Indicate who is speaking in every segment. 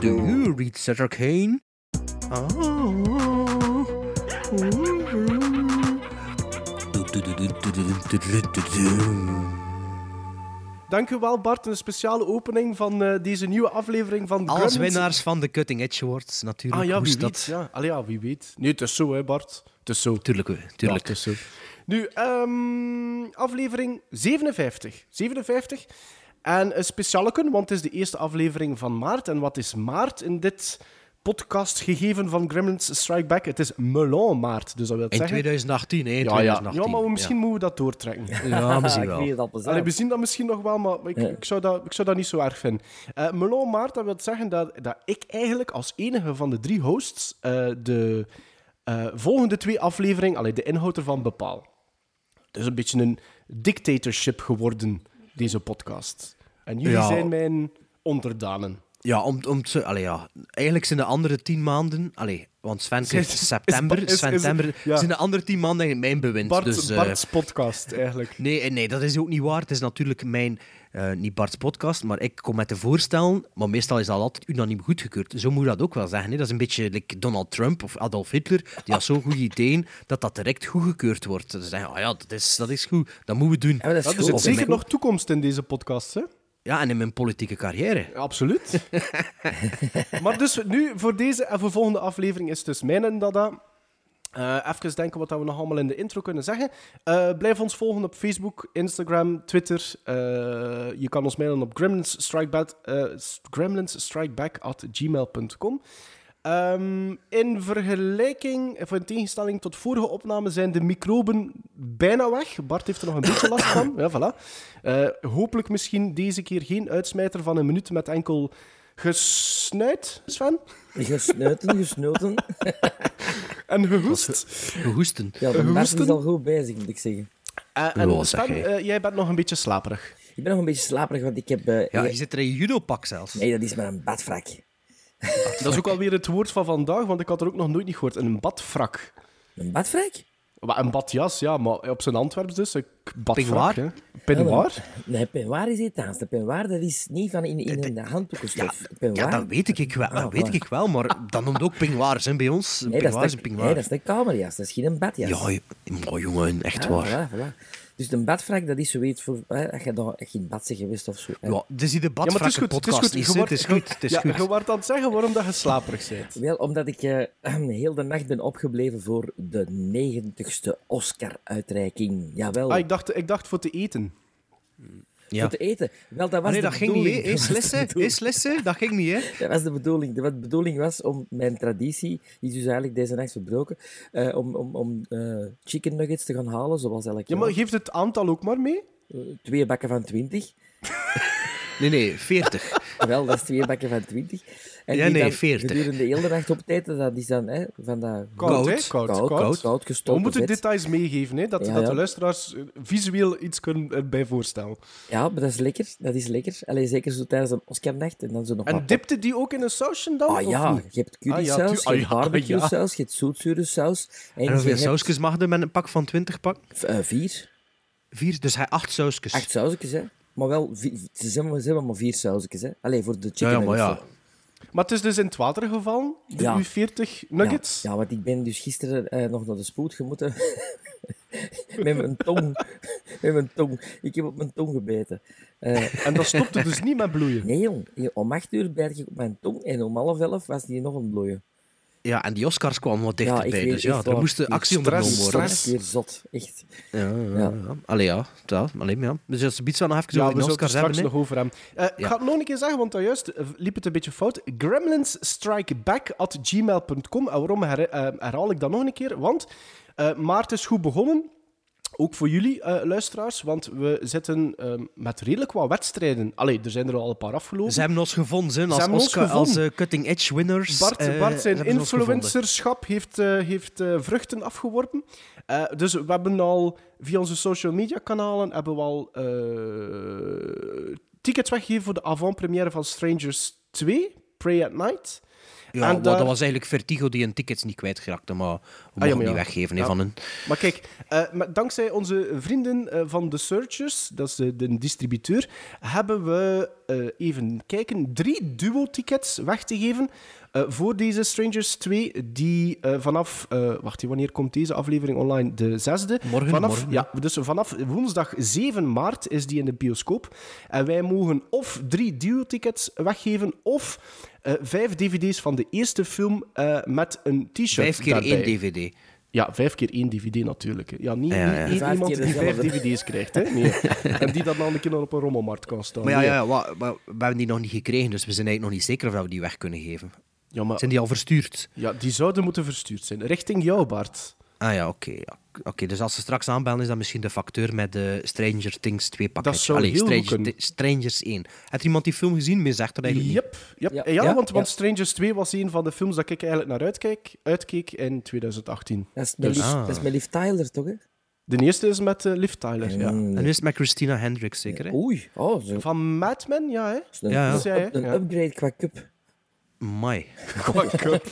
Speaker 1: do.
Speaker 2: You read such arcane? Oh.
Speaker 3: Dank u wel, Bart. Een speciale opening van eh, deze nieuwe aflevering van de
Speaker 2: Alles
Speaker 3: Gremlins.
Speaker 2: winnaars van de Cutting Edge Awards, natuurlijk.
Speaker 3: Ah ja,
Speaker 2: Hoe
Speaker 3: wie
Speaker 2: is
Speaker 3: weet.
Speaker 2: dat?
Speaker 3: Ja. Allee, ja, wie weet. Nee, het is zo, hè, Bart. Het is zo.
Speaker 2: Tuurlijk, hè, tuurlijk.
Speaker 3: Ja, het is zo. Nu, ehm, aflevering 57. 57. En een specialeken, want het is de eerste aflevering van maart. En wat is maart in dit podcast gegeven van Gremlins Strike Back? Het is Melon maart, dus dat wil
Speaker 2: in
Speaker 3: zeggen...
Speaker 2: 2018, hè? in
Speaker 3: ja, ja.
Speaker 2: 2018.
Speaker 3: ja, maar we- misschien moeten we dat doortrekken.
Speaker 2: Ja, ja misschien
Speaker 4: Ah, ik
Speaker 2: wel.
Speaker 4: weet het al
Speaker 3: Allee,
Speaker 4: zelf.
Speaker 3: we zien dat misschien nog wel, maar ik,
Speaker 4: Ja.
Speaker 3: ik, zou, dat, ik zou dat niet zo erg vinden. Eh Melon Maart, dat wil zeggen dat, dat ik eigenlijk als enige van de drie hosts eh, de eh, volgende twee afleveringen, allee, de inhoud ervan bepaal. Het is een beetje een dictatorship geworden, deze podcast. En jullie
Speaker 2: Ja.
Speaker 3: zijn mijn onderdanen.
Speaker 2: Ja, om, om het zo- allee, ja, eigenlijk zijn de andere tien maanden... Allee, want Sven krijgt
Speaker 3: Is- is-
Speaker 2: september.
Speaker 3: is- is-
Speaker 2: september
Speaker 3: ja.
Speaker 2: zijn de andere tien maanden eigenlijk mijn bewind.
Speaker 3: Bart,
Speaker 2: dus, eh,
Speaker 3: Bart's podcast, eigenlijk.
Speaker 2: Nee, eh, nee, dat is ook niet waar. Het is natuurlijk mijn, eh, niet Bart's podcast, maar ik kom met de voorstellen. Maar meestal is dat altijd unaniem goedgekeurd. Zo moet je dat ook wel zeggen. Hè. Dat is een beetje like Donald Trump of Adolf Hitler. Die had zo'n goede ideeën dat dat direct goedgekeurd wordt. Ze zeggen, ah ja, dat is, dat is goed. Dat moeten we doen.
Speaker 4: Ja, maar dat is
Speaker 3: Dat
Speaker 4: goed.
Speaker 3: is
Speaker 4: Of in
Speaker 3: zeker
Speaker 4: mijn-
Speaker 3: nog toekomst in deze podcast, hè?
Speaker 2: Ja, en in mijn politieke carrière.
Speaker 3: Absoluut. maar dus nu, voor deze en voor volgende aflevering is het dus mijn en Dada. Eh, even denken wat dat we nog allemaal in de intro kunnen zeggen. Eh, blijf ons volgen op Facebook, Instagram, Twitter. Eh, je kan ons mailen op gremlinsstrikeback, eh, s- gremlinsstrikeback at gmail.com. Ehm, in vergelijking, of in tegenstelling tot vorige opname, zijn de microben bijna weg. Bart heeft er nog een beetje last van. Ja, voilà. Eh, hopelijk misschien deze keer geen uitsmijter van een minuut met enkel gesnuit, Sven,
Speaker 4: Gesnuiten, gesnoten.
Speaker 3: en gehoest.
Speaker 2: Gehoesten.
Speaker 4: Ja, de mensen
Speaker 3: Hoesten?
Speaker 4: is al goed bezig, moet ik zeggen.
Speaker 3: Eh, en
Speaker 2: Wow, zeg
Speaker 3: Sven,
Speaker 2: jij.
Speaker 3: eh, jij bent nog een beetje slaperig.
Speaker 4: Ik ben nog een beetje slaperig, want ik heb... eh,
Speaker 2: Ja,
Speaker 4: eh,
Speaker 2: je zit er in je judo-pak zelfs.
Speaker 4: Nee, dat is maar een badvrak.
Speaker 3: Dat is ook alweer het woord van vandaag, want ik had er ook nog nooit niet gehoord. Een badfrak.
Speaker 4: Een badvrak?
Speaker 3: Maar een badjas, ja, maar op zijn Antwerps dus. Een k- badfrak,
Speaker 2: Peignoir?
Speaker 3: hè. Peignoir?
Speaker 4: Nee, penwaar is iets anders. De penwaar dat is niet van in, in een handdoekenstof.
Speaker 2: Eh, Ja,
Speaker 4: Peignoir-
Speaker 2: dat weet ik, ik wel,
Speaker 4: Ah,
Speaker 2: dat weet
Speaker 4: waar.
Speaker 2: ik wel, maar dat noemt ook pingwaars hè, bij ons. Een
Speaker 4: Nee, dat
Speaker 2: pingwaar is
Speaker 4: is
Speaker 2: een
Speaker 4: de, nee,
Speaker 2: pingwaar.
Speaker 4: dat is de kamerjas. Dat is geen badjas.
Speaker 2: Ja, je- maar jongen, echt
Speaker 4: Ah,
Speaker 2: waar.
Speaker 4: voilà, voilà. Dus een badvrak, dat is zoiets voor... Hè, als je dan echt in bad bent geweest of zo. hè.
Speaker 2: Ja, dus die debat
Speaker 3: Ja, maar het is goed. Het is goed.
Speaker 2: Is,
Speaker 3: Je
Speaker 2: hè. het
Speaker 3: wordt-
Speaker 2: is goed. Het is
Speaker 3: ja,
Speaker 2: goed.
Speaker 3: Je wordt aan het zeggen waarom dat je slaperig bent.
Speaker 4: Wel, omdat ik eh, heel de nacht ben opgebleven voor de 90ste Oscar-uitreiking. Jawel.
Speaker 3: Ah, ik, dacht, ik dacht voor te eten.
Speaker 2: Ja. Ah,
Speaker 4: Voor te eten. Wel, dat was
Speaker 2: nee,
Speaker 4: de
Speaker 2: dat ging
Speaker 4: bedoeling.
Speaker 2: niet.
Speaker 4: Dat
Speaker 2: Is
Speaker 4: was de
Speaker 2: lessen,
Speaker 4: bedoeling.
Speaker 2: is lessen, dat ging niet, hè?
Speaker 4: Dat was de bedoeling. De, wat de bedoeling was om mijn traditie, die is dus eigenlijk deze nacht verbroken, eh, om, om, om eh, chicken nuggets te gaan halen, zoals elk
Speaker 3: Ja,
Speaker 4: jaar.
Speaker 3: maar geef het aantal ook maar mee.
Speaker 4: Eh, Twee bakken van twintig.
Speaker 2: Nee, nee, 40.
Speaker 4: Wel, dat is twee bakken van twintig. En
Speaker 2: Ja,
Speaker 4: die
Speaker 2: nee,
Speaker 4: dan
Speaker 2: 40.
Speaker 4: Gedurende de hele nacht op tijd, dat is dan hè, van dat
Speaker 3: Koud,
Speaker 2: Koud,
Speaker 3: hè? Koud, koud.
Speaker 4: koud, koud, koud
Speaker 3: We
Speaker 4: gestoken
Speaker 3: moeten
Speaker 4: vet.
Speaker 3: details meegeven, hè, dat,
Speaker 4: Ja,
Speaker 3: dat de
Speaker 4: ja.
Speaker 3: luisteraars eh, visueel iets kunnen erbij voorstellen.
Speaker 4: Ja, maar dat is lekker. Dat is lekker. Allee, zeker zo tijdens een Oscar-nacht en dan zo nog
Speaker 3: En
Speaker 4: wat
Speaker 3: dipte die ook in een sausje dan?
Speaker 4: Ah
Speaker 3: of
Speaker 4: ja,
Speaker 3: niet?
Speaker 4: je hebt
Speaker 3: Ah
Speaker 4: curry
Speaker 3: ja,
Speaker 4: saus,
Speaker 3: tu- ah
Speaker 4: je
Speaker 3: ja,
Speaker 4: hebt
Speaker 3: ah ja.
Speaker 4: barbecue saus, je hebt zoetzure saus. En,
Speaker 2: En
Speaker 4: je
Speaker 2: hoeveel
Speaker 4: hebt,
Speaker 2: sausjes mag je met een pak van 20 pak?
Speaker 4: v- eh, vier,
Speaker 2: Vier, dus hij acht sausjes.
Speaker 4: acht sausjes, hè. Maar wel, vi- ze zijn maar, ze hebben maar vier sausjes, hè. Allee, voor de chicken
Speaker 2: ja, ja, maar ja.
Speaker 4: nuggets, hè.
Speaker 3: Maar het is dus in het water gevallen, de
Speaker 4: Ja.
Speaker 3: U40 nuggets.
Speaker 4: Ja, ja, want ik ben dus gisteren eh, nog naar de spoed gemoeten. met mijn tong. met mijn tong. Ik heb op mijn tong gebeten. Eh,
Speaker 3: En dat stopte dus niet met bloeien.
Speaker 4: nee, jong. Om acht uur bijt ik op mijn tong en om half elf was die nog een bloeien.
Speaker 2: Ja, en die Oscars kwamen wat
Speaker 4: ik
Speaker 2: dichterbij.
Speaker 4: weet
Speaker 2: dus ja,
Speaker 4: echt
Speaker 2: er
Speaker 4: waar.
Speaker 2: moest de actie
Speaker 3: Stress,
Speaker 2: ondernomen worden.
Speaker 3: stress.
Speaker 4: Weer zot, echt.
Speaker 2: Ja, ja, ja. Allee, ja. ja. Allee, maar ja. Dus dat ze biedt nog even
Speaker 3: Ja,
Speaker 2: over
Speaker 3: we
Speaker 2: de
Speaker 3: zullen het
Speaker 2: Oscars
Speaker 3: straks
Speaker 2: hebben, hè.
Speaker 3: nog over hem. Eh, Ik
Speaker 2: Ja.
Speaker 3: ga het nog een keer zeggen, want daarjuist eh, liep het een beetje fout. gremlinsstrikeback.gmail.com. En waarom her- eh, herhaal ik dat nog een keer? Want eh, maart is goed begonnen. Ook voor jullie, eh, luisteraars, want we zitten eh, met redelijk wat wedstrijden. Allee, er zijn er al een paar afgelopen.
Speaker 2: Ze hebben ons gevonden, hè, als,
Speaker 3: hebben ons
Speaker 2: Oscar, als
Speaker 3: gevonden.
Speaker 2: eh, Cutting Edge winners.
Speaker 3: Bart,
Speaker 2: eh,
Speaker 3: Bart zijn
Speaker 2: hebben ze ons gevonden.
Speaker 3: influencerschap heeft, eh, heeft eh, vruchten afgeworpen. Eh, dus we hebben al via onze social media kanalen hebben we al eh, tickets weggegeven voor de avant-première van Strangers 2. Pray at Night.
Speaker 2: Ja,
Speaker 3: En
Speaker 2: maar
Speaker 3: daar-
Speaker 2: dat was eigenlijk Vertigo die hun tickets niet kwijtgeraakte, maar we
Speaker 3: maar
Speaker 2: mogen
Speaker 3: ja.
Speaker 2: niet weggeven hè,
Speaker 3: Ja.
Speaker 2: van hun.
Speaker 3: Maar kijk, eh, maar dankzij onze vrienden eh, van The Searchers, dat is eh, de distributeur, hebben we, eh, even kijken, drie duo-tickets weg te geven eh, voor deze Strangers 2, die eh, vanaf, eh, wacht, wanneer komt deze aflevering online? De zesde.
Speaker 2: Morgen,
Speaker 3: vanaf,
Speaker 2: morgen,
Speaker 3: Ja, dus vanaf woensdag 7 maart is die in de bioscoop. En wij mogen of drie duo-tickets weggeven, of eh, vijf dvd's van de eerste film eh, met een t-shirt
Speaker 2: Vijf keer
Speaker 3: daarbij.
Speaker 2: één
Speaker 3: Oh,
Speaker 2: DVD.
Speaker 3: Ja, vijf keer één DVD natuurlijk. hè. Ja, niet,
Speaker 2: Ja,
Speaker 3: niet
Speaker 2: ja.
Speaker 3: één
Speaker 4: Vijf
Speaker 3: iemand
Speaker 4: keer
Speaker 3: die vijf
Speaker 4: dezelfde.
Speaker 3: DVD's krijgt. Hè? Nee. En die dat dan een keer op een rommelmarkt kan staan.
Speaker 2: Maar ja,
Speaker 3: Nee.
Speaker 2: ja, ja, wa- maar we hebben die nog niet gekregen, dus we zijn eigenlijk nog niet zeker of dat we die weg kunnen geven.
Speaker 3: Ja, maar,
Speaker 2: Zijn die al verstuurd?
Speaker 3: ja, die zouden moeten verstuurd zijn. Richting jou, Bart.
Speaker 2: Ah ja, oké. ja. Oké, dus als ze straks aanbellen, is dat misschien de facteur met de Stranger Things 2 pakket.
Speaker 3: zou heel goed
Speaker 2: Stranger-
Speaker 3: kunnen.
Speaker 2: Thi- Strangers 1. Heeft er iemand die film gezien? Meer zegt dat eigenlijk
Speaker 3: Yep, yep. Ja,
Speaker 4: Ja.
Speaker 3: Eh, ja,
Speaker 4: Ja,
Speaker 3: want, want
Speaker 4: ja.
Speaker 3: Strangers 2 was een van de films dat ik eigenlijk naar uitkeek, uitkeek in 2018.
Speaker 4: Dat is mijn
Speaker 3: Dus-
Speaker 4: lief,
Speaker 2: Ah.
Speaker 4: dat is mijn lief Tyler, toch? Hè?
Speaker 3: De eerste is met eh, Liv Tyler. Ja.
Speaker 4: Mm.
Speaker 2: niet. En nu is het met Christina Hendricks, zeker? Hè?
Speaker 4: Oei, oh, zo.
Speaker 3: Van Mad Men, ja, hè?
Speaker 4: Is een,
Speaker 2: Ja, ja.
Speaker 4: is
Speaker 3: Ja, ja.
Speaker 4: een
Speaker 3: Ja.
Speaker 4: upgrade qua cup.
Speaker 3: oh.
Speaker 2: Mai.
Speaker 3: Qua cup.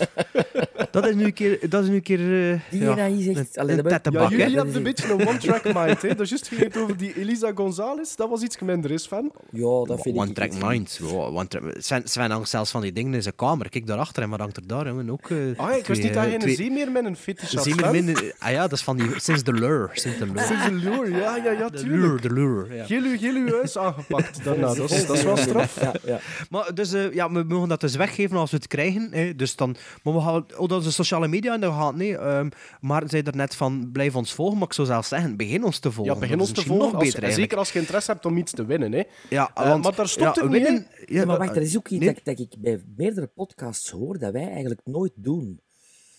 Speaker 2: Dat is nu een keer. Dat is nu een keer eh,
Speaker 4: Die
Speaker 2: ja,
Speaker 4: ja, is echt...
Speaker 2: een, een
Speaker 4: Allee, dat ben-
Speaker 3: Ja,
Speaker 2: tettenbak, hè?
Speaker 3: jullie
Speaker 4: Dat
Speaker 3: hebben
Speaker 4: is
Speaker 3: een beetje een one-track mind, hè? Dus juist ging het over die Elisa Gonzalez. Dat was iets minder is, van.
Speaker 4: Ja, dat vind ik...
Speaker 2: One Track
Speaker 4: iets.
Speaker 2: Mind. Wow, one track. Sven, Sven hangt zelfs van die dingen in zijn kamer. Kijk daarachter en wat hangt er daar? Jongen? Ook, eh,
Speaker 3: Ah, ik wist
Speaker 2: twee,
Speaker 3: niet dat
Speaker 2: eh,
Speaker 3: je een
Speaker 2: twee-
Speaker 3: zeemeer met een fetish had.
Speaker 2: zeemeer
Speaker 3: Sven.
Speaker 2: minder- Ah ja, dat is van die. Sinds de lure. Sinds de lure.
Speaker 3: Sinds de lure, ja, ja, ja,
Speaker 2: De
Speaker 3: tuurlijk.
Speaker 2: lure, de lure. Ja.
Speaker 3: Geel uw, geel uw huis aangepakt daarna. Nou, Dat is, dat is wel
Speaker 4: Ja,
Speaker 3: straf.
Speaker 4: Ja, ja.
Speaker 2: Maar dus, eh, ja, we mogen dat dus weggeven als we het krijgen. Hè. Dus dan, maar we gaan oh, dat is de sociale media en dan gaat nee. ehm maar zei er net van blijf ons volgen, maar ik zou zelfs zeggen begin ons te volgen.
Speaker 3: Ja, begin
Speaker 2: Dat
Speaker 3: ons
Speaker 2: is
Speaker 3: te
Speaker 2: misschien
Speaker 3: volgen.
Speaker 2: Nog
Speaker 3: als-
Speaker 2: beter
Speaker 3: en
Speaker 2: eigenlijk.
Speaker 3: zeker als je interesse hebt om iets te winnen. Hè.
Speaker 2: Ja,
Speaker 3: Eh,
Speaker 2: want,
Speaker 3: maar daar stopt het niet in.
Speaker 2: ja, eh,
Speaker 4: maar wacht, er is ook iets
Speaker 2: nee.
Speaker 4: dat, dat ik bij meerdere podcasts hoor dat wij eigenlijk nooit doen.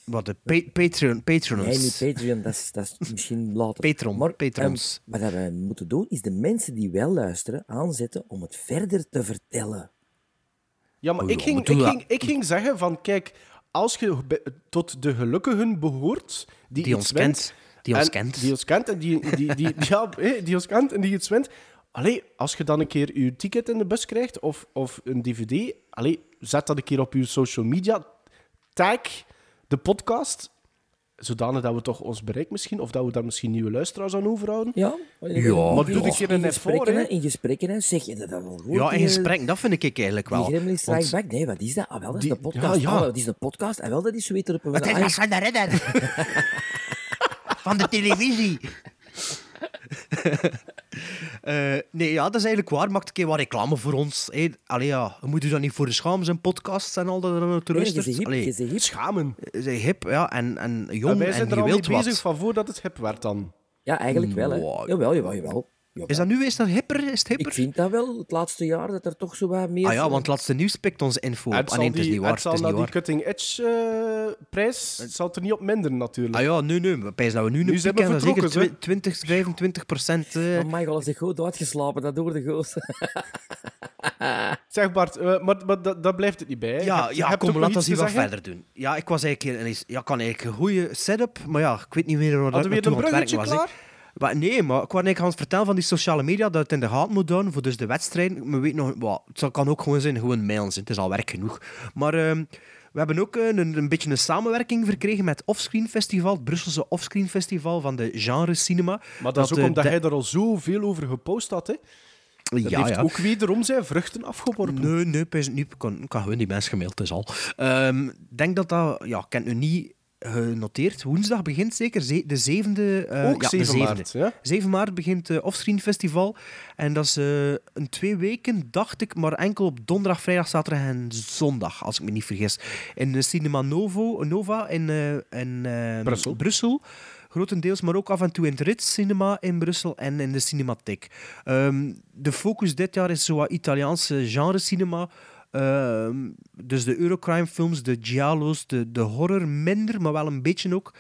Speaker 2: Wat de pa- Patreon, Patreons.
Speaker 4: Nee, niet Patreon, dat is, dat is misschien later.
Speaker 2: Patron,
Speaker 4: maar,
Speaker 2: patrons.
Speaker 4: ehm, wat we moeten doen, is de mensen die wel luisteren aanzetten om het verder te vertellen.
Speaker 3: Ja, maar
Speaker 2: Oh,
Speaker 3: ik
Speaker 2: ja,
Speaker 3: ging,
Speaker 2: maar doe
Speaker 3: ik,
Speaker 2: dat.
Speaker 3: ging, ik ging zeggen van, kijk, als je be- tot de gelukkigen behoort... Die,
Speaker 2: die
Speaker 3: iets
Speaker 2: ons
Speaker 3: wint,
Speaker 2: kent. Die ons
Speaker 3: en-
Speaker 2: kent.
Speaker 3: Die ons kent en die, die, die, ja, hè, die ons kent en die iets wint. Allee, als je dan een keer je ticket in de bus krijgt of, of een dvd, allee, zet dat een keer op je social media. Tag de podcast, zodanig dat we toch ons bereik misschien, of dat we daar misschien nieuwe luisteraars aan overhouden.
Speaker 4: Ja,
Speaker 2: Maar
Speaker 3: doe een keer een effort,
Speaker 4: in gesprekken,
Speaker 3: hè.
Speaker 4: hè, In gesprekken, hè, zeg je dat al goed? eh?
Speaker 2: ja, in
Speaker 4: die-
Speaker 2: gesprek, dat vind ik eigenlijk
Speaker 4: Die
Speaker 2: wel.
Speaker 4: Gremlin
Speaker 2: Want-
Speaker 4: Strike Back, nee, wat is dat? Ah, wel, dat is
Speaker 3: Die-
Speaker 4: een podcast.
Speaker 3: ja,
Speaker 4: Ja,
Speaker 3: ja.
Speaker 4: dat is een podcast. Ah, wel, dat is zoiets erop.
Speaker 2: Het is van Sven de Ridder. van de televisie. Eh, nee, ja, dat is eigenlijk waar. Maakt een keer wat reclame voor ons. Hey, allee, ja, je moet je dan niet voor de schaam zijn podcasts en al dat er dan naartoe
Speaker 4: Nee, je
Speaker 2: luistert.
Speaker 4: zegt hip,
Speaker 2: Allee,
Speaker 4: je zegt hip.
Speaker 3: Schamen.
Speaker 2: ze hip, ja, en, en
Speaker 3: En
Speaker 2: jong
Speaker 3: wij
Speaker 2: en
Speaker 3: zijn er
Speaker 2: je
Speaker 3: al mee
Speaker 2: wilt
Speaker 3: bezig
Speaker 2: wat.
Speaker 3: van voordat het hip werd dan.
Speaker 4: Ja, eigenlijk wel, hè.
Speaker 2: Wow.
Speaker 4: Jawel, jawel, jawel. Jawel.
Speaker 2: Is dat nu eens dat hipper? Is het hipper?
Speaker 4: Ik vind dat wel, het laatste jaar, dat er toch zo wat meer...
Speaker 2: Ah ja, want het laatste nieuws pikt onze info op.
Speaker 3: Het
Speaker 2: Ah,
Speaker 3: zal,
Speaker 2: nee, het is
Speaker 3: die,
Speaker 2: niet waar.
Speaker 3: het
Speaker 2: Het
Speaker 3: zal
Speaker 2: is
Speaker 3: na
Speaker 2: niet
Speaker 3: die
Speaker 2: waar.
Speaker 3: cutting edge eh, prijs, het zal het er niet op minderen natuurlijk.
Speaker 2: Ah ja, nu, nu. We pijzen dat we nu,
Speaker 3: Nu
Speaker 2: een
Speaker 3: zijn
Speaker 2: piek
Speaker 3: we
Speaker 2: hebben. dat Zeker
Speaker 3: vertrokken,
Speaker 2: twi- 20, 25 procent. eh,
Speaker 4: Oh my god, als ik goed uitgeslapen, dat door de goos.
Speaker 3: Zeg Bart, eh, maar, maar dat, dat blijft het niet bij. hè. Je
Speaker 2: Ja,
Speaker 3: Eh, hebt- je
Speaker 2: ja
Speaker 3: hebt ook
Speaker 2: kom,
Speaker 3: nog
Speaker 2: laten
Speaker 3: iets
Speaker 2: we hier
Speaker 3: te
Speaker 2: wat
Speaker 3: zeggen.
Speaker 2: verder doen. Ja, ik was eigenlijk een, ja, ik had eigenlijk een goede setup, maar ja, ik weet niet meer waar
Speaker 3: Hadden we
Speaker 2: ik
Speaker 3: weer een
Speaker 2: naartoe aan het
Speaker 3: bruggetje
Speaker 2: werken was. hè.
Speaker 3: klaar?
Speaker 2: Maar nee, maar ik kwam eigenlijk aan het vertellen van die sociale media dat het in de gaten moet doen voor dus de wedstrijd. We weten nog, wat, het zal- kan ook gewoon zijn, gewoon mailen zijn. Het is al werk genoeg. Maar ehm, we hebben ook een, een, een beetje een samenwerking verkregen met Offscreen Festival, het Brusselse Offscreen Festival van de genre cinema.
Speaker 3: Maar dat, is ook
Speaker 2: eh,
Speaker 3: omdat
Speaker 2: de-
Speaker 3: hij er al zoveel over gepost had. Hè.
Speaker 2: ja,
Speaker 3: Dat heeft
Speaker 2: ja.
Speaker 3: ook wederom zijn vruchten afgeworpen.
Speaker 2: Nee, nee, pijs het niet. Ik kan, ik kan gewoon die mensen gemaild, het is al. Ehm, Ik denk dat dat... Ja, ik heb het nu niet genoteerd. Woensdag begint zeker ze- de zevende... eh,
Speaker 3: ook
Speaker 2: ja,
Speaker 3: 7
Speaker 2: de zevende.
Speaker 3: maart. Ja?
Speaker 2: 7 maart begint het Offscreen Festival. En dat is eh, een twee weken, dacht ik, maar enkel op donderdag, vrijdag, zaterdag en zondag, als ik me niet vergis. In de Cinema Novo, Nova in, eh, in eh,
Speaker 3: Brussel.
Speaker 2: Grotendeels, maar ook af en toe in het Ritz Cinema in Brussel en in de Cinematheek. Ehm, de focus dit jaar is zo wat Italiaanse genre-cinema. Ehm, dus de Eurocrime-films, de giallo's, de, de horror minder, maar wel een beetje ook.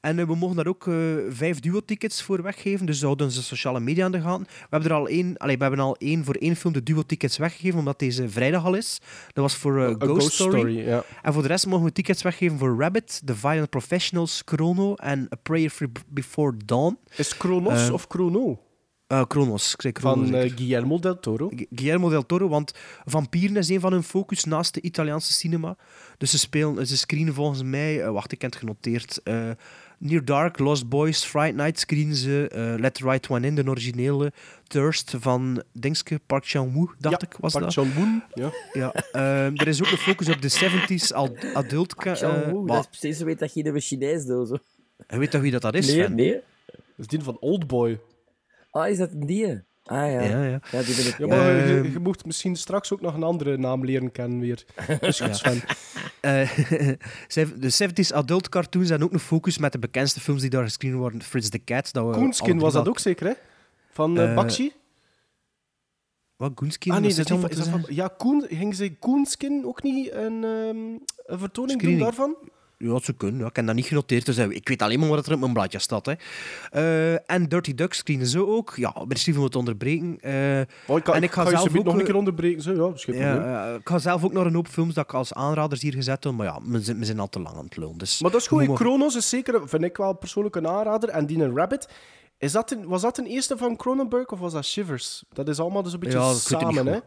Speaker 2: En eh, we mogen daar ook eh, vijf duo-tickets voor weggeven. Dus houden onze sociale media aan de gaten. We hebben er al één, allee, we hebben al één voor één film de duo-tickets weggegeven, omdat deze vrijdag al is. Dat was voor eh,
Speaker 3: A
Speaker 2: Ghost, Story.
Speaker 3: ja.
Speaker 2: En voor de rest mogen we tickets weggeven voor Rabbit, The Violent Professionals, Chrono en A Prayer for Before Dawn.
Speaker 3: Is Chronos
Speaker 2: Eh,
Speaker 3: of Chrono?
Speaker 2: Eh, Kronos. Ik zei Kronos,
Speaker 3: Van
Speaker 2: hè.
Speaker 3: eh, Guillermo del Toro.
Speaker 2: Gu- Guillermo del Toro, want vampieren is een van hun focus naast de Italiaanse cinema. Dus ze, spelen, ze screenen volgens mij, eh, wacht, ik heb het genoteerd, eh, Near Dark, Lost Boys, Fright Night screenen ze, eh, Let the Right One In, de originele, Thirst van Dingske, Park Chan-wook, dacht
Speaker 3: Ja,
Speaker 2: ik, was
Speaker 3: Park
Speaker 2: dat.
Speaker 3: Chan-woon. Ja.
Speaker 2: Ja, ehm, er is ook een focus op de 70s al- adult... ka- eh,
Speaker 4: Chang-Wook,
Speaker 2: maar
Speaker 4: dat is precies zo weet dat je de Chinees doet. zo.
Speaker 2: je weet toch wie dat, dat is,
Speaker 4: Nee,
Speaker 2: Sven?
Speaker 4: nee.
Speaker 3: Dat is die van Oldboy.
Speaker 4: Ah, is dat een die? Ah ja.
Speaker 2: Ja, ja.
Speaker 4: Ja, die ben ik.
Speaker 3: Ja, maar
Speaker 2: Ehm.
Speaker 3: je, je mocht misschien straks ook nog een andere naam leren kennen weer. Dus goed, Sven.
Speaker 2: Eh, zev- de 70s adult cartoons en ook een focus met de bekendste films die daar gescreend worden. Fritz the Cat. Dat we Eh, alle
Speaker 3: Koenskin
Speaker 2: drie
Speaker 3: was dat
Speaker 2: al-
Speaker 3: ook zeker, hè? Van eh,
Speaker 2: Eh,
Speaker 3: Bakshi?
Speaker 2: Wat, Koenskin?
Speaker 3: Ah nee,
Speaker 2: Is
Speaker 3: dat is
Speaker 2: dit
Speaker 3: niet
Speaker 2: allemaal
Speaker 3: van- is dat
Speaker 2: te
Speaker 3: van... Ja, Koen, ging ze Koenskin ook niet een, ehm, een
Speaker 2: Screening.
Speaker 3: vertoning doen daarvan?
Speaker 2: Ja, ze kunnen. Ja. Ik heb dat niet genoteerd, dus eh, ik weet alleen maar wat er op mijn bladje staat. Hè. Eh, en Dirty Duck screenen ze ook. Ja, merci voor het onderbreken. Eh,
Speaker 3: Oh, ik,
Speaker 2: En ik ga
Speaker 3: je
Speaker 2: zelf
Speaker 3: subiet
Speaker 2: ook,
Speaker 3: nog een
Speaker 2: eh,
Speaker 3: keer onderbreken. Zo, ja, dat is geen
Speaker 2: ja,
Speaker 3: probleem.
Speaker 2: eh, ik ga zelf ook naar een hoop films dat ik als aanraders hier gezet heb, maar ja, we zijn, we zijn al te lang aan het lullen. Dus
Speaker 3: Maar dat is goed.
Speaker 2: noem
Speaker 3: hè. Kronos is zeker, vind ik wel persoonlijk een aanrader. En Dean en Rabbit. Is dat een, was dat een eerste van Cronenberg of was dat Shivers? Dat is allemaal dus een beetje
Speaker 2: Ja, ik weet het niet
Speaker 3: samen, hè?
Speaker 2: goed.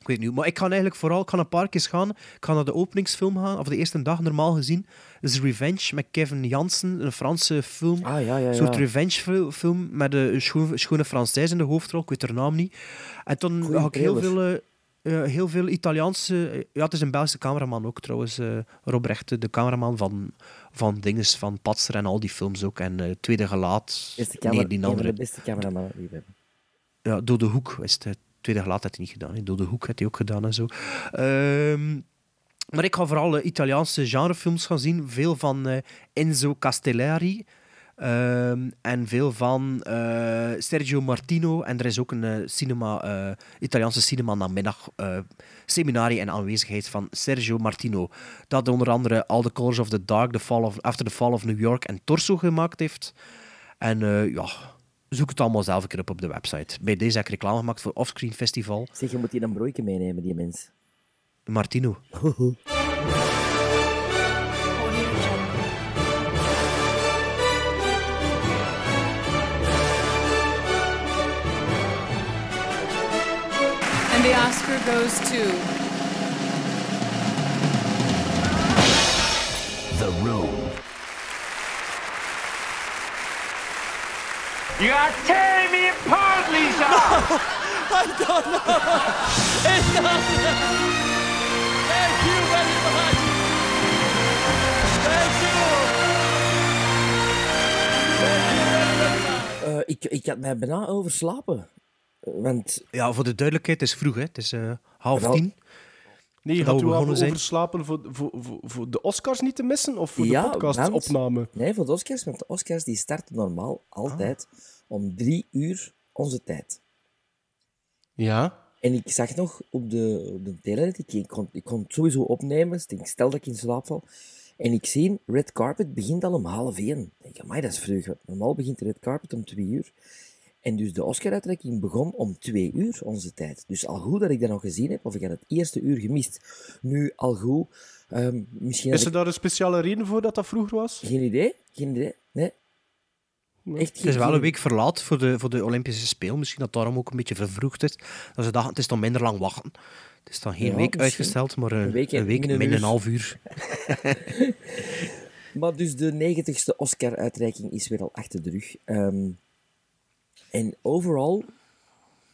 Speaker 2: Ik weet niet, maar ik ga eigenlijk vooral, ik ga een paar keer gaan. Ik ga naar de openingsfilm gaan, of de eerste dag normaal gezien. Dat is Revenge met Kevin Jansen, een Franse film.
Speaker 4: Ah ja, ja,
Speaker 2: Een soort
Speaker 4: ja.
Speaker 2: revenge-film met eh, een scho- schone Française in de hoofdrol, ik weet haar naam niet. En toen
Speaker 4: Goeie
Speaker 2: had ik heel
Speaker 4: trailer.
Speaker 2: veel, eh, eh, heel veel Italiaanse... eh, ja, het is een Belgische cameraman ook trouwens, eh Rob Rechte, de cameraman van, van Dinges, van Patser en al die films ook. En eh, Tweede Gelaat...
Speaker 4: Beste camera,
Speaker 2: nee, die
Speaker 4: een van de
Speaker 2: andere.
Speaker 4: beste cameramannen die we hebben.
Speaker 2: Ja, Door de Hoek is het. eh, Tweede Gelaat had hij niet gedaan. hè. Door de Hoek had hij ook gedaan en zo. Ehm, maar ik ga vooral eh, Italiaanse genrefilms gaan zien. Veel van eh, Enzo Castellari. Ehm, en veel van eh, Sergio Martino. En er is ook een eh, cinema, eh, Italiaanse cinema namiddag eh seminarie en aanwezigheid van Sergio Martino. Dat onder andere All the Colors of the Dark, the Fall of, After the Fall of New York en Torso gemaakt heeft. En eh, ja, zoek het allemaal zelf een keer op op de website. Bij deze heb ik reclame gemaakt voor Offscreen Festival.
Speaker 4: Zeg, je moet hier een broeike meenemen, die mens.
Speaker 2: Martino.
Speaker 1: And the Oscar goes to.
Speaker 5: The Room.
Speaker 6: You are tearing me apart, Lisa!
Speaker 4: Eh, ik, ik had mij bijna overslapen. Eh, Want
Speaker 2: Ja, voor de duidelijkheid, het is vroeg, hè. Het is eh, half
Speaker 4: Wel-
Speaker 2: tien.
Speaker 3: Nee, je
Speaker 2: Zodat
Speaker 3: had
Speaker 2: we
Speaker 3: u al
Speaker 2: begonnen zijn.
Speaker 3: overslapen voor, voor, voor, voor de Oscars niet te missen? Of voor
Speaker 4: Ja,
Speaker 3: de podcastopname?
Speaker 4: Nee, voor de Oscars, want de Oscars die starten normaal altijd om drie uur onze tijd.
Speaker 3: Ja.
Speaker 4: En ik zag nog op de, op de telenet, ik, ik, kon, ik kon het sowieso opnemen, dus ik denk, stel dat ik in slaap val. En ik zie, red carpet begint al om half één. Ik denk, amai, dat is vroeg. want Normaal begint de red carpet om twee uur. En dus de Oscar-uitreiking begon om twee uur onze tijd. Dus al goed dat ik dat nog gezien heb, of ik had het eerste uur gemist. Nu al goed, ehm, misschien had
Speaker 3: Is er
Speaker 4: ik
Speaker 3: daar een speciale reden voor dat dat vroeger was?
Speaker 4: geen idee, geen idee, nee. Echt
Speaker 2: Het is
Speaker 4: geen-
Speaker 2: wel een
Speaker 4: geen-
Speaker 2: week verlaat voor de, voor de Olympische Spelen. Misschien dat daarom ook een beetje vervroegd is. Dat ze dachten, het is dan minder lang wachten. Het is dan geen
Speaker 4: Ja,
Speaker 2: week
Speaker 4: misschien.
Speaker 2: uitgesteld, maar een,
Speaker 4: Een
Speaker 2: een
Speaker 4: week
Speaker 2: week,
Speaker 4: en min een
Speaker 2: min een
Speaker 4: uur.
Speaker 2: half uur.
Speaker 4: Maar dus de 90ste Oscar-uitreiking is weer al achter de rug. Ehm, en overal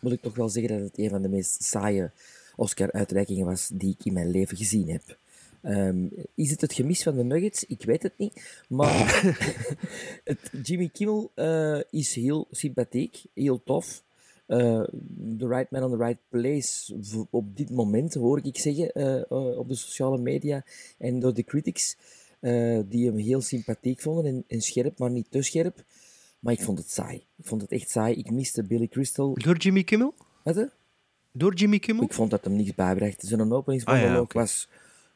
Speaker 4: moet ik toch wel zeggen dat het een van de meest saaie Oscar-uitreikingen was die ik in mijn leven gezien heb. Ehm, is het het gemis van de Nuggets? Ik weet het niet. Maar het, Jimmy Kimmel eh, is heel sympathiek, heel tof. Eh, the right man on the right place v- op dit moment, hoor ik zeggen, eh, eh, op de sociale media en door de critics, eh, die hem heel sympathiek vonden en, en scherp, maar niet te scherp. Maar ik vond het saai. Ik vond het echt saai. Ik miste Billy Crystal.
Speaker 2: Door Jimmy Kimmel?
Speaker 4: Wat, hè?
Speaker 2: Door Jimmy Kimmel?
Speaker 4: Ik vond dat hem niks bijbracht. Zijn
Speaker 2: Ah,
Speaker 4: openingsmonoloog
Speaker 2: ja, oké.
Speaker 4: was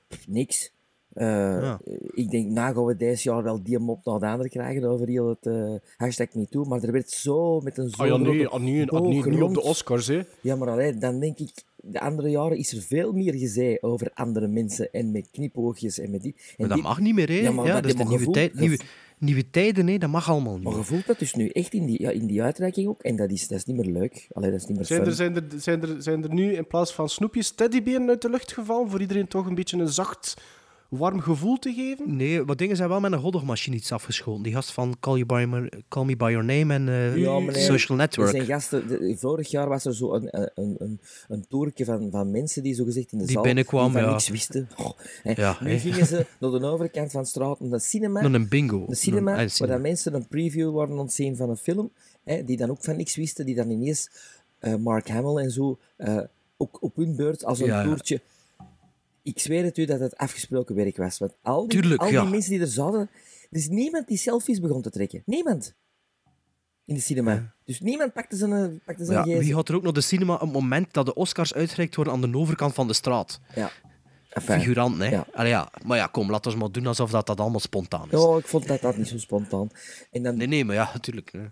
Speaker 4: pff, niks. Eh,
Speaker 2: Ja.
Speaker 4: Ik denk, nou gaan we deze jaar wel die mop naar de andere krijgen over heel het eh hashtag MeToo. Maar er werd zo met een zo'n
Speaker 3: Ah ja,
Speaker 4: grote
Speaker 3: nee, ah, nee, ah, nee, niet op
Speaker 4: boogrond.
Speaker 3: de Oscars, hè.
Speaker 4: Ja, maar allee, dan denk ik, de andere jaren is er veel meer gezei over andere mensen en met knipoogjes en met die. En
Speaker 2: Maar dat
Speaker 4: dit-
Speaker 2: mag niet meer, hè?
Speaker 4: Ja,
Speaker 2: Ja,
Speaker 4: maar dat-
Speaker 2: dat is de
Speaker 4: maar
Speaker 2: nieuwe,
Speaker 4: gevoel-
Speaker 2: tijd, nieuwe, nieuwe tijden, hè? Dat mag allemaal
Speaker 4: Maar je
Speaker 2: niet.
Speaker 4: voelt dat dus nu echt in die, ja, in die uitreiking ook. En dat is, dat is niet meer leuk. Allee, dat is niet meer
Speaker 3: Zijn
Speaker 4: fun.
Speaker 3: er, zijn, er, zijn, er, zijn er nu in plaats van snoepjes teddyberen uit de lucht gevallen? Voor iedereen toch een beetje een zacht, warm gevoel te geven?
Speaker 2: Nee, wat dingen zijn wel met een goddigmachine iets afgeschoten. Die gast van Call, you by my, Call Me By Your Name en eh,
Speaker 4: Ja, meneer,
Speaker 2: Social
Speaker 4: Er zijn
Speaker 2: Network.
Speaker 4: gasten, de- vorig jaar was er zo een, een- een, een, een toerke van, van mensen die zogezegd in de
Speaker 2: Die
Speaker 4: zaal
Speaker 2: binnenkwamen,
Speaker 4: die van
Speaker 2: ja.
Speaker 4: niks wisten. Goh, hè.
Speaker 2: Ja,
Speaker 4: nu
Speaker 2: hè.
Speaker 4: gingen ze naar de overkant van de straat naar de cinema.
Speaker 2: Dan een bingo.
Speaker 4: De cinema,
Speaker 2: Een- ah, een
Speaker 4: waar
Speaker 2: cinema.
Speaker 4: dat mensen een preview waren ontzien van een film, hè, die dan ook van niks wisten, die dan ineens eh, Mark Hamill en zo, eh, ook op hun beurt als een
Speaker 2: Ja, ja.
Speaker 4: toertje. Ik zweer het u dat het afgesproken werk was. Want al die,
Speaker 2: Tuurlijk,
Speaker 4: al die
Speaker 2: ja.
Speaker 4: mensen die er zaten, er is niemand die selfies begon te trekken. Niemand. In de cinema. Dus niemand pakte zijn, eh, pakte zijn
Speaker 2: Ja,
Speaker 4: gsm.
Speaker 2: wie had er ook naar de cinema op het moment dat de Oscars uitgereikt worden aan de overkant van de straat?
Speaker 4: Ja. Enfin.
Speaker 2: Figurant, hè?
Speaker 4: Ja.
Speaker 2: Allee, ja. Maar ja, kom, laten we maar doen alsof dat, dat allemaal spontaan is.
Speaker 4: Ja, Oh, ik vond dat, dat niet zo spontaan. En dan
Speaker 2: Nee, nee, maar ja, natuurlijk. hè.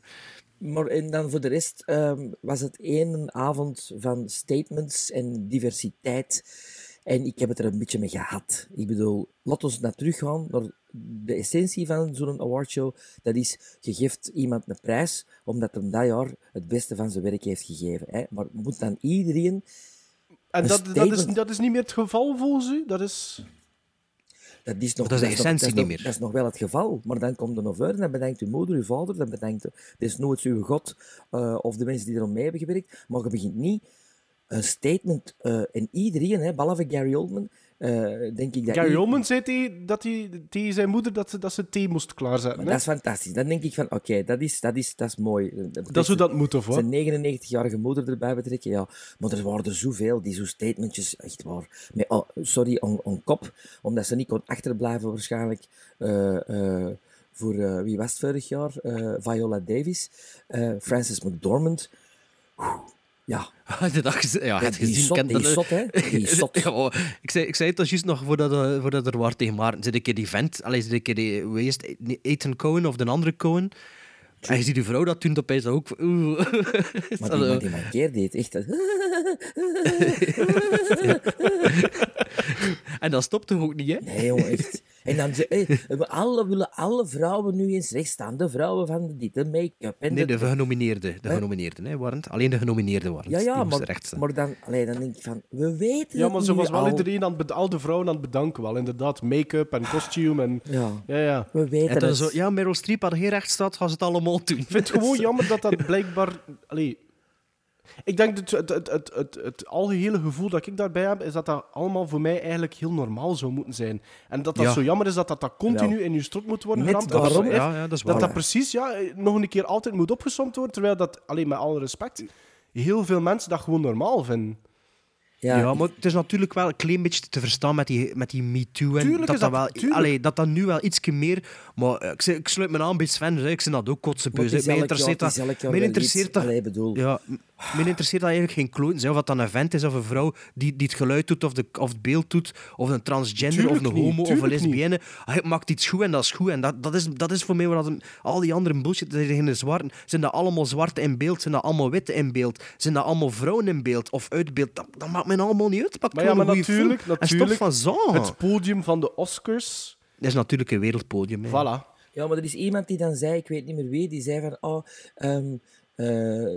Speaker 4: Maar en dan voor de rest ehm, was het één avond van statements en diversiteit. En ik heb het er een beetje mee gehad. Ik bedoel, laten we naar teruggaan naar de essentie van zo'n awardshow. Dat is, je geeft iemand een prijs omdat hem dat jaar het beste van zijn werk heeft gegeven. Hè? Maar moet dan iedereen...
Speaker 3: En
Speaker 4: Een
Speaker 3: dat, dat, is,
Speaker 4: statement.
Speaker 3: dat is niet meer het geval volgens u? Dat is...
Speaker 4: Dat is, nog,
Speaker 2: Maar dat is de
Speaker 4: nog-
Speaker 2: essentie
Speaker 4: nog-
Speaker 2: niet meer.
Speaker 4: Dat is nog wel het geval. Maar dan komt er nog verder, dan bedankt uw moeder, uw vader, dan bedankt desnoods uw god eh, of de mensen die er al mee hebben gewerkt. Maar je begint niet een statement. eh, en iedereen, hè, behalve Gary Oldman, eh, denk ik dat...
Speaker 3: Gary
Speaker 4: i-
Speaker 3: Oldman zei tegen- dat hij, tegen zijn moeder dat ze, dat ze thee moest klaarzetten.
Speaker 4: Maar
Speaker 3: hè?
Speaker 4: dat is fantastisch. Dan denk ik van, oké, dat, is, dat, is, dat is mooi.
Speaker 3: Dat is hoe dat moet, of wat?
Speaker 4: Zijn 99-jarige moeder erbij betrekken, ja. Maar er waren er zoveel die zo'n statementjes, echt waar. Met, oh, sorry, on, on kop. Omdat ze niet kon achterblijven, waarschijnlijk. eh, eh, voor eh, wie was het vorig jaar? Eh, Viola Davis, eh, Frances McDormand. Oeh, ja,
Speaker 2: Had je dat gezien? Ja,
Speaker 4: Ja,
Speaker 2: had je
Speaker 4: die
Speaker 2: gezien?
Speaker 4: zot,
Speaker 2: kent
Speaker 4: die
Speaker 2: dat-
Speaker 4: zot, hè? Die zot.
Speaker 2: Ja, maar ik, zei, ik zei het dat juist nog voordat, eh, voordat er waar tegen Maarten. Zit een keer die vent, allee, zit een keer die, hoe heet het? Ethan Cohen of de andere Cohen. En je ziet die vrouw dat toen opeens ook... Oeh.
Speaker 4: maar die,
Speaker 2: Hallo.
Speaker 4: maar die mankeer deed echt... dat-
Speaker 2: En dat stopt toch ook niet, hè?
Speaker 4: Nee, jongen, echt. En dan ze, eh, we alle, willen alle vrouwen nu eens recht staan. De vrouwen van dit, de make-up en
Speaker 2: Nee,
Speaker 4: de...
Speaker 2: de genomineerden. De genomineerden, hè, waren het? Alleen de genomineerden waren
Speaker 4: Ja,
Speaker 2: het.
Speaker 4: ja,
Speaker 2: Die moesten
Speaker 4: maar,
Speaker 2: recht staan.
Speaker 4: maar dan, allee, dan denk ik van, we weten
Speaker 3: Ja,
Speaker 4: het
Speaker 3: maar ze
Speaker 4: nu
Speaker 3: was wel
Speaker 4: al.
Speaker 3: iedereen aan het bed- al de vrouwen aan het bedanken wel. Inderdaad, make-up en kostuum en...
Speaker 4: Ja,
Speaker 3: Ja, ja.
Speaker 4: we weten
Speaker 2: En dan
Speaker 4: het.
Speaker 2: zo, ja, Meryl Streep had geen recht staat, gaan ze het allemaal doen.
Speaker 3: Ik vind het gewoon jammer dat dat blijkbaar... Allee. Ik denk dat het, het, het, het, het algehele gevoel dat ik daarbij heb, is dat dat allemaal voor mij eigenlijk heel normaal zou moeten zijn. En dat dat
Speaker 2: Ja.
Speaker 3: zo jammer is dat dat, dat continu
Speaker 4: Wel.
Speaker 3: in je strot moet worden
Speaker 4: Net
Speaker 3: geramd.
Speaker 4: daarom-
Speaker 3: dat,
Speaker 2: Ja, ja, dat is waar.
Speaker 3: dat dat precies ja, eh, nog een keer altijd moet opgesomd worden, terwijl dat, alleen met alle respect, heel veel mensen dat gewoon normaal vinden.
Speaker 4: Ja,
Speaker 2: Ja, maar het is natuurlijk wel een klein beetje te verstaan met die, met die MeToo. En
Speaker 3: Tuurlijk
Speaker 2: dat,
Speaker 3: is
Speaker 2: dat,
Speaker 3: dat-
Speaker 2: wel,
Speaker 3: tuurlijk.
Speaker 2: allee, dat dat nu wel ietsje meer... Maar eh, ik, zeg- ik sluit me aan bij Sven, hè, ik vind dat ook kotsenbeus.
Speaker 4: Maar het is
Speaker 2: hè. Mij
Speaker 4: elk jaar-
Speaker 2: interesseert
Speaker 4: het is
Speaker 2: dat...
Speaker 4: elk jaar
Speaker 2: mij
Speaker 4: wel iets.
Speaker 2: interesseert dat-
Speaker 4: Allee, bedoel.
Speaker 2: Ja, m- mij interesseert dat eigenlijk geen kloon. Of dat dan een vent is of een vrouw die, die het geluid doet of, de, of het beeld doet. Of een transgender
Speaker 3: Tuurlijk
Speaker 2: of een
Speaker 3: niet,
Speaker 2: homo of een
Speaker 3: tuurlijk niet.
Speaker 2: lesbienne. Hij maakt iets goed en dat is goed. En dat, dat, is, dat is voor mij wat een- al die andere bullshit. dat zijn de zwarten. Zijn dat allemaal zwarte in beeld? Zijn dat allemaal witte in beeld? Zijn dat allemaal vrouwen in beeld of uit beeld? Dat, dat maakt mij allemaal niet uit. Pak
Speaker 3: Maar ja, maar
Speaker 2: gewoon een goeie
Speaker 3: natuurlijk,
Speaker 2: film.
Speaker 3: natuurlijk
Speaker 2: En stop van zo.
Speaker 3: het podium van de Oscars,
Speaker 2: Dat is natuurlijk een wereldpodium. hè.
Speaker 3: voilà.
Speaker 4: Ja, maar er is iemand die dan zei, ik weet niet meer wie, die zei van, oh, ehm, eh,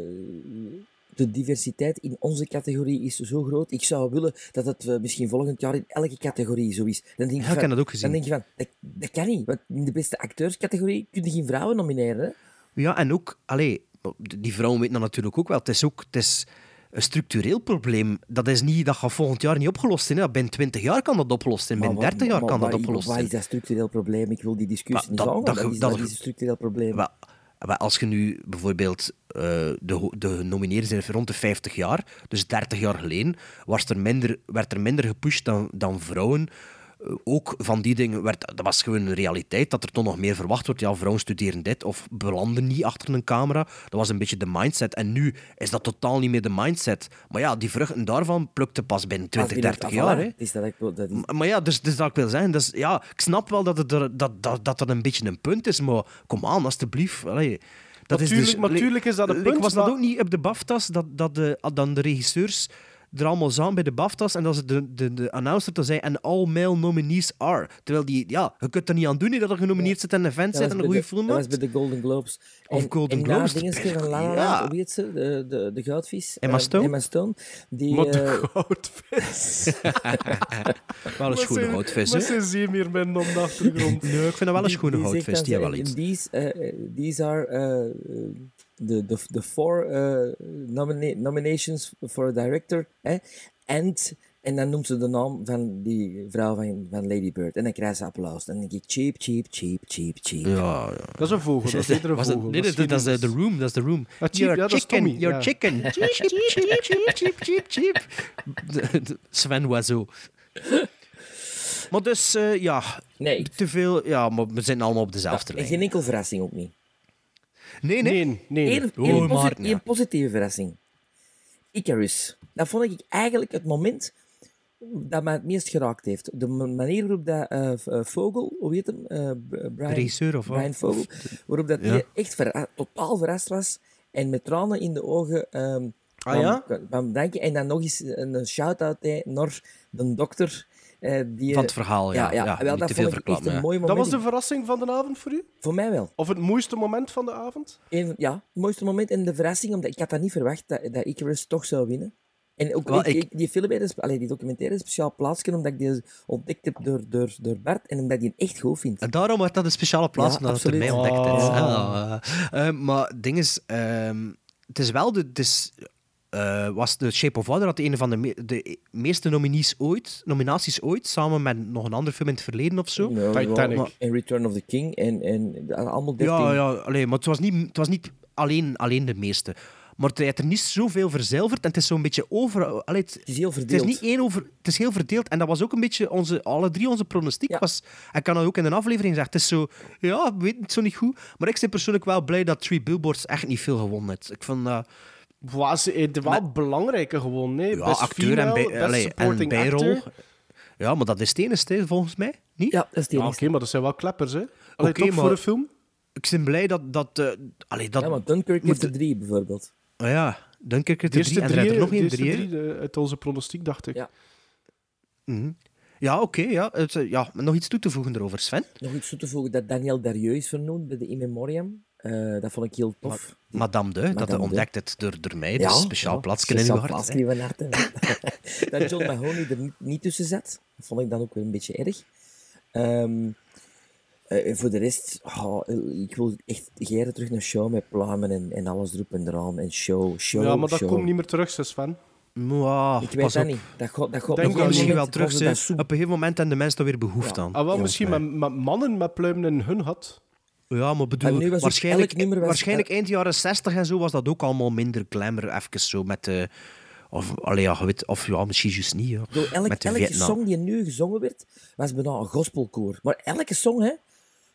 Speaker 4: de diversiteit in onze categorie is zo groot. Ik zou willen dat het eh, misschien volgend jaar in elke categorie zo is. Dan denk
Speaker 2: Ja,
Speaker 4: van,
Speaker 2: ik heb dat ook gezien.
Speaker 4: Dan denk je van, dat, dat kan niet. Want in de beste acteurscategorie kun je geen vrouwen nomineren. Hè?
Speaker 2: Ja, en ook, allee, die vrouwen weten dat natuurlijk ook wel. Het is ook het is een structureel probleem. Dat is niet, dat gaat volgend jaar niet opgelost zijn. Hè. Dat Binnen 20 jaar kan dat opgelost zijn. Binnen
Speaker 4: Maar wat-
Speaker 2: 30 jaar
Speaker 4: maar
Speaker 2: kan dat
Speaker 4: waar-
Speaker 2: opgelost
Speaker 4: Waar
Speaker 2: zijn.
Speaker 4: is dat structureel probleem? Ik wil die discussie
Speaker 2: Maar
Speaker 4: niet
Speaker 2: dat-
Speaker 4: houden.
Speaker 2: dat
Speaker 4: Dat,
Speaker 2: ge-
Speaker 4: is,
Speaker 2: dat
Speaker 4: dat
Speaker 2: ge-
Speaker 4: is een structureel probleem.
Speaker 2: Maar, maar als je nu bijvoorbeeld eh, de, ho- de genomineerden zijn rond de 50 jaar, dus 30 jaar geleden, was er minder, werd er minder gepusht dan, dan vrouwen. Eh, ook van die dingen werd, dat was gewoon een realiteit, dat er toch nog meer verwacht wordt. Ja, vrouwen studeren dit of belanden niet achter een camera. Dat was een beetje de mindset. En nu is dat totaal niet meer de mindset. Maar ja, die vruchten daarvan plukte pas binnen 20,
Speaker 4: Als binnen-
Speaker 2: 30
Speaker 4: ah,
Speaker 2: jaar.
Speaker 4: voilà.
Speaker 2: hè.
Speaker 4: Is dat, ik wil- dat is-
Speaker 2: Maar- Maar ja, dus, dus dat ik wil zeggen, dus, ja, ik snap wel dat, het er, dat, dat, dat dat een beetje een punt is, maar kom aan, alstublieft. Allee, dat
Speaker 3: Maar tuurlijk-
Speaker 2: dus-
Speaker 3: maar tuurlijk is dat een
Speaker 2: like,
Speaker 3: punt,
Speaker 2: Was dat
Speaker 3: maar-
Speaker 2: ook niet op de BAFTA's dat, dat de, dan de regisseurs er allemaal samen bij de BAFTA's en dat ze de, de, de announcer te zijn en all male nominees are. Terwijl die, ja, je kunt er niet aan doen hè, dat er genomineerd zit en een vent
Speaker 4: Dat
Speaker 2: zit en
Speaker 4: was
Speaker 2: een
Speaker 4: bij
Speaker 2: goede
Speaker 4: de-
Speaker 2: film
Speaker 4: Dat
Speaker 2: maakt.
Speaker 4: was bij de Golden Globes.
Speaker 2: Of Golden
Speaker 4: en
Speaker 2: Globes,
Speaker 4: En daar dingen van La La
Speaker 2: ja.
Speaker 4: Land, hoe heet ze? De, de, de goudvis.
Speaker 2: Emma
Speaker 4: eh,
Speaker 2: Stone?
Speaker 4: Emma Stone. Die,
Speaker 3: Wat
Speaker 4: eh,
Speaker 3: de goudvis.
Speaker 2: Wel een schoene
Speaker 3: Maar ze-
Speaker 2: houtvis,
Speaker 3: Maar
Speaker 2: hè?
Speaker 3: ze zien meer men dan de achtergrond.
Speaker 2: Nee, ik vind dat wel een schoene
Speaker 4: die zegt
Speaker 2: houtvis,
Speaker 4: dan
Speaker 2: die
Speaker 4: zo,
Speaker 2: hebben wel iets.
Speaker 4: "And These, eh, eh, these are eh, the, the, the four eh, nomina- nominations for a director. Eh? And, en dan noemt ze de naam van die vrouw van, van Lady Bird. En dan krijgt ze applaus. En dan denk ik, cheap, cheap, cheap, cheap, cheap.
Speaker 2: Ja, ja.
Speaker 3: Dat is een vogel, dat is eerder een
Speaker 2: Was dat-
Speaker 3: vogel.
Speaker 2: nee, nee,
Speaker 3: geen
Speaker 2: dat is eh,
Speaker 3: mens.
Speaker 2: The Room. Dat is The Room.
Speaker 3: cheap,
Speaker 2: your
Speaker 3: ja, dat is
Speaker 2: chicken,
Speaker 3: Tommy,
Speaker 2: your
Speaker 3: ja.
Speaker 2: chicken. Cheep, cheep, cheep, cheep, cheep, cheep. De- de- Sven Wazo. Maar dus, eh, ja,
Speaker 4: Nee, ik-
Speaker 2: te veel. Ja, maar we zitten allemaal op dezelfde
Speaker 4: en
Speaker 2: lijn.
Speaker 4: geen enkel verrassing ook niet.
Speaker 2: Nee, nee.
Speaker 3: Nee, nee.
Speaker 4: Eén,
Speaker 2: Oh,
Speaker 4: één posi-
Speaker 2: Maarten, ja.
Speaker 4: één positieve verrassing. Icarus. Dat vond ik eigenlijk het moment dat mij het meest geraakt heeft. De ma- manier waarop dat eh, v- eh, Vogel, hoe heet hem? Eh, B- eh, Brian,
Speaker 2: regisseur of wat?
Speaker 4: Brian Vogel. Waarop dat hij echt verra- totaal verrast was en met tranen in de ogen ehm
Speaker 3: Ah,
Speaker 4: kwam-
Speaker 3: ja?
Speaker 4: kwam bedanken. En dan nog eens een een shout-out hè, naar de dokter. eh, die,
Speaker 2: Van het verhaal, ja. Ja,
Speaker 4: wel,
Speaker 2: niet
Speaker 4: dat
Speaker 2: te veel
Speaker 4: vond ik echt
Speaker 2: verklappen,
Speaker 4: een
Speaker 2: ja.
Speaker 4: mooi moment.
Speaker 3: Dat was de verrassing van de avond voor u?
Speaker 4: Voor mij wel.
Speaker 3: Of het mooiste moment van de avond?
Speaker 4: Een- ja, het mooiste moment en de verrassing, omdat ik had dat niet verwacht dat, dat Icarus toch zou winnen. En ook
Speaker 2: Wel,
Speaker 4: ik,
Speaker 2: ik-
Speaker 4: ik- die film, is, allee, die documentaire is speciaal plaatsje, omdat ik die ontdekt heb door, door, door Bart en omdat ik die echt goed vind.
Speaker 2: En daarom werd dat een speciale plaats,
Speaker 4: Ja,
Speaker 2: omdat het door mij
Speaker 4: absoluut. Oh.
Speaker 2: ontdekt is.
Speaker 3: Ah.
Speaker 2: Ja, eh. Eh, maar het ding is, ehm, het is wel de... het is, eh, was The Shape of Water had een van de, me- de e-, meeste nominees ooit, nominaties ooit, samen met nog een andere film in het verleden of zo.
Speaker 4: Ja,
Speaker 3: Titanic.
Speaker 4: wel, En Return of the King en, en de- allemaal 13.
Speaker 2: Ja, ja allee, maar het was niet, het was niet alleen, alleen de meeste. Maar hij heeft er niet zoveel verzilverd en het is zo'n beetje over... Allee, het,
Speaker 4: is heel
Speaker 2: Het is,
Speaker 4: verdeeld.
Speaker 2: niet één over, het is heel verdeeld en dat was ook een beetje onze, alle drie onze pronostiek.
Speaker 4: Ja.
Speaker 2: Was, ik kan dat ook in een aflevering zeggen. Het is zo, ja, we weten het zo niet goed. Maar ik ben persoonlijk wel blij dat Three Billboards echt niet veel gewonnen heeft. Ik vond... eh,
Speaker 3: Was het wel belangrijke gewoon, nee.
Speaker 2: ja,
Speaker 3: best
Speaker 2: acteur en,
Speaker 3: female,
Speaker 2: bij,
Speaker 3: best
Speaker 2: allee, en
Speaker 3: supporting
Speaker 2: bijrol.
Speaker 3: actor.
Speaker 2: Ja, maar dat is het enige, hè, volgens mij. Niet?
Speaker 4: Ja, dat is het
Speaker 3: Ja, Ah, Oké,
Speaker 4: enigste.
Speaker 3: maar dat zijn wel kleppers, hè? Allee,
Speaker 2: Oké,
Speaker 3: toch
Speaker 2: maar-
Speaker 3: voor een film?
Speaker 2: Ik ben blij dat... dat, eh, allee, dat
Speaker 4: Ja, want Dunkirk
Speaker 2: moet-
Speaker 4: heeft er drie, bijvoorbeeld.
Speaker 2: Ah ja, Dunkirk heeft
Speaker 3: De
Speaker 2: er
Speaker 3: eerste
Speaker 2: drie en er zijn er
Speaker 3: drie,
Speaker 2: nog
Speaker 3: de
Speaker 2: één
Speaker 3: eerste
Speaker 2: drie. hè.
Speaker 3: drie eh, uit onze pronostiek, dacht ik.
Speaker 4: Ja.
Speaker 2: Ja, oké. ja. Het, eh, ja, maar nog iets toe te voegen erover, Sven.
Speaker 4: Nog iets toe te voegen, dat Daniel Darieux is vernoemd bij de In Memoriam. Eh, dat vond ik heel tof.
Speaker 2: Madame de, dat
Speaker 4: Madame
Speaker 2: hij
Speaker 4: de.
Speaker 2: ontdekt het door, door mij. Dus speciaal plaatsje in
Speaker 4: speciaal
Speaker 2: uw hart. hè.
Speaker 4: plaatsje in mijn hart, hè. dat John Mahoney er niet, niet tussen zat, dat vond ik dan ook weer een beetje erg. Ehm, eh, en voor de rest, oh, ik wil echt geren terug naar show met pluimen en, en alles erop en eraan. En show, show,
Speaker 3: Ja, maar dat
Speaker 4: show.
Speaker 3: komt niet meer terug, zes Sven.
Speaker 2: Mwah,
Speaker 4: Ik weet
Speaker 2: pas
Speaker 4: dat
Speaker 2: op.
Speaker 4: niet. Dat gaat, dat gaat
Speaker 3: Denk
Speaker 4: op
Speaker 3: dat
Speaker 4: een
Speaker 2: misschien
Speaker 4: moment
Speaker 2: wel terug
Speaker 4: gaan ze
Speaker 2: zijn.
Speaker 4: dat zoeken.
Speaker 2: Op een gegeven moment en de mensen daar weer behoefte aan.
Speaker 3: Ah, wel,
Speaker 4: Ja,
Speaker 3: misschien
Speaker 4: nee.
Speaker 3: met, met mannen met pluimen in hun had.
Speaker 2: Ja, maar
Speaker 4: En nu
Speaker 2: bedoel,
Speaker 4: was ook
Speaker 2: waarschijnlijk,
Speaker 4: elk nummer was-
Speaker 2: waarschijnlijk eind jaren 60 en zo was dat ook allemaal minder glamour. Even zo met de... Of, allee, ja, je weet, of ja, misschien juist niet. Ja.
Speaker 4: Ik bedoel, elk,
Speaker 2: met de
Speaker 4: elke
Speaker 2: Vietnam.
Speaker 4: song die nu gezongen werd, was bijna een gospelkoor. Maar elke song, hè,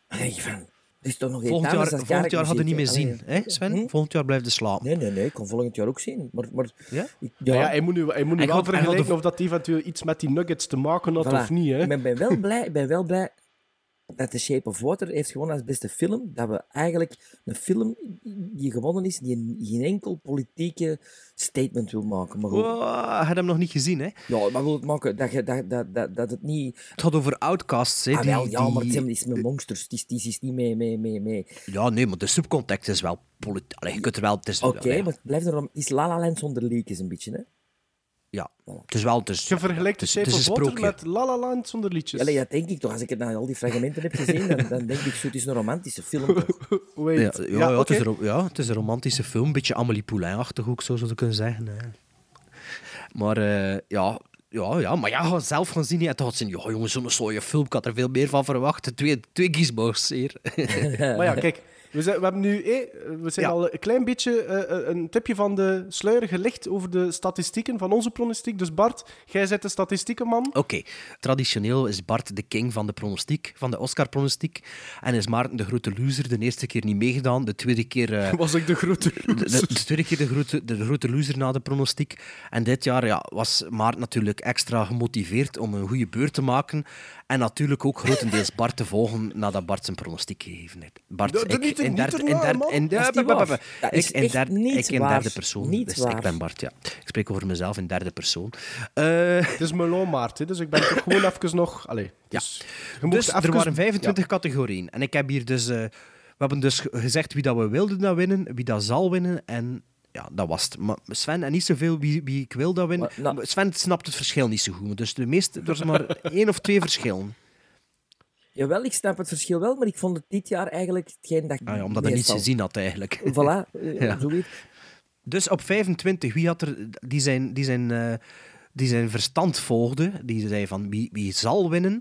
Speaker 4: dan denk je van, er is toch nog iets
Speaker 2: Volgend
Speaker 4: anders
Speaker 2: jaar,
Speaker 4: dan
Speaker 2: volgend jaar hadden we niet meer
Speaker 4: kerkmuziek, hè.
Speaker 2: zien, hè, Sven? Volgend jaar blijft de slaap.
Speaker 4: Hm? Nee, nee, nee, ik kan volgend jaar ook zien. Maar, maar
Speaker 2: Ja?
Speaker 4: ik-
Speaker 3: Ja, ja hij moet nu, hij moet nu
Speaker 2: Hij
Speaker 3: wel
Speaker 2: gaat- hij gaat
Speaker 3: vergelijken
Speaker 2: de-
Speaker 3: of dat eventueel iets met die nuggets te maken had
Speaker 4: voilà.
Speaker 3: of niet, hè?
Speaker 4: Ik ben, ben wel blij, ik ben wel blij dat The Shape of Water heeft gewonnen als beste film. Dat we eigenlijk een film die gewonnen is, die geen enkel politieke statement wil maken. Maar goed,
Speaker 2: Wow, had hem nog niet gezien, hè?
Speaker 4: ja, maar wil het maken dat, je- dat, dat, dat, dat het niet...
Speaker 2: Het gaat over outcasts, hè?
Speaker 4: ah,
Speaker 2: die-
Speaker 4: wel, ja, maar het
Speaker 2: die-
Speaker 4: zijn- het is met monsters. Het is, het is niet mee, mee, mee, mee.
Speaker 2: Ja, nee, maar de subcontext is wel politiek. Allee, je kunt er wel... Het is,
Speaker 4: Oké,
Speaker 2: allee,
Speaker 4: maar het blijft er dan... Het is La La Land zonder leekjes een beetje, hè.
Speaker 2: Ja, het is wel... Het is,
Speaker 3: Je vergelijkt de
Speaker 2: het is- het
Speaker 3: Shape
Speaker 2: is
Speaker 3: of
Speaker 2: een
Speaker 3: Water
Speaker 2: sprookje.
Speaker 3: met La La Land zonder liedjes.
Speaker 4: Allee, dat denk ik toch. Als ik het naar al die fragmenten heb gezien, dan, dan denk ik, zo, het is een romantische film, toch?
Speaker 3: Wait.
Speaker 2: Ja, ja, ja, het
Speaker 3: oké.
Speaker 2: is een, ro- ja, het is een romantische film. Een beetje Amélie Poulain-achtig ook, zo zou je kunnen zeggen. Hè. Maar eh, ja, ja, ja, maar ja, zelf gaan zien. hè. Het had zin, ja, jongens, zo'n saaie film. Ik had er veel meer van verwacht. Twee, twee Gizmos hier.
Speaker 3: Maar ja, kijk. We, zijn, we hebben nu eh, we zijn
Speaker 2: Ja.
Speaker 3: al een klein beetje eh, eh, een tipje van de sluier gelicht over de statistieken van onze pronostiek. Dus Bart, jij zet de statistiekenman.
Speaker 2: Oké, traditioneel is Bart de king van de pronostiek, van de Oscar-pronostiek. En is Maarten de grote loser. De eerste keer niet meegedaan, de tweede keer... eh,
Speaker 3: Was ik de grote
Speaker 2: de, de tweede keer de grote, de grote loser na de pronostiek. En dit jaar ja, was Maart natuurlijk extra gemotiveerd om een goede beurt te maken. En natuurlijk ook grotendeels Bart te volgen nadat Bart zijn pronostiek gegeven heeft. Bart,
Speaker 3: Dat- dat
Speaker 2: ik,
Speaker 3: niet er-
Speaker 2: in
Speaker 3: niet
Speaker 2: derde,
Speaker 3: ernaar,
Speaker 2: in derde,
Speaker 3: man.
Speaker 2: in
Speaker 4: Dat is
Speaker 2: derde,
Speaker 4: niet
Speaker 2: bah, bah,
Speaker 4: waar.
Speaker 2: bah.
Speaker 4: Dat
Speaker 2: ik
Speaker 4: is
Speaker 2: in
Speaker 4: echt
Speaker 2: derde,
Speaker 4: niet
Speaker 2: ik in
Speaker 4: waar.
Speaker 2: derde persoon.
Speaker 4: Niet
Speaker 2: dus ik
Speaker 4: waar.
Speaker 2: ben Bart, ja. Ik spreek over mezelf in derde persoon. Eh,
Speaker 3: Het is meloonmaart, hè, dus ik ben toch gewoon even nog... Allee, dus, je mocht
Speaker 2: dus er
Speaker 3: even-
Speaker 2: waren 25 categorieën. En ik heb hier dus... eh, we hebben dus ge- gezegd wie dat we wilden dat winnen, wie dat zal winnen. En ja, dat was het. Maar Sven, en niet zoveel wie, wie ik wil dat winnen.
Speaker 4: Maar, nou-
Speaker 2: Sven snapt het verschil niet zo goed. Dus de meeste, er is maar één of twee verschillen.
Speaker 4: Jawel, ik snap het verschil wel, maar ik vond het dit jaar eigenlijk hetgeen dat ik
Speaker 2: Ah ja, omdat hij niets
Speaker 4: meestal-
Speaker 2: gezien had, eigenlijk.
Speaker 4: Voilà, eh,
Speaker 2: Ja.
Speaker 4: zoiets.
Speaker 2: Dus op 25, wie had er, die zijn, die zijn, eh, die zijn verstand volgde, die zei van wie, wie zal winnen,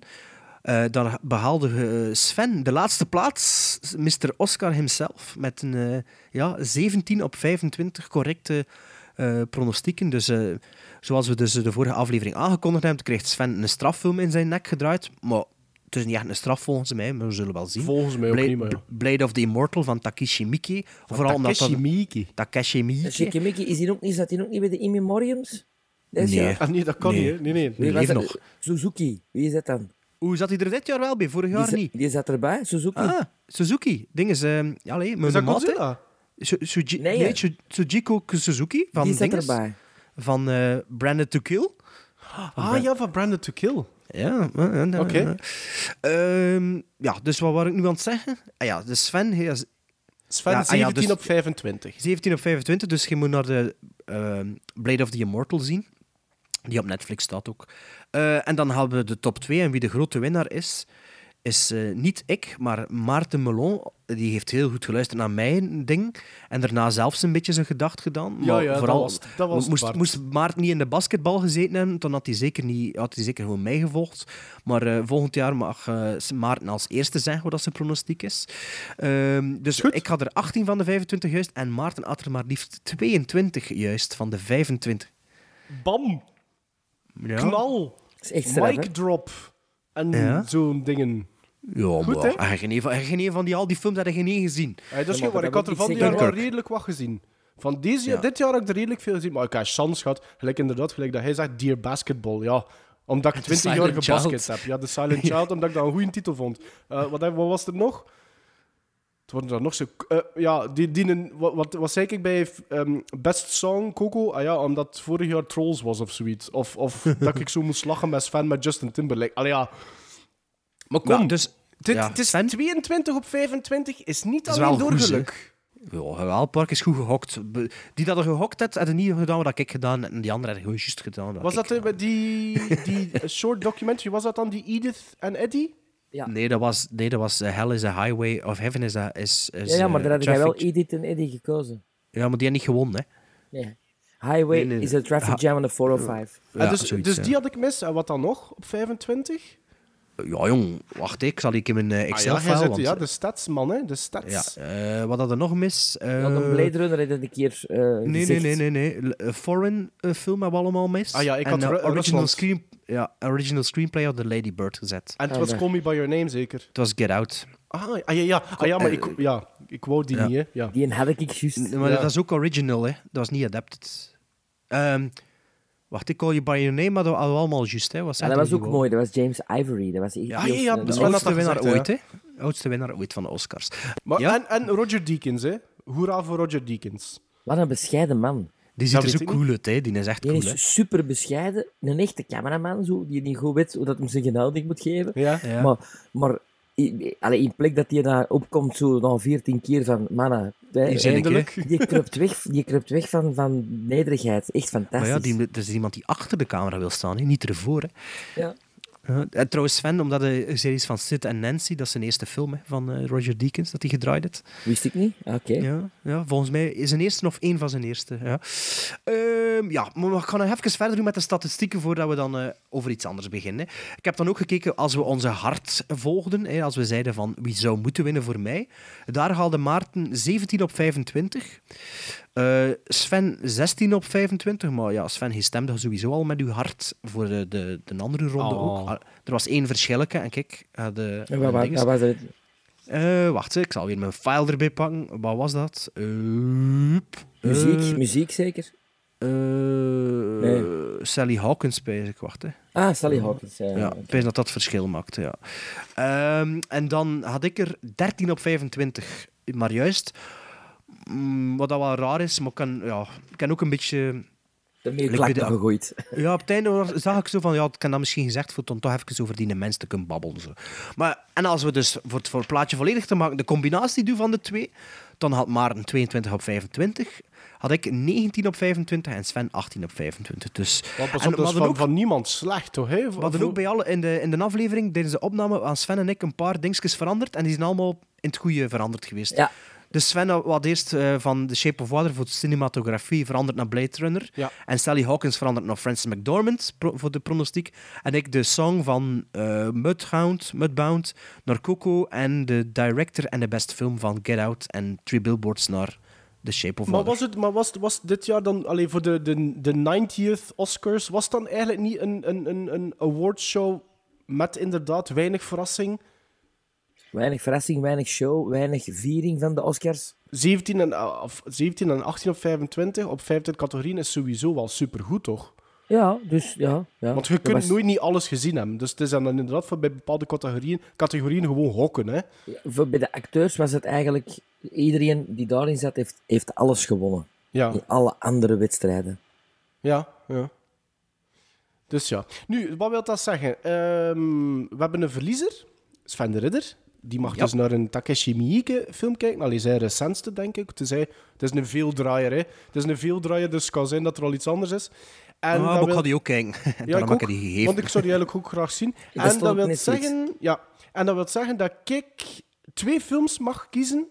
Speaker 2: Eh, dan behaalde eh, Sven de laatste plaats, Mr. Oscar himself, met een eh, ja, 17 op 25 correcte eh, pronostieken. Dus eh, zoals we dus de vorige aflevering aangekondigd hebben, kreeg Sven een straffilm in zijn nek gedraaid, maar het is niet echt een straf volgens mij, maar we zullen wel zien.
Speaker 3: Volgens mij ook
Speaker 2: Blade,
Speaker 3: niet, maar ja.
Speaker 2: Blade of the Immortal van Takeshi Miike. Vooral omdat dat...
Speaker 3: Takeshi Miike.
Speaker 2: Takeshi Miike.
Speaker 4: En Shikimiki, is die ook niet, zat die ook niet bij de Immemoriums? Dit
Speaker 2: Nee.
Speaker 4: jaar?
Speaker 3: Ah, nee, dat kan
Speaker 2: Nee.
Speaker 3: niet, hè. Nee, nee.
Speaker 2: Nee.
Speaker 4: Wie was
Speaker 2: leeft
Speaker 4: dat?
Speaker 2: nog.
Speaker 4: Suzuki, wie is dat dan?
Speaker 2: Hoe zat hij er dit jaar wel bij? Vorig
Speaker 4: Die,
Speaker 2: jaar
Speaker 4: za-
Speaker 2: niet.
Speaker 4: die zat erbij, Suzuki.
Speaker 2: Ah, Suzuki. Ding is... ehm allee, mijn
Speaker 3: Is dat
Speaker 2: maat, hè.
Speaker 3: Godzilla?
Speaker 2: Su- Suji-
Speaker 4: Nee,
Speaker 2: nee,
Speaker 4: hè.
Speaker 2: Su- Sujiko Suzuki van
Speaker 4: die zat
Speaker 2: dinges,
Speaker 4: erbij.
Speaker 2: Van eh Branded to Kill.
Speaker 3: Ah ja, van Brandon to Kill.
Speaker 2: Ja, eh, eh, eh,
Speaker 3: Oké.
Speaker 2: eh. Ehm, ja, dus wat wou ik nu aan het zeggen? Ah ja, dus Sven hij is
Speaker 3: Sven,
Speaker 2: Ja, ah ja,
Speaker 3: 17
Speaker 2: dus-
Speaker 3: op 25.
Speaker 2: 17 op 25, dus je moet naar de ehm, Blade of the Immortal zien. Die op Netflix staat ook. Eh, en dan hebben we de top 2. En wie de grote winnaar is, is eh, niet ik, maar Maarten Melon. Die heeft heel goed geluisterd naar mijn ding. En daarna zelfs een beetje zijn gedacht gedaan.
Speaker 3: Ja,
Speaker 2: Maar
Speaker 3: ja, dat
Speaker 2: vooral,
Speaker 3: was het. Dat was het,
Speaker 2: moest,
Speaker 3: Bart.
Speaker 2: moest Maarten niet in de basketbal gezeten hebben, dan had hij zeker, niet, had hij zeker gewoon mij gevolgd. Maar eh, volgend jaar mag eh, Maarten als eerste zeggen wat dat zijn pronostiek is. Ehm, dus
Speaker 3: Goed.
Speaker 2: ik had er 18 van de 25 juist. En Maarten had er maar liefst 22 juist van de 25.
Speaker 3: Bam, knal,
Speaker 4: Dat is echt straf,
Speaker 3: mic
Speaker 4: hè?
Speaker 3: drop en
Speaker 2: Ja.
Speaker 3: zo'n dingen.
Speaker 2: Ja,
Speaker 3: Goed,
Speaker 2: maar
Speaker 3: hè?
Speaker 2: hij heeft geen een van- hij heeft geen een van die, al die films had hij geen één gezien.
Speaker 3: Hey, dat is
Speaker 4: Ja,
Speaker 3: geen
Speaker 4: maar
Speaker 3: waar. Ik
Speaker 4: dat
Speaker 3: had er van
Speaker 4: wil
Speaker 3: die
Speaker 4: ik
Speaker 3: jaar
Speaker 4: zeker
Speaker 3: wel
Speaker 2: ook.
Speaker 3: redelijk wat gezien. Van deze,
Speaker 2: Ja.
Speaker 3: dit jaar had ik er redelijk veel gezien. Maar ik had chance gehad. Gelijk inderdaad, gelijk dat hij zegt, Dear Basketball. Ja, omdat ik 20 jaar
Speaker 2: Silent
Speaker 3: gebasket
Speaker 2: Child.
Speaker 3: heb. Ja, The Silent Child, omdat ik dat een goede titel vond. Eh, wat, heb- wat was er nog? Het worden er nog zo... eh, ja, die, die, een- wat, wat, wat zei ik bij ehm, Best Song, Coco? Ah ja, omdat vorig jaar Trolls was of zoiets. Of, of dat ik zo moest lachen met Sven met Justin Timberlake. Allee, ja. Maar kom,
Speaker 2: Ja, dus,
Speaker 3: dit,
Speaker 2: ja,
Speaker 3: het is
Speaker 2: Sven?
Speaker 3: 22 op 25 is niet
Speaker 2: Dat is
Speaker 3: alleen
Speaker 2: wel
Speaker 3: door
Speaker 2: goed, hè?
Speaker 3: geluk.
Speaker 2: Ja, wel, Park is goed gehokt. Be- Die dat er gehokt had, hadden niet gedaan wat ik gedaan had. En die andere hadden gewoon juist gedaan wat
Speaker 3: Was
Speaker 2: ik
Speaker 3: dat
Speaker 2: gedaan
Speaker 3: eh, met die, die eh, short documentary, was dat dan die Edith en Eddie?
Speaker 4: Ja.
Speaker 2: had. Nee, dat was, nee, dat was eh, Hell is a Highway of Heaven is a... Is, is,
Speaker 4: Ja, ja, maar
Speaker 2: eh,
Speaker 4: daar had jij wel
Speaker 2: traffic.
Speaker 4: Edith en Eddie gekozen.
Speaker 2: Ja, maar die had niet gewonnen, hè.
Speaker 4: Nee. Highway
Speaker 2: Nee, nee, Ah.
Speaker 4: is a traffic jam on the 405.
Speaker 3: Eh,
Speaker 2: Ja,
Speaker 3: dus
Speaker 2: zoiets,
Speaker 3: dus
Speaker 2: ja.
Speaker 3: die had ik mis. En wat dan nog op 25?
Speaker 2: Ja, jong, wacht, ik zal ik in mijn eh,
Speaker 3: Ah, ja,
Speaker 2: Excel-file...
Speaker 3: jij zit-
Speaker 2: want-
Speaker 3: ja, dus- de stadsman, hè? De stads.
Speaker 2: ja, eh, wat had er nog mis? Eh,
Speaker 4: Want een Blade Runner had dat een keer eh
Speaker 2: Nee, nee,
Speaker 4: gezegd.
Speaker 2: nee, nee, nee. L- eh, foreign eh, film hebben we allemaal mis.
Speaker 3: Ah ja, ik
Speaker 2: en,
Speaker 3: had
Speaker 2: eh,
Speaker 3: Ru-
Speaker 2: original,
Speaker 3: Rusland.
Speaker 2: screen, ja, original screenplay had de Lady Bird gezet.
Speaker 3: En het
Speaker 4: Ah,
Speaker 3: was
Speaker 4: daar.
Speaker 3: Call Me By Your Name, zeker?
Speaker 2: Het was Get Out.
Speaker 3: Ah, ah, ja, ja. Ah, ja, maar ik, ja, ik wou die
Speaker 2: Ja.
Speaker 3: niet, hè? Ja.
Speaker 4: Die een had ik juist.
Speaker 2: Nee, maar
Speaker 3: Ja.
Speaker 2: dat is ook original, hè. Dat was niet adapted. Ehm, wacht, ik call je by your name, maar dat hadden we allemaal juist, hè. Wat
Speaker 4: Ja,
Speaker 2: zei
Speaker 4: dat
Speaker 2: hij
Speaker 4: was ook
Speaker 2: gewoon?
Speaker 4: mooi. Dat was James Ivory. Dat was echt
Speaker 3: Ja,
Speaker 4: heel
Speaker 3: ja, ja,
Speaker 4: snel.
Speaker 3: dat is
Speaker 2: De
Speaker 3: Sven had
Speaker 2: oudste
Speaker 3: dat
Speaker 2: winnaar
Speaker 3: gezegd,
Speaker 2: ooit, hè. Oudste winnaar ooit van de Oscars.
Speaker 3: Maar, eh,
Speaker 2: Ja.
Speaker 3: en, en Roger Deakins, hè? Hoera voor Roger Deakins.
Speaker 4: Wat een bescheiden man.
Speaker 2: Die ziet
Speaker 3: Dat
Speaker 2: er
Speaker 3: weet
Speaker 2: zo
Speaker 3: ik
Speaker 2: cool uit, hè. Die is echt
Speaker 4: Die
Speaker 2: cool, hè.
Speaker 4: is super bescheiden. Een echte cameraman, zo, die niet goed weet hoe dat hem zijn gehouding moet geven.
Speaker 3: Ja.
Speaker 2: Ja.
Speaker 4: Maar, maar i- i- allee, in plek dat hij daar opkomt, zo na 14 keer van mannen. hè,
Speaker 2: Hier zit ik, hè.
Speaker 4: eindelijk, die kruipt weg, die kruipt weg van, van nederigheid. Echt
Speaker 2: Maar
Speaker 4: fantastisch.
Speaker 2: ja, die, er is iemand die achter de camera wil staan, hè. Niet ervoor, hè.
Speaker 4: Ja.
Speaker 2: Ja, en trouwens, Sven, omdat de series van Sid en Nancy, dat is zijn eerste film hè, van eh, Roger Deakins, dat hij gedraaid heeft.
Speaker 4: Wist ik niet. Ah, Oké.
Speaker 2: Ja, ja, volgens mij is zijn eerste of één van zijn eerste. Ja, Ehm, ja maar we gaan nog even verder doen met de statistieken voordat we dan eh, over iets anders beginnen. Ik heb dan ook gekeken als we onze hart volgden, hè, als we zeiden van wie zou moeten winnen voor mij. Daar haalde Maarten 17 op 25. Eh, Sven 16 op 25, maar ja, Sven, je stemde sowieso al met uw hart voor de, de, de andere ronde
Speaker 3: Oh.
Speaker 2: ook. Ah, Er was één verschilletje en kijk, eh, de,
Speaker 4: En wat,
Speaker 2: de
Speaker 4: wat,
Speaker 2: dinges.
Speaker 4: wat was het?
Speaker 2: Eh, wacht, hè, ik zal weer mijn file erbij pakken. Wat was dat? Eh,
Speaker 4: Muziek,
Speaker 2: eh,
Speaker 4: muziek zeker.
Speaker 2: eh, Sally Hawkins, pijs ik. Wacht, hè.
Speaker 4: Ah, Sally Hawkins. Ja.
Speaker 2: eh, Ja, ik pijs dat dat verschil maakte, ja. Ehm, en dan had ik er 13 op 25. maar juist. mm, wat dat wel raar is, maar ik kan, ja, ik kan ook een beetje...
Speaker 4: Daarmee
Speaker 2: bij
Speaker 4: klak
Speaker 2: de-
Speaker 4: dan gegooid.
Speaker 2: Ja, op het einde was- zag ik zo van, ja, ik kan dat misschien gezegd voor dan toch even over die mens te kunnen babbelen. Zo. Maar, en als we dus, voor het, voor het plaatje volledig te maken, de combinatie doen van de twee, dan had Maarten 22 op 25, had ik 19 op 25 en Sven 18 op 25. Dus,
Speaker 3: Want pas
Speaker 2: en
Speaker 3: op,
Speaker 2: we
Speaker 3: dat is
Speaker 2: hadden
Speaker 3: van,
Speaker 2: ook-
Speaker 3: van niemand slecht, toch? Hè?
Speaker 2: we hadden ook bij alle in de, in de aflevering, tijdens de opname, aan Sven en ik een paar dingetjes veranderd. En die zijn allemaal in het goede veranderd geweest.
Speaker 4: Ja.
Speaker 2: Dus Sven had eerst eh, van The Shape of Water voor de cinematografie veranderd naar Blade Runner.
Speaker 3: Ja.
Speaker 2: En Sally Hawkins veranderd naar Francis McDormand pro- voor de pronostiek. En ik de song van eh Mudhound, Mudbound naar Coco. En de director en de beste film van Get Out en Three Billboards naar The Shape of
Speaker 3: Maar,
Speaker 2: Water.
Speaker 3: was, het, maar was, was dit jaar dan, alleen voor de, de, de 90th Oscars, was het dan eigenlijk niet een, een, een, een awardshow met inderdaad weinig verrassing?
Speaker 4: Weinig verrassing, weinig show, weinig viering van de Oscars.
Speaker 3: 17 en, eh, of 17 en 18 op 25, op 25 categorieën is sowieso wel supergoed, toch?
Speaker 4: Ja, dus ja. ja.
Speaker 3: Want je
Speaker 4: Dat
Speaker 3: kunt
Speaker 4: was-
Speaker 3: nooit niet alles gezien hebben. Dus het is dan inderdaad voor bij bepaalde categorieën, categorieën gewoon hokken, hè?
Speaker 4: voor- Bij de acteurs was het eigenlijk... Iedereen die daarin zat, heeft, heeft alles gewonnen.
Speaker 3: Ja.
Speaker 4: In alle andere wedstrijden.
Speaker 3: Ja, ja. Dus ja. Nu, wat wil dat zeggen? Ehm, we hebben een verliezer, Sven de Ridder. Die mag
Speaker 2: Ja.
Speaker 3: dus naar een Takeshi Miike film kijken. Allee, zijn recentste, denk ik. Het is, hij- het is een veeldraaier, hè. Het is een veeldraaier, dus het kan zijn dat er al iets anders is. En
Speaker 2: Ah,
Speaker 3: dat
Speaker 2: maar ik
Speaker 3: wil-
Speaker 2: had die ook kijken. En
Speaker 3: ja,
Speaker 2: daarom heb
Speaker 3: ik ook,
Speaker 2: ik die gegeven.
Speaker 3: want ik zou die eigenlijk ook graag zien.
Speaker 4: Dat
Speaker 3: en,
Speaker 4: staat
Speaker 3: dat
Speaker 4: op
Speaker 3: wil
Speaker 4: Netflix.
Speaker 3: zeggen, ja, en dat wil zeggen dat ik twee films mag kiezen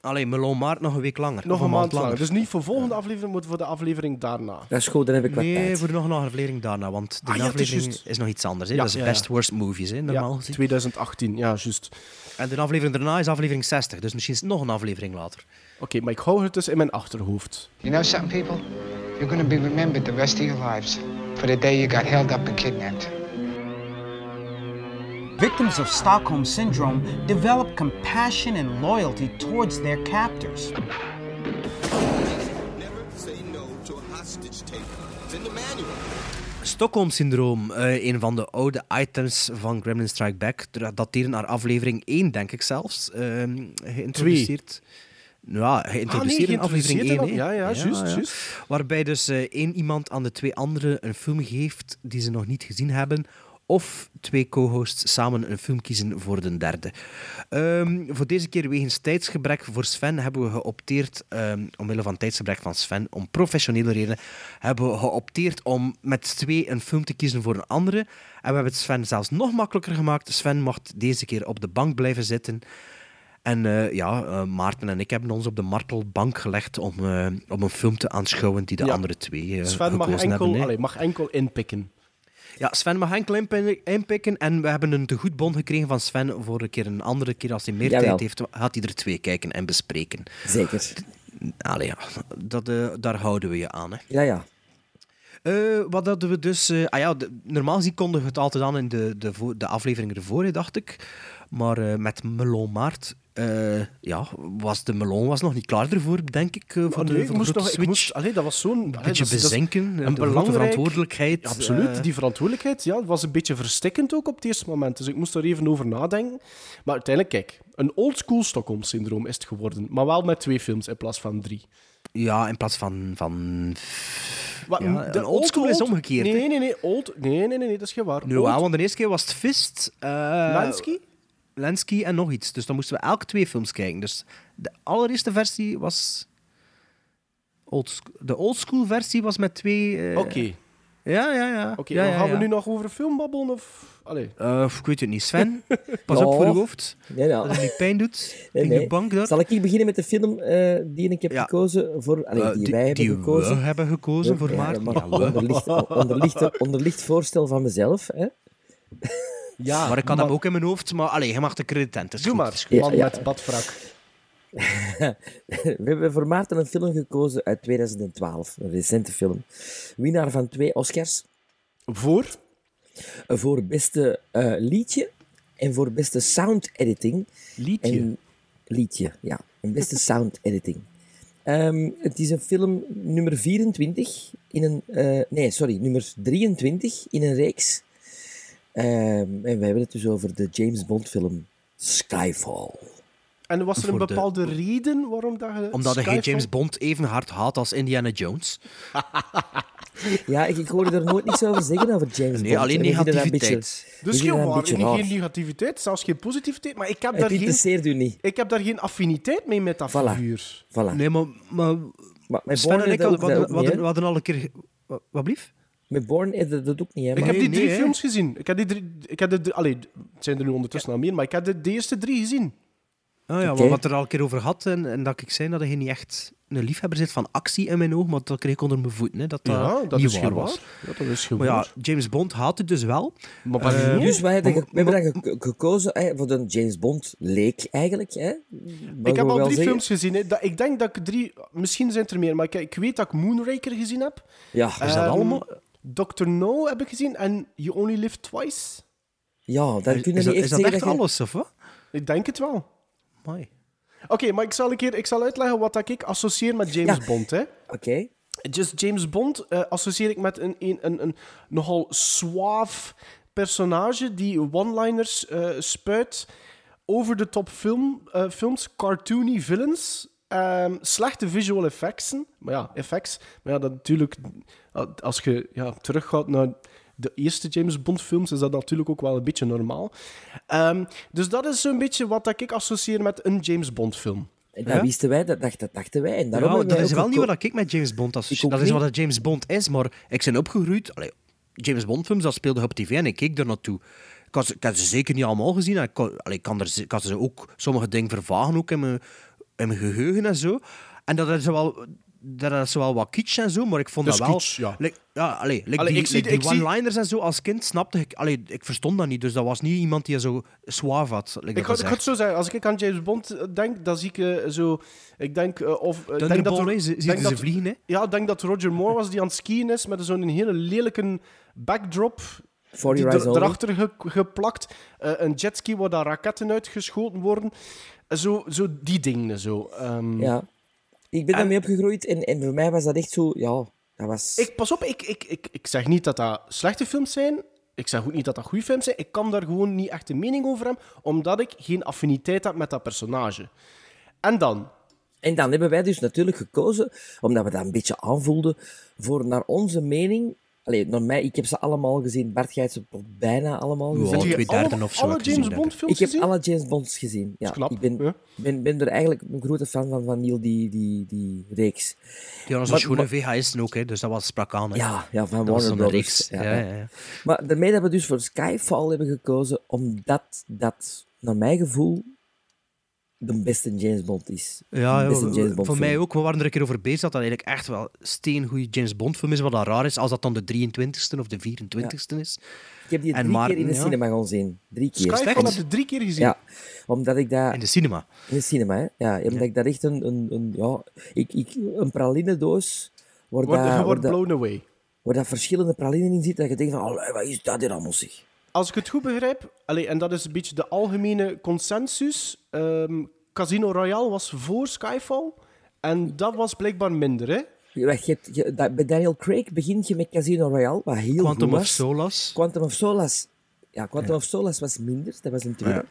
Speaker 2: Allee, Melon Maart nog een week langer.
Speaker 3: nog
Speaker 2: of
Speaker 3: een, maand langer. Dus niet voor volgende aflevering, maar voor de aflevering daarna.
Speaker 4: Dat is goed, dan heb ik wat
Speaker 2: Nee,
Speaker 4: tijd.
Speaker 2: voor nog een aflevering daarna, want de
Speaker 3: Ah, ja, het is
Speaker 2: aflevering
Speaker 3: juist.
Speaker 2: is, nog iets anders. hè.
Speaker 3: Ja,
Speaker 2: dat is
Speaker 3: ja,
Speaker 2: best
Speaker 3: ja.
Speaker 2: worst movies, hè, normaal
Speaker 3: Ja,
Speaker 2: gezien.
Speaker 3: 2018, ja, juist.
Speaker 2: En de aflevering daarna is aflevering 60, dus misschien is het nog een aflevering later.
Speaker 3: Oké, maar ik hou het dus in mijn achterhoofd.
Speaker 5: You know something, people? You're gonna be remembered the rest of your lives for the day you got held up and kidnapped.
Speaker 7: Victims of Stockholm Syndrome develop compassion and loyalty towards their captors.
Speaker 8: Never say no to a hostage taker. It's in the manual.
Speaker 2: Stockholm-syndroom, eh, een van de oude items van Gremlin Strike Back, dat dateren naar aflevering 1, denk ik zelfs, ehm, geïntroduceerd. Ja, geïntroduceerd in aflevering 1.
Speaker 3: Ah, geïntroduceerd in af- ja, ja, juist, juist.
Speaker 2: Waarbij dus eh, één iemand aan de twee anderen een film geeft die ze nog niet gezien hebben. Of twee co-hosts samen een film kiezen voor de derde. Ehm, voor deze keer wegens tijdsgebrek voor Sven hebben we geopteerd, ehm omwille van tijdsgebrek van Sven, om professionele redenen, hebben we geopteerd om met twee een film te kiezen voor een andere. En we hebben het Sven zelfs nog makkelijker gemaakt. Sven mocht deze keer op de bank blijven zitten. En eh, ja, eh, Maarten en ik hebben ons op de martelbank gelegd om, eh, om een film te aanschouwen die de
Speaker 3: Ja.
Speaker 2: andere twee eh
Speaker 3: Sven mag
Speaker 2: gekozen
Speaker 3: enkel,
Speaker 2: hebben. hè.
Speaker 3: allee, mag enkel inpikken.
Speaker 2: Ja, Sven mag enkel inpi- inpikken. En we hebben een tegoedbon gekregen van Sven voor een keer. Een andere keer, als hij meer
Speaker 4: Jawel.
Speaker 2: tijd heeft, gaat hij er twee kijken en bespreken.
Speaker 4: Zeker.
Speaker 2: Allee, ja, dat, eh, daar houden we je aan. Hè.
Speaker 4: Ja, ja.
Speaker 2: Eh, wat hadden we dus... eh, ah ja, de- normaal gezien kondigen we het altijd aan in de, de, vo- de aflevering ervoor, hè, dacht ik. Maar eh, met Melon Maart... eh, ja, was de melon was nog niet klaar ervoor, denk ik, eh, voor
Speaker 3: Ah,
Speaker 2: de,
Speaker 3: nee,
Speaker 2: voor
Speaker 3: ik
Speaker 2: de
Speaker 3: moest
Speaker 2: grote
Speaker 3: nog, ik
Speaker 2: switch.
Speaker 3: moest, allee, dat was zo'n...
Speaker 2: een beetje bezinken, eh, de
Speaker 3: een
Speaker 2: grote
Speaker 3: belangrijk-
Speaker 2: verantwoordelijkheid.
Speaker 3: Absoluut,
Speaker 2: eh.
Speaker 3: die verantwoordelijkheid ja, was een beetje verstikkend ook op het eerste moment. Dus ik moest er even over nadenken. Maar uiteindelijk, kijk, een oldschool Stockholm-syndroom is het geworden. Maar wel met twee films in plaats van drie.
Speaker 2: Ja, in plaats van... van...
Speaker 3: Wat,
Speaker 2: Ja, een oldschool is omgekeerd, hè?
Speaker 3: Nee, nee, nee, old, nee, nee, nee, nee, dat is geen waar.
Speaker 2: Nu,
Speaker 3: Old-
Speaker 2: ja, want de eerste keer was het Fist... eh,
Speaker 3: Lansky?
Speaker 2: Lansky en nog iets. Dus dan moesten we elk twee films kijken. Dus de allereerste versie was... Old, sc- de oldschool versie was met twee... eh,
Speaker 3: Oké,
Speaker 2: Ja, ja, ja.
Speaker 3: oké,
Speaker 2: ja,
Speaker 3: dan
Speaker 2: ja,
Speaker 3: gaan we
Speaker 2: ja.
Speaker 3: nu nog over een film babbelen? Of... Allee.
Speaker 2: Eh, ik weet het niet. Sven, pas
Speaker 4: Ja.
Speaker 2: op voor je hoofd.
Speaker 4: Ja, ja.
Speaker 2: Dat het niet pijn doet.
Speaker 4: Nou. Nee,
Speaker 2: in
Speaker 4: nee.
Speaker 2: de bank daar.
Speaker 4: Zal ik beginnen met de film eh, die ik heb
Speaker 2: Ja.
Speaker 4: gekozen? Voor, allee,
Speaker 2: Eh,
Speaker 4: die, wij hebben
Speaker 2: die
Speaker 4: gekozen.
Speaker 2: we hebben gekozen voor
Speaker 4: Ja,
Speaker 2: Maarten.
Speaker 4: maar
Speaker 2: Ja, we.
Speaker 4: onderlicht, onderlicht, onderlicht voorstel van mezelf. Hè?
Speaker 3: Ja,
Speaker 2: Maar ik had hem ook in mijn hoofd. Maar allee, je mag de creditent. is
Speaker 3: Doe
Speaker 2: goed,
Speaker 3: maar,
Speaker 2: is goed.
Speaker 3: man
Speaker 4: Ja, ja.
Speaker 3: met badvrak.
Speaker 4: We hebben voor Maarten een film gekozen uit 2012. Een recente film. Winnaar van twee Oscars.
Speaker 3: Voor?
Speaker 4: Voor beste eh, liedje en voor beste sound editing.
Speaker 3: Liedje.
Speaker 4: En liedje, ja. En beste sound editing. Ehm, het is een film nummer 24 in een... eh, nee, sorry, nummer 23 in een reeks. Ehm, en we hebben het dus over de James Bond film Skyfall.
Speaker 3: En was er een
Speaker 2: Voor de-
Speaker 3: bepaalde reden waarom dat je
Speaker 2: Omdat hij
Speaker 3: Skyfall-
Speaker 2: James Bond even hard haat als Indiana Jones.
Speaker 4: Ja, ik, ik hoorde er nooit niks over zeggen over James
Speaker 2: Nee,
Speaker 4: Bond.
Speaker 2: alleen
Speaker 4: En we vinden dat een
Speaker 2: negativiteit.
Speaker 4: beetje- we
Speaker 3: Dus
Speaker 4: vinden
Speaker 3: geen,
Speaker 4: dat
Speaker 3: waar,
Speaker 4: een beetje
Speaker 3: geen
Speaker 4: raar.
Speaker 3: negativiteit, zelfs geen positiviteit. Maar ik heb,
Speaker 4: Het
Speaker 3: daar geen,
Speaker 4: interesseert u niet.
Speaker 3: ik heb daar geen affiniteit mee met dat
Speaker 4: Voilà.
Speaker 3: figuur.
Speaker 4: Voilà.
Speaker 2: Nee, maar, maar
Speaker 4: Maar met
Speaker 2: Sven
Speaker 4: Born
Speaker 2: en ik
Speaker 4: heeft dat
Speaker 2: hadden,
Speaker 4: ook- dat
Speaker 2: hadden,
Speaker 4: ook niet,
Speaker 2: hadden,
Speaker 4: hè.
Speaker 2: hadden al een keer... ge- Wat, wat blief?
Speaker 4: Met Born heeft dat dat ook niet, hè.
Speaker 3: Ik
Speaker 4: maar-
Speaker 3: heb die
Speaker 2: nee,
Speaker 3: drie
Speaker 2: hè.
Speaker 3: films gezien. Ik heb die drie... Ik heb de, drie- allee, het zijn er nu ondertussen al meer, maar ik heb de, de eerste drie gezien.
Speaker 2: Ah ja,
Speaker 4: Oké.
Speaker 2: maar wat er al een keer over had en, en dat ik zei dat hij niet echt een liefhebber zit van actie in mijn oog, maar dat kreeg ik onder mijn voeten, hè, dat dat
Speaker 3: Ah,
Speaker 2: niet waar was.
Speaker 3: Ja, dat is gewoon
Speaker 2: Maar ja, James Bond haat het dus wel.
Speaker 3: Maar wat is
Speaker 4: Dus wij hebben, ge- we hebben dan ge- gekozen hè, voor de James Bond leek eigenlijk. Hè.
Speaker 3: Ik heb al drie films gezien. Hè. Dat, ik denk dat ik drie... Misschien zijn het er meer, maar ik, ik weet dat ik Moonraker gezien heb.
Speaker 4: Ja,
Speaker 2: Is dat
Speaker 3: Ehm,
Speaker 2: allemaal?
Speaker 3: Dr. No heb ik gezien en You Only Live Twice.
Speaker 4: ja dan
Speaker 2: Is,
Speaker 4: kunnen
Speaker 2: is
Speaker 4: we
Speaker 2: dat,
Speaker 4: echt
Speaker 2: is dat
Speaker 4: zeggen
Speaker 2: echt
Speaker 4: je-
Speaker 2: alles, of wat?
Speaker 3: Ik denk het wel. Oké,
Speaker 2: Amai.
Speaker 3: maar ik zal, een keer, ik zal uitleggen wat dat ik associeer met James
Speaker 4: Ja.
Speaker 3: Bond. Hè.
Speaker 4: Oké.
Speaker 3: Just James Bond eh, associeer ik met een, een, een, een nogal suave personage die one-liners eh, spuit. Over de top film, eh, films, cartoony villains. ehm, slechte visual effects. Maar ja, effects. Maar ja, dat natuurlijk. eh, Als je ja, teruggaat naar de eerste James Bond films, is dat natuurlijk ook wel een beetje normaal. Ehm, dus dat is zo'n beetje wat dat ik associeer met een James Bond film.
Speaker 4: En dat wisten wij, dat, dacht- dat dachten wij. En daarom
Speaker 2: Ja,
Speaker 4: hebben
Speaker 2: dat
Speaker 4: wij
Speaker 2: is
Speaker 4: ook
Speaker 2: wel niet
Speaker 4: geko-
Speaker 2: wat ik met James Bond associeer.
Speaker 4: ook
Speaker 2: Dat is
Speaker 4: niet.
Speaker 2: wat James Bond is, maar ik ben opgegroeid... Allee, James Bond films, dat speelde op tv en ik keek daar naartoe. Ik had, ze- ik had ze zeker niet allemaal gezien. en Ik kon, allee, ik kan er, ze- ik had ze ook sommige dingen vervagen, ook in mijn, in mijn geheugen en zo. En dat is wel... Dat is wel wat kitsch en zo, maar ik vond
Speaker 3: Dat
Speaker 2: dat,
Speaker 3: is
Speaker 2: wel...
Speaker 3: kitsch, ja.
Speaker 2: like- ja, allee, like
Speaker 3: Allee,
Speaker 2: die,
Speaker 3: ik zie-
Speaker 2: like die
Speaker 3: ik zie-
Speaker 2: one-liners en zo, als kind snapte ik... Allee, ik verstond dat niet, dus dat was niet iemand die zo suave had. like dat
Speaker 3: Ik ga, ik
Speaker 2: gezegd.
Speaker 3: ga het zo zeggen, als ik aan James Bond eh, denk, dan zie ik eh, zo... Ik denk, eh, of, eh, denk
Speaker 2: Thunderball, hè, ze-
Speaker 3: denk
Speaker 2: ziet ze
Speaker 3: dat-
Speaker 2: vliegen, hè?
Speaker 3: Ja, ik denk dat Roger Moore was die aan het skiën is met zo'n hele lelijke backdrop.
Speaker 4: For
Speaker 3: die
Speaker 4: Your Eyes
Speaker 3: er-
Speaker 4: Only.
Speaker 3: erachter ge- geplakt. Eh, een jetski waar daar raketten uitgeschoten worden. Eh, zo, zo die dingen, zo. Ehm,
Speaker 4: Ja. Ik
Speaker 2: Eh.
Speaker 4: ben daarmee opgegroeid en, en voor mij was dat echt zo... Ja, dat was...
Speaker 3: ik, pas op, ik, ik, ik, ik zeg niet dat dat slechte films zijn. Ik zeg ook niet dat dat goede films zijn. Ik kan daar gewoon niet echt een mening over hebben, omdat ik geen affiniteit heb met dat personage. En dan,
Speaker 4: En dan hebben wij dus natuurlijk gekozen, omdat we dat een beetje aanvoelden, voor naar onze mening... Allee, naar mij, ik heb ze allemaal gezien. Bart, jij hebt ze toch bijna allemaal
Speaker 2: Ja.
Speaker 4: gezien.
Speaker 2: Al
Speaker 3: Heb je
Speaker 2: twee derden
Speaker 3: alle-
Speaker 2: of zo
Speaker 3: Alle
Speaker 2: heb ik gezien,
Speaker 3: James Bond
Speaker 2: denk ik.
Speaker 3: films
Speaker 4: Ik heb
Speaker 3: gezien?
Speaker 4: alle James Bonds gezien. Ja,
Speaker 3: knap,
Speaker 4: ik ben,
Speaker 3: hè?
Speaker 4: ben, ben er eigenlijk een grote fan van, van heel die, die, die reeks.
Speaker 2: Die hadden zo'n
Speaker 4: Maar-
Speaker 2: schoene VHS ook, hè, dus dat was sprak aan. Hè.
Speaker 4: Ja, ja van
Speaker 2: Dat was
Speaker 4: Warner
Speaker 2: zo'n
Speaker 4: Brothers.
Speaker 2: reeks. Ja, ja, ja.
Speaker 4: Maar daarmee hebben we dus voor Skyfall hebben gekozen, omdat dat, naar mijn gevoel, de beste James Bond is.
Speaker 2: Ja,
Speaker 4: de
Speaker 2: ja,
Speaker 4: beste James Bond
Speaker 2: voor mij
Speaker 4: film.
Speaker 2: ook. We waren er een keer over bezig dat dat eigenlijk echt wel steengoede James Bond film is. Wat dan raar is als dat dan de 23ste of de 24ste is.
Speaker 4: Ik heb die
Speaker 2: En
Speaker 4: drie
Speaker 2: Maarten,
Speaker 4: keer in de
Speaker 2: ja.
Speaker 4: cinema gaan zien. Drie keer.
Speaker 3: Skyfall heb je drie keer gezien.
Speaker 4: Ja, omdat ik dat...
Speaker 2: In de cinema.
Speaker 4: In de cinema, hè? Ja, omdat ik dat echt een... een, een ja, ik, ik, een pralinedoos... Waar,
Speaker 3: Word,
Speaker 4: dat,
Speaker 3: je
Speaker 4: waar,
Speaker 3: wordt
Speaker 4: dat,
Speaker 3: blown away.
Speaker 4: waar dat verschillende pralinen in zitten, dat je denkt van, "Allee, wat is dat hier allemaal, zeg?
Speaker 3: Als ik het goed begrijp, allee, en dat is een beetje de algemene consensus, ehm, Casino Royale was voor Skyfall en dat was blijkbaar minder, hè?
Speaker 4: Je- wacht, je hebt- je- dat- bij Daniel Craig begint je met Casino Royale, wat heel
Speaker 2: Quantum
Speaker 4: goed
Speaker 2: of
Speaker 4: was.
Speaker 2: Solace.
Speaker 4: Quantum of Solace. Ja, Quantum of Solace was minder, dat was een tweede.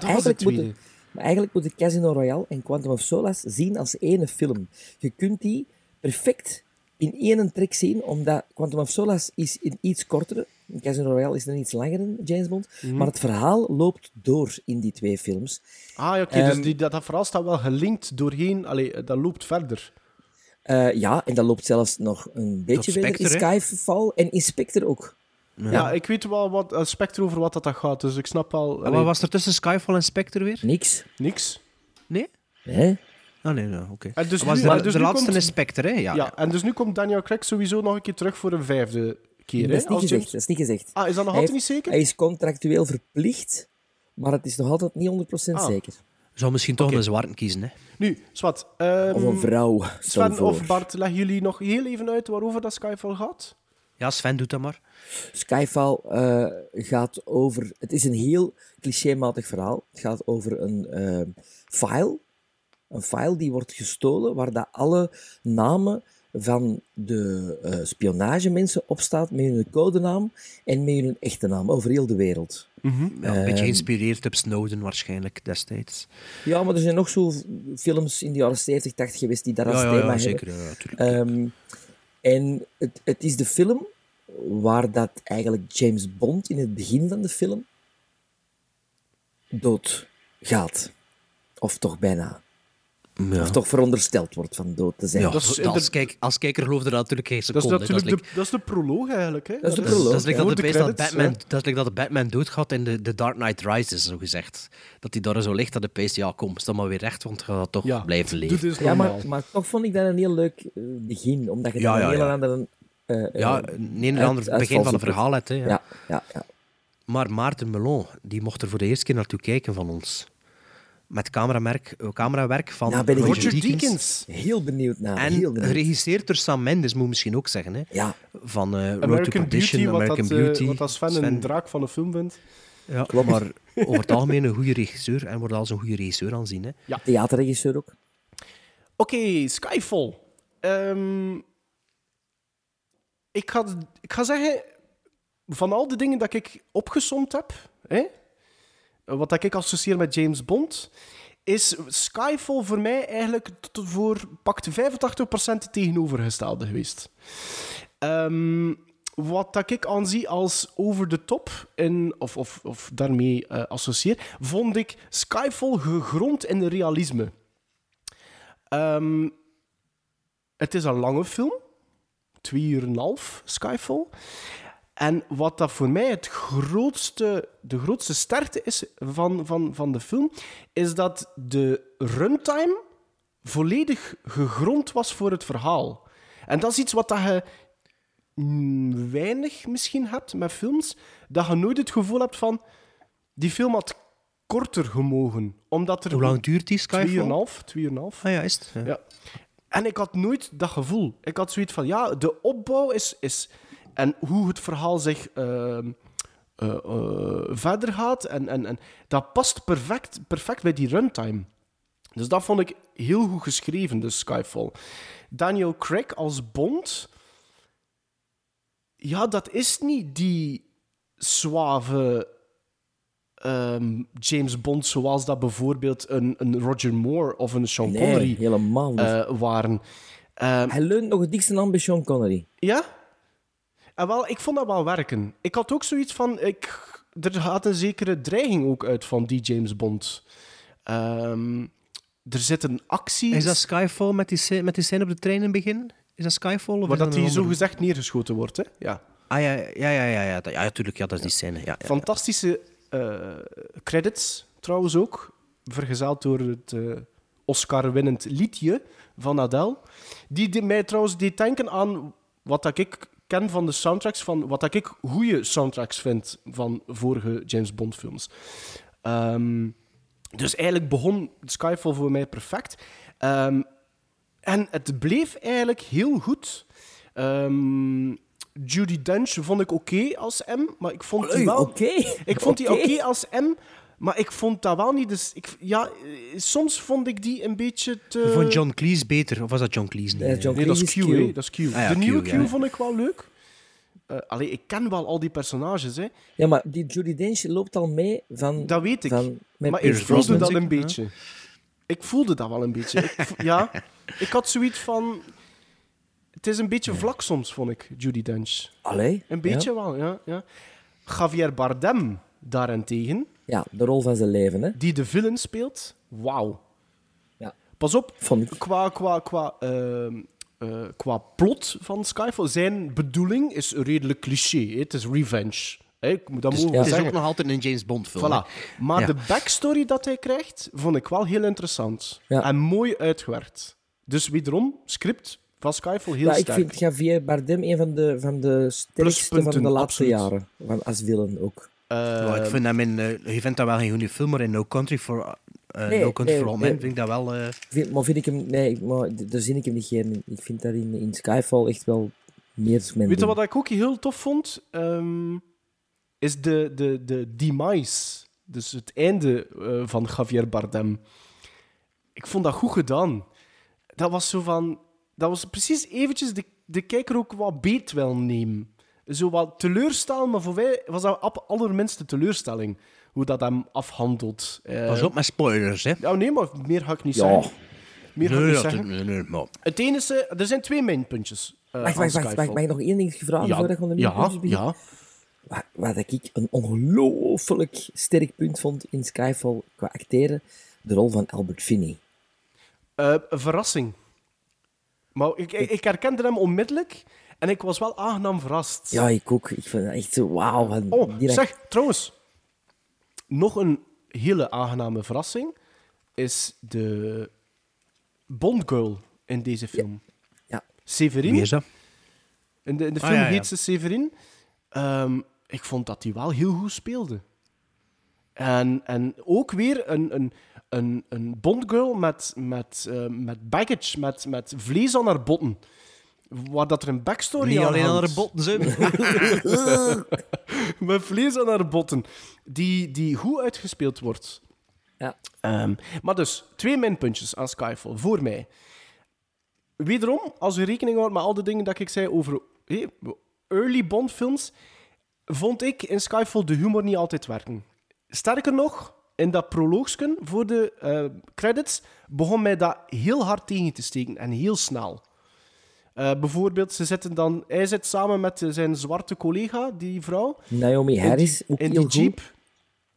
Speaker 3: dat was de
Speaker 4: eigenlijk moet
Speaker 3: tweede.
Speaker 4: je- maar eigenlijk moeten Casino Royale en Quantum of Solace zien als ene film. Je kunt die perfect in één trek zien, omdat Quantum of Solace is een iets kortere. Casino Royale is een iets langere James Bond. Maar het verhaal loopt door in die twee films.
Speaker 3: Ah, ja, oké,
Speaker 4: Ehm,
Speaker 3: dus die, dat, dat verhaal staat wel gelinkt doorheen, allee, eh, dat loopt verder.
Speaker 4: Eh, ja, en dat loopt zelfs nog een beetje verder in
Speaker 2: Spectre, hè?
Speaker 4: Skyfall en Inspector ook.
Speaker 3: Ja, ik weet wel wat eh, specter over wat dat, dat gaat, dus ik snap wel
Speaker 2: En
Speaker 3: allee,
Speaker 2: wat was er tussen Skyfall en Spectre weer?
Speaker 4: Niks.
Speaker 3: niks.
Speaker 2: Nee?
Speaker 4: Hè?
Speaker 2: Ah, nee, nee, oké.
Speaker 3: En dus
Speaker 2: Dat was
Speaker 3: nu-
Speaker 2: de,
Speaker 3: maar dus
Speaker 2: de
Speaker 3: nu
Speaker 2: laatste
Speaker 3: komt-
Speaker 2: is Spectre, hè?
Speaker 4: Ah,
Speaker 2: Ja.
Speaker 3: Ja, en dus nu komt Daniel Craig sowieso nog een keer terug voor een vijfde keer,
Speaker 4: Dat
Speaker 3: hè?
Speaker 4: is niet
Speaker 3: Als
Speaker 4: gezegd.
Speaker 3: James-
Speaker 4: Dat is niet gezegd.
Speaker 3: Ah, is dat nog
Speaker 4: Hij
Speaker 3: altijd niet
Speaker 4: heeft-
Speaker 3: zeker?
Speaker 4: Hij is contractueel verplicht, maar het is nog altijd niet 100%
Speaker 3: Ah.
Speaker 4: zeker.
Speaker 2: Zou misschien toch een zwarte kiezen, hè?
Speaker 3: Nu, Swat, ehm,
Speaker 4: Of een vrouw. stel
Speaker 3: Sven
Speaker 4: voor.
Speaker 3: of Bart, leggen jullie nog heel even uit waarover dat Skyfall gaat?
Speaker 2: Ja, Sven doet dat maar.
Speaker 4: Skyfall eh, gaat over. Het is een heel clichématig verhaal. Het gaat over een eh, file. Een file die wordt gestolen waar dat alle namen van de eh, spionagemensen opstaat met hun codenaam en met hun echte naam over heel de wereld.
Speaker 2: Ja,
Speaker 4: Ehm.
Speaker 2: een beetje geïnspireerd op Snowden waarschijnlijk destijds.
Speaker 4: Ja, maar er zijn nog zo films in de jaren 70, 80 geweest die daar als
Speaker 2: Ja, ja,
Speaker 4: thema
Speaker 2: ja,
Speaker 4: hebben.
Speaker 2: zeker. Ja, ja, tuurlijk.
Speaker 4: Ehm, en het, het is de film waar dat eigenlijk James Bond in het begin van de film dood gaat. Of toch bijna.
Speaker 2: Ja.
Speaker 4: Of toch verondersteld wordt van dood te zijn.
Speaker 2: Ja,
Speaker 3: dat is
Speaker 2: als,
Speaker 3: inderdaad-
Speaker 2: kijk, als kijker geloofde dat natuurlijk geen
Speaker 3: Dat is
Speaker 2: seconde. hè.
Speaker 3: natuurlijk
Speaker 2: like-
Speaker 3: de, dat is de proloog eigenlijk. Hè?
Speaker 4: Dat is de
Speaker 2: Dat is-
Speaker 4: proloog,
Speaker 2: dat is like
Speaker 3: Voor
Speaker 2: dat,
Speaker 3: de
Speaker 2: het beest dat,
Speaker 3: credits,
Speaker 2: Batman, dat, is like dat de Batman doodgaat in de, de Dark Knight Rises, zo gezegd. Dat hij daar zo ligt, dat de beest, ja, kom, sta maar weer recht, want je gaat toch
Speaker 3: Ja. dus
Speaker 2: blijven leven.
Speaker 3: Dit is
Speaker 4: Ja,
Speaker 3: normaal.
Speaker 4: maar, maar toch vond ik dat een heel leuk eh, begin, omdat je
Speaker 2: Ja,
Speaker 4: dan
Speaker 2: ja,
Speaker 4: een hele
Speaker 2: ja.
Speaker 4: andere... eh, eh,
Speaker 2: ja, een en
Speaker 4: uit-
Speaker 2: ander begin van
Speaker 4: uitvalshoek
Speaker 2: een verhaal uit. Hè, ja.
Speaker 4: Ja, ja, ja.
Speaker 2: Maar Maarten Melon, die mocht er voor de eerste keer naartoe kijken van ons. Met cameramerk, eh, camerawerk van
Speaker 4: Nou, ben ik-
Speaker 3: Roger Deakins.
Speaker 4: Heel benieuwd naar.
Speaker 2: En
Speaker 4: heel benieuwd.
Speaker 2: geregisseerd door Sam Mendes, moet je misschien ook zeggen. Hè?
Speaker 4: Ja,
Speaker 2: Van eh, Road to
Speaker 3: American
Speaker 2: Perdition,
Speaker 3: Beauty, wat,
Speaker 2: American
Speaker 3: dat, eh,
Speaker 2: Beauty.
Speaker 3: wat als fan een draak van een film vindt.
Speaker 2: ja, Maar over het algemeen een goede regisseur. En wordt als een goede regisseur aanzien. Hè?
Speaker 4: theaterregisseur ook.
Speaker 3: Oké, Skyfall. Ehm, ik, ga, ik ga zeggen, van al de dingen dat ik opgesomd heb, hè, wat dat ik associeer met James Bond, is Skyfall voor mij eigenlijk tot voor pakt 85% het tegenovergestelde geweest. Ehm, wat dat ik aanzie als over de top, in, of, of, of daarmee eh, associeer, vond ik Skyfall gegrond in realisme. Ehm, het is een lange film. Twee uur en een half, Skyfall. En wat dat voor mij het grootste, de grootste sterkte is van, van, van de film, is dat de runtime volledig gegrond was voor het verhaal. En dat is iets wat dat je mm, weinig misschien hebt met films, dat je nooit het gevoel hebt van, die film had korter gemogen. Omdat er
Speaker 2: Hoe lang duurt die Skyfall?
Speaker 3: Twee uur en een half, twee uur en een half.
Speaker 2: Ah ja, is het? Ja.
Speaker 3: Ja. En ik had nooit dat gevoel. Ik had zoiets van, ja, de opbouw is... is en hoe het verhaal zich ehm, eh, eh, verder gaat. En, en, en dat past perfect, perfect bij die runtime. Dus dat vond ik heel goed geschreven, dus Skyfall. Daniel Craig als Bond... Ja, dat is niet die suave ehm, James Bond zoals dat bijvoorbeeld een, een Roger Moore of een Sean
Speaker 4: Nee,
Speaker 3: Connery
Speaker 4: helemaal niet.
Speaker 3: eh, waren. Ehm,
Speaker 4: Hij leunt nog het dikste aan bij Sean Connery.
Speaker 3: ja? En wel, ik vond dat wel werken. Ik had ook zoiets van... Ik, er gaat een zekere dreiging ook uit van die James Bond. Ehm, er zitten acties...
Speaker 2: Is dat Skyfall met die, scè- met die scène op de trein in het begin? Is dat Skyfall? Of
Speaker 3: waar
Speaker 2: is
Speaker 3: dat
Speaker 2: een
Speaker 3: hij zo
Speaker 2: andere?
Speaker 3: gezegd neergeschoten wordt, hè? Ja.
Speaker 2: Ah ja, ja, ja, ja, ja, dat- ja, natuurlijk, ja, dat is die scène. Ja, ja.
Speaker 3: Fantastische eh, credits, trouwens ook. Vergezeld door het eh, Oscar-winnend liedje van Adele. Die, die mij trouwens deed denken aan wat dat ik ken van de soundtracks, van wat dat ik goede soundtracks vind van vorige James Bond-films. Ehm, dus eigenlijk begon Skyfall voor mij perfect. Ehm, en het bleef eigenlijk heel goed. Ehm, Judy Dench vond ik oké als M, maar ik vond die
Speaker 4: Oei,
Speaker 3: wel...
Speaker 4: oké.
Speaker 3: Ik vond die
Speaker 4: Oké.
Speaker 3: oké als M, maar ik vond dat wel niet... Dus ik, ja, eh, soms vond ik die een beetje te...
Speaker 2: Ik vond John Cleese beter, of was dat John Cleese? Ah
Speaker 4: Eh, John
Speaker 3: Nee, dat is Q,
Speaker 4: Cleese
Speaker 3: hè.
Speaker 4: Q.
Speaker 3: Dat is Q.
Speaker 2: ja,
Speaker 3: de
Speaker 2: Q,
Speaker 3: nieuwe Q
Speaker 2: ja.
Speaker 3: vond ik wel leuk. Eh allee, ik ken wel al die personages, hè.
Speaker 4: Ja, maar die Judy Dench loopt al mee van...
Speaker 3: Dat weet ik.
Speaker 4: Van, met
Speaker 3: maar ik
Speaker 4: Pierce
Speaker 3: voelde
Speaker 4: Brosnan.
Speaker 3: dat een
Speaker 2: zeker, hè?
Speaker 3: beetje. Ik voelde dat wel een beetje. Ik vo- ja, ik had zoiets van... Het is een beetje vlak soms, vond ik, Judy Dench.
Speaker 4: Allee.
Speaker 3: Een beetje
Speaker 4: Ja?
Speaker 3: wel, ja, ja. Javier Bardem daarentegen,
Speaker 4: Ja, de rol van zijn leven, hè.
Speaker 3: die de villain speelt, wauw.
Speaker 4: Ja.
Speaker 3: Pas op,
Speaker 4: Vond ik.
Speaker 3: qua, qua, qua, ehm, eh, qua plot van Skyfall, zijn bedoeling is redelijk cliché. hè. Het is revenge. Hè, ik- dat
Speaker 4: Dus-
Speaker 3: mogen we
Speaker 2: Het is
Speaker 3: zeggen.
Speaker 2: ook nog altijd een James Bond film.
Speaker 3: Voilà. Maar
Speaker 2: Ja.
Speaker 3: de backstory dat hij krijgt, vond ik wel heel interessant.
Speaker 4: Ja.
Speaker 3: En mooi uitgewerkt. Dus wederom, script van Skyfall heel
Speaker 4: Ja, ik
Speaker 3: sterk.
Speaker 4: vind Javier Bardem een van de, van de sterkste van de
Speaker 3: Pluspunten,
Speaker 4: laatste
Speaker 3: absoluut.
Speaker 4: jaren. Van, als villain ook.
Speaker 2: Ja, ik vind hem in, eh, je vindt dat wel een goede film, maar in No Country for, eh,
Speaker 4: Nee,
Speaker 2: no Country
Speaker 4: nee,
Speaker 2: for All Men
Speaker 4: nee.
Speaker 2: vind ik dat wel... eh,
Speaker 4: Vind- maar vind ik hem... Nee, maar d- daar zin ik hem niet in. Ik vind daar in, in Skyfall echt wel meer mijn
Speaker 3: Weet je
Speaker 4: ding.
Speaker 3: wat ik ook heel tof vond? Ehm, is de, de, de demise. Dus het einde eh, van Javier Bardem. Ik vond dat goed gedaan. Dat was zo van... dat was precies eventjes de, de kijker ook wat beet wil nemen. Zo wat teleurstellen, maar voor mij was dat op allerminste teleurstelling. Hoe dat hem afhandelt. Eh,
Speaker 2: Pas op met spoilers, hè.
Speaker 3: Ja, nee, maar meer ga ik niet
Speaker 4: Ja.
Speaker 3: zeggen. Meer ga ik
Speaker 2: Nee,
Speaker 3: niet
Speaker 2: dat-
Speaker 3: zeggen.
Speaker 2: nee, nee, maar...
Speaker 3: Het enige... Er zijn twee mainpuntjes. eh,
Speaker 4: Wacht,
Speaker 3: aan
Speaker 4: wacht, wacht, wacht.
Speaker 3: Skyfall.
Speaker 4: Mag ik nog één ding vragen voordat ik van de
Speaker 3: ja,
Speaker 4: minpuntjes begin?
Speaker 3: ja.
Speaker 4: Wat, wat ik een ongelooflijk sterk punt vond in Skyfall qua acteren, de rol van Albert Finney.
Speaker 3: Eh, een verrassing. Maar ik, ik, ik herkende hem onmiddellijk en ik was wel aangenaam verrast.
Speaker 4: Ja, ik ook. Ik vind dat echt zo, wauw. wat
Speaker 3: Oh,
Speaker 4: direct-
Speaker 3: zeg, trouwens. Nog een hele aangename verrassing is de Bondgirl in deze film.
Speaker 4: Ja.
Speaker 3: Severin.
Speaker 2: Wie is dat?
Speaker 3: In de, in de
Speaker 2: Ah,
Speaker 3: film
Speaker 2: ja, ja.
Speaker 3: heet ze Severin. Ehm, ik vond dat die wel heel goed speelde. En, en ook weer een, een, een, een Bondgirl met, met, eh, met baggage, met, met vlees aan haar botten. Waar dat er een backstory
Speaker 2: Niet
Speaker 3: aan
Speaker 2: alleen aan
Speaker 3: hangt.
Speaker 2: haar botten, zo.
Speaker 3: Met vlees aan haar botten. Die, die goed uitgespeeld wordt.
Speaker 4: Ja.
Speaker 3: Ehm, maar dus, twee minpuntjes aan Skyfall, voor mij. Wederom, als u rekening houdt met al de dingen dat ik zei over hé, early Bond-films, vond ik in Skyfall de humor niet altijd werken. Sterker nog, in dat proloogsken voor de eh, credits begon mij dat heel hard tegen te steken en heel snel. Eh, bijvoorbeeld, ze zitten dan, hij zit samen met eh, zijn zwarte collega, die vrouw,
Speaker 4: Naomi Harris, ook
Speaker 3: in
Speaker 4: heel
Speaker 3: die
Speaker 4: goed.
Speaker 3: jeep.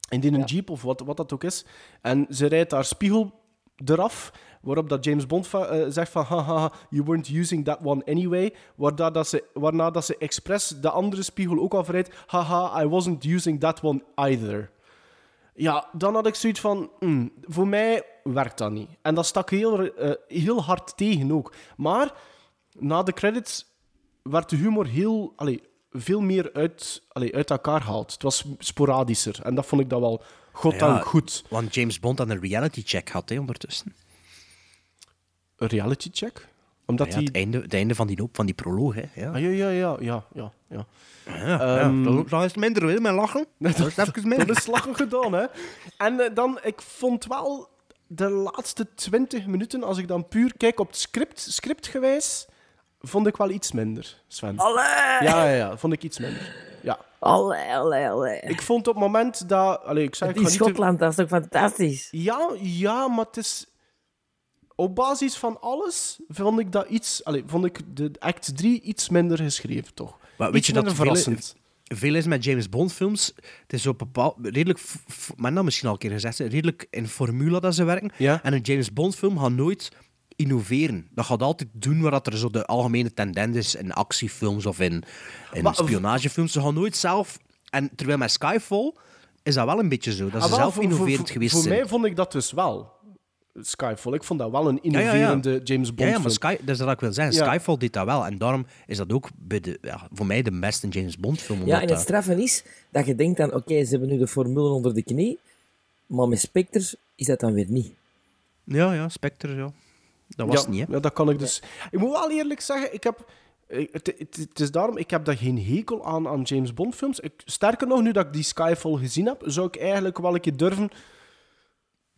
Speaker 3: In die een jeep, of wat, wat dat ook is. En ze rijdt haar spiegel eraf, waarop dat James Bond va- eh, zegt van haha, you weren't using that one anyway. Waarna dat ze, waarna dat ze expres de andere spiegel ook afrijdt. Haha, I wasn't using that one either. Ja, dan had ik zoiets van, hmm, voor mij werkt dat niet. En dat stak heel, eh, heel hard tegen ook. Maar na de credits werd de humor heel, allee, veel meer uit, allee, uit elkaar gehaald. Het was sporadischer. En dat vond ik dat wel goddank
Speaker 2: Ja.
Speaker 3: goed.
Speaker 2: Want James Bond had een reality check had, hè, ondertussen.
Speaker 3: Een reality check? Omdat
Speaker 2: Ja,
Speaker 3: die...
Speaker 2: het, e- einde, het einde van die, loop- van die proloog, hè. Ja.
Speaker 3: Ah, ja, ja, ja, ja, ja. ja.
Speaker 2: Ja, dat, dat is minder, hè, met lachen. Dat is even
Speaker 3: Ehm, Dat
Speaker 2: minder.
Speaker 3: is lachen gedaan, hè. En eh, dan, ik vond wel de laatste 20 minuten, als ik dan puur kijk op het script, scriptgewijs, vond ik wel iets minder, Sven.
Speaker 4: Allee!
Speaker 3: Ja, ja, ja, vond ik iets minder. Ja.
Speaker 4: Allee, allee, allee.
Speaker 3: Ik vond op het moment dat... Allee, ik zei, ik
Speaker 4: In
Speaker 3: ga niet te-
Speaker 4: Schotland, dat is toch fantastisch?
Speaker 3: Ja, ja, maar het is... Op basis van alles vond ik dat iets... Allee, vond ik de act 3 iets minder geschreven, toch?
Speaker 2: Maar weet
Speaker 3: iets
Speaker 2: je dat
Speaker 3: minder
Speaker 2: vele-
Speaker 3: verrassend.
Speaker 2: Veel is met James Bond films. Het is op bepaald, redelijk, f- f- maar dat misschien al een keer gezegd, hè, redelijk in formule dat ze werken.
Speaker 3: Ja.
Speaker 2: En een James Bond film gaat nooit innoveren. Dat gaat altijd doen waar dat er zo de algemene tendens is in actiefilms of in, in
Speaker 3: Maar-
Speaker 2: spionagefilms. Ze gaan nooit zelf. En terwijl met Skyfall is dat wel een beetje zo. Dat
Speaker 3: Ah,
Speaker 2: ze
Speaker 3: wel,
Speaker 2: zelf
Speaker 3: voor-
Speaker 2: innoverend
Speaker 3: voor, voor-
Speaker 2: geweest
Speaker 3: Voor
Speaker 2: zijn.
Speaker 3: mij vond ik dat dus wel. Skyfall, ik vond dat wel een
Speaker 2: Ja, ja, ja.
Speaker 3: innoverende James Bond
Speaker 2: Ja, ja, maar
Speaker 3: film.
Speaker 2: Sky, dat is wat ik wil zeggen.
Speaker 3: Ja.
Speaker 2: Skyfall deed dat wel. En daarom is dat ook bij de, ja, voor mij de beste James Bond film.
Speaker 4: Ja,
Speaker 2: omdat
Speaker 4: en het
Speaker 2: dat-
Speaker 4: straffen is dat je denkt dan, oké, ze hebben nu de formule onder de knie, maar met Spectres is dat dan weer niet.
Speaker 2: ja, ja, Spectre, ja. Dat was
Speaker 3: ja,
Speaker 2: het niet, hè.
Speaker 3: Ja, dat kan ik dus. Ik moet wel eerlijk zeggen, ik heb. eh, Het, het, het is daarom, ik heb daar geen hekel aan aan James Bond films. Ik, sterker nog, nu dat ik die Skyfall gezien heb, zou ik eigenlijk wel een keer durven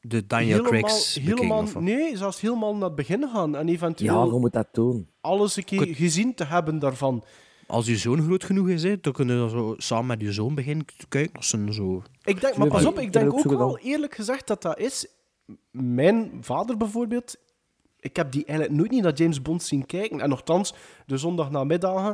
Speaker 2: De Daniel Craig's bekeken,
Speaker 3: helemaal,
Speaker 2: of wat?
Speaker 3: nee, zelfs helemaal naar het begin gaan en
Speaker 4: Ja,
Speaker 3: eventueel
Speaker 4: hoe moet dat doen?
Speaker 3: alles een keer gezien te hebben daarvan.
Speaker 2: Als je zoon groot genoeg is, hè, dan kunnen we zo samen met je zoon beginnen te kijken. Als ze zo...
Speaker 3: Ik denk, maar
Speaker 4: Ja,
Speaker 3: pas
Speaker 4: ik-
Speaker 3: op,
Speaker 4: ik
Speaker 3: ik
Speaker 4: heb
Speaker 3: denk
Speaker 4: ook
Speaker 3: ook
Speaker 4: zo
Speaker 3: wel eerlijk gezegd dat dat is. Mijn vader bijvoorbeeld, ik heb die eigenlijk nooit niet naar James Bond zien kijken. En nogthans, de zondagnamiddagen,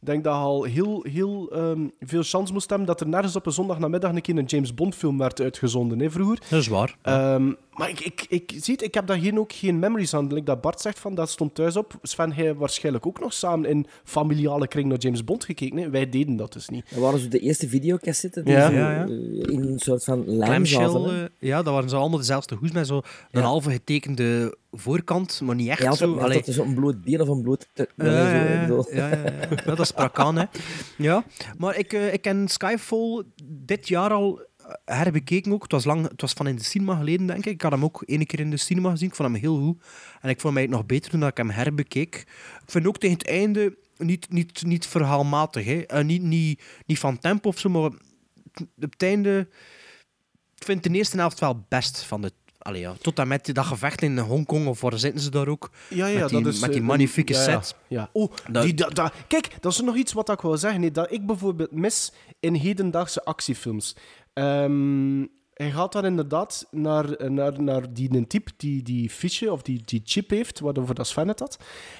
Speaker 3: ik denk dat hij al heel, heel ehm, veel kans moest hebben dat er nergens op een zondagnamiddag een keer een James Bond film werd uitgezonden, hè, vroeger.
Speaker 2: Dat is waar.
Speaker 3: Ehm, maar ik, ik, ik, ziet, ik heb daar hier ook geen memories aan. Like dat Bart zegt, van, dat stond thuis op. Sven, hij waarschijnlijk ook nog samen in familiale kring naar James Bond gekeken. Hè? Wij deden dat dus niet.
Speaker 4: Dat waren zo de eerste videocassetten die
Speaker 3: Ja.
Speaker 4: zo,
Speaker 2: Ja, ja.
Speaker 4: eh, in een soort van lijm
Speaker 2: Clamshell,
Speaker 4: zaten. hè.
Speaker 2: eh, ja, dat waren ze allemaal dezelfde hoes met zo een halve getekende voorkant, maar niet echt
Speaker 4: Ja, altijd,
Speaker 2: zo. Allee,
Speaker 4: altijd zo'n bloot been of een bloot... tut.
Speaker 2: ja, ja,
Speaker 4: Allee, zo, Eh,
Speaker 2: ja,
Speaker 4: ik bedoel.
Speaker 2: ja, ja, ja. Ja, dat sprak aan, hè. Ja, maar ik, eh, ik ken Skyfall dit jaar al eh, herbekeken ook. Het was, lang, het was van in de cinema geleden, denk ik. Ik had hem ook één keer in de cinema gezien. Ik vond hem heel goed. En ik vond mij het nog beter toen ik hem herbekeek. Ik vind ook tegen het einde niet, niet, niet verhaalmatig, hè. Eh, niet, niet, niet van tempo of zo, maar op het einde... Ik vind de eerste helft wel best van de Allee, ja, tot en met dat gevecht in Hongkong, of waar zitten ze daar ook?
Speaker 3: Ja, ja,
Speaker 2: met die,
Speaker 3: dat is...
Speaker 2: met die
Speaker 3: eh,
Speaker 2: magnifieke
Speaker 3: ja, ja,
Speaker 2: set.
Speaker 3: Ja, Oh,
Speaker 2: Dat-
Speaker 3: die, da, da- kijk, dat is nog iets wat ik wil zeggen. hè, dat ik bijvoorbeeld mis in hedendaagse actiefilms. Ehm, hij gaat daar inderdaad naar, naar, naar die een type die die fiche of die, die chip heeft, waarover dat Sven het had.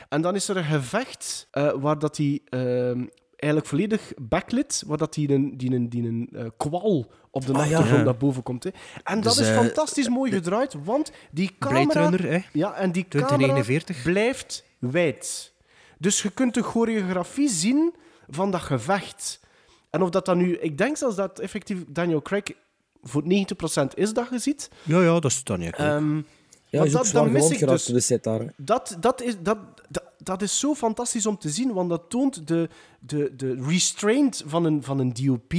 Speaker 3: En dan is er een gevecht eh, waar dat hij ehm, eigenlijk volledig backlit, waar dat die een, die een, die een eh, kwal op de
Speaker 4: Ah, ja.
Speaker 3: achtergrond naar boven komt. Hè. En dat
Speaker 2: Dus,
Speaker 3: is
Speaker 2: eh,
Speaker 3: fantastisch mooi gedraaid, want die
Speaker 2: Blade
Speaker 3: camera...
Speaker 2: Runner, hè?
Speaker 3: Ja, en die camera
Speaker 2: 2049.
Speaker 3: blijft wijd. Dus je kunt de choreografie zien van dat gevecht. En of dat dan nu... Ik denk zelfs dat effectief Daniel Craig voor 90% is dat je ziet.
Speaker 2: Ja, ja, dat is dan ja. cool.
Speaker 3: Ehm,
Speaker 4: Ja,
Speaker 3: maar
Speaker 4: is ook
Speaker 3: dat,
Speaker 4: zwaar
Speaker 3: dan mis
Speaker 4: gewond
Speaker 3: ik
Speaker 4: geraakt
Speaker 3: dus...
Speaker 4: op de set daar. hè.
Speaker 3: Dat, dat, is, dat, dat, dat is zo fantastisch om te zien, want dat toont de, de, de restraint van een, van een DOP,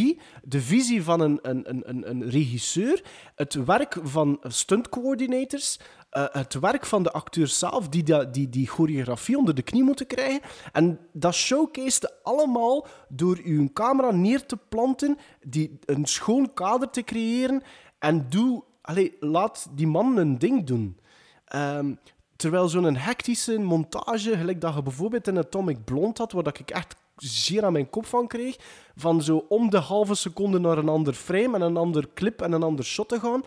Speaker 3: de visie van een, een, een, een, een regisseur, het werk van stuntcoördinators, eh, het werk van de acteurs zelf, die, da- die die choreografie onder de knie moeten krijgen. En dat showcased allemaal door uw camera neer te planten, die, een schoon kader te creëren en doe, allee, laat die man een ding doen. Ehm, terwijl zo'n hectische montage, gelijk dat je bijvoorbeeld in Atomic Blonde had, waar dat ik echt zeer aan mijn kop van kreeg, van zo om de halve seconde naar een ander frame en een ander clip en een ander shot te gaan.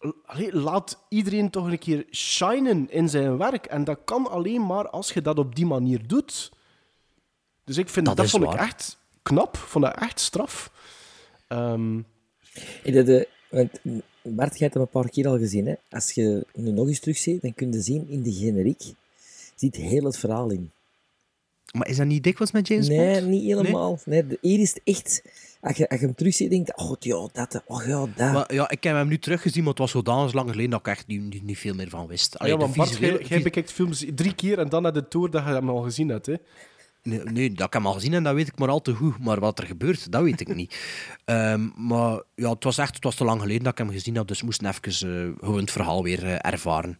Speaker 3: L- allee, laat iedereen toch een keer shinen in zijn werk. En dat kan alleen maar als je dat op die manier doet. Dus ik vind
Speaker 2: Dat
Speaker 3: dat,
Speaker 2: is
Speaker 3: vond ik
Speaker 2: waar.
Speaker 3: echt knap, vond dat echt straf. Ehm,
Speaker 4: En dat, eh, want Bart, jij hebt hem een paar keer al gezien. Hè? Als je nu nog eens terugziet, dan kun je zien in de generiek zit heel het verhaal in.
Speaker 2: Maar is dat niet dikwijls met James
Speaker 4: nee,
Speaker 2: Bond?
Speaker 4: niet helemaal. Nee? de, hier is het echt... Als je, als je hem terugziet, denk je... Oh, god, ja, dat. hè. Oh, ja, dat.
Speaker 2: Maar ja, ik heb hem nu teruggezien, maar het was zodanig lang geleden dat ik echt niet, niet, niet veel meer van wist. Allee,
Speaker 3: ja,
Speaker 2: de
Speaker 3: want Bart,
Speaker 2: visuele-
Speaker 3: jij, jij
Speaker 2: vis-
Speaker 3: bekijkt films drie keer en dan naar de tour dat je hem al gezien hebt. Hè?
Speaker 2: Nee, nee, dat ik hem al gezien en dat weet ik maar al te goed. Maar wat er gebeurt, dat weet ik niet. Ehm, maar ja, het was echt het was te lang geleden dat ik hem gezien had, dus moest even eh, gewoon het verhaal weer eh, ervaren.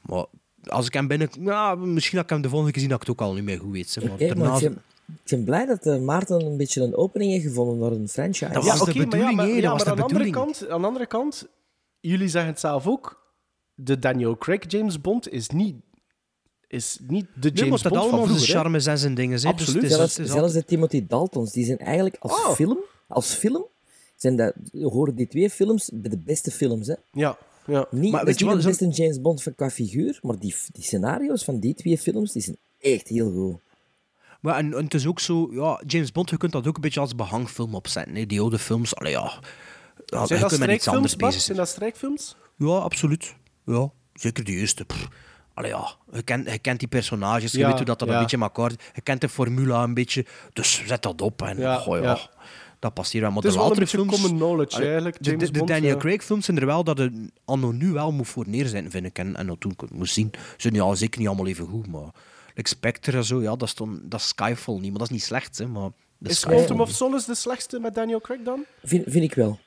Speaker 2: Maar als ik hem binnen... Nou, misschien had ik hem de volgende keer gezien, dat ik het ook al niet meer goed weet. hè, Maar
Speaker 4: Oké, maar
Speaker 2: daarna-
Speaker 4: ik, ben, ik ben blij dat eh, Maarten een beetje een opening heeft gevonden naar een franchise.
Speaker 2: Dat
Speaker 3: Ja,
Speaker 2: was de
Speaker 3: oké,
Speaker 2: bedoeling,
Speaker 3: maar, ja,
Speaker 2: hè, dat
Speaker 3: maar, ja,
Speaker 2: was
Speaker 3: maar
Speaker 2: de
Speaker 3: aan, de andere
Speaker 2: bedoeling.
Speaker 3: kant, aan de andere kant, jullie zeggen het zelf ook, de Daniel Craig James Bond is niet, is niet de James
Speaker 2: Nee, want dat
Speaker 3: Bond van
Speaker 2: allemaal zijn
Speaker 3: vroeger. hè.
Speaker 2: charmes en zijn dingen. hè, dus
Speaker 3: Absoluut.
Speaker 2: het is-
Speaker 4: zelfs,
Speaker 2: het is
Speaker 4: zelfs de Timothy Daltons, die zijn eigenlijk als
Speaker 3: Oh.
Speaker 4: film... Als film zijn dat, horen die twee films bij de beste films. Hè?
Speaker 3: Ja, ja.
Speaker 2: Maar
Speaker 4: Niet, dat
Speaker 2: weet
Speaker 4: is
Speaker 2: je Oh,
Speaker 4: niet
Speaker 2: wat,
Speaker 4: de beste James Bond van- qua figuur, maar die, die scenario's van die twee films die zijn echt heel goed.
Speaker 2: Maar en, en het is ook zo, ja, James Bond, je kunt dat ook een beetje als behangfilm opzetten. Hè. Die oude films, allee, ja. ja je
Speaker 3: Zijn dat
Speaker 2: kunt met iets anders
Speaker 3: strijkfilms, Bart?
Speaker 2: bezig zijn.
Speaker 3: Zijn dat strijkfilms?
Speaker 2: Ja, absoluut. Ja, zeker de eerste. Pff. Allee, ja, je kent, je kent die personages, je
Speaker 3: Ja,
Speaker 2: weet hoe dat, dat
Speaker 3: ja.
Speaker 2: een beetje in elkaar zit. Je kent de formule een beetje, dus zet dat op en
Speaker 3: Ja,
Speaker 2: goh, ja.
Speaker 3: ja.
Speaker 2: Dat past hier wel. Maar
Speaker 3: Het is
Speaker 2: de
Speaker 3: wel een
Speaker 2: latere
Speaker 3: beetje
Speaker 2: films,
Speaker 3: common knowledge,
Speaker 2: allee,
Speaker 3: eigenlijk,
Speaker 2: De, de-
Speaker 3: James
Speaker 2: de
Speaker 3: Bond,
Speaker 2: Daniel
Speaker 3: ja.
Speaker 2: Craig films zijn er wel dat je anno nu wel moet voor neer zijn, vind ik. En, en dat toen ik het moest zien. Ze zijn ja, zeker niet allemaal even goed, maar... Like Spectre en zo, ja, dat is, dan, dat is Skyfall niet, maar dat is niet slecht, hè. Maar dat
Speaker 3: Is
Speaker 2: Skyfall.
Speaker 3: Quantum of Solace de slechtste met Daniel Craig dan?
Speaker 4: Vind, vind ik wel.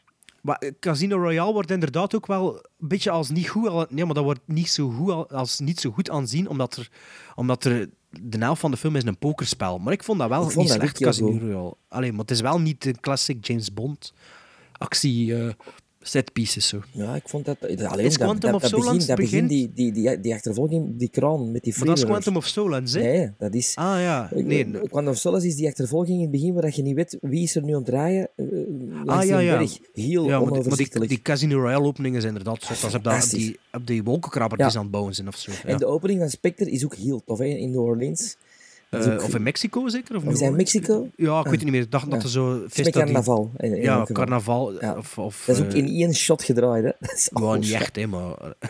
Speaker 2: Maar eh, Casino Royale wordt inderdaad ook wel een beetje als niet goed... al- Nee, maar dat wordt niet zo goed al- als niet zo goed aanzien, omdat er, omdat er de helft van de film is een pokerspel. Maar ik vond dat wel
Speaker 4: Ik vond
Speaker 2: niet
Speaker 4: dat
Speaker 2: slecht,
Speaker 4: ook heel
Speaker 2: Casino
Speaker 4: goed.
Speaker 2: Royale. Allee, maar het is wel niet de classic James Bond actie eh set pieces zo.
Speaker 4: Ja, ik vond dat... Alleen
Speaker 2: Is
Speaker 4: dat,
Speaker 2: Quantum
Speaker 4: dat,
Speaker 2: of
Speaker 4: dat begin,
Speaker 2: Solace
Speaker 4: dat begin die,
Speaker 2: begint?
Speaker 4: die, die, die achtervolging, die kraan met die
Speaker 2: Maar dat is
Speaker 4: freerunners.
Speaker 2: Quantum of Solace, hè?
Speaker 4: Nee, dat is...
Speaker 2: Ah ja, nee.
Speaker 4: Eh, Quantum of Solace is die achtervolging in het begin waar dat je niet weet wie is er nu aan het draaien eh, langs
Speaker 2: ah ja,
Speaker 4: die
Speaker 2: ja.
Speaker 4: berg. Heel
Speaker 2: ja, maar die- maar die,
Speaker 4: onoverzichtelijk.
Speaker 2: die Casino Royale opening is inderdaad zot. Als op, dat, op,
Speaker 4: fantastisch.
Speaker 2: die, op die wolkenkrabber
Speaker 4: Ja.
Speaker 2: die ze aan het bouwen zijn of zo. Ja.
Speaker 4: En de opening van Spectre is ook heel tof, hè, in New Orleans. Dat is
Speaker 2: Eh,
Speaker 4: ook-
Speaker 2: of in Mexico zeker? Of
Speaker 4: Of is dat in Mexico?
Speaker 2: Ja, ik weet het niet meer. Ik dacht dat
Speaker 4: Ja.
Speaker 2: er zo...
Speaker 4: Het is met
Speaker 2: festa die-
Speaker 4: carnaval. in- in elk
Speaker 2: Ja,
Speaker 4: geval.
Speaker 2: carnaval.
Speaker 4: Ja.
Speaker 2: Of, of,
Speaker 4: Dat is ook
Speaker 2: eh,
Speaker 4: in één shot gedraaid, hè. Dat is
Speaker 2: ja,
Speaker 4: awesome.
Speaker 2: niet echt, hè, maar... eh,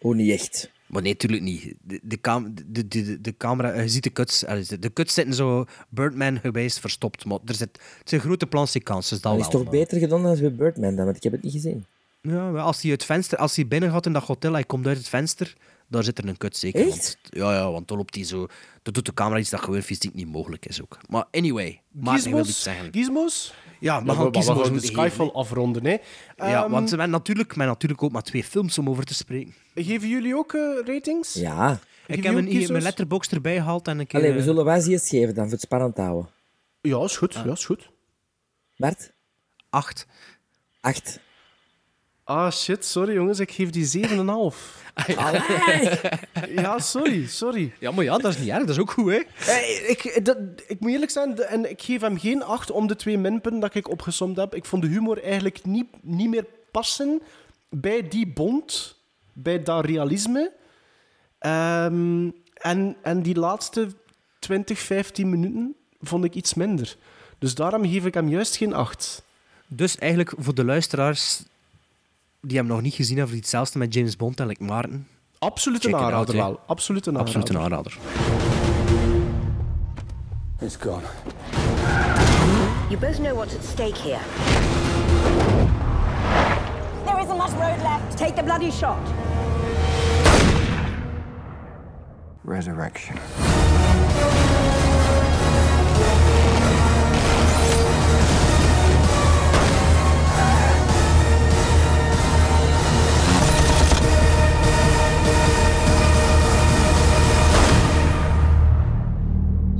Speaker 4: Oh, niet echt.
Speaker 2: Maar nee, natuurlijk niet. De, de, cam- de, de, de- de camera... eh, Je ziet de cuts. eh, De, de cuts zitten zo Birdman geweest verstopt. Maar er zit, het zijn grote plansequences, dat
Speaker 4: Dat
Speaker 2: wel.
Speaker 4: is toch
Speaker 2: maar-
Speaker 4: beter gedaan dan bij Birdman dan, want ik heb het niet gezien.
Speaker 2: Ja, maar als hij het venster... Als hij binnen gaat in dat hotel, hij komt uit het venster... Daar zit er een kut zeker.
Speaker 4: Echt?
Speaker 2: Want, ja, ja, want dan loopt hij zo... Dan doet de camera iets dat gewoon fysiek niet mogelijk is ook. Maar anyway, maar ik wil iets
Speaker 3: Gizmos?
Speaker 2: zeggen.
Speaker 3: Gizmos?
Speaker 2: Ja, maar
Speaker 3: Ja,
Speaker 2: gaan kiezen
Speaker 3: we
Speaker 2: voor
Speaker 3: gaan de
Speaker 2: E.
Speaker 3: Skyfall afronden, hè.
Speaker 2: Ja,
Speaker 3: Ehm,
Speaker 2: want we hebben natuurlijk, maar natuurlijk ook maar twee films om over te spreken.
Speaker 3: Geven jullie ook eh, ratings?
Speaker 4: Ja.
Speaker 2: Ik heb
Speaker 3: Review
Speaker 2: een, E
Speaker 3: kiezers?
Speaker 2: mijn letterbox erbij gehaald en een keer...
Speaker 4: Allee, we
Speaker 2: eh,
Speaker 4: zullen wel eens iets geven dan, voor het spannend te houden.
Speaker 3: Ja,
Speaker 2: Ah.
Speaker 3: is goed. Ja, is goed.
Speaker 4: Bart,
Speaker 2: Acht.
Speaker 4: acht.
Speaker 3: Ah, shit, sorry jongens, ik geef die 7,5.
Speaker 4: Allee.
Speaker 3: ja, sorry, sorry.
Speaker 2: Ja, maar ja, dat is niet erg. Dat is ook goed, hè?
Speaker 3: Eh, ik, dat, ik moet eerlijk zijn, de- en ik geef hem geen acht om de twee minpunten dat ik opgesomd heb. Ik vond de humor eigenlijk niet, niet meer passen bij die bond, bij dat realisme. Ehm, en, en die laatste 20, 15 minuten vond ik iets minder. Dus daarom geef ik hem juist geen acht.
Speaker 2: Dus eigenlijk voor de luisteraars die hem nog niet gezien hebben, voor hetzelfde met James Bond en like Maarten.
Speaker 3: Absoluut
Speaker 2: Check
Speaker 3: een
Speaker 2: it out,
Speaker 3: aanrader
Speaker 2: hè.
Speaker 3: wel. Absoluut een
Speaker 2: Absoluut een
Speaker 3: aanrader.
Speaker 2: aanrader.
Speaker 9: It's gone.
Speaker 10: You both know what's at stake here. There isn't much road left. Take the bloody shot.
Speaker 9: Resurrection.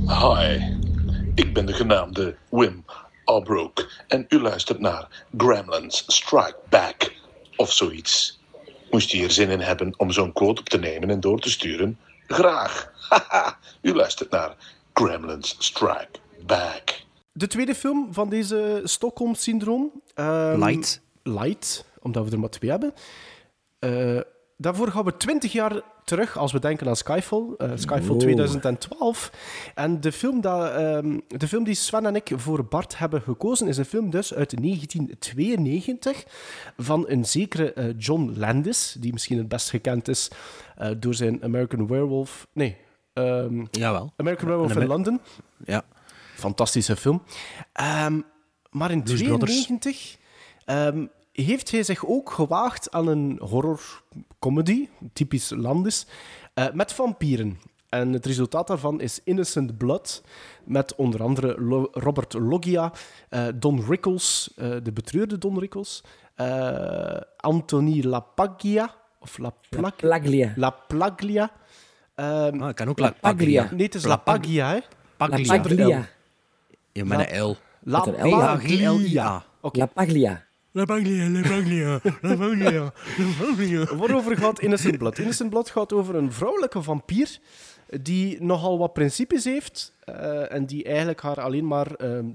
Speaker 11: Hi, ik ben de genaamde Wim Albrook en u luistert naar Gremlins Strike Back of zoiets. Moest u hier zin in hebben om zo'n quote op te nemen en door te sturen? Graag. Haha, u luistert naar Gremlins Strike Back.
Speaker 3: De tweede film van deze Stockholm-syndroom. ehm,
Speaker 2: Light.
Speaker 3: Light, omdat we er maar twee hebben. Eh, daarvoor gaan we 20 jaar terug als we denken aan Skyfall. eh, Skyfall 2012. En de film, dat, ehm, de film die Sven en ik voor Bart hebben gekozen is een film dus uit 1992 van een zekere eh, John Landis, die misschien het best gekend is eh, door zijn American Werewolf... Nee, ehm,
Speaker 2: Jawel.
Speaker 3: American Werewolf
Speaker 2: Een
Speaker 3: in
Speaker 2: Amer-
Speaker 3: London.
Speaker 2: Ja.
Speaker 3: Fantastische film. Ehm, maar in
Speaker 2: Blues Brothers.
Speaker 3: 1992 ehm, heeft hij zich ook gewaagd aan een horrorcomedy, typisch Landis, eh, met vampieren. En het resultaat daarvan is Innocent Blood, met onder andere Lo- Robert Loggia, eh, Don Rickles, eh, de betreurde Don Rickles, eh, Anthony LaPaglia, of LaPlag-
Speaker 4: Plaglia.
Speaker 3: LaPlaglia. Ehm,
Speaker 2: Ah, ik kan ook La
Speaker 4: Paglia.
Speaker 3: nee, het is LaPaglia, hè?
Speaker 4: La
Speaker 2: Paglia.
Speaker 4: Paglia.
Speaker 2: Ja, met een L.
Speaker 3: La
Speaker 4: Met een L?
Speaker 3: Paglia.
Speaker 2: Paglia.
Speaker 3: Oké.
Speaker 4: La Paglia.
Speaker 2: La Paglia, La Paglia, La Paglia, La Paglia.
Speaker 3: Waarover gaat Innocent Blood? Innocent Blood gaat over een vrouwelijke vampier die nogal wat principes heeft eh, en die eigenlijk haar alleen maar ehm,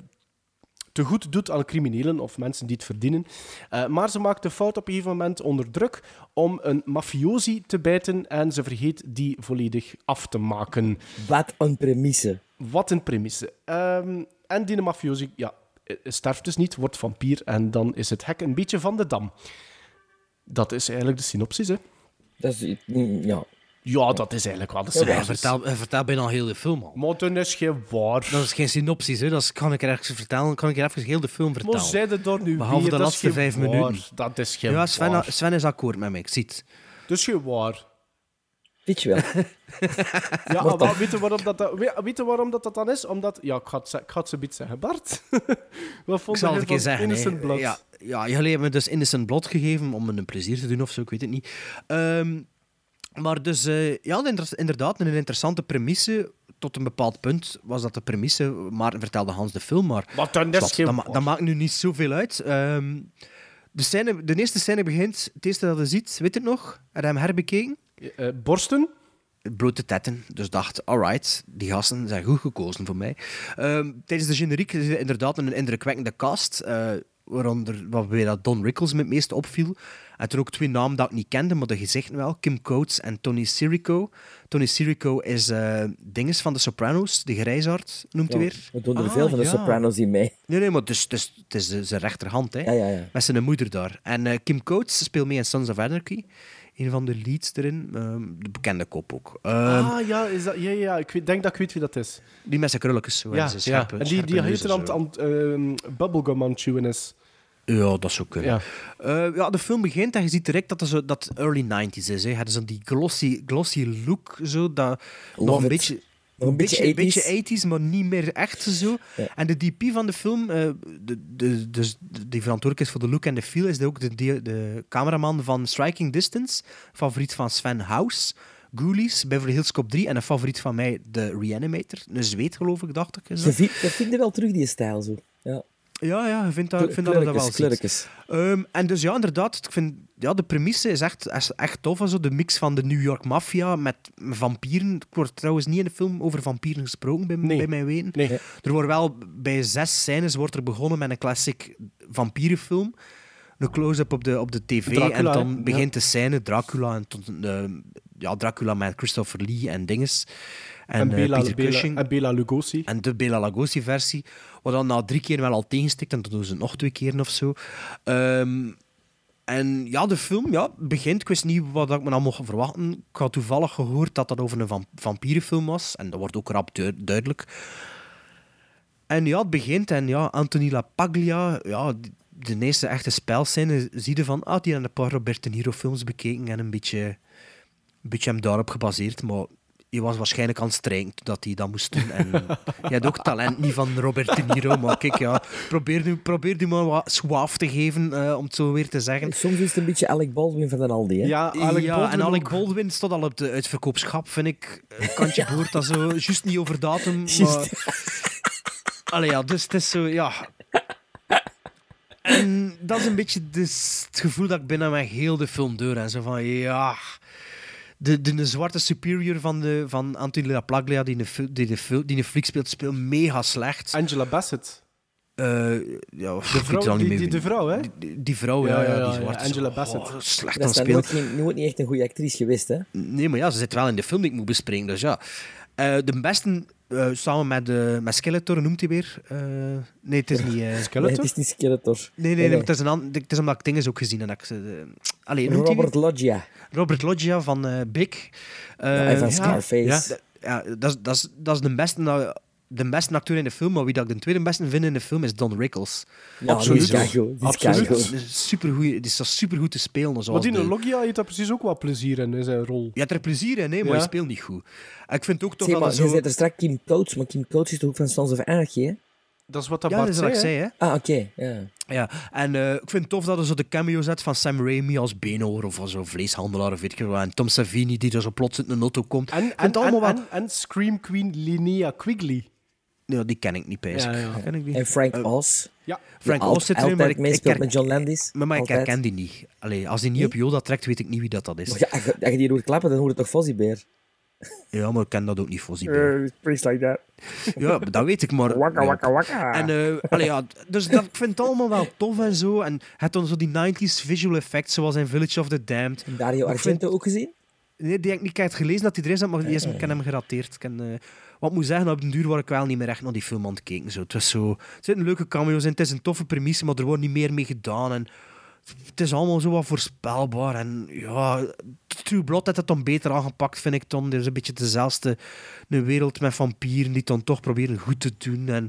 Speaker 3: te goed doet aan criminelen of mensen die het verdienen. Eh, maar ze maakt de fout op een gegeven moment onder druk om een mafiosi te bijten en ze vergeet die volledig af te maken.
Speaker 4: Wat een premisse.
Speaker 3: Wat een premisse. Ehm, en die mafiosi ja, eh, sterft dus niet, wordt vampier en dan is het hek een beetje van de dam. Dat is eigenlijk de synopsis, hè?
Speaker 4: Dat is... mm, Ja.
Speaker 3: Ja, dat is eigenlijk wel de
Speaker 2: Hij
Speaker 3: synopsis.
Speaker 2: vertelt, hij vertelt bijna heel de film al.
Speaker 3: Maar toen is geen
Speaker 2: Dat
Speaker 3: waar.
Speaker 2: is geen synopsis, hè. Dat is, kan ik er ergens vertellen. Kan ik er even heel de film vertellen.
Speaker 3: Maar zij er door nu
Speaker 2: Behalve de
Speaker 3: weer, dat
Speaker 2: laatste
Speaker 3: is geen
Speaker 2: vijf
Speaker 3: waar.
Speaker 2: minuten.
Speaker 3: Dat is geen
Speaker 2: Ja,
Speaker 3: waar.
Speaker 2: Sven, nou, Sven is akkoord met mij. Ik zie het.
Speaker 3: Dat is geen waar.
Speaker 4: Weet je wel.
Speaker 3: Ja, maar weet je waarom dat, dat, we- weet je waarom dat, dat dan is? Omdat... Ja, ik ga het, ze- ik ga het zo beetje zeggen. Bart, wat
Speaker 2: Ik
Speaker 3: vond
Speaker 2: zal het
Speaker 3: je
Speaker 2: een
Speaker 3: van
Speaker 2: keer zeggen. hè.
Speaker 3: Innocent Blood?
Speaker 2: Ja, ja, jullie hebben me dus Innocent Blood gegeven om me een plezier te doen of zo, ik weet het niet. Ehm, maar dus, eh, ja, inter- inderdaad, een interessante premisse. Tot een bepaald punt was dat de premisse, maar vertelde Hans de film maar.
Speaker 3: Maar toen is
Speaker 2: Zwat,
Speaker 3: geen
Speaker 2: dat, ma-
Speaker 3: waar.
Speaker 2: dat maakt nu niet zoveel uit. Ehm, de, scène, de eerste scène begint, het eerste dat hij ziet, weet het nog? Had hij hem herbekeken?
Speaker 3: Eh, borsten?
Speaker 2: blote tetten. Dus dacht, alright, die gasten zijn goed gekozen voor mij. Ehm, tijdens de generiek is er inderdaad een indrukwekkende cast. eh, waaronder waarbij dat Don Rickles me het meest opviel. En toen ook twee namen dat ik niet kende, maar de gezichten wel. Kim Coates en Tony Sirico. Tony Sirico is eh dinges van de Sopranos, de grijzaard noemt hij weer.
Speaker 4: We doen er
Speaker 2: Ah,
Speaker 4: veel van de
Speaker 2: ja.
Speaker 4: Sopranos in mee.
Speaker 2: Nee, nee, maar het is, het is, het is eh, zijn rechterhand, hè.
Speaker 4: Ja, ja, ja.
Speaker 2: Met zijn moeder daar. En eh, Kim Coates speelt mee in Sons of Anarchy. Een van de leads erin. Ehm, de bekende kop ook. Ehm,
Speaker 3: ah, ja, is dat, ja, ja, ja, ik weet, denk dat ik weet wie dat is.
Speaker 2: die met zijn krulletjes. Zo,
Speaker 3: Ja,
Speaker 2: en zijn scherpe,
Speaker 3: ja. En die,
Speaker 2: scherpe
Speaker 3: die
Speaker 2: neuzen
Speaker 3: heet aan
Speaker 2: zo.
Speaker 3: het ehm, bubblegum aan het chewen is.
Speaker 2: Ja, dat zou kunnen.
Speaker 3: Ja.
Speaker 2: Ja. ja, de film begint en je ziet direct dat er zo, dat early 90s is. Hè. Het is zo die glossy, glossy look. Zo, dat, nog een
Speaker 4: it.
Speaker 2: beetje...
Speaker 4: Nog een beetje 80s.
Speaker 2: beetje 80s, maar niet meer echt zo. En de DP van de film, eh, de, de, dus die verantwoordelijk is voor de look en de feel, is ook de, de, de cameraman van Striking Distance, favoriet van Sven House, Ghoulies, Beverly Hills Cop 3 en een favoriet van mij, de Reanimator. Een zweet, geloof ik, dacht ik. is dat.
Speaker 4: Ze vind- Dat vinden wel terug, die stijl zo. Ja.
Speaker 2: Ja, ja, ik vind dat, ik vind dat, je dat wel
Speaker 4: Klurkes,
Speaker 2: ziet.
Speaker 4: klurkes.
Speaker 2: Ehm, en dus ja, inderdaad, ik vind, ja, de premisse is echt, is echt tof. en Zo. De mix van de New York Mafia met vampieren. Er wordt trouwens niet in de film over vampieren gesproken, bij,
Speaker 3: Nee.
Speaker 2: bij mijn weten.
Speaker 3: Nee.
Speaker 2: Er wordt wel bij zes scènes wordt er begonnen met een classic vampierenfilm. Een close-up op de, op de tv
Speaker 3: Dracula,
Speaker 2: en dan
Speaker 3: hè?
Speaker 2: begint de scène Dracula. En tot, eh, ja, Dracula met Christopher Lee en dinges. En,
Speaker 3: En,
Speaker 2: eh,
Speaker 3: Bela,
Speaker 2: Peter
Speaker 3: Bela,
Speaker 2: Cushing.
Speaker 3: en Bela Lugosi.
Speaker 2: En de Bela Lugosi-versie, wat dan na drie keer wel al tegenstikt, en dat doen ze nog twee keer of zo. Ehm, en ja, de film ja, begint, ik wist niet wat ik me nou mocht verwachten. Ik had toevallig gehoord dat dat over een vam- vampierenfilm was, en dat wordt ook rap duid- duidelijk. En ja, het begint, en ja, Antonella Paglia, ja, die- de eerste echte spelscène, zie je van, ah, die hebben een paar Robert De Niro-films bekeken en een beetje een beetje hem daarop gebaseerd, maar je was waarschijnlijk aan het strijken toen dat hij dat moest doen. En je hebt ook talent niet van Robert De Niro, maar kijk, ja, probeer nu, probeer nu maar wat zwaaf te geven, eh, om het zo weer te zeggen.
Speaker 4: Soms is het een beetje Alec Baldwin van den Aldi. Hè?
Speaker 3: Ja, Alec
Speaker 2: ja,
Speaker 3: Baldwin
Speaker 2: en Alec
Speaker 3: ook.
Speaker 2: Baldwin stond al op de uitverkoopschap, vind ik. Eh, Kantje boord, dat zo, juist niet over datum. Maar... Allee, ja, dus het is zo, ja... En dat is een beetje dus het gevoel dat ik binnen mijn heel de film deur en zo van, ja... De, de, de zwarte superior van, de, van Antonella Paglia, die in de, fil- die de, fil- die in de fliek speelt, speelt mega slecht.
Speaker 3: Angela Bassett.
Speaker 2: Eh, ja, ik
Speaker 3: De
Speaker 2: weet het al
Speaker 3: vrouw,
Speaker 2: niet meer
Speaker 3: die, die,
Speaker 2: wie-
Speaker 3: de vrouw, hè?
Speaker 2: die, die vrouw, ja,
Speaker 3: Ja,
Speaker 2: ja,
Speaker 3: ja,
Speaker 2: die
Speaker 3: ja,
Speaker 2: zwarte.
Speaker 3: Angela
Speaker 2: zo,
Speaker 3: Bassett.
Speaker 2: oh, slecht
Speaker 4: dat
Speaker 2: aan
Speaker 4: is dan
Speaker 2: speelt.
Speaker 4: nooit, geen, nooit niet echt een goede actrice geweest. Hè?
Speaker 2: Nee, maar ja, ze zit wel in de film die ik moet bespreken, dus ja. Eh, de beste, eh, samen met, eh met Skeletor, noemt hij weer. Eh, nee, het is niet... eh,
Speaker 4: Nee,
Speaker 3: Skeletor? Oh,
Speaker 4: het is niet Skeletor.
Speaker 2: Nee, nee, nee, maar Het, is een, an- het is omdat ik dingen ook gezien en dat ik ze... de- Allee, noemt hij
Speaker 4: Robert
Speaker 2: weer?
Speaker 4: Loggia.
Speaker 2: Robert Loggia van eh Big. Eh,
Speaker 4: en van Scarface.
Speaker 2: Ja, d- ja, dat, is- dat, is- dat is de beste, nou, de beste acteur in de film, maar wie dat ik de tweede beste vind in de film is Don Rickles.
Speaker 4: Ja,
Speaker 2: absoluut.
Speaker 4: Die is keigoed, die is
Speaker 3: Absoluut.
Speaker 4: keigoed.
Speaker 2: Die is supergoeie- die is zo supergoed te spelen. Zoals
Speaker 3: Maar die
Speaker 2: de-
Speaker 3: Logia heeft daar precies ook wel plezier in, in zijn rol.
Speaker 2: Je hebt er plezier in, hè, maar
Speaker 3: Ja.
Speaker 2: je speelt niet goed. En ik vind het ook toch
Speaker 4: Zeg
Speaker 2: dat
Speaker 4: maar,
Speaker 2: er
Speaker 4: je
Speaker 2: zo...
Speaker 4: zei er straks Kim Coates, maar Kim Coates is toch ook van Sons of Anarchy, hè?
Speaker 3: Dat is wat dat
Speaker 2: Ja, dat
Speaker 3: Bart
Speaker 2: is wat ik
Speaker 3: zei, hè?
Speaker 2: zei, hè.
Speaker 4: Ah, oké. Ja.
Speaker 2: Ja, en eh, ik vind het tof dat er zo de cameo zet van Sam Raimi als Benoor of als zo'n vleeshandelaar of weet ik veel wat. En Tom Savini die er zo plots in een auto komt. Ik
Speaker 3: En,
Speaker 2: vind
Speaker 3: en,
Speaker 2: het allemaal
Speaker 3: en,
Speaker 2: wat...
Speaker 3: en, en Scream Queen Linnea Quigley.
Speaker 2: Ja, die ken ik niet, pijs ik.
Speaker 3: Ja, ja.
Speaker 2: Ken ik die?
Speaker 4: En Frank Oz.
Speaker 3: Ja.
Speaker 2: Eh, Frank
Speaker 4: die
Speaker 2: Oz zit erin,
Speaker 4: altijd
Speaker 2: maar ik, ik,
Speaker 4: meespeelt
Speaker 2: herk-
Speaker 4: met John Landis.
Speaker 2: maar, maar ik
Speaker 4: Altijd.
Speaker 2: herken die niet. Allee, als die niet op Yoda trekt, weet ik niet wie dat, dat is.
Speaker 4: Maar ja, als, je, als je die hoort klappen, dan hoort het toch Fozzie Bear?
Speaker 2: Ja, maar ik ken dat ook niet, Fozzie Bear.
Speaker 4: Uh, priest like that.
Speaker 2: Ja, dat weet ik, maar...
Speaker 4: Wakka,
Speaker 2: ja.
Speaker 4: wakka, wakka.
Speaker 2: En, eh, allee, ja, dus dat, ik vind het allemaal wel tof en zo. En het dan zo die 90s visual effects, zoals in Village of the Damned.
Speaker 4: Dario
Speaker 2: Ik vind-
Speaker 4: Argento ook gezien?
Speaker 2: Nee, die heb ik niet echt gelezen dat hij er is, maar die is, ik heb hem gerateerd. Ik heb, eh, wat ik moet zeggen, op den duur was ik wel niet meer echt naar die film aan het kijken. Zo. Het was zo, er zitten leuke cameo's in, het is een toffe premisse, maar er wordt niet meer mee gedaan. En het is allemaal zo wat voorspelbaar. En ja, True Blood had het dan beter aangepakt, vind ik dan. Er is een beetje dezelfde een wereld met vampieren die het dan toch proberen goed te doen. En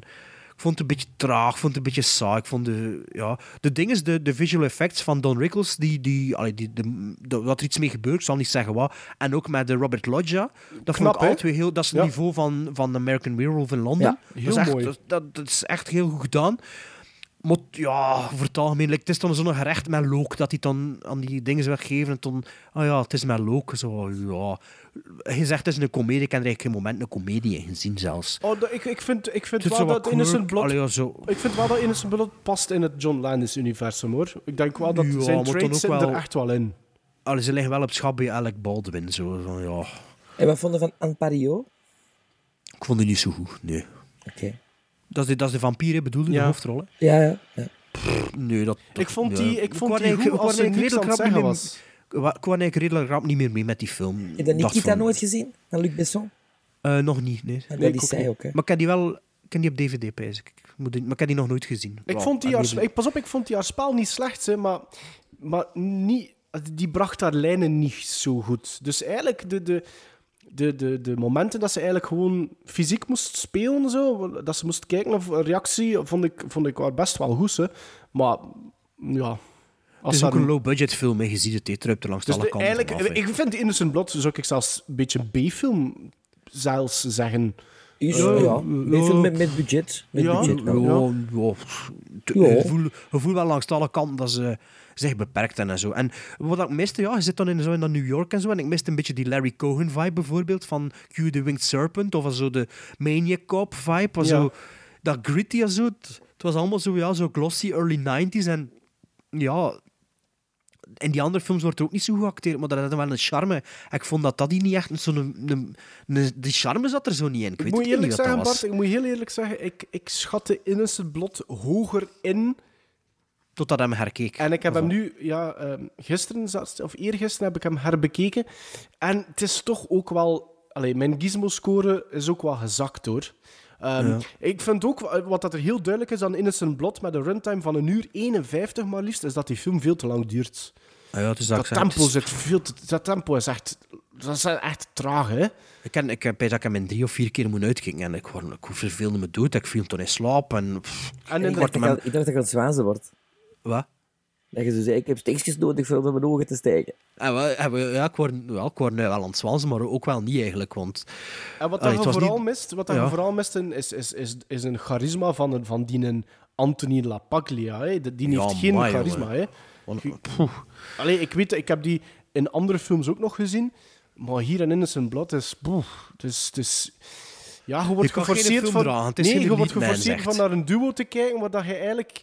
Speaker 2: ik vond het een beetje traag, ik vond het een beetje saai. Ik vond de, ja, de ding is, de, de visual effects van Don Rickles, die, die, allee, die, de, de- dat er iets mee gebeurt, ik zal niet zeggen wat. En ook met de Robert Loggia. Dat
Speaker 3: Knap,
Speaker 2: vond ik
Speaker 3: hè?
Speaker 2: alle twee heel... Dat is het
Speaker 3: Ja.
Speaker 2: niveau van, van de American Werewolf in Londen.
Speaker 4: Ja,
Speaker 2: Dat is
Speaker 3: heel
Speaker 2: echt-
Speaker 3: mooi.
Speaker 2: Dat, dat, dat is echt heel goed gedaan. Maar t- ja, voor het algemeen, like, het is dan zo'n gerecht met look dat hij dan aan die dingen zou geven. En dan, ah ja, het is met look. Zo, ja. Je zegt het is een komedie, ik heb er eigenlijk geen moment een komedie in gezien zelfs.
Speaker 3: Oh, dat- ik, ik vind, ik vind
Speaker 2: Het is
Speaker 3: wel
Speaker 2: zo wat
Speaker 3: dat Innocent
Speaker 2: quirk,
Speaker 3: Blood...
Speaker 2: allee, ja, zo.
Speaker 3: Ik vind wel dat Innocent Blood past in het John Landis-universum, hoor. Ik denk wel dat
Speaker 2: Ja,
Speaker 3: zijn
Speaker 2: maar dan ook
Speaker 3: traits zitten
Speaker 2: wel-
Speaker 3: er echt wel in.
Speaker 2: Allee, ze liggen wel op schap bij Alec Baldwin. Zo, van, ja.
Speaker 4: En wat vonden van Anne Pario? Oké.
Speaker 2: Ik vond die niet zo goed, nee. Dat is de, dat is de vampier, hè, bedoelde,
Speaker 3: Ja.
Speaker 2: de hoofdrol. hè?
Speaker 4: Ja, ja. ja.
Speaker 2: Nee, dat... dat-
Speaker 3: Ik vond
Speaker 2: nee.
Speaker 3: die, ik
Speaker 2: wou
Speaker 3: vond die
Speaker 2: eigenlijk-
Speaker 3: goed
Speaker 2: ik
Speaker 3: als
Speaker 2: wou
Speaker 3: er niks
Speaker 2: eigenlijk
Speaker 3: aan
Speaker 2: redelijk
Speaker 3: het
Speaker 2: rap
Speaker 3: zeggen
Speaker 2: niet meer-
Speaker 3: was.
Speaker 2: Ik wou ik wou eigenlijk redelijk rap niet meer mee met die film.
Speaker 4: Heb je
Speaker 2: Dacht
Speaker 4: Nikita
Speaker 2: van,
Speaker 4: nooit gezien? Van Luc Besson?
Speaker 2: eh, nog niet, nee.
Speaker 4: Maar
Speaker 3: Nee, ik
Speaker 4: dat
Speaker 3: ook
Speaker 4: is zij
Speaker 3: niet.
Speaker 4: ook, hè?
Speaker 2: Maar ik heb die wel... Ik heb die op DVD, pijs ik. Ik moet die- Maar ik heb die nog nooit gezien.
Speaker 3: Ik
Speaker 2: Wel,
Speaker 3: vond die haar,
Speaker 2: allee,
Speaker 3: ik, pas op, ik vond die haar spel niet slecht, hè, maar, maar niet, die bracht haar lijnen niet zo goed. Dus eigenlijk de, de, de, de, de momenten dat ze eigenlijk gewoon fysiek moest spelen, en zo, dat ze moest kijken naar een reactie, vond ik, vond ik haar best wel goed. Hè. Maar ja...
Speaker 2: Het
Speaker 3: Als
Speaker 2: is ook
Speaker 3: haar-
Speaker 2: een low-budget film, hè. je ziet het, hè. het ruipt er langs
Speaker 3: dus
Speaker 2: alle
Speaker 3: de-
Speaker 2: kanten
Speaker 3: eigenlijk,
Speaker 2: vanaf, hè.
Speaker 3: ik vind Innocent Blood, zou ik zelfs een beetje B-film zelfs zeggen.
Speaker 4: Is,
Speaker 2: Ja,
Speaker 4: ja.
Speaker 2: ja.
Speaker 4: Een film met, met budget. Met
Speaker 3: Ja.
Speaker 4: budget wel.
Speaker 2: Eh, Ja, Oh, ja, pff, t-
Speaker 4: Ja.
Speaker 2: Je, voelt, je voelt wel langs alle kanten dat ze zich beperkt hebben en zo. En wat ik miste, ja, je zit dan in, zo in dat New York en zo, en ik miste een beetje die Larry Cohen-vibe bijvoorbeeld, van Q the Winged Serpent, of zo de Maniac Cop-vibe, of
Speaker 3: Ja.
Speaker 2: zo dat gritty en zo. Het- Het was allemaal zo, ja, zo glossy early 90s. En ja, in die andere films wordt er ook niet zo goed geacteerd, maar dat had wel een charme. En ik vond dat dat hier niet echt zo'n... Een, een, die charme zat er zo niet in. Ik weet
Speaker 3: Ik moet
Speaker 2: ook
Speaker 3: eerlijk
Speaker 2: niet wat
Speaker 3: zeggen,
Speaker 2: dat was.
Speaker 3: Bart, ik moet heel eerlijk zeggen, ik, ik schat de Innocent Blot hoger in.
Speaker 2: Totdat hij me herkeek.
Speaker 3: En ik heb
Speaker 2: Dat
Speaker 3: hem
Speaker 2: was
Speaker 3: nu, ja, ehm, gisteren, zat- of eergisteren heb ik hem herbekeken. En het is toch ook wel... Allee, mijn gizmo-score is ook wel gezakt, hoor. Ehm, Ik vind ook, wa- wat dat er heel duidelijk is aan Innocent Blot, met een runtime van een uur 51 maar liefst, is dat die film veel te lang duurt.
Speaker 2: al. Ah ja, het is dat
Speaker 3: Dat
Speaker 2: ik zei, het
Speaker 3: tempo,
Speaker 2: is-
Speaker 3: zit veel te, dat tempo is echt... Dat is echt traag, hè?
Speaker 2: Ik, ken, ik heb bij dat ik hem in drie of vier keer moet uitkijken. En ik, word, ik verveelde me dood. Ik viel toen in slaap. En, pff,
Speaker 3: En
Speaker 2: ik
Speaker 3: inderdaad-
Speaker 2: word
Speaker 4: Ik dacht
Speaker 2: hem...
Speaker 4: dat ik aan het zwaanzen wordt.
Speaker 2: Wat?
Speaker 4: Dat je zo zei, ik heb steekjes nodig voor onder mijn ogen te stijgen.
Speaker 2: En we, en we- ja, ik word, wel, ik word nu wel aan het zwansen, maar ook wel niet eigenlijk. Want
Speaker 3: En
Speaker 2: Allee,
Speaker 3: wat dat
Speaker 2: Ah, het
Speaker 3: je
Speaker 2: was
Speaker 3: vooral
Speaker 2: niet-
Speaker 3: mist, wat dat je
Speaker 2: Ja.
Speaker 3: vooral mist in- is, is, is, is een charisma van, een- van die een Anthony LaPaglia. Hè? De- Die
Speaker 2: Ja,
Speaker 3: heeft geen
Speaker 2: amai,
Speaker 3: charisma.
Speaker 2: jongen.
Speaker 3: Hè?
Speaker 2: want- poeh.
Speaker 3: Allee, ik weet, ik heb die in andere films ook nog gezien, maar hier in Innocent Blood is... Boeh, het is, het is ja, je wordt
Speaker 2: kan geen
Speaker 3: geforceerd
Speaker 2: film
Speaker 3: van...
Speaker 2: dragen, het is
Speaker 3: nee,
Speaker 2: geen
Speaker 3: je wordt
Speaker 2: lead man,
Speaker 3: geforceerd van
Speaker 2: zegt.
Speaker 3: naar een duo te kijken waar dat je eigenlijk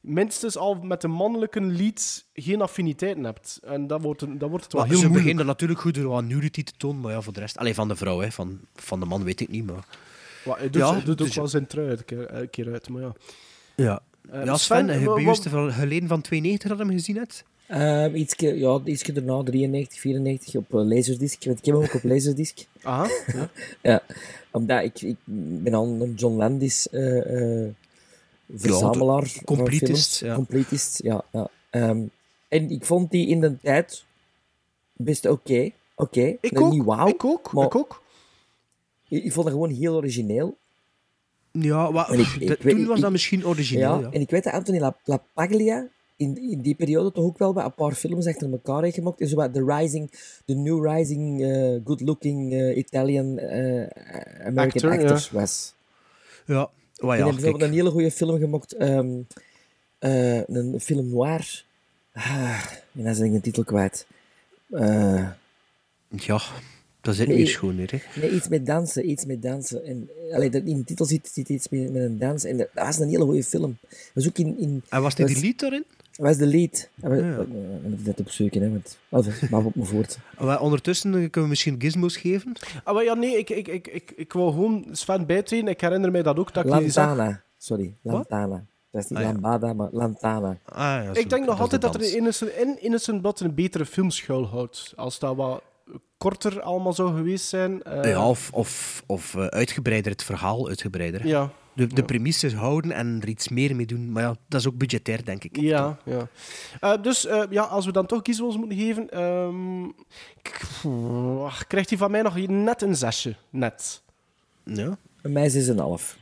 Speaker 3: minstens al met een mannelijke lead geen affiniteiten hebt. En dat wordt, een- dat wordt het wel
Speaker 2: Maar
Speaker 3: heel
Speaker 2: ze
Speaker 3: moeilijk.
Speaker 2: beginnen natuurlijk goed door wat nudity te tonen, maar ja, voor de rest... Alleen van de vrouw, hè. Van, van de man weet ik niet, maar...
Speaker 3: Maar hij doet,
Speaker 2: Ja,
Speaker 3: hij doet ook
Speaker 2: dus-
Speaker 3: wel zijn trui elke keer, elke keer uit, maar ja.
Speaker 2: Ja. ja, Sven,
Speaker 3: Sven,
Speaker 2: heb
Speaker 3: wa-
Speaker 2: je
Speaker 3: wa-
Speaker 2: juist van- geleden van 92 dat hem gezien hebt?
Speaker 4: Ehm ietsje, ja, ietsje daarna, 93, 94, op eh, laserdisc. Want ik heb hem ook op laserdisc.
Speaker 3: Aha.
Speaker 4: Ja, omdat ik, ik ben al een John Landis eh, eh, verzamelaar. van
Speaker 2: completist,
Speaker 4: films.
Speaker 2: ja.
Speaker 4: Completist, ja. ja. Ehm, en ik vond die in de tijd best oké. oké.
Speaker 3: Ik
Speaker 4: Nou,
Speaker 3: ook,
Speaker 4: Niet wauw.
Speaker 3: ik ook,
Speaker 4: maar
Speaker 3: ik ook.
Speaker 4: Ik, ik vond het gewoon heel origineel.
Speaker 2: Ja, wat,
Speaker 4: En ik- ik
Speaker 2: dat-
Speaker 4: weet-
Speaker 2: toen was
Speaker 4: ik-
Speaker 2: dat misschien origineel,
Speaker 4: Ja,
Speaker 2: ja.
Speaker 4: En ik weet dat Anthony La, La Paglia in, in die periode toch ook wel wat een paar films achter elkaar heeft gemaakt. Dus wat The Rising, The New Rising, eh, Good Looking eh, Italian eh, American
Speaker 3: Actor, ja.
Speaker 4: Actors was.
Speaker 2: Ja, Wat
Speaker 4: ik
Speaker 2: Ah ja,
Speaker 4: heb bijvoorbeeld
Speaker 2: kijk.
Speaker 4: een hele goede film gemaakt. ehm, eh, een film noir. Ah, en dan zijn ik de titel kwijt. Eh,
Speaker 2: Ja, dat zit
Speaker 4: Nee.
Speaker 2: weer schoon hier, hè.
Speaker 4: nee, iets met dansen, iets met dansen. En, allee, dat in de titel zit, zit iets met, met een dans. En dat, dat was een hele goede film. Dat was ook in... in
Speaker 2: En was dit
Speaker 4: dat
Speaker 2: die lied daarin?
Speaker 4: Dat was de lead. En we-
Speaker 2: Ja.
Speaker 4: we- we moeten dat opzoeken, hè. Want, oh, enfin, maar op me voort.
Speaker 2: Wel, ondertussen eh, kunnen we misschien gizmos geven.
Speaker 3: Ah, maar ja, nee, ik, ik, ik, ik, ik wou gewoon Sven bijtreden. Ik herinner mij dat ook. Dat ik, die zag.
Speaker 4: Lantana. Sorry, Lantana. Dat is niet
Speaker 2: Ah, ja.
Speaker 4: Lambada, maar Lantana.
Speaker 2: Ah, ja, zo,
Speaker 3: ik denk nog
Speaker 2: is
Speaker 3: altijd
Speaker 2: de
Speaker 3: dat er in
Speaker 2: dans.
Speaker 3: Innocent, in Innocent Blood een betere film schuilhoudt. Als dat wat korter allemaal zou geweest zijn. eh,
Speaker 2: Ja, of, of, of eh, uitgebreider, het verhaal uitgebreider.
Speaker 3: ja.
Speaker 2: De, de premisse houden en er iets meer mee doen. Maar ja, dat is ook budgetair, denk ik.
Speaker 3: Ja, ja. Eh, dus eh, ja, als we dan toch kieswils moeten geven, ehm, k- pff, krijgt hij van mij nog net een zesje. Net.
Speaker 2: Ja.
Speaker 4: Bij mij is het een half.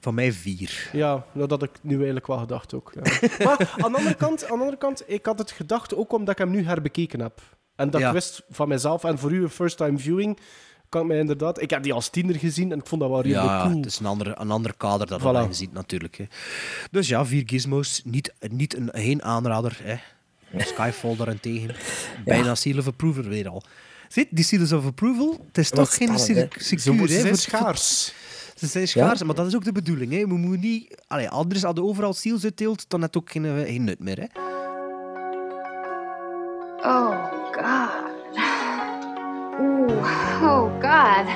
Speaker 2: Van mij vier.
Speaker 3: Ja, nou, dat had ik nu eigenlijk wel gedacht ook. ja. maar aan de, andere kant, aan de andere kant, ik had het gedacht ook omdat ik hem nu herbekeken heb. En dat
Speaker 2: Ja.
Speaker 3: ik wist van mezelf en voor u een first-time viewing, kan ik mij inderdaad... Ik heb die als tiener gezien en ik vond dat wel redelijk
Speaker 2: Ja,
Speaker 3: cool.
Speaker 2: het is een ander, een ander kader dat
Speaker 3: Voilà.
Speaker 2: voilà. je ziet natuurlijk. Hè. Dus ja, vier gizmos. Niet, niet een, geen aanrader. Hè. Skyfall daarentegen. Bijna Seal of Approval weer al. Ziet, die Seals of Approval, het is toch geen
Speaker 4: spannend,
Speaker 2: secu-
Speaker 4: hè.
Speaker 2: secuur.
Speaker 3: Ze moeten-
Speaker 2: hè,
Speaker 3: ze zijn
Speaker 2: voor-
Speaker 3: schaars.
Speaker 2: Ze zijn schaars, maar dat is ook de bedoeling. Hè. We moeten niet... Allee, anders hadden overal seals uitdeeld, dan had het ook geen, eh, geen nut meer. Hè.
Speaker 10: Oh, God. Ooh, oh, God.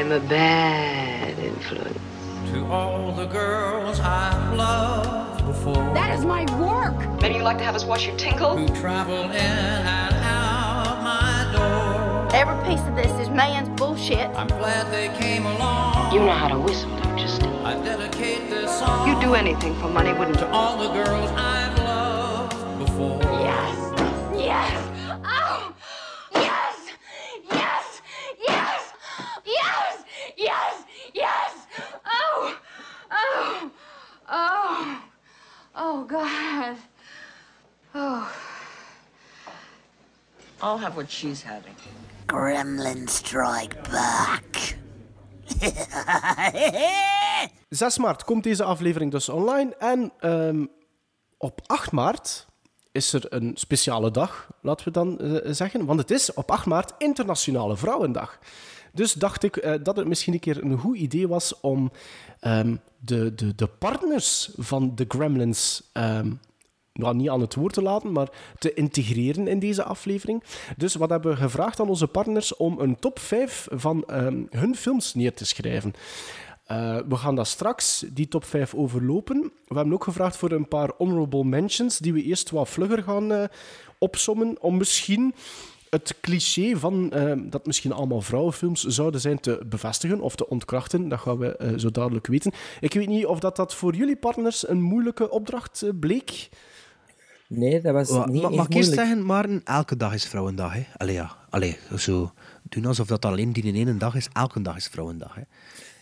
Speaker 10: I'm a bad influence. To all the girls I've loved before. That is my work. Maybe you'd like to have us wash your tingle? Who travel in and out my door. Every piece of this is man's bullshit. I'm glad they came along. You know how to whistle, don't you, Steve? I dedicate this song. You'd do anything for money, wouldn't you? Yes! Yes! Oh! Yes! Yes! Yes! Yes! Yes! Yes! Oh! Oh! Oh! Oh, God. Oh. I'll have what she's having. Gremlin strike back.
Speaker 3: 6 maart komt deze aflevering dus online. En ehm, op 8 maart is er een speciale dag, laten we dan eh, zeggen. Want het is op 8 maart Internationale Vrouwendag. Dus dacht ik eh, dat het misschien een keer een goed idee was om ehm, de, de, de partners van de Gremlins ehm, nou, niet aan het woord te laten, maar te integreren in deze aflevering. Dus wat hebben we gevraagd aan onze partners om een top 5 van ehm, hun films neer te schrijven. Eh, we gaan dat straks, die top 5, overlopen. We hebben ook gevraagd voor een paar honorable mentions, die we eerst wat vlugger gaan eh opsommen, om misschien het cliché van eh, dat misschien allemaal vrouwenfilms zouden zijn te bevestigen of te ontkrachten. Dat gaan we eh, zo dadelijk weten. Ik weet niet of dat, dat voor jullie partners een moeilijke opdracht eh, bleek.
Speaker 4: Nee, dat was
Speaker 2: Wa- ma- mag ik eerst zeggen, Maarten, elke dag is Vrouwendag. Hè? Allee, ja. Allee, zo doen alsof dat alleen die in één dag is. Elke dag is Vrouwendag. Hè?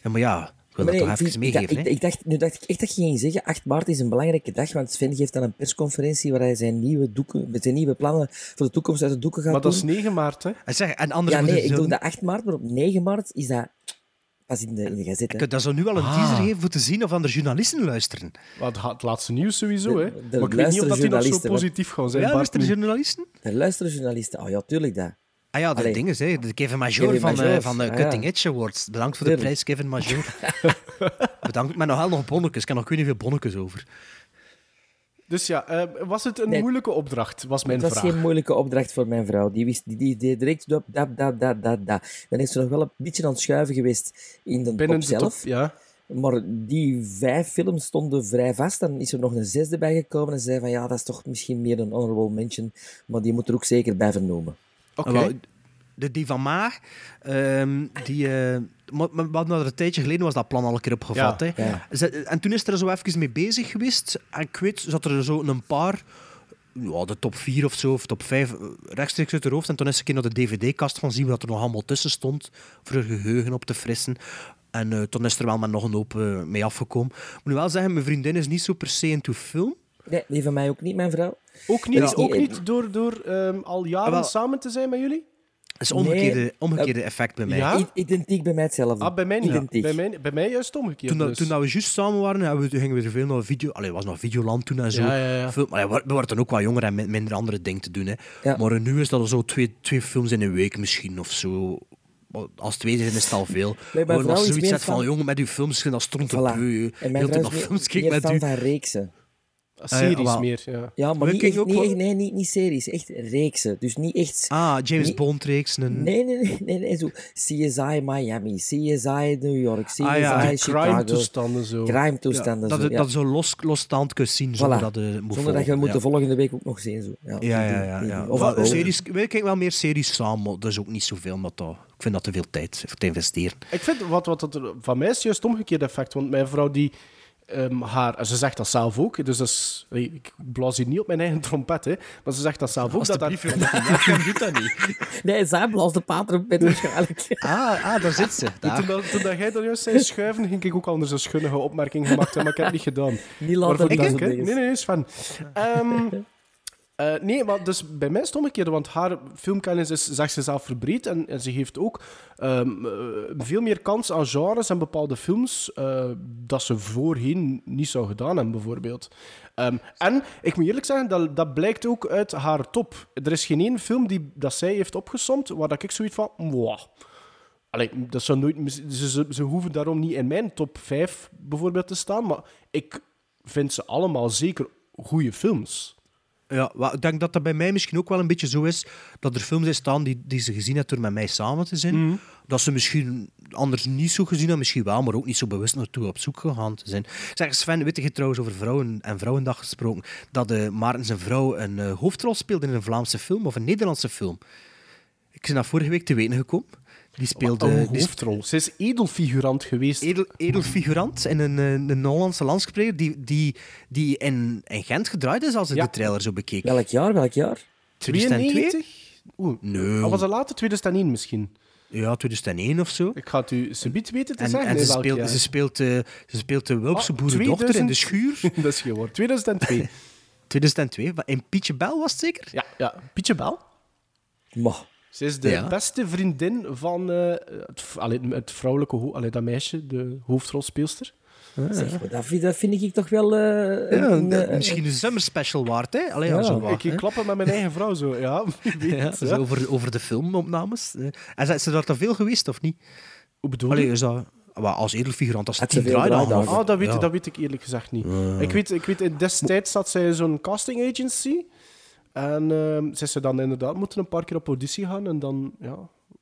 Speaker 2: Ja, maar ja, ik wil
Speaker 4: Maar
Speaker 2: dat
Speaker 4: nee,
Speaker 2: toch
Speaker 4: ik-
Speaker 2: even
Speaker 4: ik,
Speaker 2: meegeven.
Speaker 4: ik,
Speaker 2: hè?
Speaker 4: ik dacht, nu dacht ik echt dat je ging zeggen, 8 maart is een belangrijke dag, want Sven geeft dan een persconferentie waar hij zijn nieuwe, doeken, met zijn nieuwe plannen voor de toekomst uit de doeken gaat
Speaker 3: Maar dat is
Speaker 4: doen.
Speaker 3: 9 maart, hè?
Speaker 2: En zeg, en anders
Speaker 4: ja,
Speaker 2: moeten
Speaker 4: nee,
Speaker 2: ze
Speaker 4: ik doe
Speaker 2: zo-
Speaker 4: dat 8 maart, maar op 9 maart is dat pas in de, in de gazette. hè.
Speaker 2: Ik- Dat zou nu al een
Speaker 4: Ah.
Speaker 2: teaser geven voor te zien of andere journalisten luisteren.
Speaker 3: Wat het laatste nieuws sowieso, hè?
Speaker 4: De- de
Speaker 3: maar ik weet niet of dat die nog zo
Speaker 4: luisterjournalisten, hè.
Speaker 3: positief gaan zijn.
Speaker 2: Ja,
Speaker 3: Bart,
Speaker 2: luisteren
Speaker 3: nu.
Speaker 2: journalisten?
Speaker 4: Er luisteren journalisten. Oh ja, tuurlijk dat.
Speaker 2: Ah ja, de
Speaker 4: Allee.
Speaker 2: dingen, hè. De Kevin Major
Speaker 4: Kevin
Speaker 2: van, eh,
Speaker 4: Major,
Speaker 2: van de
Speaker 4: ah ja.
Speaker 2: Cutting Edge Awards. Bedankt voor de
Speaker 4: Tuurlijk.
Speaker 2: prijs, Kevin Major. Bedankt, maar nogal nog bonnetjes. Ik heb nog ik weet niet veel bonnetjes over.
Speaker 3: Dus ja, eh, was het een
Speaker 4: Nee.
Speaker 3: moeilijke opdracht, was mijn
Speaker 4: Het was
Speaker 3: vraag.
Speaker 4: geen moeilijke opdracht voor mijn vrouw. Die wist die, die, deed direct dat, dat, dat, dat, dat, dat. Dan is ze nog wel een beetje aan het schuiven geweest in de
Speaker 3: Binnen
Speaker 4: top
Speaker 3: de top-
Speaker 4: zelf.
Speaker 3: ja.
Speaker 4: Maar die vijf films stonden vrij vast. Dan is er nog een zesde bijgekomen en zei van ja, dat is toch misschien meer een honorable mention, maar die moet er ook zeker bij vernomen.
Speaker 3: Oké.
Speaker 2: En wel, De, die van Maar, ehm, die... eh, maar- maar we hadden er een tijdje geleden was dat plan al een keer opgevat.
Speaker 3: Ja,
Speaker 2: hè.
Speaker 4: ja.
Speaker 2: Ze- en toen is er zo even mee bezig geweest. En ik weet, zat er zo een paar... Ja, de top 4 of zo, of top 5, rechtstreeks uit haar hoofd. En toen is ze een keer naar de dvd-kast gaan zien wat er nog allemaal tussen stond, voor haar geheugen op te frissen. En eh, toen is er wel met nog een hoop eh, mee afgekomen. Ik moet wel zeggen, mijn vriendin is niet zo per se into film.
Speaker 4: Nee, die van mij ook niet, mijn vrouw.
Speaker 3: Ook niet,
Speaker 4: Dat is niet-
Speaker 3: ook niet door, door ehm, al jaren
Speaker 2: Ah, wel.
Speaker 3: samen te zijn met jullie?
Speaker 2: Dat is
Speaker 4: Nee.
Speaker 2: omgekeerde, omgekeerde effect bij mij.
Speaker 3: Eh, Ja?
Speaker 4: I- identiek bij mij hetzelfde.
Speaker 3: Ah, bij mij niet.
Speaker 4: Identiek.
Speaker 3: Bij, mij, bij mij juist omgekeerd.
Speaker 2: Toen, dat-
Speaker 3: dus.
Speaker 2: toen dat we juist samen waren, hebben we, gingen we er veel naar video... Allee, was nog Videoland toen en zo.
Speaker 3: Ja, ja, ja.
Speaker 2: Veel- maar ja, we, we waren dan ook wat jonger en min- minder andere dingen te doen. Hè.
Speaker 4: Ja.
Speaker 2: Maar eh, nu is dat al zo twee, twee films in een week misschien of zo. Maar Als twee zijn is het al veel.
Speaker 4: mijn
Speaker 2: Maar
Speaker 4: vrouw
Speaker 2: als
Speaker 4: is
Speaker 2: je zoiets
Speaker 4: meer
Speaker 2: zegt van,
Speaker 4: van-
Speaker 2: jongen, met uw films, dat stront op
Speaker 4: Voilà.
Speaker 2: u.
Speaker 4: En
Speaker 2: Heel
Speaker 4: mijn
Speaker 2: de
Speaker 4: vrouw
Speaker 2: dag
Speaker 4: is
Speaker 2: films
Speaker 4: meer,
Speaker 2: kijk
Speaker 4: meer
Speaker 2: met
Speaker 4: fan
Speaker 2: u.
Speaker 4: van reeksen.
Speaker 3: Series
Speaker 2: Ah, wel.
Speaker 3: meer, ja.
Speaker 4: Ja,
Speaker 2: We
Speaker 4: maar niet
Speaker 2: kijken
Speaker 4: echt,
Speaker 2: ook
Speaker 4: niet,
Speaker 2: wel-
Speaker 4: echt, nee, niet, niet series, echt reeksen. Dus niet echt...
Speaker 2: Ah, James
Speaker 4: niet-
Speaker 2: Bond-reeks. Een...
Speaker 4: Nee, nee, nee, nee, nee, zo CSI Miami, CSI New York, CSI
Speaker 2: Ah, ja.
Speaker 3: Die
Speaker 4: Chicago.
Speaker 3: crime-toestanden zo.
Speaker 4: Crime
Speaker 2: Ja,
Speaker 4: toestanden.
Speaker 2: dat,
Speaker 4: zo,
Speaker 2: je-
Speaker 4: ja.
Speaker 2: dat je zo los, losstaand kunt zien zonder
Speaker 4: Voilà.
Speaker 2: dat je moet
Speaker 4: Zonder dat je
Speaker 2: volgen,
Speaker 4: moet
Speaker 2: ja.
Speaker 4: de volgende week ook nog zien. Zo. Ja,
Speaker 2: Ja,
Speaker 4: die-
Speaker 2: ja,
Speaker 4: die-
Speaker 2: ja.
Speaker 4: die-
Speaker 2: ja.
Speaker 4: of-
Speaker 2: Wel,
Speaker 4: of-
Speaker 2: series, we kijken wel meer series samen, maar dat is ook niet zoveel. Maar dat, ik vind dat te veel tijd voor te investeren.
Speaker 3: Ik vind wat, wat dat er, van mij is juist het omgekeerde effect. Want mijn vrouw, die ehm, haar, en ze zegt dat zelf ook. Dus dat is, ik blaas hier niet op mijn eigen trompet, hè, maar ze zegt dat zelf ook. Dat dat,
Speaker 2: doet dat niet.
Speaker 4: Nee, zij blaast de pater op bed waarschijnlijk.
Speaker 2: Ah, ah, daar zit ze. Daar.
Speaker 3: toen, dat, toen dat jij daar juist zei schuiven, ging ik ook anders een schunnige opmerking gemaakt hebben, maar ik heb het niet gedaan. Maar
Speaker 4: Niet laten
Speaker 3: voor
Speaker 4: ik dat
Speaker 3: dank,
Speaker 4: soort
Speaker 3: hè? Nee,
Speaker 4: dingen.
Speaker 3: nee, nee, Sven. Ehm, eh, nee, maar dus bij mij is het omgekeerde, want haar filmkennis is, zegt ze zelf, verbreed. En, en ze heeft ook ehm, eh, veel meer kans aan genres en bepaalde films eh, dat ze voorheen niet zou gedaan hebben, bijvoorbeeld. Ehm, en ik moet eerlijk zeggen, dat, dat blijkt ook uit haar top. Er is geen één film die dat zij heeft opgesomd waar dat ik zoiets van... Mwah. Allee, dat zou nooit, mis- ze, ze, ze hoeven daarom niet in mijn top 5 bijvoorbeeld te staan, maar ik vind ze allemaal zeker goede films.
Speaker 2: Ja, wel, ik denk dat dat bij mij misschien ook wel een beetje zo is dat er films in staan die, die ze gezien heeft door met mij samen te zijn. Dat ze misschien anders niet zo gezien hebben, misschien wel, maar ook niet zo bewust naartoe op zoek gegaan te zijn. Zeg Sven, weet je trouwens over vrouwen en Vrouwendag gesproken, dat eh Maarten zijn vrouw een eh, hoofdrol speelde in een Vlaamse film of een Nederlandse film? Ik ben dat vorige week te weten gekomen. Die speelde...
Speaker 3: Een
Speaker 2: die sp-
Speaker 3: hoofdrol. Ze is edelfigurant geweest.
Speaker 2: edel, edel figurant in een, eh, een Hollandse landspreker die, die, die in, in Gent gedraaid is, als ik
Speaker 3: Ja.
Speaker 2: de trailer zo bekeek.
Speaker 4: Welk jaar, welk jaar?
Speaker 3: 92? Oeh.
Speaker 2: Nee.
Speaker 3: Of Ah, was dat later? 2001 misschien.
Speaker 2: Ja, 2001 of zo.
Speaker 3: Ik ga het u subiet weten te
Speaker 2: En,
Speaker 3: zeggen.
Speaker 2: en
Speaker 3: in
Speaker 2: ze,
Speaker 3: welk
Speaker 2: speelt,
Speaker 3: jaar.
Speaker 2: ze, speelt, eh, ze speelt de Welpse
Speaker 3: Ah,
Speaker 2: boerendochter in de
Speaker 3: 2000.
Speaker 2: schuur.
Speaker 3: dat is geen woord. 2002.
Speaker 2: 2002, maar in Pietje Bel was het zeker?
Speaker 3: ja, ja. Pietje Bel.
Speaker 2: Ah.
Speaker 4: Maar,
Speaker 3: Ze is de
Speaker 2: Ja.
Speaker 3: beste vriendin van eh, het, v- allee, het vrouwelijke... ho- Allee, dat meisje, de hoofdrolspeelster.
Speaker 4: Zeg, maar dat, vind, dat vind ik toch wel... eh,
Speaker 2: Ja,
Speaker 4: een-
Speaker 2: de-
Speaker 4: een-
Speaker 2: misschien een zomerspecial waard, hè? Allee, ja,
Speaker 4: Ja.
Speaker 2: zo wat,
Speaker 3: Ik
Speaker 2: hè.
Speaker 3: ging klappen met mijn eigen vrouw zo. Ja, wie weet,
Speaker 2: Ja,
Speaker 3: ja.
Speaker 2: zo over, over de filmopnames. Eh, En zijn ze daar dan veel geweest, of niet?
Speaker 3: Hoe bedoel je?
Speaker 2: Allee, is dat... Wel, Als edelfigurant, als
Speaker 4: Had ze
Speaker 2: tien
Speaker 4: veel
Speaker 2: draaidagen.
Speaker 4: draaidagen?
Speaker 2: of-
Speaker 3: Ah, dat weet,
Speaker 2: ja. Ah.
Speaker 3: dat weet ik eerlijk gezegd niet. Ik weet, ik weet in destijds zat zij in zo'n casting agency. En ehm ze ze dan inderdaad moeten een paar keer op auditie gaan. En dan ja,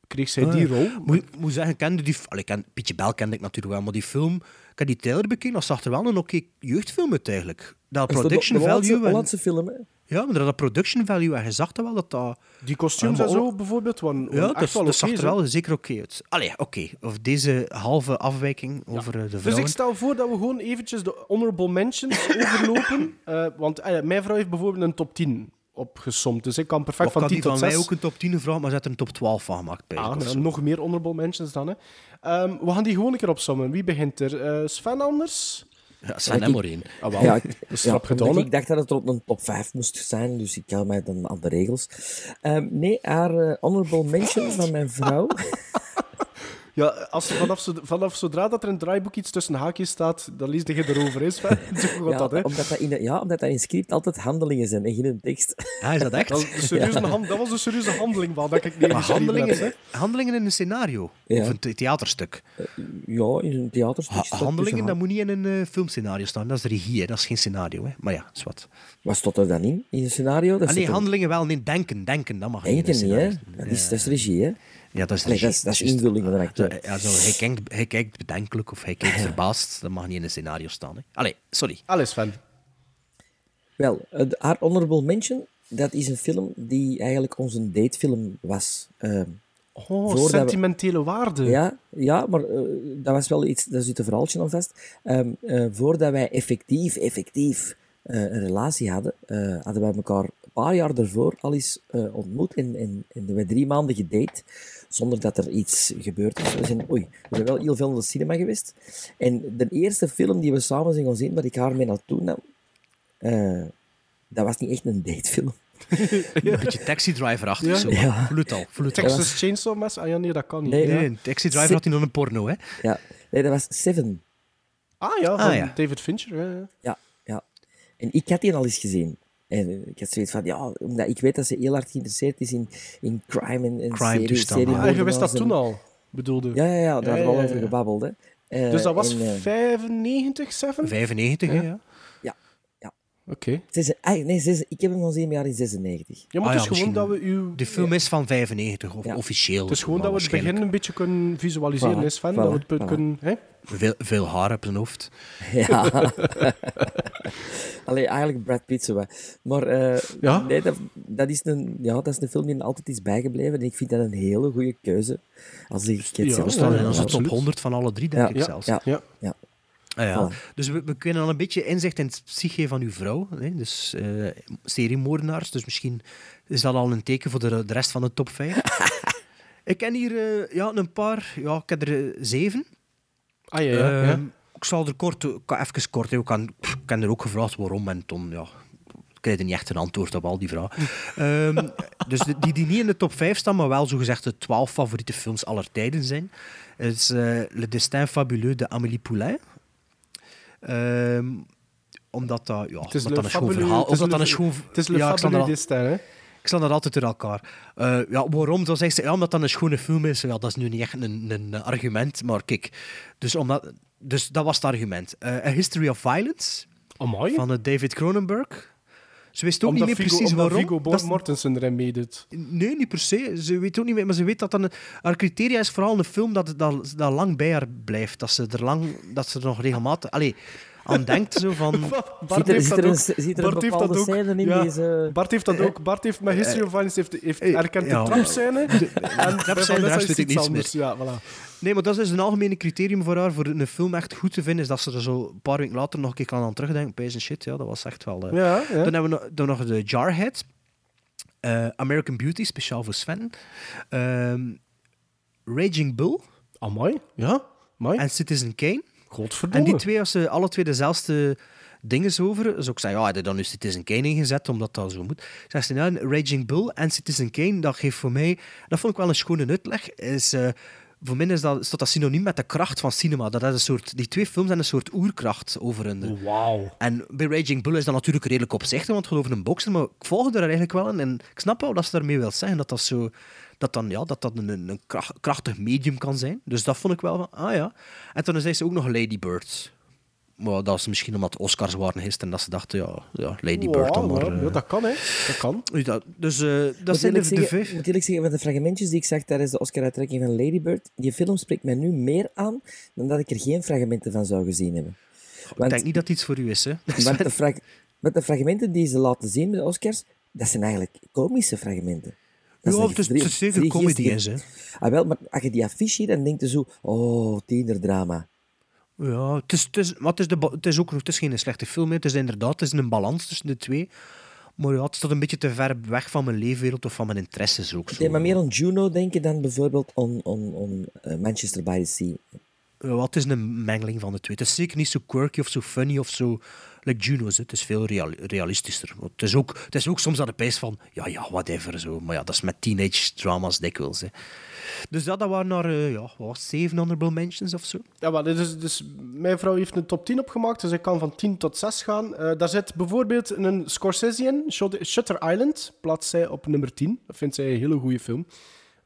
Speaker 3: kreeg zij die rol.
Speaker 2: Ah, Moet, moet zeggen, kende die... f- Allee, ken, Pietje Bel kende ik natuurlijk wel, maar die film... Ik heb die trailer bekeken, dat zag er wel een oké jeugdfilm uit, eigenlijk. Dat
Speaker 4: is dat
Speaker 2: production
Speaker 4: de, de Hollandse-
Speaker 2: value... en-
Speaker 4: Hollandse film, hè?
Speaker 2: ja, maar dat production value, en je zag dat wel dat dat...
Speaker 3: Die kostuums
Speaker 2: Ja,
Speaker 3: en
Speaker 2: Ah, maar
Speaker 3: zo
Speaker 2: ook-
Speaker 3: bijvoorbeeld. Waren,
Speaker 2: Ja,
Speaker 3: waren
Speaker 2: dat,
Speaker 3: echt wel
Speaker 2: dat zag
Speaker 3: oké,
Speaker 2: er
Speaker 3: zo.
Speaker 2: wel zeker oké uit. Allee, oké. Of deze halve afwijking over eh, de
Speaker 3: Dus
Speaker 2: vrouwen.
Speaker 3: ik stel voor dat we gewoon eventjes de honorable mentions overlopen. Eh, want eh, mijn vrouw heeft bijvoorbeeld een top 10 opgesomd. Dus ik kan perfect
Speaker 2: Of
Speaker 3: van
Speaker 2: kan
Speaker 3: 10
Speaker 2: die
Speaker 3: tot
Speaker 2: van
Speaker 3: 6...
Speaker 2: mij ook een top 10 vragen, maar ze had er een top 12 van gemaakt. bij.
Speaker 3: Ah,
Speaker 2: of
Speaker 3: nou,
Speaker 2: zo.
Speaker 3: nog meer honorable mentions dan. Hè. Ehm, we gaan die gewoon een keer opsommen. Wie begint er? Eh, Sven anders?
Speaker 2: Ja, Sven
Speaker 4: Ja,
Speaker 2: hem
Speaker 4: ik-
Speaker 2: maar één.
Speaker 3: Ah, wel.
Speaker 4: Ja,
Speaker 3: dat
Speaker 4: ik,
Speaker 3: is
Speaker 4: ja,
Speaker 3: rap gedaan.
Speaker 4: omdat
Speaker 3: hè.
Speaker 4: ik dacht dat het er op een top 5 moest zijn, dus ik hou mij dan aan de regels. Ehm, nee, haar eh, honorable mention van mijn vrouw.
Speaker 3: Ja, als er vanaf, zo- vanaf zodra dat er een draaiboek iets tussen haakjes staat, dan lees je erover eens. Zo gaat
Speaker 4: ja,
Speaker 3: dat, hè?
Speaker 4: omdat dat in, de- ja, omdat dat in script altijd handelingen zijn en geen een tekst.
Speaker 2: Ah, is dat echt?
Speaker 3: Dat, is de serieuze hand- dat was de serieuze handeling van dat ik niet
Speaker 2: maar
Speaker 3: geschreven heb, hè.
Speaker 2: handelingen, handelingen in een scenario.
Speaker 4: Ja.
Speaker 2: Of een the- theaterstuk.
Speaker 4: Ja, in een theaterstuk.
Speaker 2: Ha-
Speaker 4: staat
Speaker 2: handelingen,
Speaker 4: tussen
Speaker 2: dat
Speaker 4: hand-
Speaker 2: moet niet in Ah, een eh, filmscenario staan. Dat is regie, hè. dat is geen scenario. Hè. Maar ja, is wat.
Speaker 4: Wat stond er dan in? In een scenario?
Speaker 2: Ah,
Speaker 4: Dat
Speaker 2: nee,
Speaker 4: zit er-
Speaker 2: handelingen wel. Nee, denken, denken. Dat mag
Speaker 4: Denken
Speaker 2: niet. in
Speaker 4: niet,
Speaker 2: een
Speaker 4: hè?
Speaker 2: scenario.
Speaker 4: Dat is, dat is regie, hè?
Speaker 2: Ja, dat is,
Speaker 4: Allee,
Speaker 2: regie,
Speaker 4: dat is, dat is
Speaker 2: juist.
Speaker 4: invulling van de
Speaker 2: Zo,
Speaker 4: acteur.
Speaker 2: ja, zo, hij, kijkt, hij kijkt bedenkelijk of hij
Speaker 4: Ah,
Speaker 2: kijkt verbaasd. Dat mag niet in een scenario staan. Hè. Allee, sorry.
Speaker 3: Allee, Sven.
Speaker 4: Wel, eh, de- haar honorable mention, dat is een film die eigenlijk onze datefilm was. Ehm,
Speaker 3: Oh,
Speaker 4: we-
Speaker 3: sentimentele waarde.
Speaker 4: Ja, ja maar eh, dat was wel iets, daar zit een verhaaltje aan vast. Ehm, eh, voordat wij effectief, effectief eh, een relatie hadden, eh, hadden wij elkaar een paar jaar daarvoor al eens eh, ontmoet en, en, en hebben wij drie maanden gedate, zonder dat er iets gebeurd is. We zijn, oei, we zijn wel heel veel in de cinema geweest. En de eerste film die we samen zijn gaan zien, waar ik haar mee naartoe nam, eh, dat was niet echt een datefilm.
Speaker 2: Een beetje taxi driver achter. Zo.
Speaker 4: Ja.
Speaker 2: Vloed al. Vloed al.
Speaker 3: Texas Chainsaw Mass? Ah ja, nee, dat kan niet.
Speaker 4: Nee.
Speaker 2: Nee, een taxi driver
Speaker 4: Zit-
Speaker 2: had hij nog een porno, hè?
Speaker 4: Ja, nee, dat was Seven.
Speaker 3: Ah ja, van
Speaker 2: Ah, ja.
Speaker 3: David Fincher. hè.
Speaker 4: Ja, ja. En ik had die al eens gezien. En ik had zoiets van, ja, omdat ik weet dat ze heel hard geïnteresseerd is in, in crime en, en serie,
Speaker 2: toestanden.
Speaker 4: serie
Speaker 2: Ah,
Speaker 3: Ah, je wist
Speaker 4: moordenaars
Speaker 3: dat
Speaker 4: en-
Speaker 3: toen al, bedoelde.
Speaker 4: Ja, ja, ja, daar hebben we
Speaker 3: Ja,
Speaker 4: al
Speaker 3: ja,
Speaker 4: over
Speaker 3: ja.
Speaker 4: gebabbeld. Hè. Eh,
Speaker 3: Dus dat was
Speaker 4: en, eh,
Speaker 3: 95, 7?
Speaker 2: 95, hè, ja.
Speaker 3: Oké.
Speaker 4: zes- ah, nee, zes, ik heb hem gezien in het jaar in 96.
Speaker 3: Ja,
Speaker 2: Ah,
Speaker 3: maar
Speaker 2: ja,
Speaker 3: het is gewoon
Speaker 2: misschien-
Speaker 3: dat we uw...
Speaker 2: De film is van 95, of
Speaker 4: Ja.
Speaker 2: officieel.
Speaker 3: Het is gewoon
Speaker 2: maar
Speaker 3: dat we het
Speaker 2: waarschijnlijk
Speaker 3: begin een beetje kunnen visualiseren,
Speaker 4: Voilà,
Speaker 3: hè, Sven.
Speaker 4: voilà,
Speaker 3: dat we het punt
Speaker 4: voilà.
Speaker 3: kunnen... Hè?
Speaker 2: Veel, veel haar op zijn hoofd.
Speaker 4: Ja. Allee, eigenlijk Brad Pitt zo wat. Maar eh,
Speaker 3: Ja?
Speaker 4: nee, dat, dat, is een, ja, dat is een film die me altijd is bijgebleven. En ik vind dat een hele goede keuze. Als ik het
Speaker 3: Ja,
Speaker 4: zo
Speaker 2: We staan in
Speaker 4: hoor.
Speaker 2: onze top
Speaker 3: absoluut.
Speaker 2: 100 van alle drie, denk
Speaker 4: Ja.
Speaker 2: ik
Speaker 3: Ja,
Speaker 2: zelfs.
Speaker 4: Ja,
Speaker 3: Ja.
Speaker 4: ja.
Speaker 2: Ah, ja.
Speaker 4: Voilà.
Speaker 2: Dus we, we kunnen al een beetje inzicht in het psyche van uw vrouw. Hè? Dus eh seriemoordenaars. Dus misschien is dat al een teken voor de, de rest van de top 5. ik ken hier eh, ja, een paar. Ja, ik heb er eh, zeven.
Speaker 3: Ah ja, ja, ja.
Speaker 2: Ehm, Ik zal er kort, ik kan even kort, hè. ik kan, pff, ik kan er ook gevraagd waarom en toen, ja, ik krijg er niet echt een antwoord op al die vragen. Ehm, dus de- die die niet in de top 5 staan, maar wel zogezegd de 12 favoriete films aller tijden zijn, is eh, Le Destin Fabuleux de Amélie Poulain. Ehm, omdat dat, ja,
Speaker 3: Het
Speaker 2: omdat
Speaker 3: is Le
Speaker 2: dat een schoon
Speaker 3: Fabuleux-
Speaker 2: verhaal...
Speaker 3: het
Speaker 2: Of
Speaker 3: is
Speaker 2: dat
Speaker 3: Le-
Speaker 2: dan een schoon...
Speaker 3: Het is Le
Speaker 2: ja, ik sta er
Speaker 3: Fabuleux
Speaker 2: al-
Speaker 3: Destin, hè.
Speaker 2: ik sla dat altijd door elkaar. Eh, ja, waarom? Dan zegt ze, ja, omdat dat een schone film is. Ja, dat is nu niet echt een, een argument, maar kijk. Dus, omdat, dus dat was het argument. Eh, A History of Violence
Speaker 3: Amai.
Speaker 2: van eh, David Cronenberg. Ze wist ook
Speaker 3: Omdat
Speaker 2: niet meer
Speaker 3: Viggo-
Speaker 2: precies
Speaker 3: omdat
Speaker 2: waarom.
Speaker 3: Viggo
Speaker 2: Dat
Speaker 3: Bo-
Speaker 2: is-
Speaker 3: Mortensen erin meedoet.
Speaker 2: Nee, niet per se. Ze weet ook niet meer, maar ze weet dat dan... Haar criteria is vooral een film dat, dat, dat lang bij haar blijft. Dat ze er, lang, dat ze er nog regelmatig... Allee, aan denkt, zo van...
Speaker 4: Zit
Speaker 3: Bart
Speaker 4: er-
Speaker 3: heeft
Speaker 4: zit
Speaker 3: dat
Speaker 4: er
Speaker 3: ook.
Speaker 4: een- zit er een
Speaker 3: Bart heeft
Speaker 4: bepaalde
Speaker 3: dat ook.
Speaker 4: scène in
Speaker 3: Ja,
Speaker 4: deze- Eh,
Speaker 3: Bart heeft dat ook. Bart heeft met History of Violence heeft, heeft
Speaker 2: eh,
Speaker 3: erkend
Speaker 2: ja.
Speaker 3: de trapscène. En bij
Speaker 2: trapscène,
Speaker 3: Vanessa
Speaker 2: de rest
Speaker 3: is
Speaker 2: weet ik
Speaker 3: iets
Speaker 2: niets
Speaker 3: anders. Ja, voilà.
Speaker 2: Nee, maar dat is dus een algemene criterium voor haar, voor een film echt goed te vinden, is dat ze er zo een paar weken later nog een keer kan aan terugdenken. Pijs en shit, ja, dat was echt wel... eh.
Speaker 3: Ja, ja.
Speaker 2: Dan hebben we no- dan nog de Jarhead. eh, American Beauty, speciaal voor Sven. ehm, Raging Bull
Speaker 3: Amai. Ja. Amai.
Speaker 2: en Citizen Kane. En
Speaker 3: Godverdomme.
Speaker 2: die twee, als ze alle twee dezelfde dingen over. Dus ook zei, ja, heb je dan nu Citizen Kane ingezet, omdat dat zo moet. Zegt ze, nou, Raging Bull en Citizen Kane, dat geeft voor mij... Dat vond ik wel een schone uitleg, is... eh, voor mij is dat, staat dat synoniem met de kracht van cinema. Dat is een soort, die twee films zijn een soort oerkracht over hun.
Speaker 3: Wauw.
Speaker 2: En bij Raging Bull is dat natuurlijk redelijk opzichtig, want het gaat over een bokser, maar ik volg er eigenlijk wel in. En ik snap wel wat ze daarmee wil zeggen, dat dat, zo, dat, dan, ja, dat, dat een, een kracht- krachtig medium kan zijn. Dus dat vond ik wel van, ah ja. En toen zei ze ook nog Lady Bird. Maar dat is misschien omdat de Oscars waren gisteren en dat ze dachten, ja, ja Lady Bird dan maar. eh.
Speaker 3: ja, dat kan, hè. Dat kan.
Speaker 2: Dus dat- Dus eh, dat
Speaker 4: Moet
Speaker 2: zijn de,
Speaker 4: eerlijk
Speaker 2: de
Speaker 4: zeggen-
Speaker 2: vijf.
Speaker 4: moet eerlijk zeggen, van de fragmentjes die ik zag tijdens de Oscar-uitreiking van Lady Bird, die film spreekt mij nu meer aan dan dat ik er geen fragmenten van zou gezien hebben.
Speaker 2: Ik
Speaker 4: Want,
Speaker 2: denk niet dat het iets voor u is, hè.
Speaker 4: want de, frag- want de fragmenten die ze laten zien bij de Oscars, dat zijn eigenlijk komische fragmenten.
Speaker 2: Ja,
Speaker 4: Dat zijn
Speaker 2: het is-
Speaker 4: drie-
Speaker 2: het is zeker
Speaker 4: drie
Speaker 2: comedy
Speaker 4: geestige-
Speaker 2: is, hè.
Speaker 4: Ah, wel, maar als je die affiche ziet, dan denk je zo, oh, tienerdrama.
Speaker 2: Ja, het is, het is, maar het is, de, ba- het is ook nog, het is geen slechte film. hè. Het is inderdaad het is een balans tussen de twee. Maar ja, het staat een beetje te ver weg van mijn leefwereld of van mijn interesses ook.
Speaker 4: Ik
Speaker 2: Zo.
Speaker 4: deed maar meer aan Juno denken dan bijvoorbeeld aan on, on, eh, Manchester by the Sea.
Speaker 2: Ja, het is een mengeling van de twee. Het is zeker niet zo quirky of zo funny of zo. Like Juno's, hè. het is veel real- realistischer. Want Het is, ook, het is ook soms aan de pijs van, ja, ja, whatever. Zo. Maar ja, dat is met teenage drama's dikwijls. Hè. Dus ja, dat waren naar, eh, ja, wat was het, zeven honorable mentions of zo.
Speaker 3: Ja, maar dit is, dus mijn vrouw heeft een top 10 opgemaakt, dus ik kan van 10 tot 6 gaan. Eh, daar zit bijvoorbeeld een Scorsese in, Shut- Shutter Island, plaatst zij op nummer 10. Dat vindt zij een hele goede film.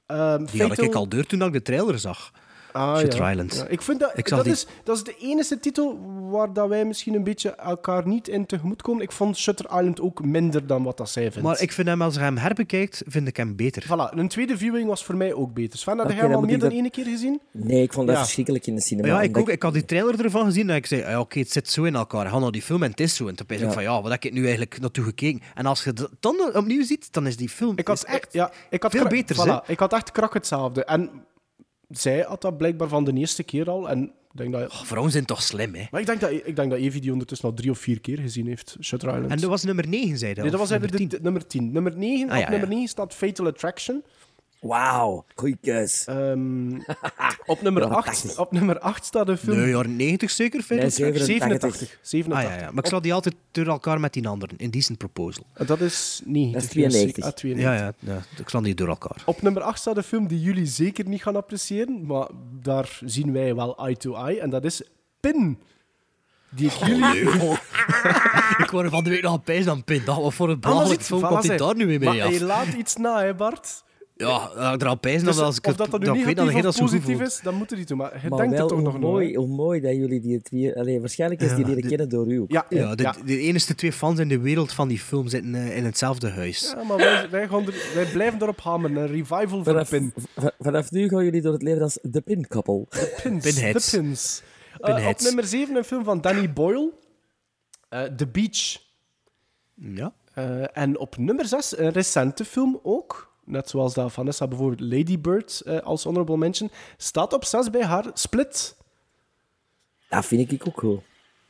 Speaker 3: Ehm,
Speaker 2: Die had
Speaker 3: Fatal-
Speaker 2: ik al deur toen ik de trailer zag.
Speaker 3: Ah,
Speaker 2: Shutter
Speaker 3: ja.
Speaker 2: Island.
Speaker 3: Ja, ik vind dat,
Speaker 2: Ik zag
Speaker 3: dat,
Speaker 2: die-
Speaker 3: is, dat is de enige titel waar dat wij misschien een beetje elkaar niet in tegemoet komen. Ik vond Shutter Island ook minder dan wat dat zij vindt.
Speaker 2: Maar ik vind hem, als je hem herbekijkt, vind ik hem beter.
Speaker 3: Voilà, een tweede viewing was voor mij ook beter. Sven, had
Speaker 4: Oké,
Speaker 3: jij hem
Speaker 4: dan
Speaker 3: al
Speaker 4: moet
Speaker 3: meer
Speaker 4: ik
Speaker 3: dan
Speaker 4: dat-
Speaker 3: één keer gezien?
Speaker 4: Nee, ik vond dat
Speaker 3: Ja.
Speaker 4: verschrikkelijk in de cinema.
Speaker 2: Ja, ik
Speaker 4: omdat
Speaker 2: ook. Ik had die trailer ervan gezien en ik zei, ah, ja, oké, het zit zo in elkaar. Ga naar die film en het is zo. En toen ben ik
Speaker 4: Ja.
Speaker 2: van, ja, wat heb ik nu eigenlijk naartoe gekeken? En als je dat dan opnieuw ziet, dan is die film
Speaker 3: Ik had e-
Speaker 2: is echt...
Speaker 3: ja, ik had
Speaker 2: veel
Speaker 3: kra-
Speaker 2: beters,
Speaker 3: voilà,
Speaker 2: hè?
Speaker 3: Ik had echt krak hetzelfde. En zij had dat blijkbaar van de eerste keer al. En ik denk dat,
Speaker 2: Oh, vrouwen zijn toch slim, hè?
Speaker 3: maar ik denk, dat, ik denk dat Evie die ondertussen al drie of vier keer gezien heeft, Shutter Island.
Speaker 2: En dat was nummer 9, zei dat.
Speaker 3: nee, dat was
Speaker 2: of nummer
Speaker 3: eigenlijk de-
Speaker 2: 10.
Speaker 3: de- nummer 10. Nummer 9,
Speaker 2: Ah, ja,
Speaker 3: op nummer
Speaker 2: ja.
Speaker 3: 9 staat Fatal Attraction.
Speaker 4: Wauw, goeie keus.
Speaker 3: Ehm, op, nummer
Speaker 4: Ja,
Speaker 3: 8,
Speaker 4: tachtig.
Speaker 3: op nummer 8 staat een film.
Speaker 2: Nee, jaren 90 zeker, vind
Speaker 4: Nee,
Speaker 2: ik.
Speaker 4: 87.
Speaker 3: 87. 87.
Speaker 2: Ah, ja, ja. Maar ik sla die altijd door elkaar met die anderen. Indecent Proposal.
Speaker 3: Dat is 90.
Speaker 4: Dat is 92.
Speaker 3: Ah, 92.
Speaker 2: Ja, ja, ja. Ik sla die door elkaar.
Speaker 3: Op nummer 8 staat een film die jullie zeker niet gaan appreciëren, maar daar zien wij wel eye to eye. En dat is Pin. Die ik jullie...
Speaker 2: Oh,
Speaker 3: Ah.
Speaker 2: ik word er van de week nog een pijs aan pin. Dat, wat voor een belachelijk film
Speaker 3: Voilà,
Speaker 2: komt hij
Speaker 3: zeg.
Speaker 2: daar nu mee mee
Speaker 3: Maar
Speaker 2: af?
Speaker 3: hij laat iets na, hè, Bart?
Speaker 2: Ja, eh, ik eraan pijzen
Speaker 3: Dus
Speaker 2: dat als ik
Speaker 3: of
Speaker 2: het...
Speaker 3: dat dat nu
Speaker 2: ik weet
Speaker 3: negatief
Speaker 2: dat hij dat
Speaker 3: of
Speaker 2: zo goed
Speaker 3: positief
Speaker 2: vond.
Speaker 3: is, dan moet er niet toe. Maar je
Speaker 4: Maar
Speaker 3: denkt
Speaker 4: wel
Speaker 3: het toch nog
Speaker 4: hoe
Speaker 3: nooit.
Speaker 4: mooi, hoe mooi dat jullie die drie... Allee, waarschijnlijk is die leren kennen door u.
Speaker 3: Ja,
Speaker 2: Ja, de,
Speaker 3: ja.
Speaker 2: de enige twee fans in de wereld van die film zitten eh, in hetzelfde huis.
Speaker 3: Ja, maar wij, wij, gaan er- wij blijven erop hameren. Een revival van
Speaker 4: vanaf,
Speaker 3: Pin.
Speaker 4: v- vanaf nu gaan jullie door het leven als de Pin Couple.
Speaker 3: Pins.
Speaker 2: Pinheads.
Speaker 3: De Pins. Eh, op
Speaker 2: Pinheads.
Speaker 3: nummer 7 een film van Danny Boyle. eh, The Beach.
Speaker 2: Ja.
Speaker 3: Eh, en op nummer 6 een recente film ook. Net zoals dat Vanessa bijvoorbeeld Lady Bird eh, als honorable mention. Staat op 6 bij haar Split.
Speaker 4: Dat vind ik ook cool.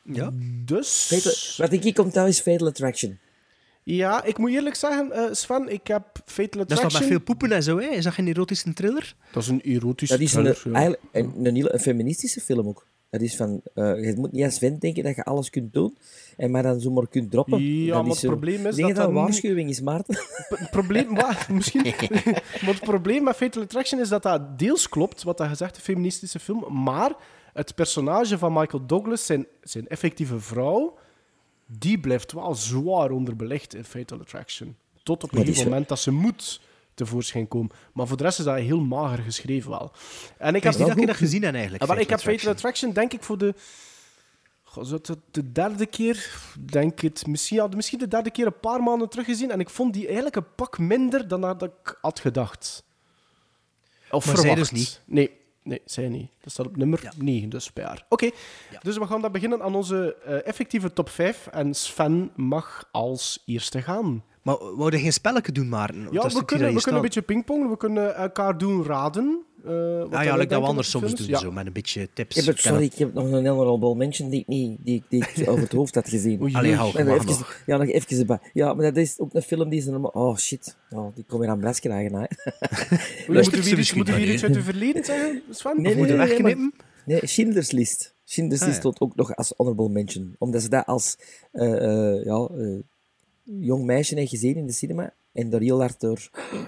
Speaker 2: ja.
Speaker 3: Dus...
Speaker 4: Fatal, wat ik hier kom trouwens is Fatal Attraction.
Speaker 3: Ja, ik moet eerlijk zeggen, eh, Sven, ik heb Fatal
Speaker 2: Dat is
Speaker 3: Attraction...
Speaker 2: toch met veel poepen en zo, hè? Is dat geen erotische thriller?
Speaker 3: Dat is een erotische
Speaker 4: Dat is een,
Speaker 3: thriller, ja.
Speaker 4: eigenlijk een, een, hele- een feministische film ook. Dat is van, eh, je moet niet als vent denken dat je alles kunt doen, en maar dan zomaar kunt droppen.
Speaker 3: Ja,
Speaker 4: dat
Speaker 3: maar het
Speaker 4: zo-
Speaker 3: probleem is
Speaker 4: Ik denk
Speaker 3: dat
Speaker 4: dat een
Speaker 3: dat niet-
Speaker 4: waarschuwing is, Maarten.
Speaker 3: Het probleem, maar, misschien, maar het probleem met Fatal Attraction is dat dat deels klopt, wat dat gezegd, een feministische film, maar het personage van Michael Douglas, zijn, zijn effectieve vrouw, die blijft wel zwaar onderbelicht in Fatal Attraction. Tot op een
Speaker 4: Ja, die
Speaker 3: gegeven
Speaker 4: is-
Speaker 3: moment dat ze moet tevoorschijn komen. Maar voor de rest is dat heel mager geschreven wel. En ik
Speaker 2: Ik
Speaker 3: heb
Speaker 2: heb niet
Speaker 3: die
Speaker 2: dat ik dat gezien heb, eigenlijk.
Speaker 3: Ja, maar Ah, ik heb
Speaker 2: Fatal
Speaker 3: Fatal Attraction, denk ik, voor de... Goh, zou het de derde keer, denk het, misschien, ja, misschien de derde keer een paar maanden teruggezien. En ik vond die eigenlijk een pak minder dan dat ik had gedacht. Of
Speaker 2: Maar zij
Speaker 3: verwacht.
Speaker 2: dus niet.
Speaker 3: Nee, nee, zij niet. Dat staat op nummer 9, dus bij haar. Oké, dus we gaan dan beginnen aan onze eh, effectieve top 5. En Sven mag als eerste gaan.
Speaker 2: Maar we wouden geen spelletje doen, maar
Speaker 3: Ja, we kunnen, we kunnen een beetje pingpong, we kunnen elkaar doen raden. eh, wat
Speaker 2: Ah
Speaker 3: wij
Speaker 2: ja, like dat
Speaker 3: denken
Speaker 2: we anders
Speaker 3: over
Speaker 2: soms
Speaker 3: films.
Speaker 2: doen,
Speaker 3: Ja.
Speaker 2: zo, met een beetje tips.
Speaker 4: Ik heb het, sorry, ik heb nog een honorable mention die ik, niet, die, ik- die ik over het hoofd had gezien.
Speaker 3: Oei,
Speaker 2: Allee, hou,
Speaker 4: Nee, maar
Speaker 2: mag
Speaker 4: even-
Speaker 2: nog.
Speaker 4: ja, nog even erbij. Ja, maar dat is ook een film die is normaal... Oh, shit. Oh, die kom weer aan Blas krijgen, hè.
Speaker 3: Oei, Moeten we
Speaker 2: Ze
Speaker 3: hier iets-
Speaker 2: misschien
Speaker 3: moeten we hier
Speaker 2: maar
Speaker 3: iets uit het verleden zeggen, Sven?
Speaker 4: Nee,
Speaker 3: Of
Speaker 4: nee,
Speaker 3: moeten we
Speaker 4: nee,
Speaker 3: wegknippen?
Speaker 4: maar- nee, Schindler's List. Schindler's
Speaker 2: Ah, ja.
Speaker 4: List stond ook nog als honorable mention. Omdat ze dat als eh, eh, ja, eh, jong meisje heeft gezien in de cinema en daar heel hard door ja.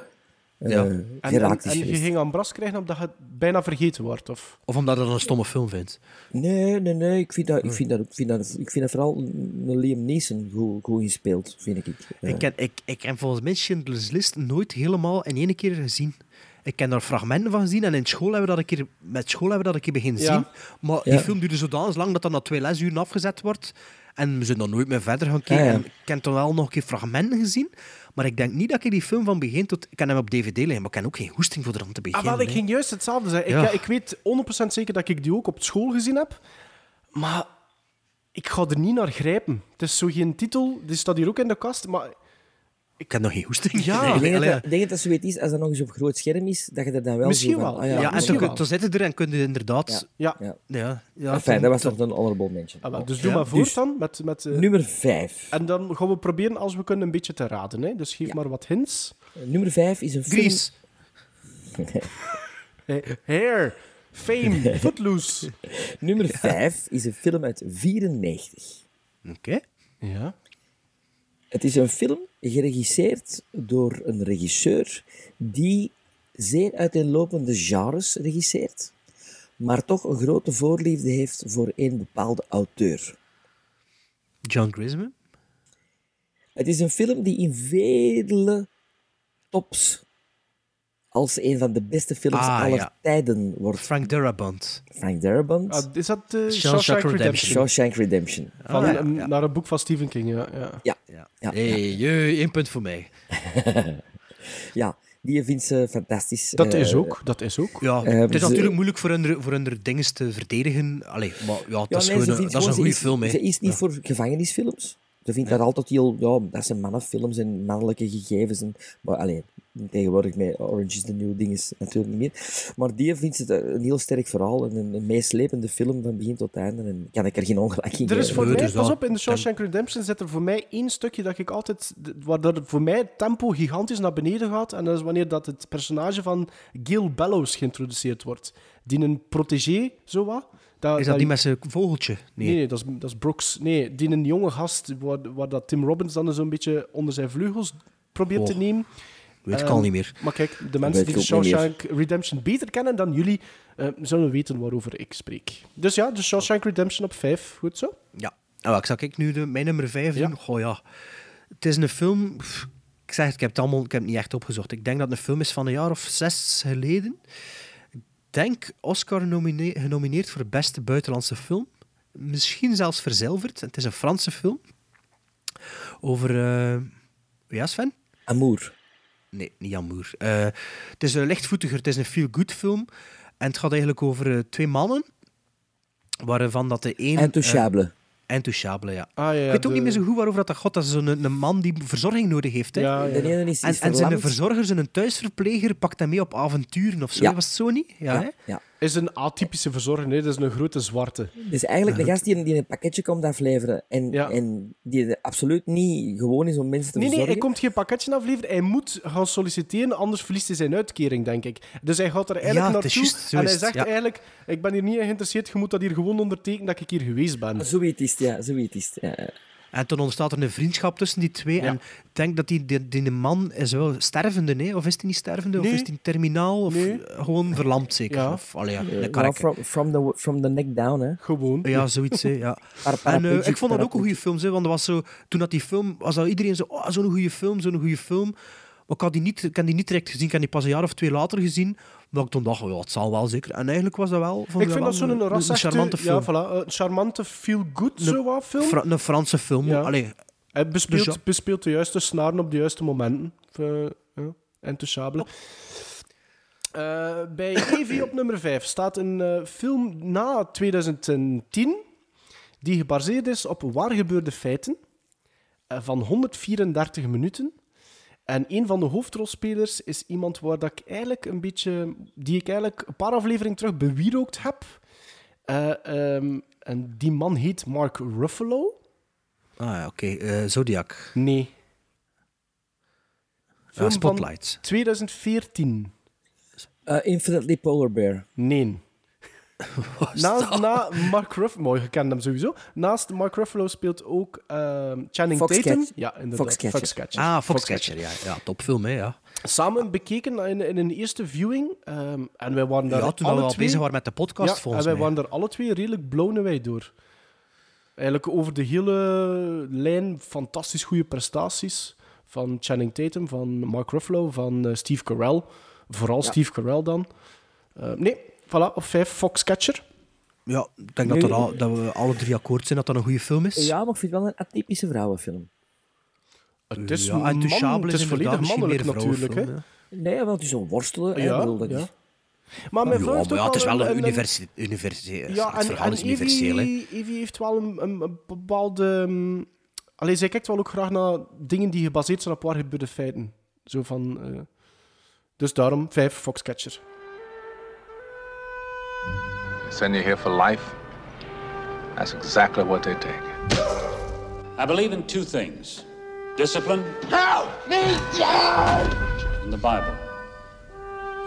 Speaker 3: En, en, en je ging aan bras krijgen omdat je het bijna vergeten wordt? Of?
Speaker 2: Of omdat je dat een stomme film vindt.
Speaker 4: Nee, nee, nee. Ik vind dat, ik vind dat, ik vind dat, ik vind dat vooral een een Liam Neeson goed, goed gespeeld, vind ik. Eh,
Speaker 2: Ik, ken, ik, ik heb volgens mij Schindler's List nooit helemaal in één keer gezien. Ik ken daar fragmenten van gezien en in school hebben we dat een keer, met school hebben we dat een keer beginnen
Speaker 3: Ja.
Speaker 2: zien. Maar
Speaker 4: Ja.
Speaker 2: die film duurde zodanig lang dat dat na twee lesuren afgezet wordt. En we zijn dan nooit meer verder gaan kijken.
Speaker 4: Ah, ja.
Speaker 2: En Ik heb toen wel nog een keer fragmenten gezien. Maar ik denk niet dat ik die film van begin tot... Ik ken hem op DVD liggen, maar ik ken ook geen hoesting voor eraan te
Speaker 3: Ah,
Speaker 2: beginnen.
Speaker 3: wel, ik
Speaker 2: hè.
Speaker 3: ging juist hetzelfde zeggen.
Speaker 2: Ja.
Speaker 3: Ik, ik weet 100% zeker dat ik die ook op school gezien heb. Maar ik ga er niet naar grijpen. Het is zo geen titel. Die staat hier ook in de kast. Maar
Speaker 2: Ik heb nog geen hoesting.
Speaker 3: Ah, Ja.
Speaker 2: Nee,
Speaker 4: Ik denk,
Speaker 2: allee,
Speaker 4: dat, ik denk dat dat zoiets is, als dat nog eens op groot scherm is, dat je er dan wel
Speaker 3: Misschien
Speaker 4: zo van...
Speaker 3: wel.
Speaker 4: ah
Speaker 2: ja, en
Speaker 3: misschien
Speaker 2: toen,
Speaker 4: oké.
Speaker 3: wel.
Speaker 2: kun- toen zitten er en kunnen inderdaad...
Speaker 3: ja.
Speaker 4: Ja.
Speaker 2: Ja. Ja,
Speaker 4: Enfin, dat was
Speaker 2: toen-
Speaker 4: nog een honorable mention.
Speaker 3: Ah, wel, dus doe
Speaker 2: Ja,
Speaker 3: maar voort
Speaker 4: dus-
Speaker 3: dan. Met, met, eh,
Speaker 4: Nummer 5.
Speaker 3: En dan gaan we proberen als we kunnen een beetje te raden. Hè. Dus geef maar wat hints.
Speaker 4: Nummer 5 is een film...
Speaker 2: Grease.
Speaker 3: Eh, Hair, Fame, Footloose.
Speaker 4: Nummer 5 is een film uit 94.
Speaker 2: Oké.
Speaker 3: Ja.
Speaker 4: Het is een film geregisseerd door een regisseur die zeer uiteenlopende genres regisseert, maar toch een grote voorliefde heeft voor een bepaalde auteur.
Speaker 2: John Grisman.
Speaker 4: Het is een film die in vele tops als een van de beste films
Speaker 2: Ah,
Speaker 4: aller
Speaker 2: ja.
Speaker 4: tijden wordt.
Speaker 2: Frank Darabont.
Speaker 4: Frank Darabont,
Speaker 3: Ah, is dat eh
Speaker 2: Shawshank
Speaker 3: Shawshank
Speaker 2: Redemption.
Speaker 3: Redemption?
Speaker 4: Shawshank Redemption.
Speaker 3: Van,
Speaker 2: Ah, ja,
Speaker 3: een-
Speaker 2: ja.
Speaker 3: Naar een boek van Stephen King, ja. ja.
Speaker 4: Ja,
Speaker 2: Ja.
Speaker 4: Ja,
Speaker 2: hey, jee, één punt voor mij.
Speaker 4: ja, die vindt ze fantastisch.
Speaker 3: Dat
Speaker 4: Eh,
Speaker 3: is ook, dat is ook.
Speaker 2: Ja,
Speaker 4: Eh,
Speaker 2: het is
Speaker 4: ze-
Speaker 2: natuurlijk moeilijk voor hun, voor hun dingen te verdedigen. Allee, maar ja, dat
Speaker 4: Ja,
Speaker 2: is,
Speaker 4: nee,
Speaker 2: gewoon
Speaker 4: ze
Speaker 2: een,
Speaker 4: vindt
Speaker 2: dat is
Speaker 4: gewoon-
Speaker 2: een
Speaker 4: ze
Speaker 2: goede film. hè.
Speaker 4: Ze is niet voor gevangenisfilms. Ze vindt dat altijd heel... Ja, dat zijn mannenfilms en mannelijke gegevens. En, maar alleen tegenwoordig met Orange is the New Ding is natuurlijk niet meer. Maar die vindt ze dat een heel sterk verhaal en een, een meeslepende film van begin tot einde. En kan ik er geen ongelijk in
Speaker 3: Er is
Speaker 4: geven.
Speaker 3: voor
Speaker 2: Nee,
Speaker 3: mij,
Speaker 2: dus
Speaker 3: pas
Speaker 2: dat-
Speaker 3: op, in de Shawshank Redemption zit er voor mij één stukje dat ik altijd, d- waar dat voor mij het tempo gigantisch naar beneden gaat. En dat is wanneer dat het personage van Gil Bellows geïntroduceerd wordt. Die een protégé, zo wat.
Speaker 2: Is dat niet met zijn vogeltje?
Speaker 3: Nee,
Speaker 2: Nee.
Speaker 3: nee dat, is, dat is Brooks. Nee, die een jonge gast, waar, waar dat Tim Robbins dan zo'n beetje onder zijn vleugels probeert te
Speaker 2: Oh.
Speaker 3: nemen.
Speaker 2: Weet ik
Speaker 3: Ehm,
Speaker 2: al niet meer.
Speaker 3: Maar kijk, de
Speaker 4: weet
Speaker 3: mensen die
Speaker 4: ik
Speaker 3: de
Speaker 4: ook niet meer.
Speaker 3: Shawshank Redemption beter kennen dan jullie, eh, zullen weten waarover ik spreek. Dus ja, de Shawshank Redemption op 5. Goed zo?
Speaker 2: Ja. Nou, ik zal ik nu de, mijn nummer 5
Speaker 3: Ja.
Speaker 2: doen. Goh ja. Het is een film. pff, ik zeg het, ik heb het allemaal ik heb het niet echt opgezocht. Ik denk dat het een film is van een jaar of zes geleden. Ik denk Oscar nomine- genomineerd voor beste buitenlandse film. Misschien zelfs verzilverd. Het is een Franse film. Over. eh, ja, Sven?
Speaker 4: Amour.
Speaker 2: Nee, niet Amour. Eh, het is een lichtvoetiger, het is een feel-good film. En het gaat eigenlijk over eh, twee mannen, waarvan dat de een...
Speaker 4: Intouchable.
Speaker 2: eh, intouchable, ja.
Speaker 3: Ah, ja, ja,
Speaker 2: Ik weet ook
Speaker 3: de-
Speaker 2: niet meer zo goed waarover dat gaat. Dat is zo'n een man die verzorging nodig heeft. Hè?
Speaker 3: Ja,
Speaker 4: de ene is,
Speaker 2: En,
Speaker 4: is
Speaker 2: en zijn
Speaker 4: verlamd.
Speaker 2: verzorger, zijn thuisverpleger, pakt hem mee op avonturen of zo.
Speaker 4: Ja.
Speaker 2: Was het zo niet? Ja, hè?
Speaker 4: Ja, ja.
Speaker 3: Is een atypische verzorger, nee, dat is een grote zwarte.
Speaker 4: Dus eigenlijk de gast die, die een pakketje komt afleveren en,
Speaker 3: Ja.
Speaker 4: en die er absoluut niet gewoon is om mensen te
Speaker 3: Nee, nee,
Speaker 4: verzorgen.
Speaker 3: hij komt geen pakketje afleveren. Hij moet gaan solliciteren, anders verliest hij zijn uitkering, denk ik. Dus hij gaat er eigenlijk
Speaker 2: Ja, het is
Speaker 3: naartoe
Speaker 2: juist, zo
Speaker 3: en
Speaker 2: is
Speaker 3: hij
Speaker 2: het,
Speaker 3: zegt
Speaker 2: ja.
Speaker 3: eigenlijk, ik ben hier niet in geïnteresseerd, je moet dat hier gewoon ondertekenen dat ik hier geweest ben.
Speaker 4: Zoiets is het, ja. Zoiets is het, ja.
Speaker 2: En toen ontstaat er een vriendschap tussen die twee. En ik denk dat die, die, die man is wel stervende, nee? Of is hij niet stervende?
Speaker 3: Nee.
Speaker 2: Of is hij terminaal? Of
Speaker 3: Nee.
Speaker 2: eh, gewoon verlamd, zeker?
Speaker 3: Ja.
Speaker 2: Of, allee, ja, een
Speaker 4: Well,
Speaker 2: karakter.
Speaker 4: from, from, the, from the neck down, hè.
Speaker 3: Gewoon.
Speaker 2: Ja, zoiets, hè, ja.
Speaker 4: Par-
Speaker 2: En eh,
Speaker 4: paraplegic,
Speaker 2: ik vond dat ook een goede
Speaker 4: paraplegic.
Speaker 2: film, hè, want dat was zo, toen dat die film, was dat iedereen zo, oh, zo'n goede film, zo'n goede film. Maar ik had die niet, ik had die niet direct gezien, ik had die pas een jaar of twee later gezien, omdat ik toen dacht, oh, ja, het zal wel zeker. En eigenlijk was dat wel, vond
Speaker 3: Ik vind dat
Speaker 2: wel
Speaker 3: zo'n
Speaker 2: een,
Speaker 3: ras eh,
Speaker 2: een charmante film.
Speaker 3: Ja, voilà, een charmante feel-good zo wat film.
Speaker 2: Fra- een Franse film,
Speaker 3: Ja.
Speaker 2: allee,
Speaker 3: Hij bespeelt,
Speaker 2: Dus ja.
Speaker 3: bespeelt de juiste snaren op de juiste momenten. Eh, ja, Intouchable. Eh, bij Evie op nummer 5 staat een eh, film na 2010 die gebaseerd is op waar gebeurde feiten eh, van 134 minuten. En een van de hoofdrolspelers is iemand waar dat ik eigenlijk een beetje, die ik eigenlijk een paar afleveringen terug bewierookt heb. Eh, ehm, en die man heet Mark Ruffalo.
Speaker 2: ah ja, oké, eh, Zodiac,
Speaker 3: Nee.
Speaker 2: ja,
Speaker 3: Film van
Speaker 2: Spotlight.
Speaker 3: 2014.
Speaker 4: Eh, Infinitely Polar Bear.
Speaker 3: Nee. Naast, na Mark Ruffalo, mooi, je kent hem sowieso. Naast Mark Ruffalo speelt ook ehm Channing
Speaker 4: Foxcatcher.
Speaker 3: Tatum. Ja, inderdaad.
Speaker 4: Foxcatcher.
Speaker 2: Ah, Foxcatcher, ja, ja, topfilm, hè, ja.
Speaker 3: samen bekeken in, in een eerste viewing. ehm, en wij waren daar
Speaker 2: Ja, toen
Speaker 3: alle
Speaker 2: we al
Speaker 3: twee...
Speaker 2: bezig waren met de podcast,
Speaker 3: ja,
Speaker 2: volgens
Speaker 3: en wij
Speaker 2: mij.
Speaker 3: waren daar alle twee redelijk blown away door. Eigenlijk over de hele lijn fantastisch goede prestaties van Channing Tatum, van Mark Ruffalo, van eh, Steve Carell. Vooral
Speaker 2: Ja.
Speaker 3: Steve Carell dan. Eh, nee, voilà, op vijf, Foxcatcher.
Speaker 2: Ja, ik denk dat,
Speaker 3: Nee.
Speaker 2: er al- dat we alle drie akkoord zijn dat dat een goede film is.
Speaker 4: Ja, maar ik vind het wel een atypische vrouwenfilm.
Speaker 3: Het is,
Speaker 2: Ja, en Touchable
Speaker 3: man,
Speaker 2: is
Speaker 3: het is
Speaker 2: inderdaad
Speaker 3: volledig
Speaker 2: misschien
Speaker 3: mannelijk
Speaker 2: meer
Speaker 3: natuurlijk. Hè?
Speaker 2: vrouwenfilm,
Speaker 4: Nee, wel, het is een worstelen. hè.
Speaker 3: Ja,
Speaker 4: Ik bedoel, dat
Speaker 3: ja.
Speaker 4: is...
Speaker 3: Maar mijn
Speaker 2: Ja,
Speaker 3: vrouw heeft
Speaker 2: maar ja,
Speaker 3: ook
Speaker 2: het is wel een
Speaker 3: een,
Speaker 2: universiteit.
Speaker 3: Ja,
Speaker 2: het
Speaker 3: en,
Speaker 2: verhaal
Speaker 3: en
Speaker 2: is universeel. hè.
Speaker 3: Evie, Evie heeft wel een, een, een bepaalde... ehm, Allee, zij kijkt wel ook graag naar dingen die gebaseerd zijn op waar gebeurde feiten. Zo van... eh, dus daarom vijf Foxcatcher.
Speaker 9: Send you here for life. That's exactly what they take.
Speaker 12: I believe in two things discipline
Speaker 6: Help me down!
Speaker 12: and the Bible.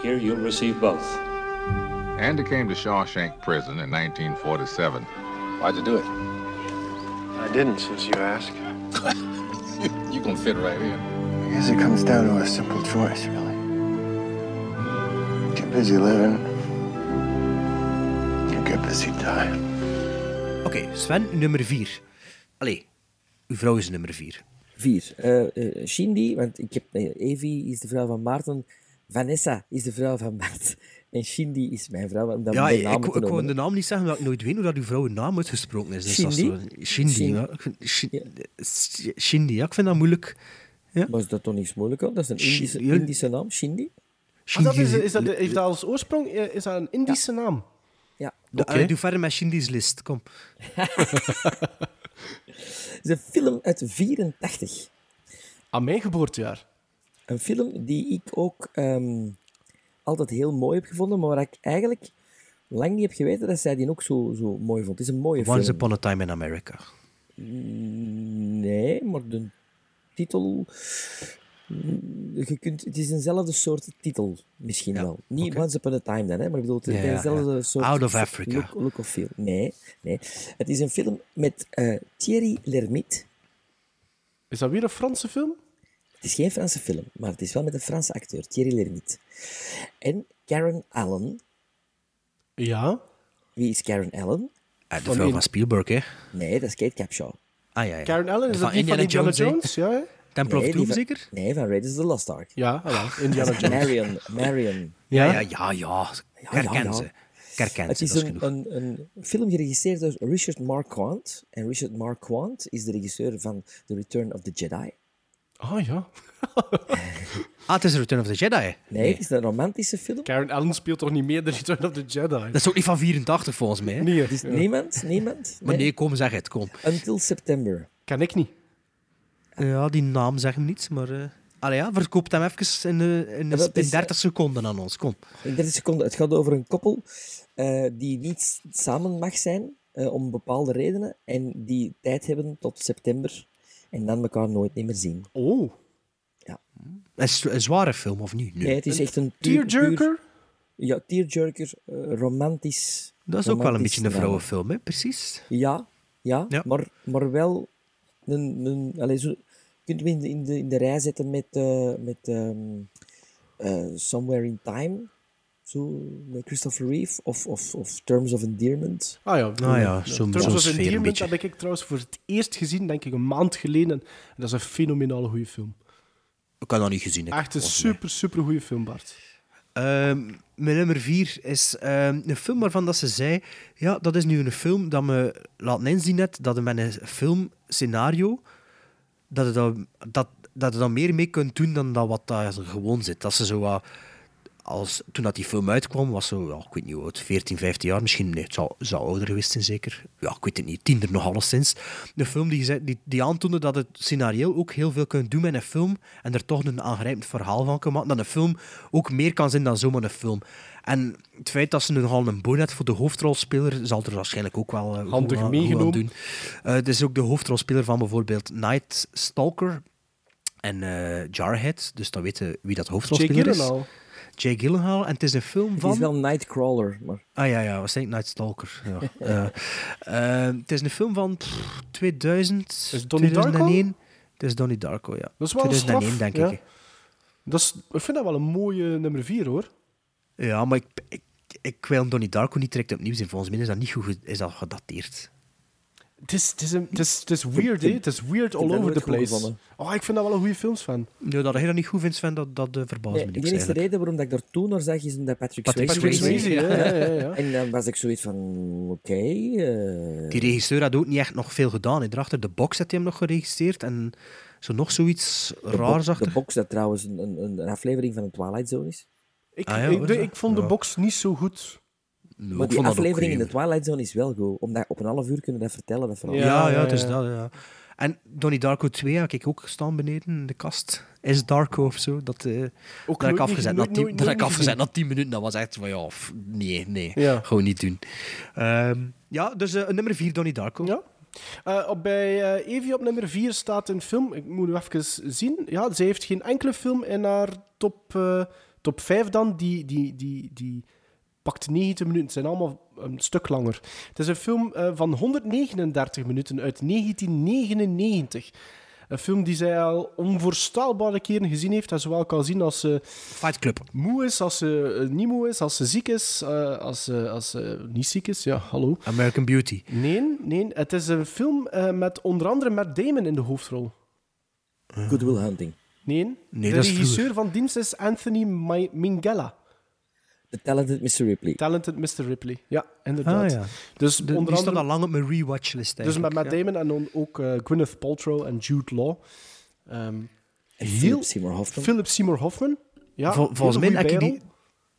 Speaker 12: Here you'll receive both.
Speaker 9: Andy came to Shawshank Prison in 1947. Why'd you do it? I didn't, since you asked. you can fit right in.
Speaker 13: I guess it comes down to a simple choice, really. Get busy living, you get busy dying.
Speaker 2: Oké, Sven, nummer vier. Allee, uw vrouw is nummer vier.
Speaker 4: Vier. Eh, eh, Shindy, want ik heb, eh, Evie is de vrouw van Maarten. Vanessa is de vrouw van Bart. En Shindy is mijn vrouw. om dan
Speaker 2: ja,
Speaker 4: bij
Speaker 2: ik,
Speaker 4: namen
Speaker 2: ik,
Speaker 4: te
Speaker 2: ik wou
Speaker 4: noemen.
Speaker 2: de naam niet zeggen, omdat ik nooit weet hoe dat uw vrouw naam uitgesproken is. Dus dat is
Speaker 4: Shindy?
Speaker 2: zo- Shindy,
Speaker 4: Shin-
Speaker 2: ja. Ik vind- Shin- Sh- Shindy, ja, ik vind dat moeilijk. Ja.
Speaker 4: Maar is dat toch niks moeilijk? Dat is een Indische,
Speaker 2: Shin-
Speaker 4: Indische naam, Shindy.
Speaker 3: Ah, dat is, is dat, heeft dat als oorsprong eh, is dat een Indische naam?
Speaker 4: Ja.
Speaker 2: De-
Speaker 3: Oké.
Speaker 2: allee, eh, Doe verder met Shindy's list, kom.
Speaker 4: Het is een film uit 84.
Speaker 3: Aan mijn geboortejaar.
Speaker 4: Een film die ik ook ehm, altijd heel mooi heb gevonden, maar waar ik eigenlijk lang niet heb geweten dat zij die ook zo, zo mooi vond. Het is een mooie
Speaker 2: Once
Speaker 4: film.
Speaker 2: Upon a Time in America.
Speaker 4: Mm, Nee, maar de titel... Mm, Je kunt, het is eenzelfde soort titel, misschien wel. Niet Once Upon a Time dan, hè, maar ik bedoel, het is
Speaker 2: Ja, ja,
Speaker 4: dezelfde
Speaker 2: ja.
Speaker 4: soort...
Speaker 2: Out of Africa.
Speaker 4: Look, look of feel. Nee, nee. Het is een film met eh, Thierry Lermite.
Speaker 3: Is dat weer een Franse film?
Speaker 4: Het is geen Franse film, maar het is wel met een Franse acteur, Thierry Lermite. En Karen Allen.
Speaker 3: Ja?
Speaker 4: Wie is Karen Allen?
Speaker 2: Ah, de vrouw van Spielberg, hè?
Speaker 4: Nee, dat is Kate Capshaw.
Speaker 2: Ah ja, ja.
Speaker 3: Karen Allen, is
Speaker 2: Van
Speaker 3: dat die van Indiana Jones?
Speaker 2: hè?
Speaker 3: Ja, hè?
Speaker 2: Temple of
Speaker 4: Nee,
Speaker 2: Doom,
Speaker 4: die van-
Speaker 2: zeker?
Speaker 4: Nee, van Raiders of the Lost Ark.
Speaker 3: Ja, voilà, Indiana
Speaker 4: Dat is
Speaker 3: Jones.
Speaker 4: Marion, Marion.
Speaker 2: Ja, ja, ja. ja. Ik herken ze. Ik herken
Speaker 4: Het
Speaker 2: ze,
Speaker 4: is
Speaker 2: dat is
Speaker 4: een,
Speaker 2: genoeg.
Speaker 4: een, een film geregisseerd door Richard Marquand. En Richard Marquand is de regisseur van The Return of the Jedi.
Speaker 3: Ah ja.
Speaker 2: Ah, het is Return of the Jedi. Nee,
Speaker 4: Nee, het is een romantische film.
Speaker 3: Karen Allen speelt toch niet meer The Return of the Jedi?
Speaker 2: Dat is ook niet van 84, volgens mij. hè?
Speaker 3: Nee,
Speaker 4: Dus niemand, niemand.
Speaker 2: Maar nee, kom, zeg het, kom.
Speaker 4: Until September.
Speaker 3: Kan ik niet.
Speaker 2: Ja, die naam zegt hem niets, maar... eh Allee, ja, verkoop hem even in, eh, in,
Speaker 4: Ja, dat
Speaker 2: in
Speaker 4: is-
Speaker 2: 30 seconden aan ons, kom.
Speaker 4: In 30 seconden. Het gaat over een koppel eh, die niet s- samen mag zijn eh, om bepaalde redenen en die tijd hebben tot september en dan elkaar nooit meer zien.
Speaker 3: Oh.
Speaker 4: Ja.
Speaker 2: Een, z- een zware film, of niet?
Speaker 4: Nee, het is echt een puur-
Speaker 3: Tearjerker?
Speaker 4: puur- ja, tearjerker, eh, romantisch.
Speaker 2: Dat is ook wel een
Speaker 4: romantisch
Speaker 2: beetje een
Speaker 4: drama.
Speaker 2: vrouwenfilm, hè? Precies.
Speaker 4: Ja, ja, Maar, maar wel een... een allee, zo, je kunt hem in de, in de, in de rij zetten met, eh, met ehm, eh, Somewhere in Time, zo, met Christopher Reeve, of, of, of Terms of Endearment.
Speaker 3: Ah ja,
Speaker 2: Ah ja, zo'n-
Speaker 3: Terms
Speaker 2: zo'n
Speaker 3: of
Speaker 2: sfeer een
Speaker 3: Endearment
Speaker 2: beetje.
Speaker 3: heb ik trouwens voor het eerst gezien, denk ik, een maand geleden. En dat is een fenomenale goede film.
Speaker 2: Ik had dat niet gezien. hè.
Speaker 3: Echt een
Speaker 2: Volgens
Speaker 3: super, super goede film, Bart.
Speaker 2: Ehm, mijn nummer vier is ehm, een film waarvan dat ze zei... Ja, dat is nu een film dat me laat inzien net dat je met een filmscenario... Dat je, dat, dat, dat je daar meer mee kunt doen dan dat wat daar gewoon zit. Dat ze zo wat... Als, toen dat die film uitkwam, was zo, ja, ik weet niet hoe oud, 14, 15 jaar misschien. Nee, het zou, zou ouder geweest zijn, zeker. Ja, ik weet het niet, tiener nog alleszins. Een film die, zei- die, die aantoonde dat het scenario ook heel veel kunt doen met een film en er toch een aangrijpend verhaal van kan maken. Dat een film ook meer kan zijn dan zomaar een film. En het feit dat ze nu nogal een bonnet voor de hoofdrolspeler zal er waarschijnlijk ook wel eh, goed
Speaker 3: Handig
Speaker 2: aan- goed aan
Speaker 3: meegenomen.
Speaker 2: doen. Eh, het is ook de hoofdrolspeler van bijvoorbeeld Night Stalker en eh, Jarhead. Dus dan weten wie dat hoofdrolspeler
Speaker 3: Jake
Speaker 2: is.
Speaker 3: Gyllenhaal.
Speaker 2: Jake Gyllenhaal. En het is een film
Speaker 4: Het
Speaker 2: van...
Speaker 4: is wel Nightcrawler, maar...
Speaker 2: Ah ja, ja, was denk ik Night Stalker. Ja. Eh, eh, het is een film van pff, 2000,
Speaker 3: Is het Donnie Darko?
Speaker 2: 2001. Het is Donnie Darko, ja.
Speaker 3: Dat is wel een
Speaker 2: 2001,
Speaker 3: straf,
Speaker 2: denk
Speaker 3: ja.
Speaker 2: ik.
Speaker 3: Dat is, ik vind dat wel een mooie nummer 4 hoor.
Speaker 2: Ja, maar ik, ik, ik wil Donnie Darko niet direct opnieuw zien. Volgens mij is dat niet goed ge- is dat gedateerd.
Speaker 3: Het is, het is, een- het is, het is weird, hè? Het is weird all over the place. Oh, ik vind dat wel een goede films van.
Speaker 2: Ja, dat jij dat niet goed vindt, Sven, dat, dat eh,
Speaker 3: Oh,
Speaker 2: verbaast
Speaker 4: Nee,
Speaker 2: me
Speaker 4: de
Speaker 2: niks
Speaker 4: enige
Speaker 2: eigenlijk.
Speaker 4: reden waarom dat ik daar toen naar zag, is omdat Patrick,
Speaker 2: Patrick Swayze,
Speaker 3: ja, ja, ja, ja.
Speaker 4: En dan was ik zoiets van, oké... eh,
Speaker 2: Die regisseur had ook niet echt nog veel gedaan. hè. Daarachter de box had hij hem nog geregistreerd en zo nog zoiets
Speaker 4: de
Speaker 2: raars
Speaker 4: box-
Speaker 2: achter.
Speaker 4: De box dat trouwens een, een, een aflevering van de Twilight Zone is.
Speaker 3: Ik,
Speaker 2: Ah ja,
Speaker 3: ik,
Speaker 2: hoor,
Speaker 3: de-
Speaker 2: ja.
Speaker 3: ik vond de
Speaker 2: Ja.
Speaker 3: box niet zo goed.
Speaker 4: maar
Speaker 2: ik
Speaker 4: die
Speaker 2: vond dat
Speaker 4: aflevering
Speaker 2: oké,
Speaker 4: in de Twilight Zone is wel goed. Omdat op een half uur kunnen we dat vertellen, dat verhaal.
Speaker 2: Ja, ja,
Speaker 3: ja,
Speaker 2: het is
Speaker 3: ja.
Speaker 2: dat, ja. En Donnie Darko 2 heb ik ook staan beneden in de kast. Is Darko of zo? Dat, eh
Speaker 3: Ook
Speaker 2: dat heb
Speaker 3: nooit
Speaker 2: ik afgezet,
Speaker 3: niet-
Speaker 2: na
Speaker 3: nooit-
Speaker 2: tien-
Speaker 3: nooit-
Speaker 2: dat heb
Speaker 3: nooit
Speaker 2: ik afgezet
Speaker 3: gezien.
Speaker 2: na 10 minuten. Dat was echt van ja, f- nee, nee.
Speaker 3: Ja.
Speaker 2: Gewoon niet doen. Ehm, ja, dus eh, nummer 4, Donnie Darko.
Speaker 3: Ja. Eh, op, bij eh, Evie op nummer 4 staat een film. Ik moet u even zien. Ja, ze heeft geen enkele film in haar top, eh, top 5 dan. Die, die, die, die pakt 90 minuten. Het zijn allemaal een stuk langer. Het is een film eh, van 139 minuten uit 1999. Een film die zij al onvoorstelbare keren gezien heeft. Dat ze wel kan zien als ze
Speaker 2: Fight Club.
Speaker 3: moe is, als ze eh, niet moe is, als ze ziek is, eh, als, ze, als ze niet ziek is. Ja, hallo.
Speaker 2: American Beauty.
Speaker 3: Nee, nee. Het is een film eh, met onder andere Matt Damon in de hoofdrol.
Speaker 4: Good Will Hunting.
Speaker 3: Nee,
Speaker 4: Nee,
Speaker 3: de
Speaker 4: dat is
Speaker 3: regisseur
Speaker 4: vroeger.
Speaker 3: van dienst is Anthony Mi- Minghella.
Speaker 4: The Talented Mr. Ripley.
Speaker 3: Talented Mr. Ripley. Ja,
Speaker 2: Ah,
Speaker 3: inderdaad.
Speaker 2: ja.
Speaker 3: Dus
Speaker 2: De-
Speaker 3: onder
Speaker 2: die staat al
Speaker 3: andere...
Speaker 2: lang op mijn rewatchlist
Speaker 3: Dus met
Speaker 2: eigenlijk,
Speaker 3: Matt
Speaker 2: ja.
Speaker 3: Damon en dan ook eh, Gwyneth Paltrow en Jude Law. Ehm, heel-
Speaker 4: Philip Seymour Hoffman.
Speaker 3: Philip Seymour Hoffman. Ja,
Speaker 2: Vol- volgens, mij
Speaker 3: hele
Speaker 2: heb
Speaker 3: goeie
Speaker 2: ik die,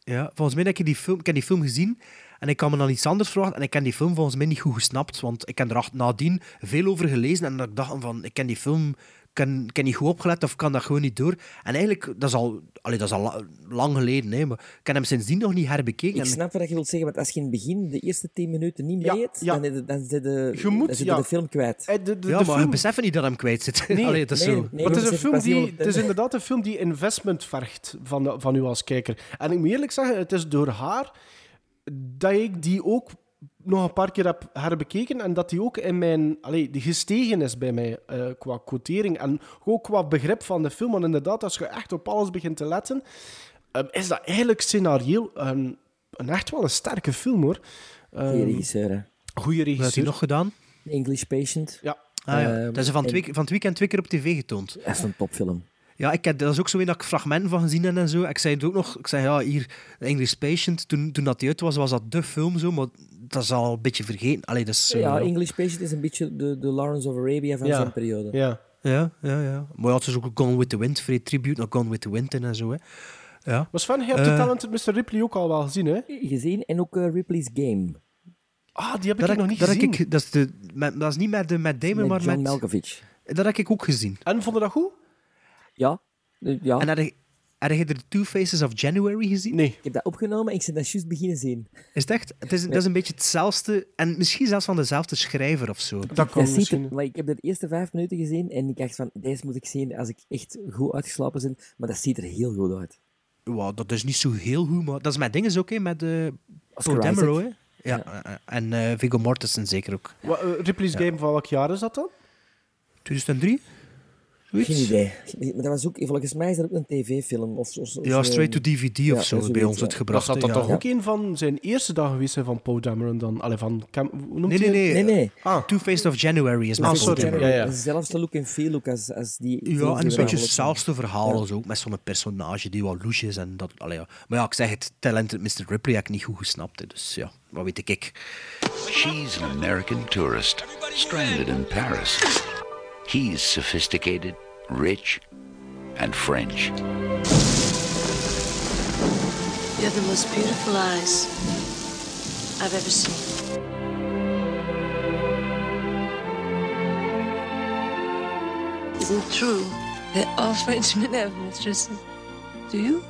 Speaker 3: bijrol.
Speaker 2: ja, volgens mij heb ik die film, ik heb die film gezien en ik kan me dan iets anders verwachten. En ik heb die film volgens mij niet goed gesnapt, want ik heb er acht- nadien veel over gelezen. En dat ik dacht van, ik ken die film kan, kan niet goed opgelet of kan dat gewoon niet door. En eigenlijk, dat is al, allee, dat is al la- lang geleden, hè, maar ik heb hem sindsdien nog niet herbekeken.
Speaker 4: Ik
Speaker 2: En-
Speaker 4: snap wat je wilt zeggen, want als je in het begin de eerste 10 minuten niet
Speaker 3: Ja,
Speaker 4: mee eet,
Speaker 3: ja.
Speaker 4: dan, zit- dan, zit de,
Speaker 3: Je moet,
Speaker 4: dan zit
Speaker 3: ja.
Speaker 4: de film kwijt.
Speaker 3: Eh, de- de-
Speaker 2: ja,
Speaker 3: de
Speaker 2: maar
Speaker 3: film-
Speaker 2: we beseffen niet dat hem kwijt zit.
Speaker 3: Nee,
Speaker 2: allee, dat is
Speaker 4: nee,
Speaker 2: zo.
Speaker 4: nee.
Speaker 3: Maar het is,
Speaker 4: dat
Speaker 3: een
Speaker 4: is
Speaker 3: film
Speaker 4: pas heel
Speaker 3: die,
Speaker 4: wat,
Speaker 3: het is
Speaker 4: hè.
Speaker 3: inderdaad een film die investment vergt van, van u als kijker. En ik moet eerlijk zeggen, het is door haar dat ik die ook nog een paar keer heb herbekeken en dat die ook in mijn... Allee, die gestegen is bij mij eh, qua quotering en ook qua begrip van de film. Want inderdaad, als je echt op alles begint te letten, ehm, is dat eigenlijk scenarioel een, een echt wel een sterke film, hoor. Ehm,
Speaker 4: Goeie regisseur, hè.
Speaker 3: goeie
Speaker 2: Wat heeft
Speaker 3: regisseur.
Speaker 2: hij nog gedaan?
Speaker 4: English Patient.
Speaker 3: Ja.
Speaker 2: Ah, ja.
Speaker 4: Ehm,
Speaker 2: dat is van,
Speaker 4: en-
Speaker 2: twee, keer- van het weekend twee keer op tv getoond.
Speaker 4: Dat is een topfilm.
Speaker 2: Ja, ik heb, dat is ook zo een dat ik fragmenten van gezien heb en zo. Ik zei het ook nog, ik zei ja, hier, English Patient, toen, toen dat die uit was, was dat de film zo, maar dat is al een beetje vergeten. Allee, dat is eh, zo,
Speaker 4: ja, English Patient is een beetje de, de Lawrence of Arabia van
Speaker 3: Ja.
Speaker 4: zijn periode.
Speaker 3: Ja.
Speaker 2: ja, ja, ja. Maar ja, het is ook Gone with the Wind, voor die tribute naar Gone with the Wind in en zo, hè. Ja.
Speaker 3: Maar Sven, je hebt de
Speaker 2: Eh.
Speaker 3: Talented Mr. Ripley ook al wel gezien, hè?
Speaker 4: Gezien en ook eh, Ripley's Game.
Speaker 3: Ah, die
Speaker 2: Dat,
Speaker 3: heb ik hier
Speaker 2: heb-
Speaker 3: nog niet
Speaker 2: dat, heb
Speaker 3: gezien.
Speaker 2: ik, dat, is de, met- dat is niet met, de, met Damon,
Speaker 4: met
Speaker 2: maar
Speaker 4: John
Speaker 2: met...
Speaker 4: Malkovich.
Speaker 2: Dat heb ik ook gezien.
Speaker 3: En vond je dat goed?
Speaker 4: Ja. Eh, ja.
Speaker 2: En had je, had je de Two Faces of January gezien?
Speaker 3: Nee.
Speaker 4: Ik heb dat opgenomen en ik ben dat juist beginnen zien.
Speaker 2: Is het echt? Het is, dat is een beetje hetzelfde, en misschien zelfs van dezelfde schrijver of zo.
Speaker 3: Dat kan
Speaker 4: Dat ziet
Speaker 3: misschien.
Speaker 4: er, maar ik heb de eerste vijf minuten gezien en ik dacht van, deze moet ik zien als ik echt goed uitgeslapen ben. Maar dat ziet er heel goed uit.
Speaker 2: Wow, dat is niet zo heel goed, maar dat is met dingen ook, hè, met eh
Speaker 4: Oscar
Speaker 2: Paul Demerow, hè.
Speaker 4: Isaac.
Speaker 2: Ja, eh, eh, en eh, Viggo Mortensen zeker ook.
Speaker 3: Wa- eh, Ripley's Game van welk jaar is dat dan?
Speaker 2: 2003? Zoiets?
Speaker 4: Geen idee. Maar dat was ook, volgens mij is dat ook een tv-film. Of, of, of
Speaker 2: Ja,
Speaker 4: een-
Speaker 2: straight to DVD
Speaker 4: eh, Ja,
Speaker 2: of zo is bij
Speaker 4: zoiets,
Speaker 2: ons het
Speaker 4: ja.
Speaker 2: gebracht.
Speaker 3: dat
Speaker 2: hè,
Speaker 3: dat
Speaker 2: ja.
Speaker 3: toch ook een van zijn eerste dagen geweest zijn van Poe Dameron dan? Allee, van... Cam, hoe noemt
Speaker 2: Nee, nee, nee.
Speaker 3: hij
Speaker 4: Nee, nee.
Speaker 3: Ah.
Speaker 2: Two Faced of January is
Speaker 3: Ah,
Speaker 2: met Paul
Speaker 3: sorry.
Speaker 2: Demerow.
Speaker 3: Ja, ja.
Speaker 4: Zelfs de look en feel ook als, als die...
Speaker 2: Ja, en een beetje
Speaker 4: zelfs.
Speaker 2: hetzelfde verhaal als ook, met zo'n personage die wel louche is. En dat, allee, ja. Maar ja, ik zeg het, Talented Mr. Ripley heb ik niet goed gesnapt. hè, Dus ja, wat weet ik ik.
Speaker 14: She's an American tourist, stranded in Paris. He's sophisticated, rich, and French.
Speaker 15: You have the most beautiful eyes I've ever seen. Isn't it true that all Frenchmen have mistresses? Do you?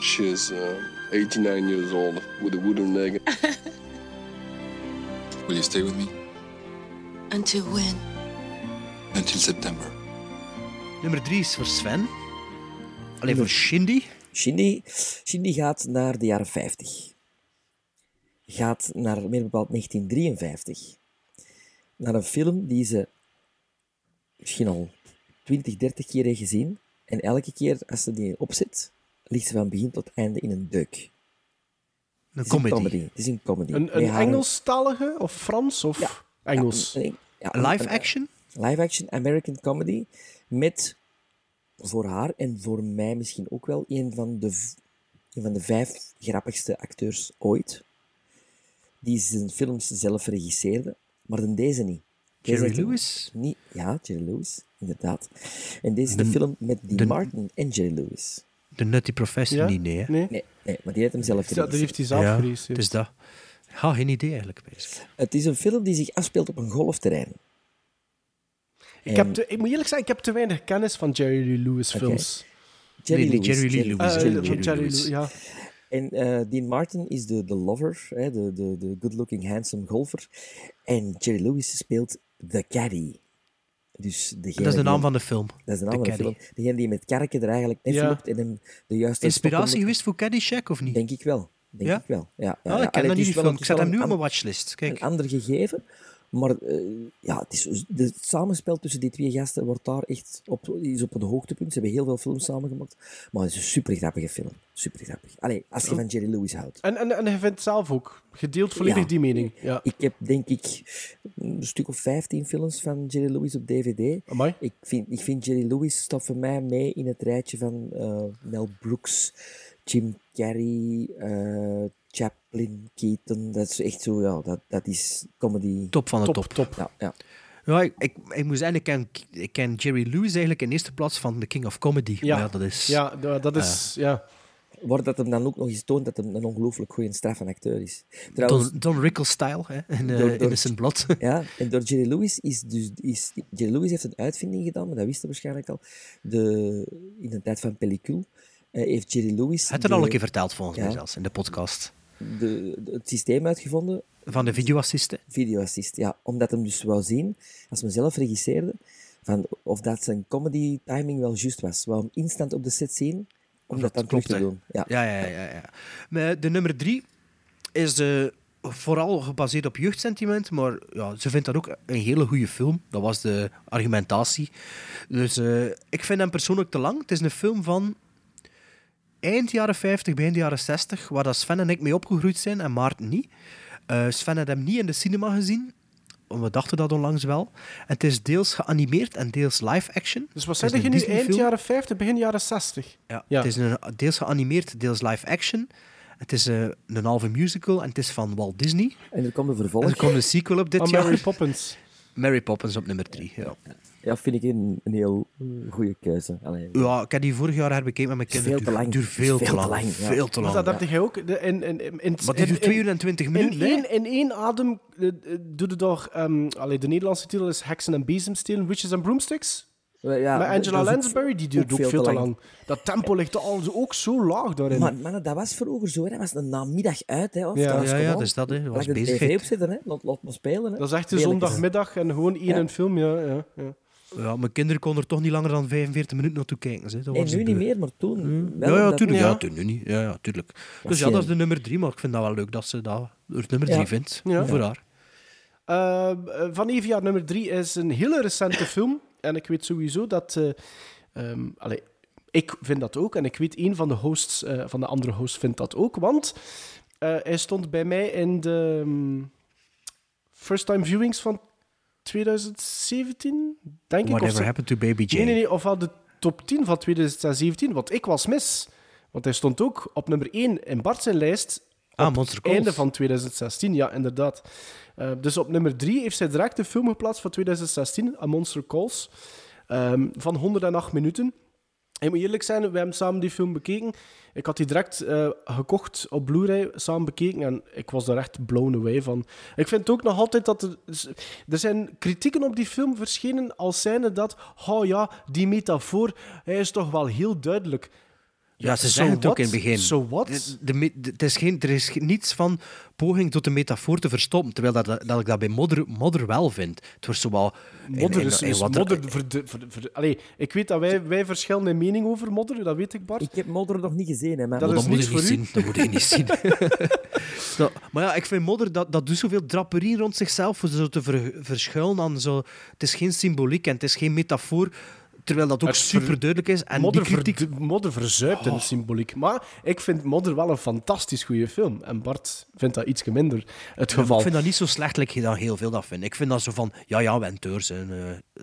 Speaker 16: She's uh, 89 years old with a wooden leg. Will you stay with me?
Speaker 15: Until when?
Speaker 16: Until September.
Speaker 2: Nummer drie is voor Sven. Alleen voor Shindy.
Speaker 4: Shindy, Shindy gaat naar de jaren 50. Gaat naar, meer bepaald 1953. Naar een film die ze misschien al 20, 30 keer heeft gezien. En elke keer als ze die opzet, ligt ze van begin tot einde in een deuk. Het is
Speaker 2: comedy.
Speaker 4: Het is een comedy.
Speaker 3: Een,
Speaker 4: Met
Speaker 3: een
Speaker 4: haar-
Speaker 3: Engelstalige of Frans of Engels?
Speaker 4: Ja, een- ja,
Speaker 3: Live
Speaker 4: een- een-
Speaker 3: action?
Speaker 4: Live action American comedy met voor haar en voor mij misschien ook wel een van de, v- een van de vijf grappigste acteurs ooit. Die zijn films zelf regisseerde, maar dan deze niet. Deze
Speaker 2: Jerry
Speaker 4: heeft hem
Speaker 2: Lewis?
Speaker 4: Niet, ja, Jerry Lewis, inderdaad. En deze is de,
Speaker 2: De-
Speaker 4: film met Dean
Speaker 2: de-
Speaker 4: Martin en Jerry Lewis.
Speaker 2: De Nutty Professor
Speaker 4: Ja?
Speaker 2: niet, nee. hè?
Speaker 3: Nee.
Speaker 4: Nee, nee, maar die heeft hem zelf
Speaker 3: Ja, dat heeft hij zelf
Speaker 2: Ja,
Speaker 3: geregisseerd.
Speaker 2: Het is dat. Ha, geen idee eigenlijk. bezig.
Speaker 4: Het is een film die zich afspeelt op een golfterrein.
Speaker 3: Ik, heb te- ik moet eerlijk zeggen, ik heb te weinig kennis van Jerry Lee Lewis films.
Speaker 4: Jerry
Speaker 2: Nee,
Speaker 4: Lewis.
Speaker 2: die Jerry Lee Lewis,
Speaker 3: Eh,
Speaker 2: Jerry
Speaker 3: van
Speaker 2: Lee
Speaker 3: Jerry
Speaker 2: Lewis.
Speaker 3: Lee- ja.
Speaker 4: En eh, Dean Martin is de, de lover, hè, de, de, de good-looking, handsome golfer. En Jerry Lewis speelt The Caddy. Dus degene
Speaker 2: Dat is de naam
Speaker 4: die-
Speaker 2: van de film.
Speaker 4: Dat is de
Speaker 2: The
Speaker 4: naam van de
Speaker 2: Caddy.
Speaker 4: film. Degene die met karken er eigenlijk net
Speaker 2: Ja.
Speaker 4: loopt en hem de juiste
Speaker 2: Inspiratie
Speaker 4: stokken
Speaker 2: geweest voor Caddyshack, of niet?
Speaker 4: Denk ik wel. Denk
Speaker 2: Ja?
Speaker 4: ik wel. Ja, ja,
Speaker 2: Ah, ik
Speaker 4: ja.
Speaker 2: ken
Speaker 4: Allee,
Speaker 2: dat
Speaker 4: het
Speaker 2: niet,
Speaker 4: is
Speaker 2: die
Speaker 4: wel
Speaker 2: film.
Speaker 4: een-
Speaker 2: Ik zet hem nu op
Speaker 4: an-
Speaker 2: mijn watchlist. Kijk.
Speaker 4: Een ander gegeven. Maar eh, ja, het, is, het samenspel tussen die twee gasten wordt daar echt op, is op een hoogtepunt. Ze hebben heel veel films samengemaakt. Maar het is een super grappige film. Super grappig. Allee, als je van Jerry Lewis houdt.
Speaker 3: En, en, en hij vindt zelf ook. Gedeeld volledig
Speaker 4: Ja.
Speaker 3: die mening. Ja.
Speaker 4: Ik heb denk ik een stuk of 15 films van Jerry Lewis op DVD. Ik vind, ik vind Jerry Lewis staat voor mij mee in het rijtje van eh, Mel Brooks, Jim Carrey, eh, Chaplin, Keaton. Dat is echt zo, ja, dat, dat is comedy.
Speaker 2: Top van de top.
Speaker 4: Ja, ja.
Speaker 2: Ja, ik, ik, ik moet zeggen, ik ken, ik ken Jerry Lewis eigenlijk in eerste plaats van The King of Comedy.
Speaker 3: Ja.
Speaker 2: Maar ja, dat is... Ah.
Speaker 3: Ja, da- dat is... ja.
Speaker 4: Wordt dat hem dan ook nog eens toont dat hem een ongelooflijk goede straf van acteur is.
Speaker 2: Don, Don Rickles-style, hè, in, eh, Innocent Blood.
Speaker 4: Ja, en door Jerry Lewis is dus... Is, Jerry Lewis heeft een uitvinding gedaan, maar dat wist hij waarschijnlijk al. De, in de tijd van Pellicule eh, heeft Jerry Lewis...
Speaker 2: Het er
Speaker 4: de-
Speaker 2: al een keer verteld, volgens mij
Speaker 4: Ja.
Speaker 2: zelfs, in de podcast.
Speaker 4: de, de- het systeem uitgevonden.
Speaker 2: Van de videoassist,
Speaker 4: Videoassist, ja. Omdat hem dus wou zien, als men zelf regisseerde, van of dat zijn comedy timing wel juist was. Wou hem instant op de set zien, om dat dan terug te
Speaker 2: hè.
Speaker 4: doen. Ja.
Speaker 2: Ja, ja, ja, ja. Maar de nummer drie is eh, vooral gebaseerd op jeugdsentiment, maar ja, ze vindt dat ook een hele goede film. Dat was de argumentatie. Dus eh, ik vind hem persoonlijk te lang. Het is een film van eind jaren 50, begin jaren 60, waar dat Sven en ik mee opgegroeid zijn en Maarten niet. Eh, Sven had hem niet in de cinema gezien. We dachten dat onlangs wel. En het is deels geanimeerd en deels live action.
Speaker 3: Dus wat
Speaker 2: Het
Speaker 3: zei
Speaker 2: is
Speaker 3: je
Speaker 2: een
Speaker 3: nu? Eind
Speaker 2: Disney-film.
Speaker 3: jaren 50, begin jaren 60?
Speaker 2: Ja,
Speaker 3: Ja.
Speaker 2: Het is een, deels geanimeerd, deels live action. Het is eh, een halve musical en het is van Walt Disney.
Speaker 4: En er komt een vervolg.
Speaker 2: En er komt een sequel op dit
Speaker 3: Aan
Speaker 2: jaar.
Speaker 3: Mary Poppins.
Speaker 2: Mary Poppins op nummer 3. Ja.
Speaker 4: Ja, vind ik een, een heel eh, goede keuze. Allee,
Speaker 2: ja, ik heb die vorig jaar herbekeken met mijn
Speaker 4: Is
Speaker 2: kinderen.
Speaker 4: veel te lang.
Speaker 2: Duur veel, te lang.
Speaker 4: ja.
Speaker 2: Veel te
Speaker 3: Maar
Speaker 2: lang.
Speaker 3: dat heb je ook. de- In, in, in, in,
Speaker 2: Maar die duurt
Speaker 3: in-
Speaker 2: 2 uur en 20 minuten.
Speaker 3: In
Speaker 2: hè.
Speaker 3: één, in één adem eh, eh, doet het door... ehm, allee, de Nederlandse titel is Heksen en Bezemstelen, Witches and Broomsticks.
Speaker 4: Wel, ja,
Speaker 3: maar
Speaker 4: dat- dat
Speaker 3: Angela
Speaker 4: is ook-
Speaker 3: Lansbury, die duurt ook veel, te lang. Dat tempo ligt al ook zo laag daarin.
Speaker 4: Maar mannen, dat was vroeger zo. Hè. Dat was een namiddag uit. Hè, of
Speaker 3: Ja.
Speaker 4: dat was
Speaker 3: Ja, ja,
Speaker 4: gewoon-
Speaker 3: dat is dat, hè. Dat was
Speaker 4: Laat de
Speaker 3: bezigheid.
Speaker 4: tv opzetten, hè. Laat, laat me spelen. Hè.
Speaker 3: dat is echt een
Speaker 4: Lelijk
Speaker 3: zondagmiddag en gewoon één
Speaker 4: Ja.
Speaker 3: een film, ja. ja, ja.
Speaker 2: Ja, mijn kinderen konden er toch niet langer dan 45 minuten naartoe kijken. Ze. Dat
Speaker 4: Nee,
Speaker 2: was het
Speaker 4: nu niet
Speaker 2: beu.
Speaker 4: meer, maar toen wel,
Speaker 2: Ja, ja,
Speaker 4: omdat-
Speaker 2: tuurlijk.
Speaker 4: Ja.
Speaker 2: Ja, toen nu niet. Ja, ja, tuurlijk.
Speaker 4: Was
Speaker 2: Dus ja,
Speaker 4: je-
Speaker 2: dat is de nummer 3, maar ik vind dat wel leuk dat ze dat het nummer
Speaker 3: Ja.
Speaker 2: 3 vindt.
Speaker 3: Ja.
Speaker 2: Voor haar.
Speaker 3: Ehm, eh, van Evia nummer 3 is een hele recente film. En ik weet sowieso dat. eh, ehm, allee, ik vind dat ook. En ik weet een van de hosts, eh, van de andere hosts, vindt dat ook. Want eh, hij stond bij mij in de ehm, first time viewings van 2017, denk ik. of
Speaker 2: Whatever
Speaker 3: zo.
Speaker 2: happened to Baby Jane.
Speaker 3: Nee, nee, nee. Ofwel de top 10 van 2017. Want ik was mis. Want hij stond ook op nummer 1 in Bart zijn lijst.
Speaker 2: Ah,
Speaker 3: op
Speaker 2: Monster
Speaker 3: het einde
Speaker 2: Calls.
Speaker 3: van 2016, ja, inderdaad. Eh, dus op nummer 3 heeft zij direct de film geplaatst van 2016, A Monster Calls, ehm, van 108 minuten. Ik moet eerlijk zijn, we hebben samen die film bekeken. Ik had die direct eh, gekocht op Blu-ray, samen bekeken en ik was daar echt blown away van. Ik vind ook nog altijd dat er... Er zijn kritieken op die film verschenen als zijnde dat... Oh ja, die metafoor, hij is toch wel heel duidelijk.
Speaker 2: Ja, ze
Speaker 3: so
Speaker 2: zeggen het ook
Speaker 3: what?
Speaker 2: in het begin.
Speaker 3: So what?
Speaker 2: De, de me- de- het is geen, er is ge- niets van poging tot de metafoor te verstoppen, terwijl dat, dat ik dat bij modder, modder wel vind. Het wordt zowel... in-
Speaker 3: Modder
Speaker 2: in-
Speaker 3: is,
Speaker 2: in
Speaker 3: is
Speaker 2: wat er- Oh,
Speaker 3: modder. Voor de, voor de- voor de- allee, ik weet dat wij, wij verschillen in mening over modder, dat weet ik, Bart.
Speaker 4: Ik heb modder nog niet gezien, hè, maar...
Speaker 3: Dat
Speaker 2: Maar
Speaker 3: is
Speaker 2: dat moet
Speaker 3: niks
Speaker 2: je niet
Speaker 3: voor
Speaker 2: zien.
Speaker 3: u.
Speaker 2: Dat moet je niet zien. Zo, maar ja, ik vind modder, dat, dat doet zoveel draperie rond zichzelf, voor zo te ver- verschuilen aan zo... Het is geen symboliek en het is geen metafoor. Terwijl dat ook
Speaker 3: Het ver-
Speaker 2: super duidelijk is. En
Speaker 3: modder,
Speaker 2: die kritiek...
Speaker 3: verd- modder verzuipt in
Speaker 2: Oh.
Speaker 3: de symboliek. Maar ik vind Modder wel een fantastisch goede film. En Bart vindt dat iets minder het
Speaker 2: Ja, maar
Speaker 3: geval.
Speaker 2: Ik vind dat niet zo slecht, like je dan heel veel dat vindt. Ik vind dat zo van, ja, ja, Wenteurs en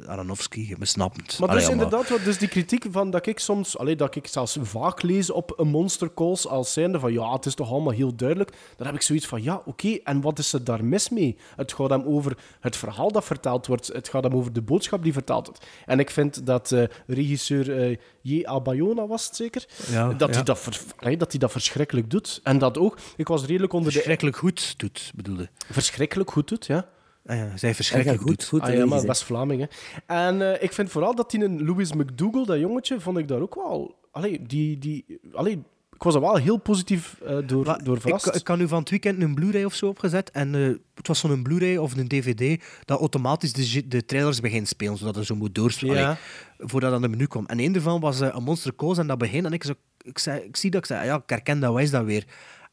Speaker 2: eh Aronofsky, je snapt het.
Speaker 3: Maar
Speaker 2: Allee,
Speaker 3: dus
Speaker 2: ja,
Speaker 3: inderdaad, wat, dus die kritiek van dat ik soms, allee, dat ik zelfs vaak lees op een Monster Calls als zijnde van ja, het is toch allemaal heel duidelijk. Dan heb ik zoiets van ja, oké, en wat is er daar mis mee? Het gaat hem over het verhaal dat vertaald wordt, het gaat hem over de boodschap die vertaald wordt. En ik vind dat eh, regisseur eh, J.A. Bayona was het zeker,
Speaker 2: Ja,
Speaker 3: dat,
Speaker 2: ja.
Speaker 3: Hij dat, ver- allee, dat hij dat verschrikkelijk doet. En dat ook, ik was redelijk onder
Speaker 2: Verschrikkelijk goed doet, bedoelde.
Speaker 3: Verschrikkelijk goed doet, ja.
Speaker 2: Ah ja, zij verschrikkelijk goed.
Speaker 3: Ah, ja, maar West-Vlaming, hè. En eh, ik vind vooral dat die een Louis McDougall, dat jongetje, vond ik daar ook wel... Allee, die... die allee, ik was er wel heel positief eh, door, door
Speaker 2: Ik,
Speaker 3: verrast.
Speaker 2: ik kan nu van het weekend een Blu-ray of zo opgezet. En eh, het was zo'n Blu-ray of een DVD dat automatisch de, j- de trailers begint spelen, zodat er zo moet doorspelen.
Speaker 3: Ja.
Speaker 2: Allee, voordat het aan de menu kwam. En een daarvan was eh, een Monster Calls en dat begin. En ik, zo, ik, zei, ik zie dat ik zei, "Ah ja, ik herken dat, wijs dat weer.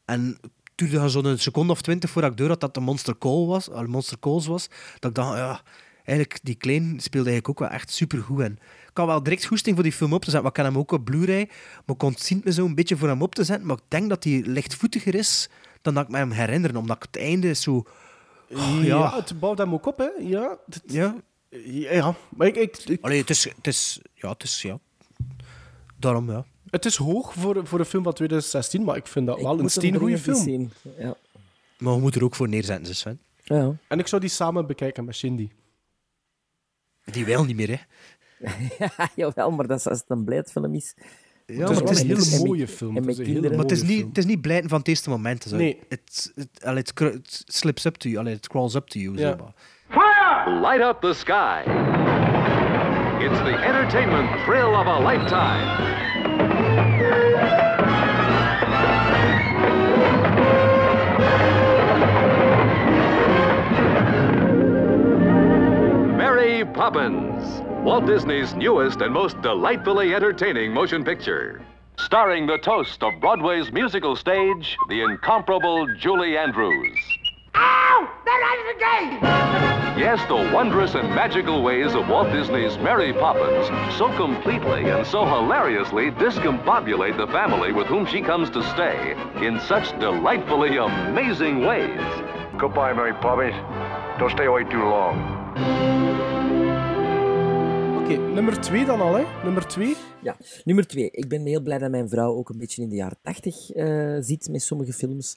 Speaker 2: En het duurde zo'n seconde of twintig voordat ik door had dat de Monster, Call was, eh, Monster Calls was. Dat ik dacht, "Ah ja, eigenlijk die Klein speelde eigenlijk ook wel echt supergoed. En ik had wel direct goesting voor die film op te zetten, maar ik had hem ook op Blu-ray. Maar ik kon het zien me zo een beetje voor hem op te zetten. Maar ik denk dat hij lichtvoetiger is dan dat ik me hem herinner. Omdat ik het einde is zo...
Speaker 3: ja.
Speaker 2: Oh, ja.
Speaker 3: het bouwt hem ook op, hè. Ja. het-
Speaker 2: Ja.
Speaker 3: Ja, maar ik... ik, ik-
Speaker 2: Allee, het is, het is... Ja, het is... Ja. Daarom, ja.
Speaker 3: het is hoog voor, voor een film van 2016, maar ik vind dat wel een
Speaker 4: moet hem
Speaker 3: steengoeie
Speaker 4: dringend
Speaker 3: film.
Speaker 4: eens zien. Ja.
Speaker 2: Maar we moeten er ook voor neerzetten, dus, Sven.
Speaker 4: Ja.
Speaker 3: En ik zou die samen bekijken met Shindy.
Speaker 2: Die wil niet meer, hè.
Speaker 4: Ah, Jawel, maar dat is, als het een blijdfilm is...
Speaker 2: maar het is een hele
Speaker 3: mooie film.
Speaker 4: En
Speaker 3: Het
Speaker 4: mijn
Speaker 3: is een hele
Speaker 4: kinderen...
Speaker 2: Maar het is
Speaker 3: mooie
Speaker 2: niet,
Speaker 3: film.
Speaker 2: het is niet blijten van het eerste moment. Zo.
Speaker 3: Nee.
Speaker 2: Het, het, allee, het, kru- het slips up to you. Allee, het crawls up to you.
Speaker 3: Ja.
Speaker 2: Zo, maar.
Speaker 17: Light up the sky. It's the entertainment thrill of a lifetime. Mary Poppins, Walt Disney's newest and most delightfully entertaining motion picture. Starring the toast of Broadway's musical stage, the incomparable Julie Andrews.
Speaker 6: Ow! That is the game!
Speaker 17: Yes, the wondrous and magical ways of Walt Disney's Mary Poppins so completely and so hilariously discombobulate the family with whom she comes to stay in such delightfully amazing ways.
Speaker 18: Goodbye, Mary Poppins. Don't stay away too long.
Speaker 3: Oké, nummer twee dan al, hè. Nummer twee.
Speaker 4: Ja, nummer twee. Ik ben heel blij dat mijn vrouw ook een beetje in de jaren tachtig eh ziet met sommige films.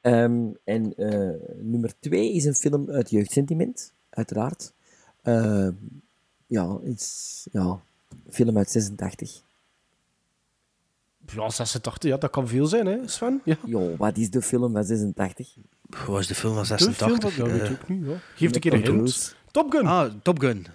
Speaker 4: Ehm, en eh, nummer twee is een film uit jeugdsentiment, uiteraard. Ehm, ja, iets, ja, film uit 86.
Speaker 3: Ja, 86, ja, dat kan veel zijn, hè, Sven. Ja.
Speaker 4: Jo, wat is de film van 86?
Speaker 2: Wat was de film van
Speaker 3: De film
Speaker 2: 86?
Speaker 3: van... Dat weet
Speaker 2: eh,
Speaker 3: ik ook niet, hoor. Geef een
Speaker 4: Met
Speaker 3: keer een
Speaker 4: Tom
Speaker 3: hint.
Speaker 4: Cruise.
Speaker 3: Top Gun.
Speaker 2: Ah, Top Gun.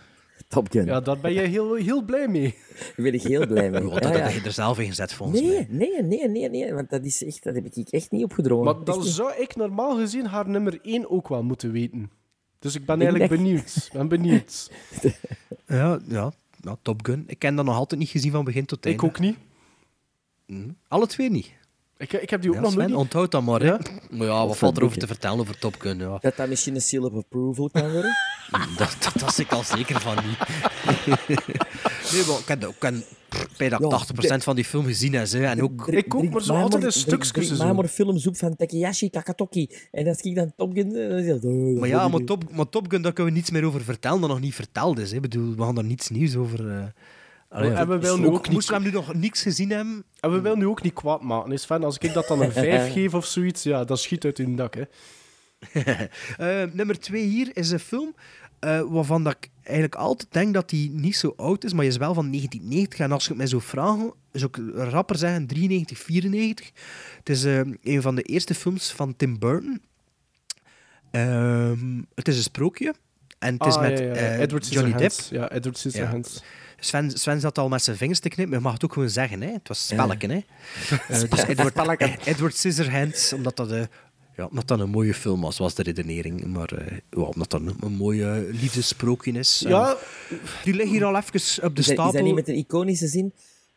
Speaker 4: Top Gun.
Speaker 3: Ja, daar ben jij heel, heel blij mee.
Speaker 4: Daar ben ik heel blij mee.
Speaker 2: Oh,
Speaker 4: Ja,
Speaker 2: dat
Speaker 4: ja.
Speaker 2: had je er zelf in gezet, volgens mij.
Speaker 4: Nee, nee, nee, nee, nee, want dat, is echt, dat heb ik echt niet opgedrongen.
Speaker 3: Maar dan
Speaker 4: Echt niet.
Speaker 3: zou ik normaal gezien haar nummer 1 ook wel moeten weten. Dus ik ben
Speaker 4: Ik
Speaker 3: eigenlijk
Speaker 4: denk-
Speaker 3: benieuwd. ben benieuwd.
Speaker 2: Ja, ja, ja, Top Gun. Ik ken dat nog altijd niet gezien van begin tot einde.
Speaker 3: Ik ook niet.
Speaker 2: Hm, Alle twee niet.
Speaker 3: Ik, ik heb die ook
Speaker 2: Ja,
Speaker 3: nog
Speaker 2: Sven,
Speaker 3: nooit. niet-
Speaker 2: onthoud dat maar. hè. Maar ja, wat
Speaker 4: Of
Speaker 2: valt
Speaker 4: een
Speaker 2: erover
Speaker 4: boekje.
Speaker 2: te vertellen over Top Gun? Ja.
Speaker 4: Dat dat misschien een seal of approval kan worden.
Speaker 2: Dat, dat was ik al zeker van niet. nee, maar ik ken, ik ken pff, bijna
Speaker 4: Ja,
Speaker 2: 80% van die film gezien. Hè, ze. en ook...
Speaker 3: Ik ook, maar zo altijd een stukjes.
Speaker 4: stukje. Maar maar films op van Takayashi Kakatoki. En als ik dan Top Gun... eh, dan zeg ik, oh,
Speaker 2: Maar ja,
Speaker 4: oh,
Speaker 2: maar
Speaker 4: oh.
Speaker 2: Top, maar Top Gun, daar kunnen we niets meer over vertellen dat nog niet verteld is. Hè. Ik bedoel, we gaan daar niets nieuws over... eh Allee,
Speaker 3: En we willen nu ook niet-
Speaker 2: Moesten we hem nu nog niks gezien hebben...
Speaker 3: En we willen nu ook niet kwaad maken. hè, Sven, als ik dat dan een 5 geef of zoiets, ja, dat schiet uit hun dak. Hè.
Speaker 2: Eh, nummer twee hier is een film eh, waarvan dat ik eigenlijk altijd denk dat die niet zo oud is, maar is wel van 1990. En als je het mij zo vraagt, zou ik rapper zeggen 93, 94. Het is eh, een van de eerste films van Tim Burton. Ehm, het is een sprookje. En het is
Speaker 3: Ah,
Speaker 2: met
Speaker 3: ja, ja, ja.
Speaker 2: eh,
Speaker 3: Edward
Speaker 2: Johnny Depp.
Speaker 3: Scissorhands. Ja, Edward Scissorhands.
Speaker 2: Sven, Sven zat al met zijn vingers te knippen, maar je mag het ook gewoon zeggen. Hè? Het was spelletje. Hè? Eh, dus Edward, Edward Scissorhands, omdat dat, eh, ja, omdat dat een mooie film was, was de redenering. Maar eh, ja, omdat dat een, een mooie liefdessprookje is. En
Speaker 3: Ja.
Speaker 2: die ligt hier al even op de
Speaker 4: Is dat, is dat
Speaker 2: stapel.
Speaker 4: niet met een iconische zin?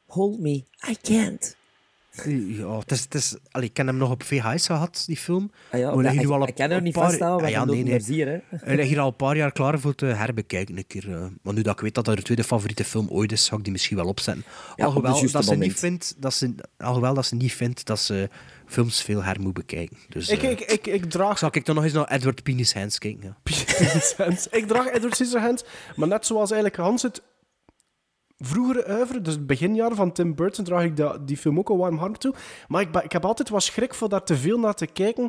Speaker 4: Hold me, I can't.
Speaker 2: Ja, het is, het is, allee, ik ken hem nog op VHS gehad, die film.
Speaker 4: Ah ja,
Speaker 2: we
Speaker 4: dat-
Speaker 2: liggen nu
Speaker 4: ik-
Speaker 2: al Ah,
Speaker 4: ik ken hem niet vasthouden, want ik doe het maar zeer, hè.
Speaker 2: Hij ligt hier al een paar jaar klaar voor te herbekijken. Een keer. eh. Maar nu dat ik weet dat dat de tweede favoriete film ooit is, zou ik die misschien wel opzetten.
Speaker 4: Ja, op
Speaker 2: alhoewel,
Speaker 4: het juiste
Speaker 2: dat ze niet
Speaker 4: moment.
Speaker 2: vindt, dat ze, alhoewel dat ze niet vindt dat ze films veel her moet bekijken. Dus,
Speaker 3: Ik-
Speaker 2: eh,
Speaker 3: ik- ik, ik draag
Speaker 2: Zal ik dan nog eens naar Edward Penis Hands kijken? Ja.
Speaker 3: Scissorhands. Ik draag Edward Scissorhands, maar net zoals eigenlijk Hans het vroegere uiveren, dus het beginjaar van Tim Burton, draag ik da- die film ook een warm hart toe. Maar ik, ba- ik heb altijd wat schrik voor daar te veel naar te kijken,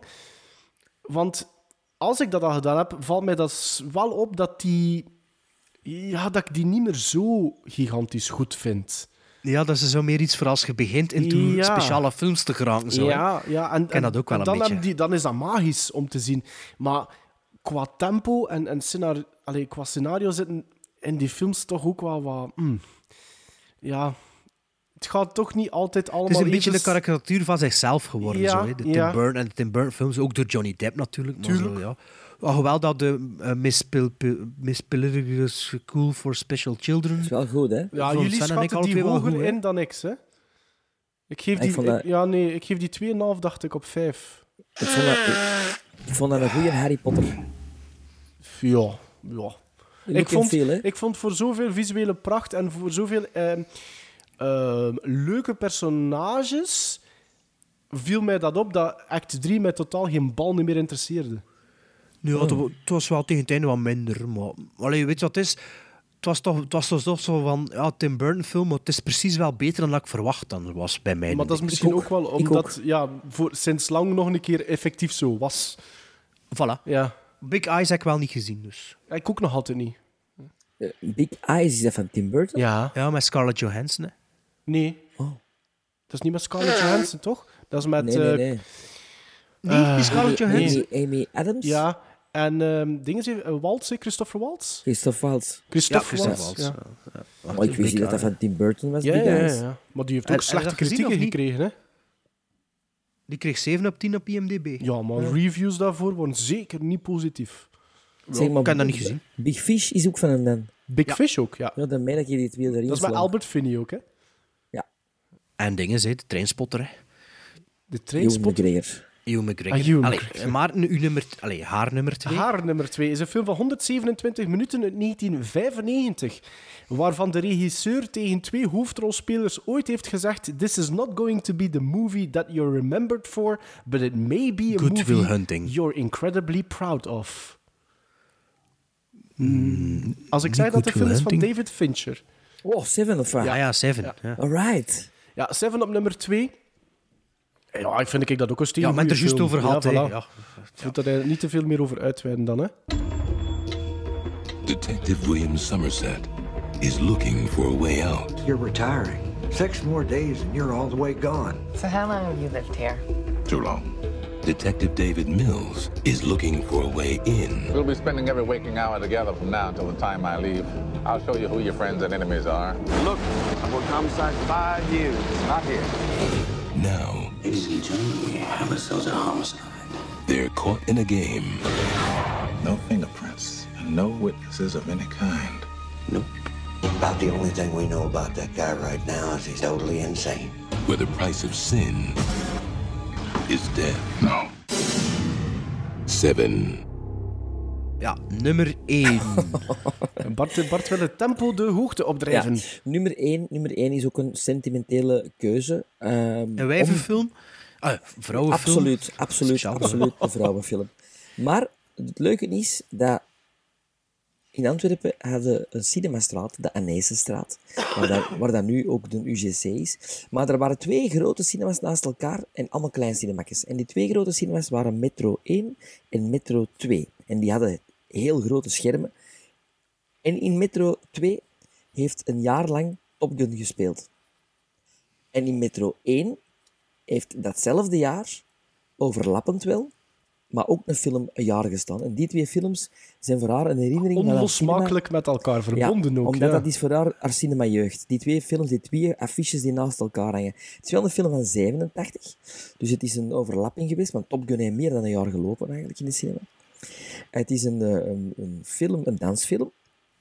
Speaker 3: want als ik dat al gedaan heb, valt mij dat s- wel op dat die... Ja, dat ik die niet meer zo gigantisch goed vind.
Speaker 2: ja, dat is zo meer iets voor als je begint in
Speaker 3: Ja.
Speaker 2: speciale films te geraken. Zo, hè.
Speaker 3: Ja, ja en,
Speaker 2: Ik ken dat ook wel
Speaker 3: en
Speaker 2: een
Speaker 3: dan
Speaker 2: beetje.
Speaker 3: hebben Die, dan is dat magisch om te zien. Maar qua tempo en, en scenario, allee, qua scenario zitten in die films toch ook wel wat. mm, ja, het gaat toch niet altijd allemaal.
Speaker 2: Het is een beetje de
Speaker 3: even-
Speaker 2: karikatuur van zichzelf geworden.
Speaker 3: Ja,
Speaker 2: zo, hè. De Tim
Speaker 3: ja.
Speaker 2: Burton en de Tim Burton films, ook door Johnny Depp natuurlijk. Maar
Speaker 3: Tuurlijk.
Speaker 2: zo, ja. Alhoewel dat de eh, Miss, Pil Pil- Miss Pilgrim's School for Special Children... is
Speaker 4: wel goed, hè?
Speaker 3: Ja, jullie schatten die hoger in dan niks, hè? Ik geef
Speaker 4: Ik
Speaker 3: die,
Speaker 4: vond dat-
Speaker 3: ik- ja, nee, ik geef die 2,5, dacht ik, op 5.
Speaker 4: Ik vond dat, ik vond dat een goede Harry Potter.
Speaker 3: Ja, ja. ik,
Speaker 4: Je moet
Speaker 3: vond,
Speaker 4: veel, hè?
Speaker 3: ik vond voor zoveel visuele pracht en voor zoveel ehm, ehm, leuke personages viel mij dat op dat act 3 mij totaal geen bal niet meer interesseerde.
Speaker 2: Nu, ja, het
Speaker 4: Oh.
Speaker 2: wa- het was wel tegen het einde wat minder, maar... Allee, weet je wat het is? Het was toch, het was toch zo van, ja, Tim Burton film, maar het is precies wel beter dan dat ik verwacht dan was bij mij.
Speaker 3: maar dat is misschien ook, wel omdat ja, voor, sinds lang nog een keer effectief zo was.
Speaker 2: Voilà.
Speaker 3: Ja.
Speaker 2: Big Eyes heb ik wel niet gezien, dus.
Speaker 3: Ik ook nog altijd niet.
Speaker 4: Big Eyes is dat van Tim Burton?
Speaker 3: Ja.
Speaker 2: Ja, met Scarlett Johansson, hè.
Speaker 3: Nee. Dat is niet met Scarlett Johansson, toch? Dat is met...
Speaker 4: Nee, nee,
Speaker 3: eh,
Speaker 4: nee.
Speaker 2: Nee,
Speaker 3: eh,
Speaker 2: niet Scarlett
Speaker 3: nee,
Speaker 2: Johansson.
Speaker 3: nee.
Speaker 4: Amy, Amy Adams?
Speaker 3: Ja. En ehm dingen ze Waltz, hè? Christopher Waltz?
Speaker 4: Christophe Waltz.
Speaker 3: Christophe Ja, Christophe Waltz, Waltz,
Speaker 2: ja.
Speaker 4: Maar ik wist niet dat dat van Tim Burton was,
Speaker 3: Ja,
Speaker 4: Big
Speaker 3: ja, ja,
Speaker 4: Eyes.
Speaker 3: ja. Maar die heeft
Speaker 2: En-
Speaker 3: ook
Speaker 2: en
Speaker 3: slechte
Speaker 2: dat gezien,
Speaker 3: kritieken
Speaker 2: of niet?
Speaker 3: gekregen, hè?
Speaker 2: Die kreeg 7 op 10 op IMDb.
Speaker 3: Ja, maar
Speaker 2: Ja.
Speaker 3: reviews daarvoor waren zeker niet positief.
Speaker 4: Zeg maar,
Speaker 2: ik heb dat niet gezien.
Speaker 4: Big Fish is ook van hem dan.
Speaker 3: Big Fish ook, ja.
Speaker 4: Ja, dan meen ik je die twee erin
Speaker 3: Dat is met
Speaker 4: slaan.
Speaker 3: Albert Finney ook, hè?
Speaker 2: En dingen, zei de treinspotter, hè.
Speaker 3: De
Speaker 4: Ewan
Speaker 3: Trainspot.
Speaker 4: McGregor.
Speaker 2: Ewan McGregor.
Speaker 3: Ah, Ewan
Speaker 2: Allee,
Speaker 3: McGregor.
Speaker 2: maar nu uw nummer, allee, haar nummer twee.
Speaker 3: Haar nummer 2 is een film van 127 minuten uit 1995, waarvan de regisseur tegen twee hoofdrolspelers ooit heeft gezegd This is not going to be the movie that you're remembered for, but it may be a
Speaker 2: Good
Speaker 3: movie
Speaker 2: Will Hunting.
Speaker 3: you're incredibly proud of. Als ik zei dat de
Speaker 2: Good Will
Speaker 3: film is van
Speaker 2: Hunting.
Speaker 3: David Fincher.
Speaker 4: Oh, Seven of Five.
Speaker 2: Ah ja, Seven. Ja,
Speaker 4: Alright.
Speaker 3: Ja, Seven op nummer 2. Ja, ik vind ik dat ook een stevige
Speaker 2: Ja, maar het er
Speaker 3: goeie
Speaker 2: juist
Speaker 3: film.
Speaker 2: over gehad,
Speaker 3: Ja,
Speaker 2: hè.
Speaker 3: voilà.
Speaker 2: Ja.
Speaker 3: Ik vind dat hij er niet te veel meer over uitweiden dan, hè.
Speaker 19: Detective William Somerset is looking for a way out.
Speaker 20: You're retiring. Six more days and you're all the way gone.
Speaker 21: So how long have you lived here?
Speaker 19: Too long. Detective David Mills is looking for a way in.
Speaker 9: We'll be spending every waking hour together from now until the time I leave. I'll show you who your friends and enemies are. Look, I will come inside five years, not here.
Speaker 19: Now, ladies and gentlemen, we have ourselves a homicide. They're caught in a game.
Speaker 8: No fingerprints and no witnesses of any kind.
Speaker 20: About the only thing we know about that guy right now is he's totally insane.
Speaker 19: where the price of sin is death. No. Seven.
Speaker 2: Ja, nummer 1.
Speaker 3: Bart, Bart wil het tempo de hoogte opdrijven.
Speaker 4: Ja. Nummer, één, nummer één is ook een sentimentele keuze. Ehm,
Speaker 2: Een wijvenfilm? Ah, vrouwenfilm?
Speaker 4: Absoluut, absoluut,
Speaker 2: Speciaal.
Speaker 4: absoluut een vrouwenfilm. Maar het leuke is dat in Antwerpen hadden een cinemastraat, de Anijsenstraat, waar, dat- waar dat nu ook de UGC is. Maar er waren twee grote cinemas naast elkaar en allemaal kleine cinemakjes. En die twee grote cinemas waren Metro 1 en Metro 2. En die hadden heel grote schermen. En in Metro 2 heeft een jaar lang Top Gun gespeeld. En in Metro 1 heeft datzelfde jaar, overlappend wel, maar ook een film een jaar gestaan. En die twee films zijn voor haar een herinnering van haar
Speaker 3: Onlosmakelijk met elkaar
Speaker 4: cinema- Ja,
Speaker 3: verbonden ook.
Speaker 4: Omdat
Speaker 3: ja.
Speaker 4: dat is voor haar, haar cinema-jeugd. Die twee films, die twee affiches die naast elkaar hangen. Het is wel een film van 87, dus het is een overlapping geweest, want Top Gun heeft meer dan een jaar gelopen eigenlijk in de cinema. Het is een, eh, een, een film, een dansfilm.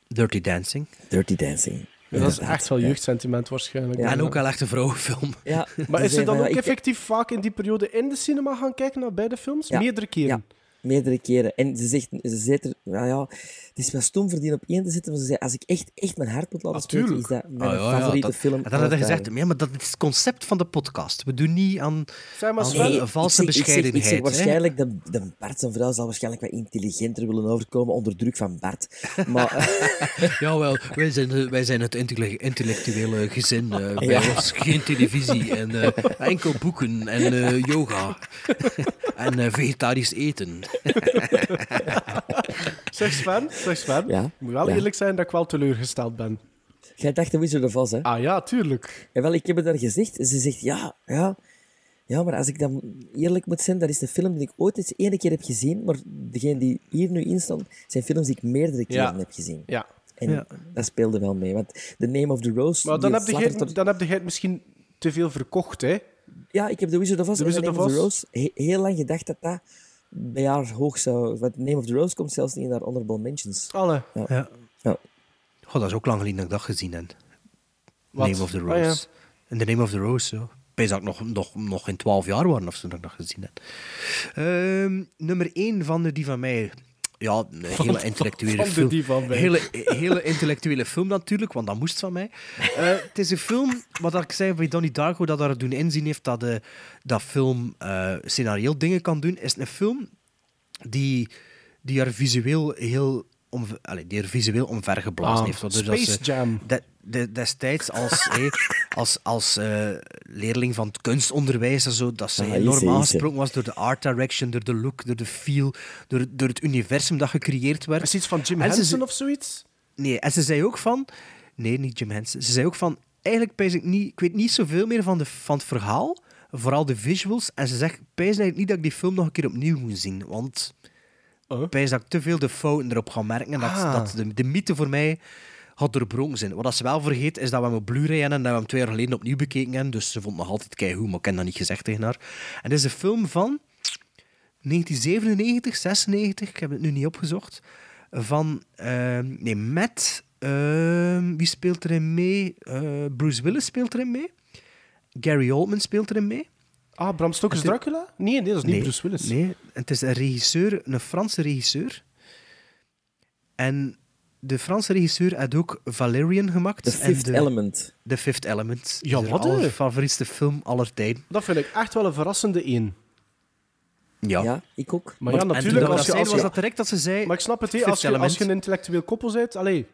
Speaker 2: Dirty Dancing.
Speaker 4: Dirty Dancing.
Speaker 3: dat is echt wel jeugdsentiment waarschijnlijk.
Speaker 2: en ook wel echt een vrouwenfilm.
Speaker 4: Ja.
Speaker 3: Maar is ze
Speaker 4: eh, zeggen
Speaker 3: dan
Speaker 4: van,
Speaker 3: ook
Speaker 4: ja, ik-
Speaker 3: effectief vaak in die periode in de cinema gaan kijken naar beide films?
Speaker 4: Ja.
Speaker 3: Meerdere keren.
Speaker 4: Ja, meerdere keren. En ze zegt, ze zit er, nou ja, het is wel stom voor die op één te zitten, maar ze zei, als ik echt, echt mijn hart moet laten spreken, is dat mijn
Speaker 2: Ah, ja, ja,
Speaker 4: favoriete
Speaker 2: dat-
Speaker 4: film.
Speaker 2: Dat had
Speaker 4: aller
Speaker 2: hij gezegd.
Speaker 4: tijden.
Speaker 2: Ja, maar dat is het concept van de podcast. We doen niet aan,
Speaker 3: Zeg maar,
Speaker 2: aan
Speaker 3: Sven.
Speaker 2: eh, valse
Speaker 4: ik zeg- ik zeg-
Speaker 2: bescheidenheid.
Speaker 4: Ik zeg,
Speaker 2: hè.
Speaker 4: waarschijnlijk, de, de Bart zijn vrouw zal waarschijnlijk wat intelligenter willen overkomen onder druk van Bart. Maar
Speaker 2: Jawel, wij zijn, eh, wij zijn het intelle- intellectuele gezin. eh bij
Speaker 4: Ja.
Speaker 2: ons geen televisie en eh, enkel boeken en eh, yoga en eh, vegetarisch eten.
Speaker 3: Zeg Sven, zeg Sven.
Speaker 4: Ja,
Speaker 3: Moet wel
Speaker 4: ja.
Speaker 3: eerlijk zijn dat ik wel teleurgesteld ben.
Speaker 4: jij dacht de Wizard of Oz, hè?
Speaker 3: Ah ja, tuurlijk.
Speaker 4: En wel, ik heb het daar gezegd. En ze zegt, ja, ja. Ja, maar als ik dan eerlijk moet zijn, dat is de film die ik ooit eens één keer heb gezien. Maar degene die hier nu in staan, zijn films die ik meerdere keren
Speaker 3: Ja.
Speaker 4: heb gezien.
Speaker 3: Ja.
Speaker 4: En
Speaker 3: Ja.
Speaker 4: dat speelde wel mee. Want The Name of the Rose...
Speaker 3: Maar dan
Speaker 4: die
Speaker 3: heb, je,
Speaker 4: fladdert
Speaker 3: het- dan heb je het misschien te veel verkocht, hè?
Speaker 4: er- Ja, ik heb The Wizard of Oz
Speaker 3: The
Speaker 4: en The
Speaker 3: Wizard
Speaker 4: Name
Speaker 3: of
Speaker 4: of the
Speaker 3: Oz.
Speaker 4: Rose he- heel lang gedacht dat dat bij haar hoog zou... Want The Name of the Rose komt zelfs niet in haar honorable mentions.
Speaker 3: Alle.
Speaker 2: Ja.
Speaker 4: Ja.
Speaker 2: Goh, dat is ook lang geleden dat ik dat gezien heb.
Speaker 4: Wat?
Speaker 2: Name of the
Speaker 4: Ah,
Speaker 2: Rose. In The Name of the Rose, ja. Ik denk dat ik nog, nog, nog in twaalf jaar waren of zo dat ik dat gezien heb. Ehm, nummer één van de die van mij... Ja, een hele intellectuele
Speaker 3: van de
Speaker 2: film.
Speaker 3: die van mij.
Speaker 2: Hele, hele intellectuele film natuurlijk, want dat moest van mij. Eh, het is een film, wat ik zei bij Donnie Darko, dat haar doen inzien heeft dat, eh, dat film eh scenario dingen kan doen. Is een film die, die haar visueel heel omver, allee, die haar visueel omvergeblazen
Speaker 3: Ah,
Speaker 2: heeft. waardoor dat
Speaker 3: Space
Speaker 2: ze
Speaker 3: Jam.
Speaker 2: de- de- destijds als, hé, als, als eh, leerling van het kunstonderwijs en zo, dat ze
Speaker 4: Ah, easy,
Speaker 2: enorm
Speaker 4: easy.
Speaker 2: aangesproken was door de art direction, door de look, door de feel, door, door het universum dat gecreëerd werd.
Speaker 3: Is iets van Jim
Speaker 2: En ze-
Speaker 3: Henson of zoiets?
Speaker 2: Nee, en ze zei ook van... Nee, niet Jim Henson. Ze zei ook van... Eigenlijk pijs ik niet... Ik weet niet zoveel meer van, de, van het verhaal. Vooral de visuals. En ze zegt... Pijs eigenlijk niet dat ik die film nog een keer opnieuw moet zien. Want...
Speaker 3: Oh.
Speaker 2: Pijs dat ik te veel de fouten erop ga merken. En dat,
Speaker 3: Ah.
Speaker 2: dat de, de mythe voor mij had doorbroken zijn. Wat dat ze wel vergeet, is dat we hem op Blu-ray hebben en dat we hem twee jaar geleden opnieuw bekeken hebben. Dus ze vond het nog altijd keigoed, maar ik heb dat niet gezegd tegen haar. En dit is een film van... 1997, 96, ik heb het nu niet opgezocht. Van, ehm, nee, met, ehm, wie speelt erin mee? Eh, Bruce Willis speelt erin mee. Gary Oldman speelt erin mee.
Speaker 3: Ah, Bram Stoker's
Speaker 2: Het-
Speaker 3: Dracula? Nee, nee, dat is niet Bruce Willis.
Speaker 2: Nee, het is een regisseur, een Franse regisseur. En de Franse regisseur had ook Valerian gemaakt.
Speaker 4: The
Speaker 2: en
Speaker 4: Fifth Element.
Speaker 2: The Fifth Element.
Speaker 3: Ja,
Speaker 2: Is
Speaker 3: wat,
Speaker 2: haar
Speaker 3: hè?
Speaker 2: favorietste film aller tijden.
Speaker 3: Dat vind ik echt wel een verrassende één.
Speaker 2: Ja.
Speaker 4: Ja, ik ook.
Speaker 3: Maar
Speaker 2: Want-
Speaker 3: ja,
Speaker 2: en toen
Speaker 3: natuurlijk.
Speaker 2: dat
Speaker 3: Als je,
Speaker 2: zei,
Speaker 3: als
Speaker 2: was
Speaker 3: je,
Speaker 2: dat direct dat ze zei...
Speaker 3: maar ik snap het, hè,
Speaker 2: Fifth
Speaker 3: als, je, als je
Speaker 2: Element.
Speaker 3: een intellectueel koppel bent, allee,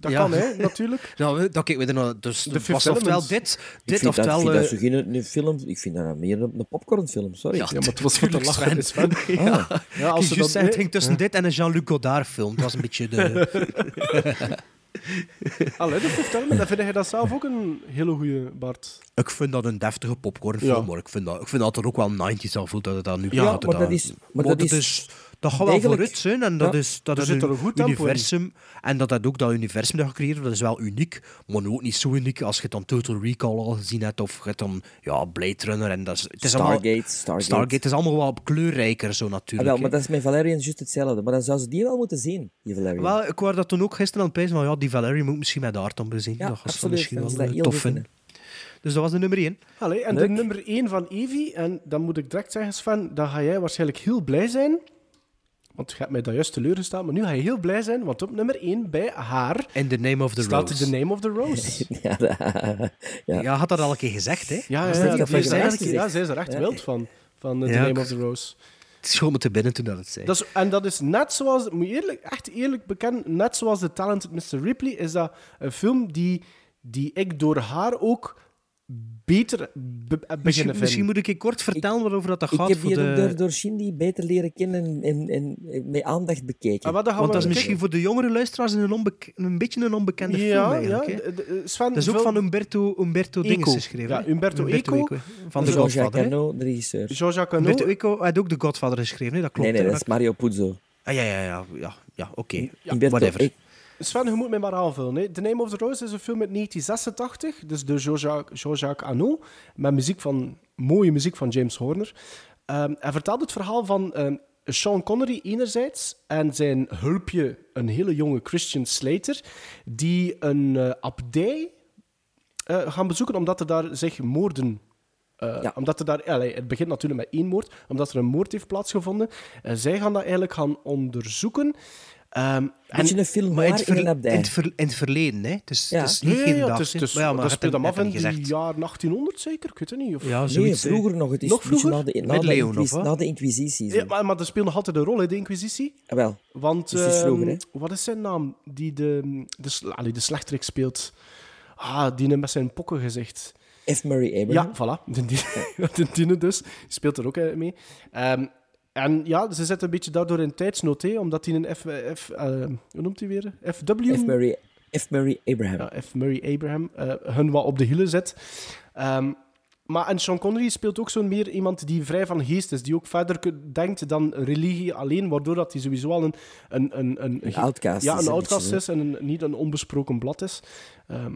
Speaker 3: dat
Speaker 2: Ja.
Speaker 3: kan, hè, natuurlijk.
Speaker 2: Nou, dat keken we er nog. Dus
Speaker 3: De
Speaker 2: het
Speaker 3: Fifth
Speaker 2: was oftewel
Speaker 3: Element.
Speaker 2: dit,
Speaker 4: Ik
Speaker 2: dit
Speaker 4: vind dat, ik
Speaker 2: oftewel...
Speaker 4: vind dat
Speaker 2: eh,
Speaker 4: zo geen een film... Ik vind dat meer een, een popcornfilm, sorry.
Speaker 2: Ja,
Speaker 3: Ja, maar het was voor te
Speaker 2: tuurlijk,
Speaker 3: lachen, is
Speaker 2: Sven.
Speaker 3: Sven.
Speaker 2: Ja.
Speaker 4: Ah.
Speaker 3: Ja, als
Speaker 2: Ik
Speaker 3: ze
Speaker 2: juist
Speaker 3: dat-
Speaker 2: zei, het ging tussen dit en een Jean-Luc Godard-film. Dat was een beetje de...
Speaker 3: Allee, dat hoeft helemaal. Dan vind je dat zelf ook een hele goede Bart.
Speaker 2: ik vind dat een deftige popcornfilm,
Speaker 3: Ja.
Speaker 2: maar ik vind, dat, ik vind dat er ook wel 90s aan voelt dat het dan nu
Speaker 4: Ja,
Speaker 2: gaat.
Speaker 4: maar dat is- maar dat
Speaker 2: dat,
Speaker 4: is
Speaker 2: dat gaat wel
Speaker 4: degelijk-
Speaker 2: vooruit zijn. En dat
Speaker 4: Ja,
Speaker 2: is dat
Speaker 3: er
Speaker 2: is
Speaker 3: zit er
Speaker 2: een
Speaker 3: een goed tempo in.
Speaker 2: universum. En dat dat ook dat universum dat gecreëerd wordt, dat is wel uniek. Maar ook niet zo uniek als je dan Total Recall al gezien hebt. Of je hebt dan ja, Blade Runner. En dat is, het is allemaal,
Speaker 4: Stargate, Stargate.
Speaker 2: Stargate het is allemaal wel kleurrijker zo
Speaker 4: Ah,
Speaker 2: natuurlijk.
Speaker 4: wel,
Speaker 2: hè.
Speaker 4: maar dat is met Valerian juist hetzelfde. Maar dan zou ze die wel moeten zien, die Valerian.
Speaker 2: Wel, ik hoorde dat toen ook gisteren aan het prijzen van ja, die Valerie moet misschien met haar dan bezien.
Speaker 4: Ja,
Speaker 2: dat was
Speaker 4: absoluut.
Speaker 2: misschien wel
Speaker 4: Dat is dat
Speaker 2: eh,
Speaker 4: heel
Speaker 2: tof
Speaker 4: goed
Speaker 2: vinden. Dus dat was de nummer 1.
Speaker 3: Allee, en
Speaker 2: Leuk.
Speaker 3: de nummer 1 van Evie, en dan moet ik direct zeggen, Sven, dan ga jij waarschijnlijk heel blij zijn. Want je hebt mij daar juist teleurgesteld, maar nu ga je heel blij zijn, want op nummer 1 bij haar
Speaker 2: In the name of the
Speaker 3: staat
Speaker 2: rose.
Speaker 3: The Name of the Rose.
Speaker 4: Ja, dat- ja.
Speaker 2: Ja, had dat al een keer gezegd, hè?
Speaker 3: Ja, ja,
Speaker 4: dat
Speaker 3: ja,
Speaker 4: niet
Speaker 3: die
Speaker 4: dat van
Speaker 3: zijn
Speaker 4: Gerard
Speaker 3: er-
Speaker 4: gezegd?
Speaker 3: ja, zij is er echt
Speaker 4: Ja.
Speaker 3: wild van, van eh, The
Speaker 2: Ja,
Speaker 3: Name
Speaker 2: ik-
Speaker 3: of the Rose.
Speaker 2: Het schoot me te binnen toen dat het zei.
Speaker 3: Dat is, en dat is net zoals, moet je eerlijk, echt eerlijk bekennen, net zoals The Talented Mr. Ripley, is dat een film die, die ik door haar ook beter be- beginnen
Speaker 2: misschien,
Speaker 3: vind.
Speaker 2: misschien moet ik je kort vertellen waarover dat, dat
Speaker 4: Ik
Speaker 2: gaat.
Speaker 4: heb
Speaker 2: voor
Speaker 4: die ook
Speaker 2: de...
Speaker 4: door, door Shindy beter leren kennen en, en, en met aandacht bekeken.
Speaker 3: Ah, wat, dan gaan
Speaker 2: Want
Speaker 3: we
Speaker 2: dat is misschien voor de jongere luisteraars een, onbek- een beetje een onbekende film
Speaker 3: ja, ja,
Speaker 2: eigenlijk. hè.
Speaker 3: de- de- Sven,
Speaker 2: Dat is ook
Speaker 3: vul-
Speaker 2: van Umberto, Umberto
Speaker 3: Eco.
Speaker 2: Dinges geschreven.
Speaker 3: Ja,
Speaker 2: hè?
Speaker 3: Umberto Eco.
Speaker 2: Van de
Speaker 4: Jean-Jacques
Speaker 2: Godfather. hè?
Speaker 4: Arnaud, de regisseur.
Speaker 3: Jean-Jacques Cano.
Speaker 2: Umberto Eco had ook de Godfather geschreven, hè? dat klopt.
Speaker 4: Nee, nee,
Speaker 2: hè.
Speaker 4: dat is Mario Puzo.
Speaker 2: Ah, ja, ja, ja, ja, ja oké.
Speaker 4: Umberto
Speaker 2: Whatever.
Speaker 4: Eco.
Speaker 3: Sven, je moet mij maar aanvullen. Hè. The Name of the Rose is een film uit 1986, dus door Jean-Jacques, Jean-Jacques Annaud, met muziek van, mooie muziek van James Horner. Ehm, hij vertelt het verhaal van ehm, Sean Connery enerzijds en zijn hulpje, een hele jonge Christian Slater, die een eh, abdij eh, gaan bezoeken omdat er daar zich moorden. eh, Omdat er daar, allee, het begint natuurlijk met één moord, omdat er een moord heeft plaatsgevonden. Eh, zij gaan dat eigenlijk gaan onderzoeken. Ehm
Speaker 4: Beetje een film
Speaker 2: Maar in
Speaker 4: noir
Speaker 2: het,
Speaker 4: in
Speaker 2: verle-
Speaker 4: een abdij.
Speaker 2: in het verle- in het verleden, hè? Het is,
Speaker 4: Ja.
Speaker 2: het is niet
Speaker 4: Ja, ja,
Speaker 2: geen
Speaker 4: ja,
Speaker 2: dag.
Speaker 4: het is-
Speaker 2: hè.
Speaker 4: het is-
Speaker 2: Maar ja, maar
Speaker 3: dus- dat
Speaker 2: je
Speaker 3: speelt
Speaker 2: hebt
Speaker 3: hem af
Speaker 2: net
Speaker 3: in
Speaker 2: niet gezegd.
Speaker 3: het jaar 1800 zeker? Ik weet het niet. Of...
Speaker 2: Ja,
Speaker 4: nee, vroeger nog. Het is
Speaker 3: nog
Speaker 4: een beetje
Speaker 3: vroeger?
Speaker 4: na de, na, de
Speaker 2: Middeleeuwen
Speaker 4: inquis-
Speaker 2: of wat?
Speaker 4: na de Inquisitie. zo.
Speaker 3: Ja, maar, maar dat speelde nog altijd een rol, hè, de Inquisitie.
Speaker 4: Ah, wel.
Speaker 3: Want,
Speaker 4: Dus het is
Speaker 3: ehm,
Speaker 4: vroeger, hè?
Speaker 3: wat is zijn naam? Die de, de, sla- allee, de slechterik speelt. Ah, die met zijn pokken gezegd.
Speaker 4: F. Murray
Speaker 3: Ja,
Speaker 4: Abraham.
Speaker 3: voilà. De, die- de Dine dus speelt er ook eh, mee. Ehm, en ja, ze zitten een beetje daardoor in tijdsnood, hè, omdat hij een F... F eh, hoe noemt hij weer? FW?
Speaker 4: F. Murray, F. Murray Abraham.
Speaker 3: Ja, F. Murray Abraham eh, hun wat op de hielen zet. Ehm, maar en Sean Connery speelt ook zo'n meer iemand die vrij van geest is, die ook verder kun- denkt dan religie alleen, waardoor dat hij sowieso al een... Een, een, een,
Speaker 4: Een outcast
Speaker 3: Ja,
Speaker 4: is,
Speaker 3: een
Speaker 4: hè,
Speaker 3: outcast
Speaker 4: beetje,
Speaker 3: is en een, niet een onbesproken blad is. Ehm,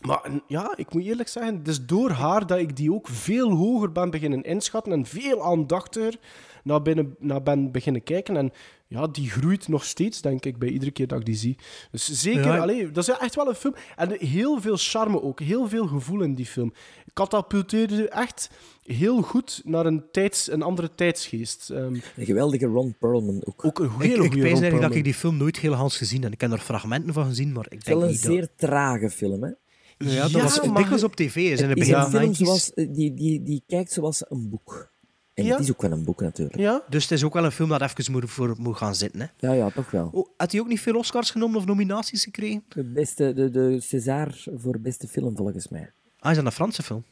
Speaker 3: maar en, ja, ik moet eerlijk zeggen, het is door haar dat ik die ook veel hoger ben beginnen inschatten en veel aandachtiger naar, binnen, naar ben beginnen kijken. En ja, die groeit nog steeds, denk ik, bij iedere keer dat ik die zie. Dus zeker,
Speaker 2: Ja.
Speaker 3: allee, dat is echt wel een film. En heel veel charme ook, heel veel gevoel in die film. Catapulteerde echt heel goed naar een, tijds, een andere tijdsgeest. Ehm,
Speaker 4: Een geweldige Ron Perlman ook.
Speaker 3: ook een
Speaker 2: Ik,
Speaker 3: hele goede
Speaker 2: ik pijs
Speaker 3: Ron
Speaker 2: eigenlijk dat
Speaker 3: Perlman.
Speaker 2: ik die film nooit heel Hans gezien heb. Ik heb er fragmenten van gezien, maar ik
Speaker 4: Het is
Speaker 2: denk
Speaker 4: wel een
Speaker 2: niet
Speaker 4: zeer trage film, hè?
Speaker 2: dat... Ja, dat
Speaker 3: Ja,
Speaker 2: was
Speaker 3: maar-
Speaker 2: dikwijls op tv. Is in het
Speaker 4: Het is
Speaker 2: begin
Speaker 4: een
Speaker 2: van de
Speaker 4: film
Speaker 2: 90's.
Speaker 4: zoals, eh, die, die, die kijkt zoals een boek. En
Speaker 2: Ja.
Speaker 4: het is ook wel een boek, natuurlijk.
Speaker 3: Ja?
Speaker 2: Dus het is ook wel een film dat even moet, voor moet gaan zitten. Hè.
Speaker 4: Ja, ja, toch wel.
Speaker 2: Oh, had hij ook niet veel Oscars genomen of nominaties gekregen?
Speaker 4: De, beste, de, de César voor beste film, volgens mij.
Speaker 2: Ah, is dat een Franse film?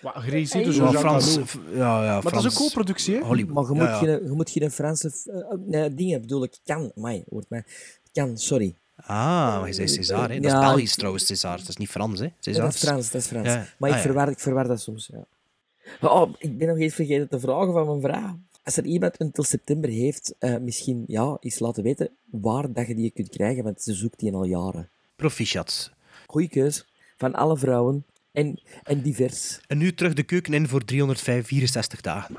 Speaker 3: Wat, geregisseerd door
Speaker 2: Ja,
Speaker 3: Jean
Speaker 2: Frans.
Speaker 3: Reno.
Speaker 2: f- Ja, ja,
Speaker 3: Maar dat is
Speaker 2: Frans.
Speaker 3: een co-productie, hè?
Speaker 2: Hollywood.
Speaker 4: Maar je moet,
Speaker 2: Ja, ja.
Speaker 4: Geen, je moet geen Franse... f- eh, nee, dingen bedoel ik. Kan, mij hoort mij. Kan, sorry.
Speaker 2: Ah, maar je zei César, hè? Dat
Speaker 4: Ja,
Speaker 2: is Belgisch
Speaker 4: ik-
Speaker 2: trouwens, César. Dat is niet Frans, hè?
Speaker 4: Nee,
Speaker 2: César.
Speaker 4: dat is Frans, dat is Frans.
Speaker 2: Ja.
Speaker 4: Maar ik,
Speaker 2: Ah, ja.
Speaker 4: verwar, ik verwar dat soms, ja. Maar, Oh, ik ben nog eens vergeten te vragen van mijn vraag. Als er iemand een tot september heeft, eh, misschien ja, eens laten weten waar dat je die kunt krijgen, want ze zoekt die al jaren.
Speaker 2: Proficiat.
Speaker 4: Goeie keus. Van alle vrouwen. En, en divers.
Speaker 2: En nu terug de keuken in voor 364 dagen.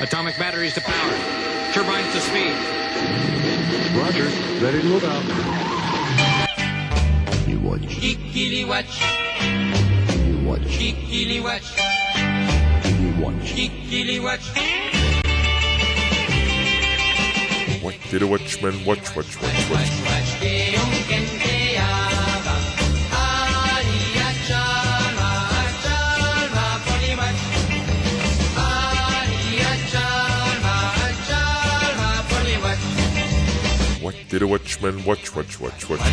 Speaker 21: Atomic batteries to power. Turbines to speed.
Speaker 9: Roger, ready to move out.
Speaker 21: You watch.
Speaker 6: Kikili watch,
Speaker 21: You watch.
Speaker 6: kikili watch,
Speaker 21: You watch.
Speaker 6: kikili watch.
Speaker 22: What did a watchman watch, watch, watch, watch? What did a watchman watch, watch, watch, watch?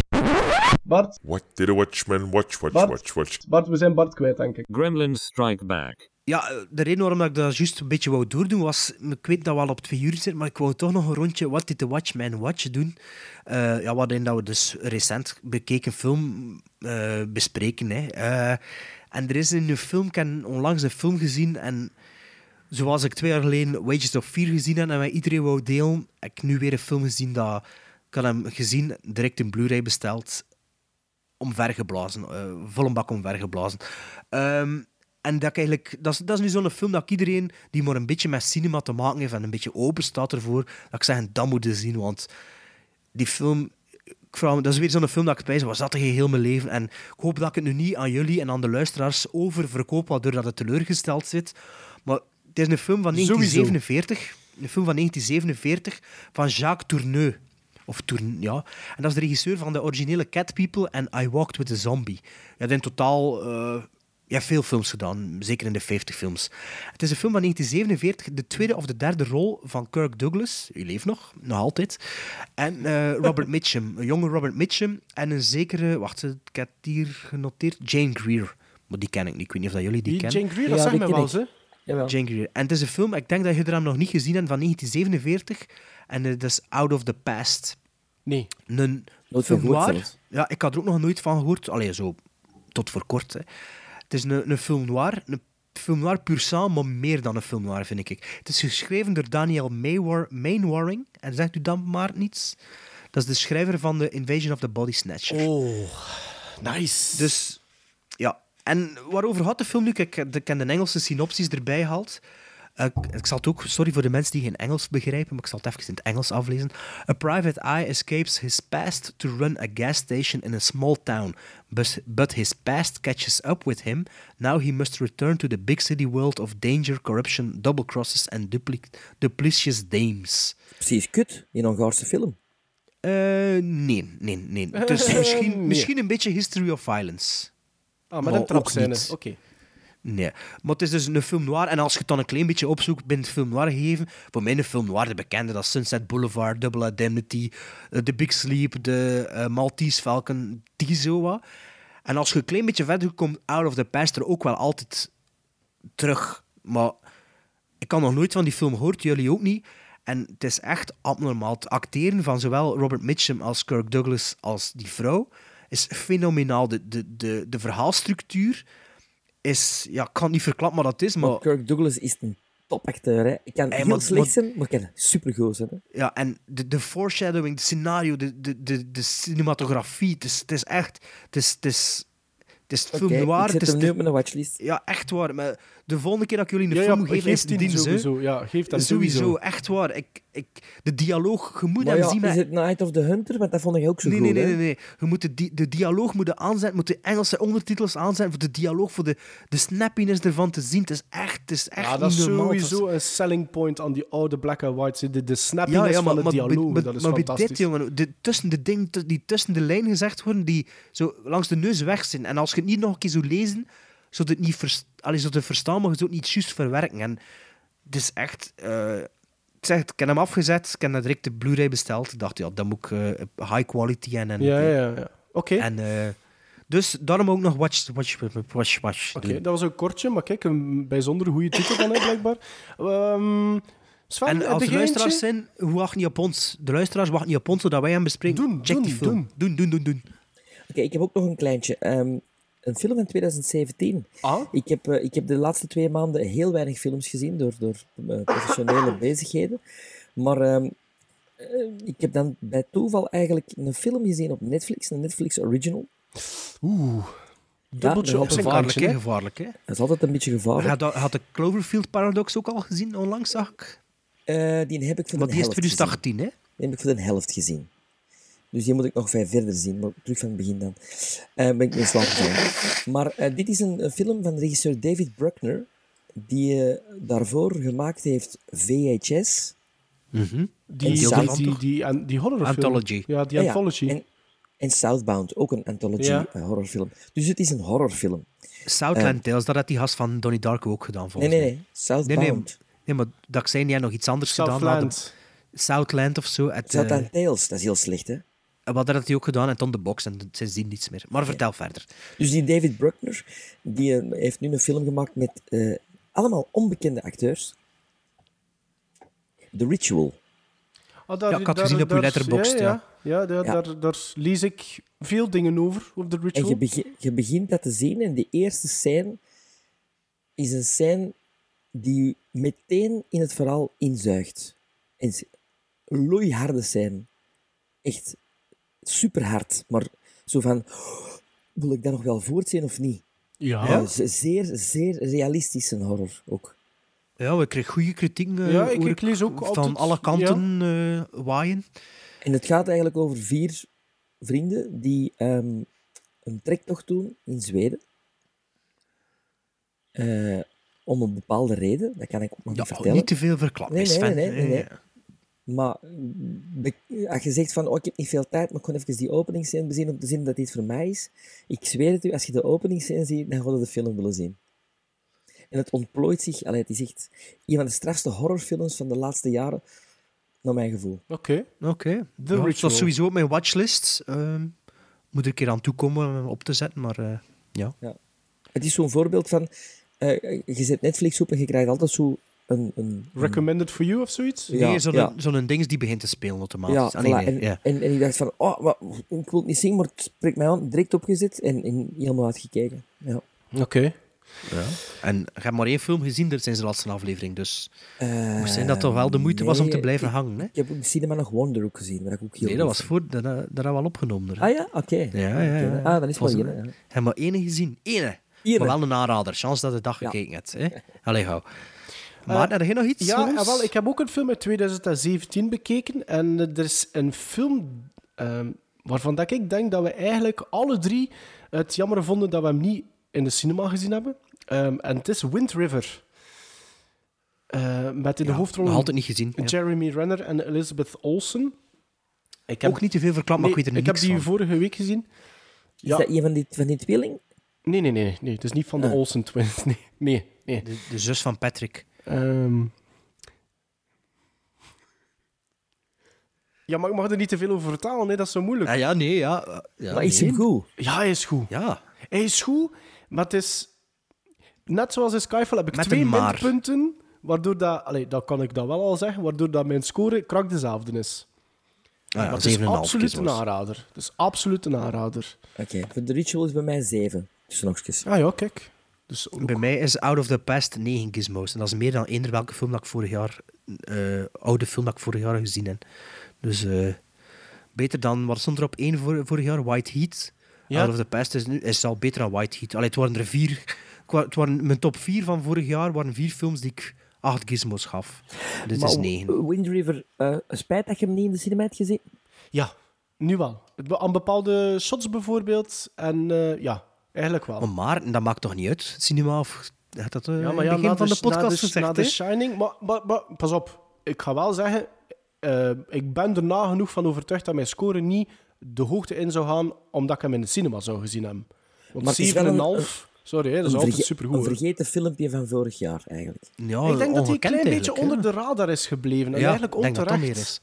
Speaker 3: Bart,
Speaker 22: What did a watchman watch, watch,
Speaker 3: Bart?
Speaker 22: watch, watch?
Speaker 3: Bart, we zijn Bart kwijt, denk ik.
Speaker 23: Gremlins Strike Back.
Speaker 2: Ja, eh, de reden waarom ik dat juist een beetje wou doordoen was... Ik weet dat we al op twee uur zitten, maar ik wou toch nog een rondje What Did the Watchman Watch doen. Eh ja, waarin dat we dus recent bekeken film eh, bespreken. Hè. Eh, en er is in een film... Ik heb onlangs een film gezien en... Zoals ik twee jaar geleden Wages of Fear gezien heb en met iedereen wou delen, heb ik nu weer een film gezien dat... Ik had hem gezien, direct in Blu-ray besteld omvergeblazen. eh volle bak omvergeblazen. Ehm en dat, ik eigenlijk, dat, is, dat is nu zo'n film dat ik iedereen die maar een beetje met cinema te maken heeft en een beetje open staat ervoor, dat ik zeg, dat moet je zien. Want die film, ik vraag me- dat is weer zo'n film dat ik bij was dat er heel mijn leven. En ik hoop dat ik het nu niet aan jullie en aan de luisteraars oververkoop, waardoor dat het teleurgesteld zit. Maar het is een film van
Speaker 3: Sowieso.
Speaker 2: 1947. Een film van 1947 van Jacques Tourneur. Of Tourn, ja. En dat is de regisseur van de originele Cat People en I Walked with a Zombie. Je hebt in totaal eh, je hebt veel films gedaan, zeker in de 50 films. Het is een film van 1947, de tweede of de derde rol van Kirk Douglas. U leeft nog, nog altijd. En eh, Robert Mitchum, een jonge Robert Mitchum. En een zekere, wacht, ik heb het hier genoteerd, Jane Greer. Maar die ken ik niet, ik weet niet of dat jullie die,
Speaker 3: Die
Speaker 2: kennen.
Speaker 3: Jane Greer, dat Ja, zegt die mij ken wel ik. eens,
Speaker 2: Jane Greer. En het is een film, ik denk dat je er hem nog niet gezien hebt, van 1947. En eh, dat is Out of the Past.
Speaker 3: Nee.
Speaker 2: Een
Speaker 4: Nooit van
Speaker 2: film
Speaker 4: gehoord
Speaker 2: noir.
Speaker 4: zelfs.
Speaker 2: Ja, ik had er ook nog nooit van gehoord. Allee, zo tot voor kort. Hè. Het is een, een film noir. Een film noir puur sang, maar meer dan een film noir, vind ik. Het is geschreven door Daniel Maywar- Mainwaring. En zegt u dan maar niets? Dat is de schrijver van de Invasion of the Body Snatcher.
Speaker 3: Oh, nice.
Speaker 2: Dus, ja. En waarover had de film nu? Kijk, ik heb de Engelse synopsis erbij gehaald. Eh, Eh, ik- ik zal het ook, sorry voor de mensen die geen Engels begrijpen, maar ik zal het even in het Engels aflezen. A private eye escapes his past to run a gas station in a small town, but, but his past catches up with him. Now he must return to the big city world of danger, corruption, double crosses and dupli duplicious dames.
Speaker 4: Precies, kut, in Hongaarse film.
Speaker 2: Eh, nee, nee, nee. Dus
Speaker 3: Eh,
Speaker 2: misschien,
Speaker 3: nee.
Speaker 2: misschien een beetje History of Violence.
Speaker 3: Ah,
Speaker 2: Maar
Speaker 3: met een
Speaker 2: Oh, ook
Speaker 3: trapscène.
Speaker 2: niet.
Speaker 3: Oké.
Speaker 2: Nee, maar het is dus een film noir. En als je het dan een klein beetje opzoekt binnen het film noir gegeven, voor mij een film noir, de bekende, dat is Sunset Boulevard, Double Indemnity, eh, The Big Sleep, de eh, Maltese Falcon, die zo wat. En als je een klein beetje verder komt, Out of the Past er ook wel altijd terug. Maar ik kan nog nooit van die film gehoord, jullie ook niet. En het is echt abnormaal. Het acteren van zowel Robert Mitchum als Kirk Douglas als die vrouw is fenomenaal. De, de, de, de verhaalstructuur is... Ja, ik kan het niet verklappen wat dat is, maar...
Speaker 4: Kirk Douglas is een topacteur. Hè. Ik kan
Speaker 2: Oh. Hey,
Speaker 4: heel
Speaker 2: maar-
Speaker 4: slecht
Speaker 2: maar-
Speaker 4: zijn, maar ik kan supergoed zijn. Hè.
Speaker 2: Ja, en de, de foreshadowing, de scenario, de, de, de, de cinematografie, het is, het is echt... Het is, het is, het is film
Speaker 4: Oké,
Speaker 2: noir.
Speaker 4: ik
Speaker 2: het
Speaker 4: zet
Speaker 2: is
Speaker 4: hem nu
Speaker 2: de-
Speaker 4: op mijn watchlist.
Speaker 2: Ja, echt waar. Maar de volgende keer dat ik jullie een
Speaker 3: Ja, ja,
Speaker 2: film geef,
Speaker 3: geef
Speaker 2: is
Speaker 3: die
Speaker 2: dienst, hè.
Speaker 3: sowieso. Ja, geef dat sowieso.
Speaker 2: Echt waar. Ik, ik, de dialoog, je moet
Speaker 4: Maar
Speaker 2: hem
Speaker 4: ja,
Speaker 2: zien... met-
Speaker 4: is het Night of the Hunter? Want dat vond ik ook zo
Speaker 2: nee,
Speaker 4: goed.
Speaker 2: Nee, nee,
Speaker 4: hè.
Speaker 2: nee, nee. Je moet de, di- de dialoog moet je aanzetten, moet de Engelse ondertitels aanzetten voor de dialoog, voor de, de snappiness ervan te zien. Het is echt, het is echt
Speaker 3: Ja, dat
Speaker 2: niet
Speaker 3: is
Speaker 2: normaal. Het is-
Speaker 3: sowieso een selling point aan die oude black and white. De, de snappiness
Speaker 2: ja, ja, maar,
Speaker 3: van de
Speaker 2: maar,
Speaker 3: dialoog,
Speaker 2: maar-
Speaker 3: dat is
Speaker 2: maar bij
Speaker 3: fantastisch.
Speaker 2: dit, jongen, de, tussen de dingen tu- die tussen de lijn gezegd worden, die zo langs de neus weg zijn. En als je het niet nog een keer zou lezen, zou je het niet vers, allee, zou je het verstaan, maar je zou het niet juist verwerken. En het is echt... eh, ik zeg het, ik heb hem afgezet, ik heb dat direct de Blu-ray besteld. Ik dacht, ja, dan moet ik eh, high quality en... en
Speaker 3: Ja, ja, ja. Oké.
Speaker 2: En... eh, dus daarom ook nog Watch, Watch, Watch, Watch.
Speaker 3: Oké,
Speaker 2: doen.
Speaker 3: dat was ook kortje, maar kijk, een bijzonder goede titel dan, hè, blijkbaar. Ehm Sven,
Speaker 2: En
Speaker 3: heb
Speaker 2: als
Speaker 3: jij
Speaker 2: er
Speaker 3: eentje?
Speaker 2: luisteraars zijn, hoe wachten Japons? De luisteraars wachten Japons zodat wij hem bespreken. Check die film. Doen, doen, doen, doen.
Speaker 4: Oké, ik heb ook nog een kleintje. Ehm, een film van 2017.
Speaker 2: Ah,
Speaker 4: Ik, heb, eh, ik heb de laatste twee maanden heel weinig films gezien door, door eh, professionele bezigheden. Maar ehm, eh, ik heb dan bij toeval eigenlijk een film gezien op Netflix, een Netflix original.
Speaker 2: Oeh.
Speaker 4: dat
Speaker 2: Dubbeltje
Speaker 4: is
Speaker 2: op zijn
Speaker 4: altijd
Speaker 2: gevaarlijk,
Speaker 4: een
Speaker 2: hè?
Speaker 4: kantje,
Speaker 2: Gevaarlijk, hè?
Speaker 4: Dat is altijd een beetje gevaarlijk.
Speaker 2: Had, had de Cloverfield Paradox ook al gezien onlangs, zag ik?
Speaker 4: Eh, die heb ik voor
Speaker 2: Maar
Speaker 4: de
Speaker 2: die is
Speaker 4: helft gezien.
Speaker 2: 2018, hè?
Speaker 4: Die heb ik voor de helft gezien. Dus die moet ik nog vijf verder zien, maar terug van het begin dan. Eh, ben ik mee in slaap gevallen. Maar eh, dit is een, een film van regisseur David Bruckner, die eh, daarvoor gemaakt heeft VHS.
Speaker 3: Die,
Speaker 4: En
Speaker 3: die,
Speaker 4: South-
Speaker 3: die, die, die, an- die horrorfilm. Ja, die
Speaker 4: Ah
Speaker 3: anthology.
Speaker 4: En, en Southbound, ook een anthology
Speaker 3: Ja.
Speaker 4: eh, horrorfilm. Dus het is een horrorfilm.
Speaker 2: Southland
Speaker 4: Eh.
Speaker 2: Tales, dat had die gast van Donnie Darko ook gedaan, volgens
Speaker 4: Nee,
Speaker 2: mij.
Speaker 4: nee, nee.
Speaker 2: Nee, nee,
Speaker 4: Southbound.
Speaker 2: nee, maar dat ik zei, jij nog iets anders gedaan.
Speaker 4: Southland.
Speaker 2: hadden. Southland of zo. Het, eh,
Speaker 4: Southland Tales, dat is heel slecht, hè?
Speaker 2: Wat had hij ook gedaan en dan de box en sindsdien niets meer. Maar vertel verder.
Speaker 4: Dus die David Bruckner, die eh, heeft nu een film gemaakt met eh, allemaal onbekende acteurs. The Ritual.
Speaker 3: Ah, daar-
Speaker 2: Ja, ik had
Speaker 3: daar-
Speaker 2: gezien op uw
Speaker 3: daar-
Speaker 2: Letterboxd,
Speaker 3: Ja, ja. ja, daar,
Speaker 4: Ja.
Speaker 3: Daar, daar lees ik veel dingen over, over The
Speaker 4: En
Speaker 3: Ritual.
Speaker 4: je, begi- je begint dat te zien en de eerste scène is een scène die je meteen in het verhaal inzuigt. En het is een loeiharde scène. Echt superhard, maar zo van... "Oh, Wil ik dat nog wel voortzien of niet?
Speaker 3: Ja.
Speaker 4: Eh, ze- zeer, zeer realistische horror ook.
Speaker 2: Ja, we kregen goede kritiek. eh,
Speaker 4: Ja, ik-
Speaker 2: hoor
Speaker 4: ik lees ook
Speaker 2: van
Speaker 4: altijd-
Speaker 2: alle kanten eh, waaien.
Speaker 4: En het gaat eigenlijk over vier vrienden die ehm, een trektocht doen in Zweden. Eh, om een bepaalde reden, dat kan ik ook nog niet vertellen.
Speaker 2: niet te veel verklappen, Eh,
Speaker 4: Nee, nee,
Speaker 2: Sven.
Speaker 4: nee, nee, nee, nee.
Speaker 2: Ja.
Speaker 4: Maar mm, be- als je zegt van, oh, ik heb niet veel tijd, maar ik kon even die openingscène bezien om te zien dat dit voor mij is. Ik zweer het u, als je de openingscène ziet, dan ga je de film willen zien. En het ontplooit zich, allee, het is echt een van de strafste horrorfilms van de laatste jaren, naar mijn gevoel.
Speaker 3: Oké.
Speaker 2: Oké.
Speaker 4: The
Speaker 2: Ja, dat
Speaker 4: Ritual.
Speaker 2: was sowieso op mijn watchlist. Ehm, moet er een keer aan toekomen om hem op te zetten, maar eh, ja.
Speaker 4: Ja. Het is zo'n voorbeeld van... eh, je zet Netflix op en je krijgt altijd zo een... een, een
Speaker 3: Recommended for you of zoiets?
Speaker 2: nee, zo'n zo'n ding die begint te spelen automatisch.
Speaker 4: ja,
Speaker 2: Ah, nee,
Speaker 4: voilà.
Speaker 2: nee,
Speaker 4: en,
Speaker 2: ja.
Speaker 4: En, en ik dacht van... Oh, wat- ik wil het niet zien, maar het spreekt mij aan. Direct opgezet en, en helemaal uitgekeken. Ja.
Speaker 3: Oké.
Speaker 2: Ja. En je hebt maar één film gezien er sinds de laatste aflevering, dus
Speaker 4: Eh,
Speaker 2: moest zijn dat toch wel de moeite was om te
Speaker 4: nee,
Speaker 2: blijven
Speaker 4: ik-
Speaker 2: hangen. Hè?
Speaker 4: Ik heb in de cinema nog Wonder ook gezien, maar dat ik ook heel
Speaker 2: Nee, dat was voor, dat, dat dat had wel opgenomen. er, hè.
Speaker 4: Ah ja? Oké.
Speaker 2: Ja, ja, ja.
Speaker 4: Oké, Ah, dan is het
Speaker 2: Was
Speaker 4: wel
Speaker 2: een-
Speaker 4: één, ja.
Speaker 2: Heb maar één gezien. Ene.
Speaker 4: Ene.
Speaker 2: Maar wel een aanrader. Chance dat de dag gekeken hebt. Hè? Allee, gauw. Maar heb je nog iets
Speaker 3: Ja,
Speaker 2: voor ons?
Speaker 3: eh, wel, ik heb ook een film uit 2017 bekeken. En eh, er is een film ehm, waarvan dat ik denk dat we eigenlijk alle drie het jammer vonden dat we hem niet in de cinema gezien hebben. Ehm, en het is Wind River. Eh, met in de hoofdrol
Speaker 2: nog altijd niet gezien, ja.
Speaker 3: Jeremy Renner en Elizabeth Olsen. Ik
Speaker 2: Ook niet te veel verklapt, maar
Speaker 3: Nee,
Speaker 2: ik weet er
Speaker 3: Ik heb
Speaker 2: niks
Speaker 3: die
Speaker 2: van.
Speaker 3: vorige week gezien.
Speaker 4: Is dat een van die, van die tweeling?
Speaker 3: Nee, nee, nee, nee. Het is niet van de
Speaker 4: Ah.
Speaker 3: Olsen twins. Nee, nee. nee.
Speaker 2: De, de zus van Patrick.
Speaker 3: Ehm. Ja, maar ik mag er niet te veel over vertalen, hè. dat is zo moeilijk.
Speaker 2: Ja, ja nee, ja. eh, ja
Speaker 4: Maar is hem goed?
Speaker 3: Ja, hij is goed.
Speaker 2: Ja.
Speaker 3: Hij is goed, maar het is... Net zoals in Skyfall heb ik
Speaker 2: Met
Speaker 3: twee
Speaker 2: een maar.
Speaker 3: minpunten, waardoor dat... Allee, dat kan ik dan wel al zeggen, waardoor dat mijn score krak dezelfde is.
Speaker 2: Ah, ja,
Speaker 3: maar het
Speaker 2: 7,5
Speaker 3: is
Speaker 2: keer
Speaker 3: absoluut een
Speaker 2: zelfs.
Speaker 3: aanrader. Het is absoluut een aanrader.
Speaker 4: Oké, voor de ritual is bij mij zeven. Tussenokjes.
Speaker 3: Ah ja, kijk. Dus ook-
Speaker 2: Bij mij is Out of the Past 9 gizmos. En dat is meer dan eender welke film dat ik vorig jaar... eh, oude film dat ik vorig jaar gezien heb. Dus eh, beter dan... Wat stond er op één voor, vorig jaar? White Heat.
Speaker 3: Ja.
Speaker 2: Out of the Past is, nu, is al beter dan White Heat. Allee, het waren er vier... het wa- Het waren, mijn top vier van vorig jaar waren vier films die ik acht gizmos gaf. Dit
Speaker 4: Maar
Speaker 2: is 9.
Speaker 4: Wind River, Oh, eh, spijt dat je hem niet in de cinema hebt gezien.
Speaker 3: Ja, nu wel. Het- Aan bepaalde shots bijvoorbeeld. En eh, ja, eigenlijk wel.
Speaker 2: Maar Maarten, dat maakt toch niet uit? Het cinema of... Had dat eh,
Speaker 3: ja,
Speaker 2: in
Speaker 3: maar
Speaker 2: het
Speaker 3: ja,
Speaker 2: begin
Speaker 3: na
Speaker 2: van
Speaker 3: dus-
Speaker 2: de, podcast
Speaker 3: na de,
Speaker 2: gezegd,
Speaker 3: na de
Speaker 2: hè?
Speaker 3: Shining... Maar, maar, maar, pas op, ik ga wel zeggen... eh, ik ben er nagenoeg van overtuigd dat mijn score niet de hoogte in zou gaan, omdat ik hem in de cinema zou gezien hebben.
Speaker 4: Maar
Speaker 3: Want
Speaker 4: het is wel een-
Speaker 3: 7,5... Sorry, hè, dat is
Speaker 4: Een
Speaker 3: altijd
Speaker 4: verge- Een
Speaker 3: supergoed. hoor.
Speaker 4: vergeten filmpje van vorig jaar, eigenlijk.
Speaker 2: Ja,
Speaker 3: ik denk dat hij een
Speaker 2: ongekend
Speaker 3: klein beetje
Speaker 2: eigenlijk, hè?
Speaker 3: onder de radar is gebleven. En
Speaker 2: Ja,
Speaker 3: eigenlijk
Speaker 2: ik denk dat dat
Speaker 3: onterecht.
Speaker 2: meer is.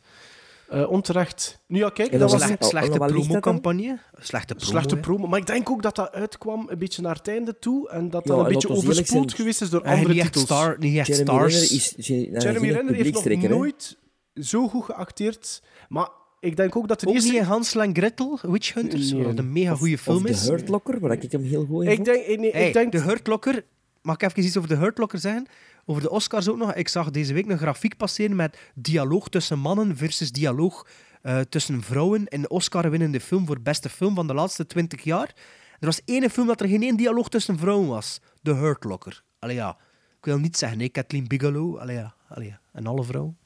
Speaker 3: Eh, onterecht. Nu ja, kijk,
Speaker 2: En
Speaker 3: dat
Speaker 2: dan
Speaker 3: was
Speaker 2: slecht-
Speaker 3: een-
Speaker 2: slechte promocampagne. Slechte promo.
Speaker 3: Slechte
Speaker 2: hè.
Speaker 3: promo. Maar ik denk ook dat dat uitkwam een beetje naar het einde toe. En dat
Speaker 2: Ja,
Speaker 3: dat een
Speaker 2: en laten
Speaker 3: beetje
Speaker 2: we eerlijk
Speaker 3: overspoeld
Speaker 2: zijn,
Speaker 3: geweest is door
Speaker 2: hij heeft
Speaker 3: andere
Speaker 2: niet echt
Speaker 3: titels.
Speaker 2: star- niet echt Jeremy stars. Renner is- is- is-
Speaker 3: Jeremy
Speaker 2: is een
Speaker 3: Renner heeft nog
Speaker 2: publiekstrekker, hè?
Speaker 3: nooit zo goed geacteerd. Maar ik denk ook dat de
Speaker 2: Ook
Speaker 3: eerste...
Speaker 2: niet in Hansel en Gretel, Witch Hunters,
Speaker 3: Nee.
Speaker 2: wat een mega
Speaker 3: Of-
Speaker 2: goede
Speaker 3: of
Speaker 2: film
Speaker 3: The
Speaker 2: is.
Speaker 3: Hurt
Speaker 4: Locker, waar ik hem heel goed
Speaker 3: Ik denk... nee,
Speaker 2: Hey,
Speaker 3: ik denk
Speaker 2: De Hurt Locker, mag ik even iets over de Hurt Locker zeggen? Over de Oscars ook nog. Ik zag deze week een grafiek passeren met dialoog tussen mannen versus dialoog eh, tussen vrouwen in de Oscar-winnende film voor beste film van de laatste 20 jaar. Er was één film dat er geen één dialoog tussen vrouwen was. De Hurt Locker. Allee ja, ik wil niet zeggen, nee, Kathleen Bigelow. Allee ja, allee ja. En alle vrouwen.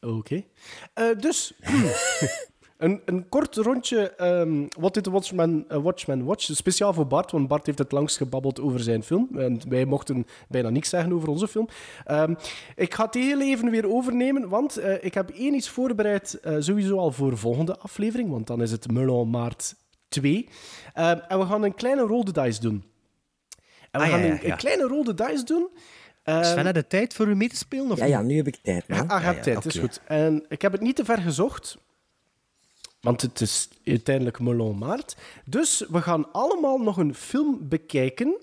Speaker 3: Oké. Eh, dus... Een, een kort rondje ehm What Did the Watchman, eh, Watchman Watch? Speciaal voor Bart, want Bart heeft het langst gebabbeld over zijn film. En wij mochten bijna niks zeggen over onze film. Ehm, ik ga het heel even weer overnemen, want eh, ik heb één iets voorbereid, eh, sowieso al voor de volgende aflevering, want dan is het Melon Maart 2. Ehm, en we gaan een kleine rode dice doen. En
Speaker 2: Ah,
Speaker 3: we
Speaker 2: ja,
Speaker 3: gaan
Speaker 2: ja,
Speaker 3: een, een
Speaker 2: ja.
Speaker 3: kleine rode dice doen.
Speaker 2: Sven,
Speaker 3: Ehm,
Speaker 2: had je tijd voor u mee te spelen? Of
Speaker 4: Ja, ja, nu heb ik tijd.
Speaker 3: ja,
Speaker 4: man.
Speaker 3: ah, je hebt tijd, is goed. En ik heb het niet te ver gezocht, want het is uiteindelijk Melon Maart. Dus we gaan allemaal nog een film bekijken.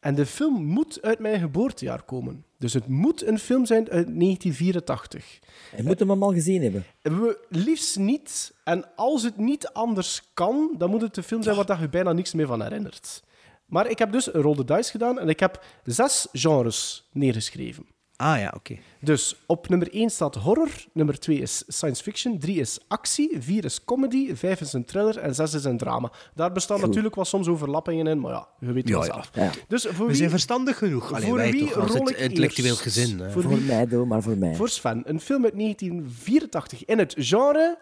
Speaker 3: En de film moet uit mijn geboortejaar komen. Dus het moet een film zijn uit 1984.
Speaker 4: Je moet hem allemaal gezien hebben.
Speaker 3: We, liefst niet. En als het niet anders kan, dan moet het een film zijn waar dat je bijna niks meer van herinnert. Maar ik heb dus een rode dice gedaan en ik heb zes genres neergeschreven.
Speaker 2: Ah ja, oké.
Speaker 3: Dus op nummer 1 staat horror, nummer 2 is science fiction, 3 is actie, 4 is comedy, 5 is een thriller en 6 is een drama. Daar bestaan
Speaker 2: Goed.
Speaker 3: natuurlijk wel soms overlappingen in, maar ja, je weet het wel
Speaker 2: Ja,
Speaker 3: zelf.
Speaker 4: ja. Ja.
Speaker 3: Dus voor
Speaker 2: We
Speaker 3: wie,
Speaker 2: zijn verstandig genoeg. Allee,
Speaker 3: voor
Speaker 2: wij
Speaker 3: wie
Speaker 2: toch als
Speaker 3: rol
Speaker 2: het
Speaker 3: ik
Speaker 2: intellectueel
Speaker 3: eerst?
Speaker 2: gezin. hè.
Speaker 4: Voor,
Speaker 3: wie-
Speaker 4: mij, doe maar voor mij.
Speaker 3: voor Sven, een film uit 1984 in het genre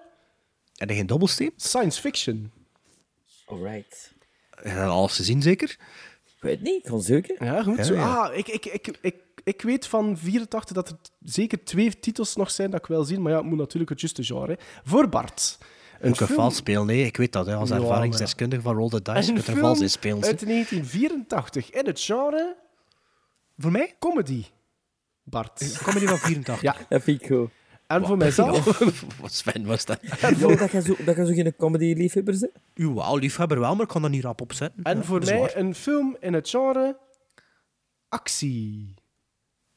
Speaker 2: Heb je geen dobbelsteen?
Speaker 3: science fiction.
Speaker 4: Alright.
Speaker 2: Heb je dat alles gezien, zeker?
Speaker 4: Ik weet niet, ik kon zoeken.
Speaker 3: Ja, goed.
Speaker 2: Ja,
Speaker 3: zo.
Speaker 2: ja.
Speaker 3: Ah, ik, ik, ik, ik, ik weet van 84 dat er t- zeker twee titels nog zijn dat ik wil zien, maar ja, het moet natuurlijk het juiste genre. hè. Voor Bart.
Speaker 2: Een
Speaker 3: film-
Speaker 2: vals spelen, nee, ik weet dat. Hè, als
Speaker 3: Ja, maar ja.
Speaker 2: ervaringsdeskundige van Roll the Dice, je
Speaker 3: Een
Speaker 2: kunt er
Speaker 3: film
Speaker 2: vals in spelen.
Speaker 3: uit
Speaker 2: hè.
Speaker 3: 1984 in het genre...
Speaker 2: Voor mij? Eh,
Speaker 3: Comedy. Bart.
Speaker 2: Comedy van 84.
Speaker 3: Ja.
Speaker 4: Dat vind ik goed.
Speaker 3: En voor mijzelf...
Speaker 2: Wat Sven was dat?
Speaker 4: Jo, dat je zo, dat je zo geen comedy-liefhebber bent?
Speaker 2: Uw wauw, liefhebber wel, maar ik kan dat niet rap opzetten.
Speaker 3: En
Speaker 2: Ja,
Speaker 3: voor
Speaker 2: dat is
Speaker 3: mij
Speaker 2: waar.
Speaker 3: een film in het genre... Actie.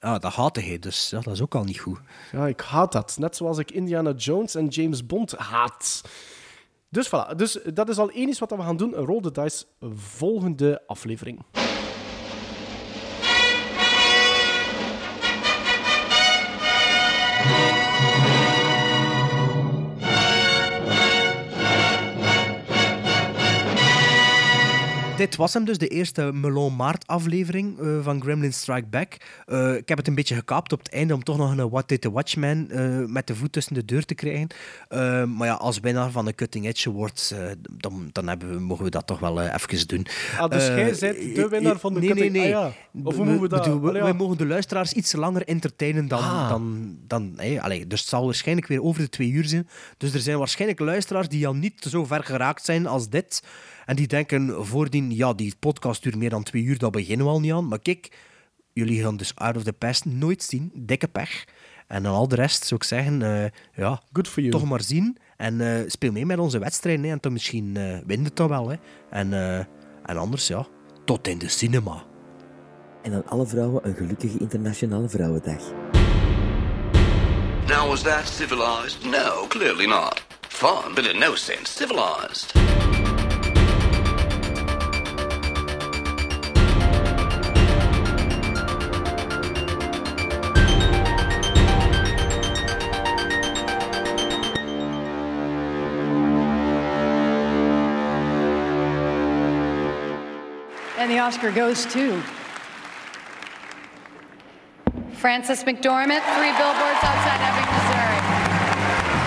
Speaker 2: Ja, dat haatte hij, dus ja, dat is ook al niet goed.
Speaker 3: Ja, ik haat dat. Net zoals ik Indiana Jones en James Bond haat. Dus voilà. Dus dat is al één iets wat we gaan doen. Een Roll the Dice volgende aflevering.
Speaker 2: dit was hem dus, de eerste Melon Maart aflevering eh, van Gremlin Strike Back. Eh, ik heb het een beetje gekaapt op het einde om toch nog een What Did the Watchman eh, met de voet tussen de deur te krijgen. Eh, maar ja, als winnaar van de Cutting Edge Awards, eh, dan, dan hebben we, mogen we dat toch wel eh, even doen.
Speaker 3: Ah, dus
Speaker 2: Eh,
Speaker 3: jij bent de
Speaker 2: eh,
Speaker 3: winnaar
Speaker 2: eh,
Speaker 3: van de
Speaker 2: nee,
Speaker 3: cutting-
Speaker 2: Nee, nee,
Speaker 3: Ah, ja. Of hoe moeten we dat-
Speaker 2: bedoel,
Speaker 3: Allee, ja.
Speaker 2: Wij eh, mogen de luisteraars iets langer entertainen dan...
Speaker 3: Ah.
Speaker 2: dan, dan hè, allee, dus het zal waarschijnlijk weer over de twee uur zijn. Dus er zijn waarschijnlijk luisteraars die al niet zo ver geraakt zijn als dit. En die denken voordien, ja, die podcast duurt meer dan twee uur, dat beginnen we al niet aan. Maar kijk, jullie gaan dus Out of the Past nooit zien. Dikke pech. En dan al de rest zou ik zeggen, eh, ja,
Speaker 3: Good for
Speaker 2: toch maar zien. En eh, speel mee met onze wedstrijd. Hè, en dan misschien eh wint het dan wel. Hè. En, eh, en anders, ja, tot in de cinema.
Speaker 4: En aan alle vrouwen een gelukkige internationale vrouwendag.
Speaker 1: Now, was that civilized? No, clearly not. Fun, but in no sense civilized.
Speaker 5: And the Oscar goes to Frances McDormand, Three Billboards Outside Ebbing, Missouri.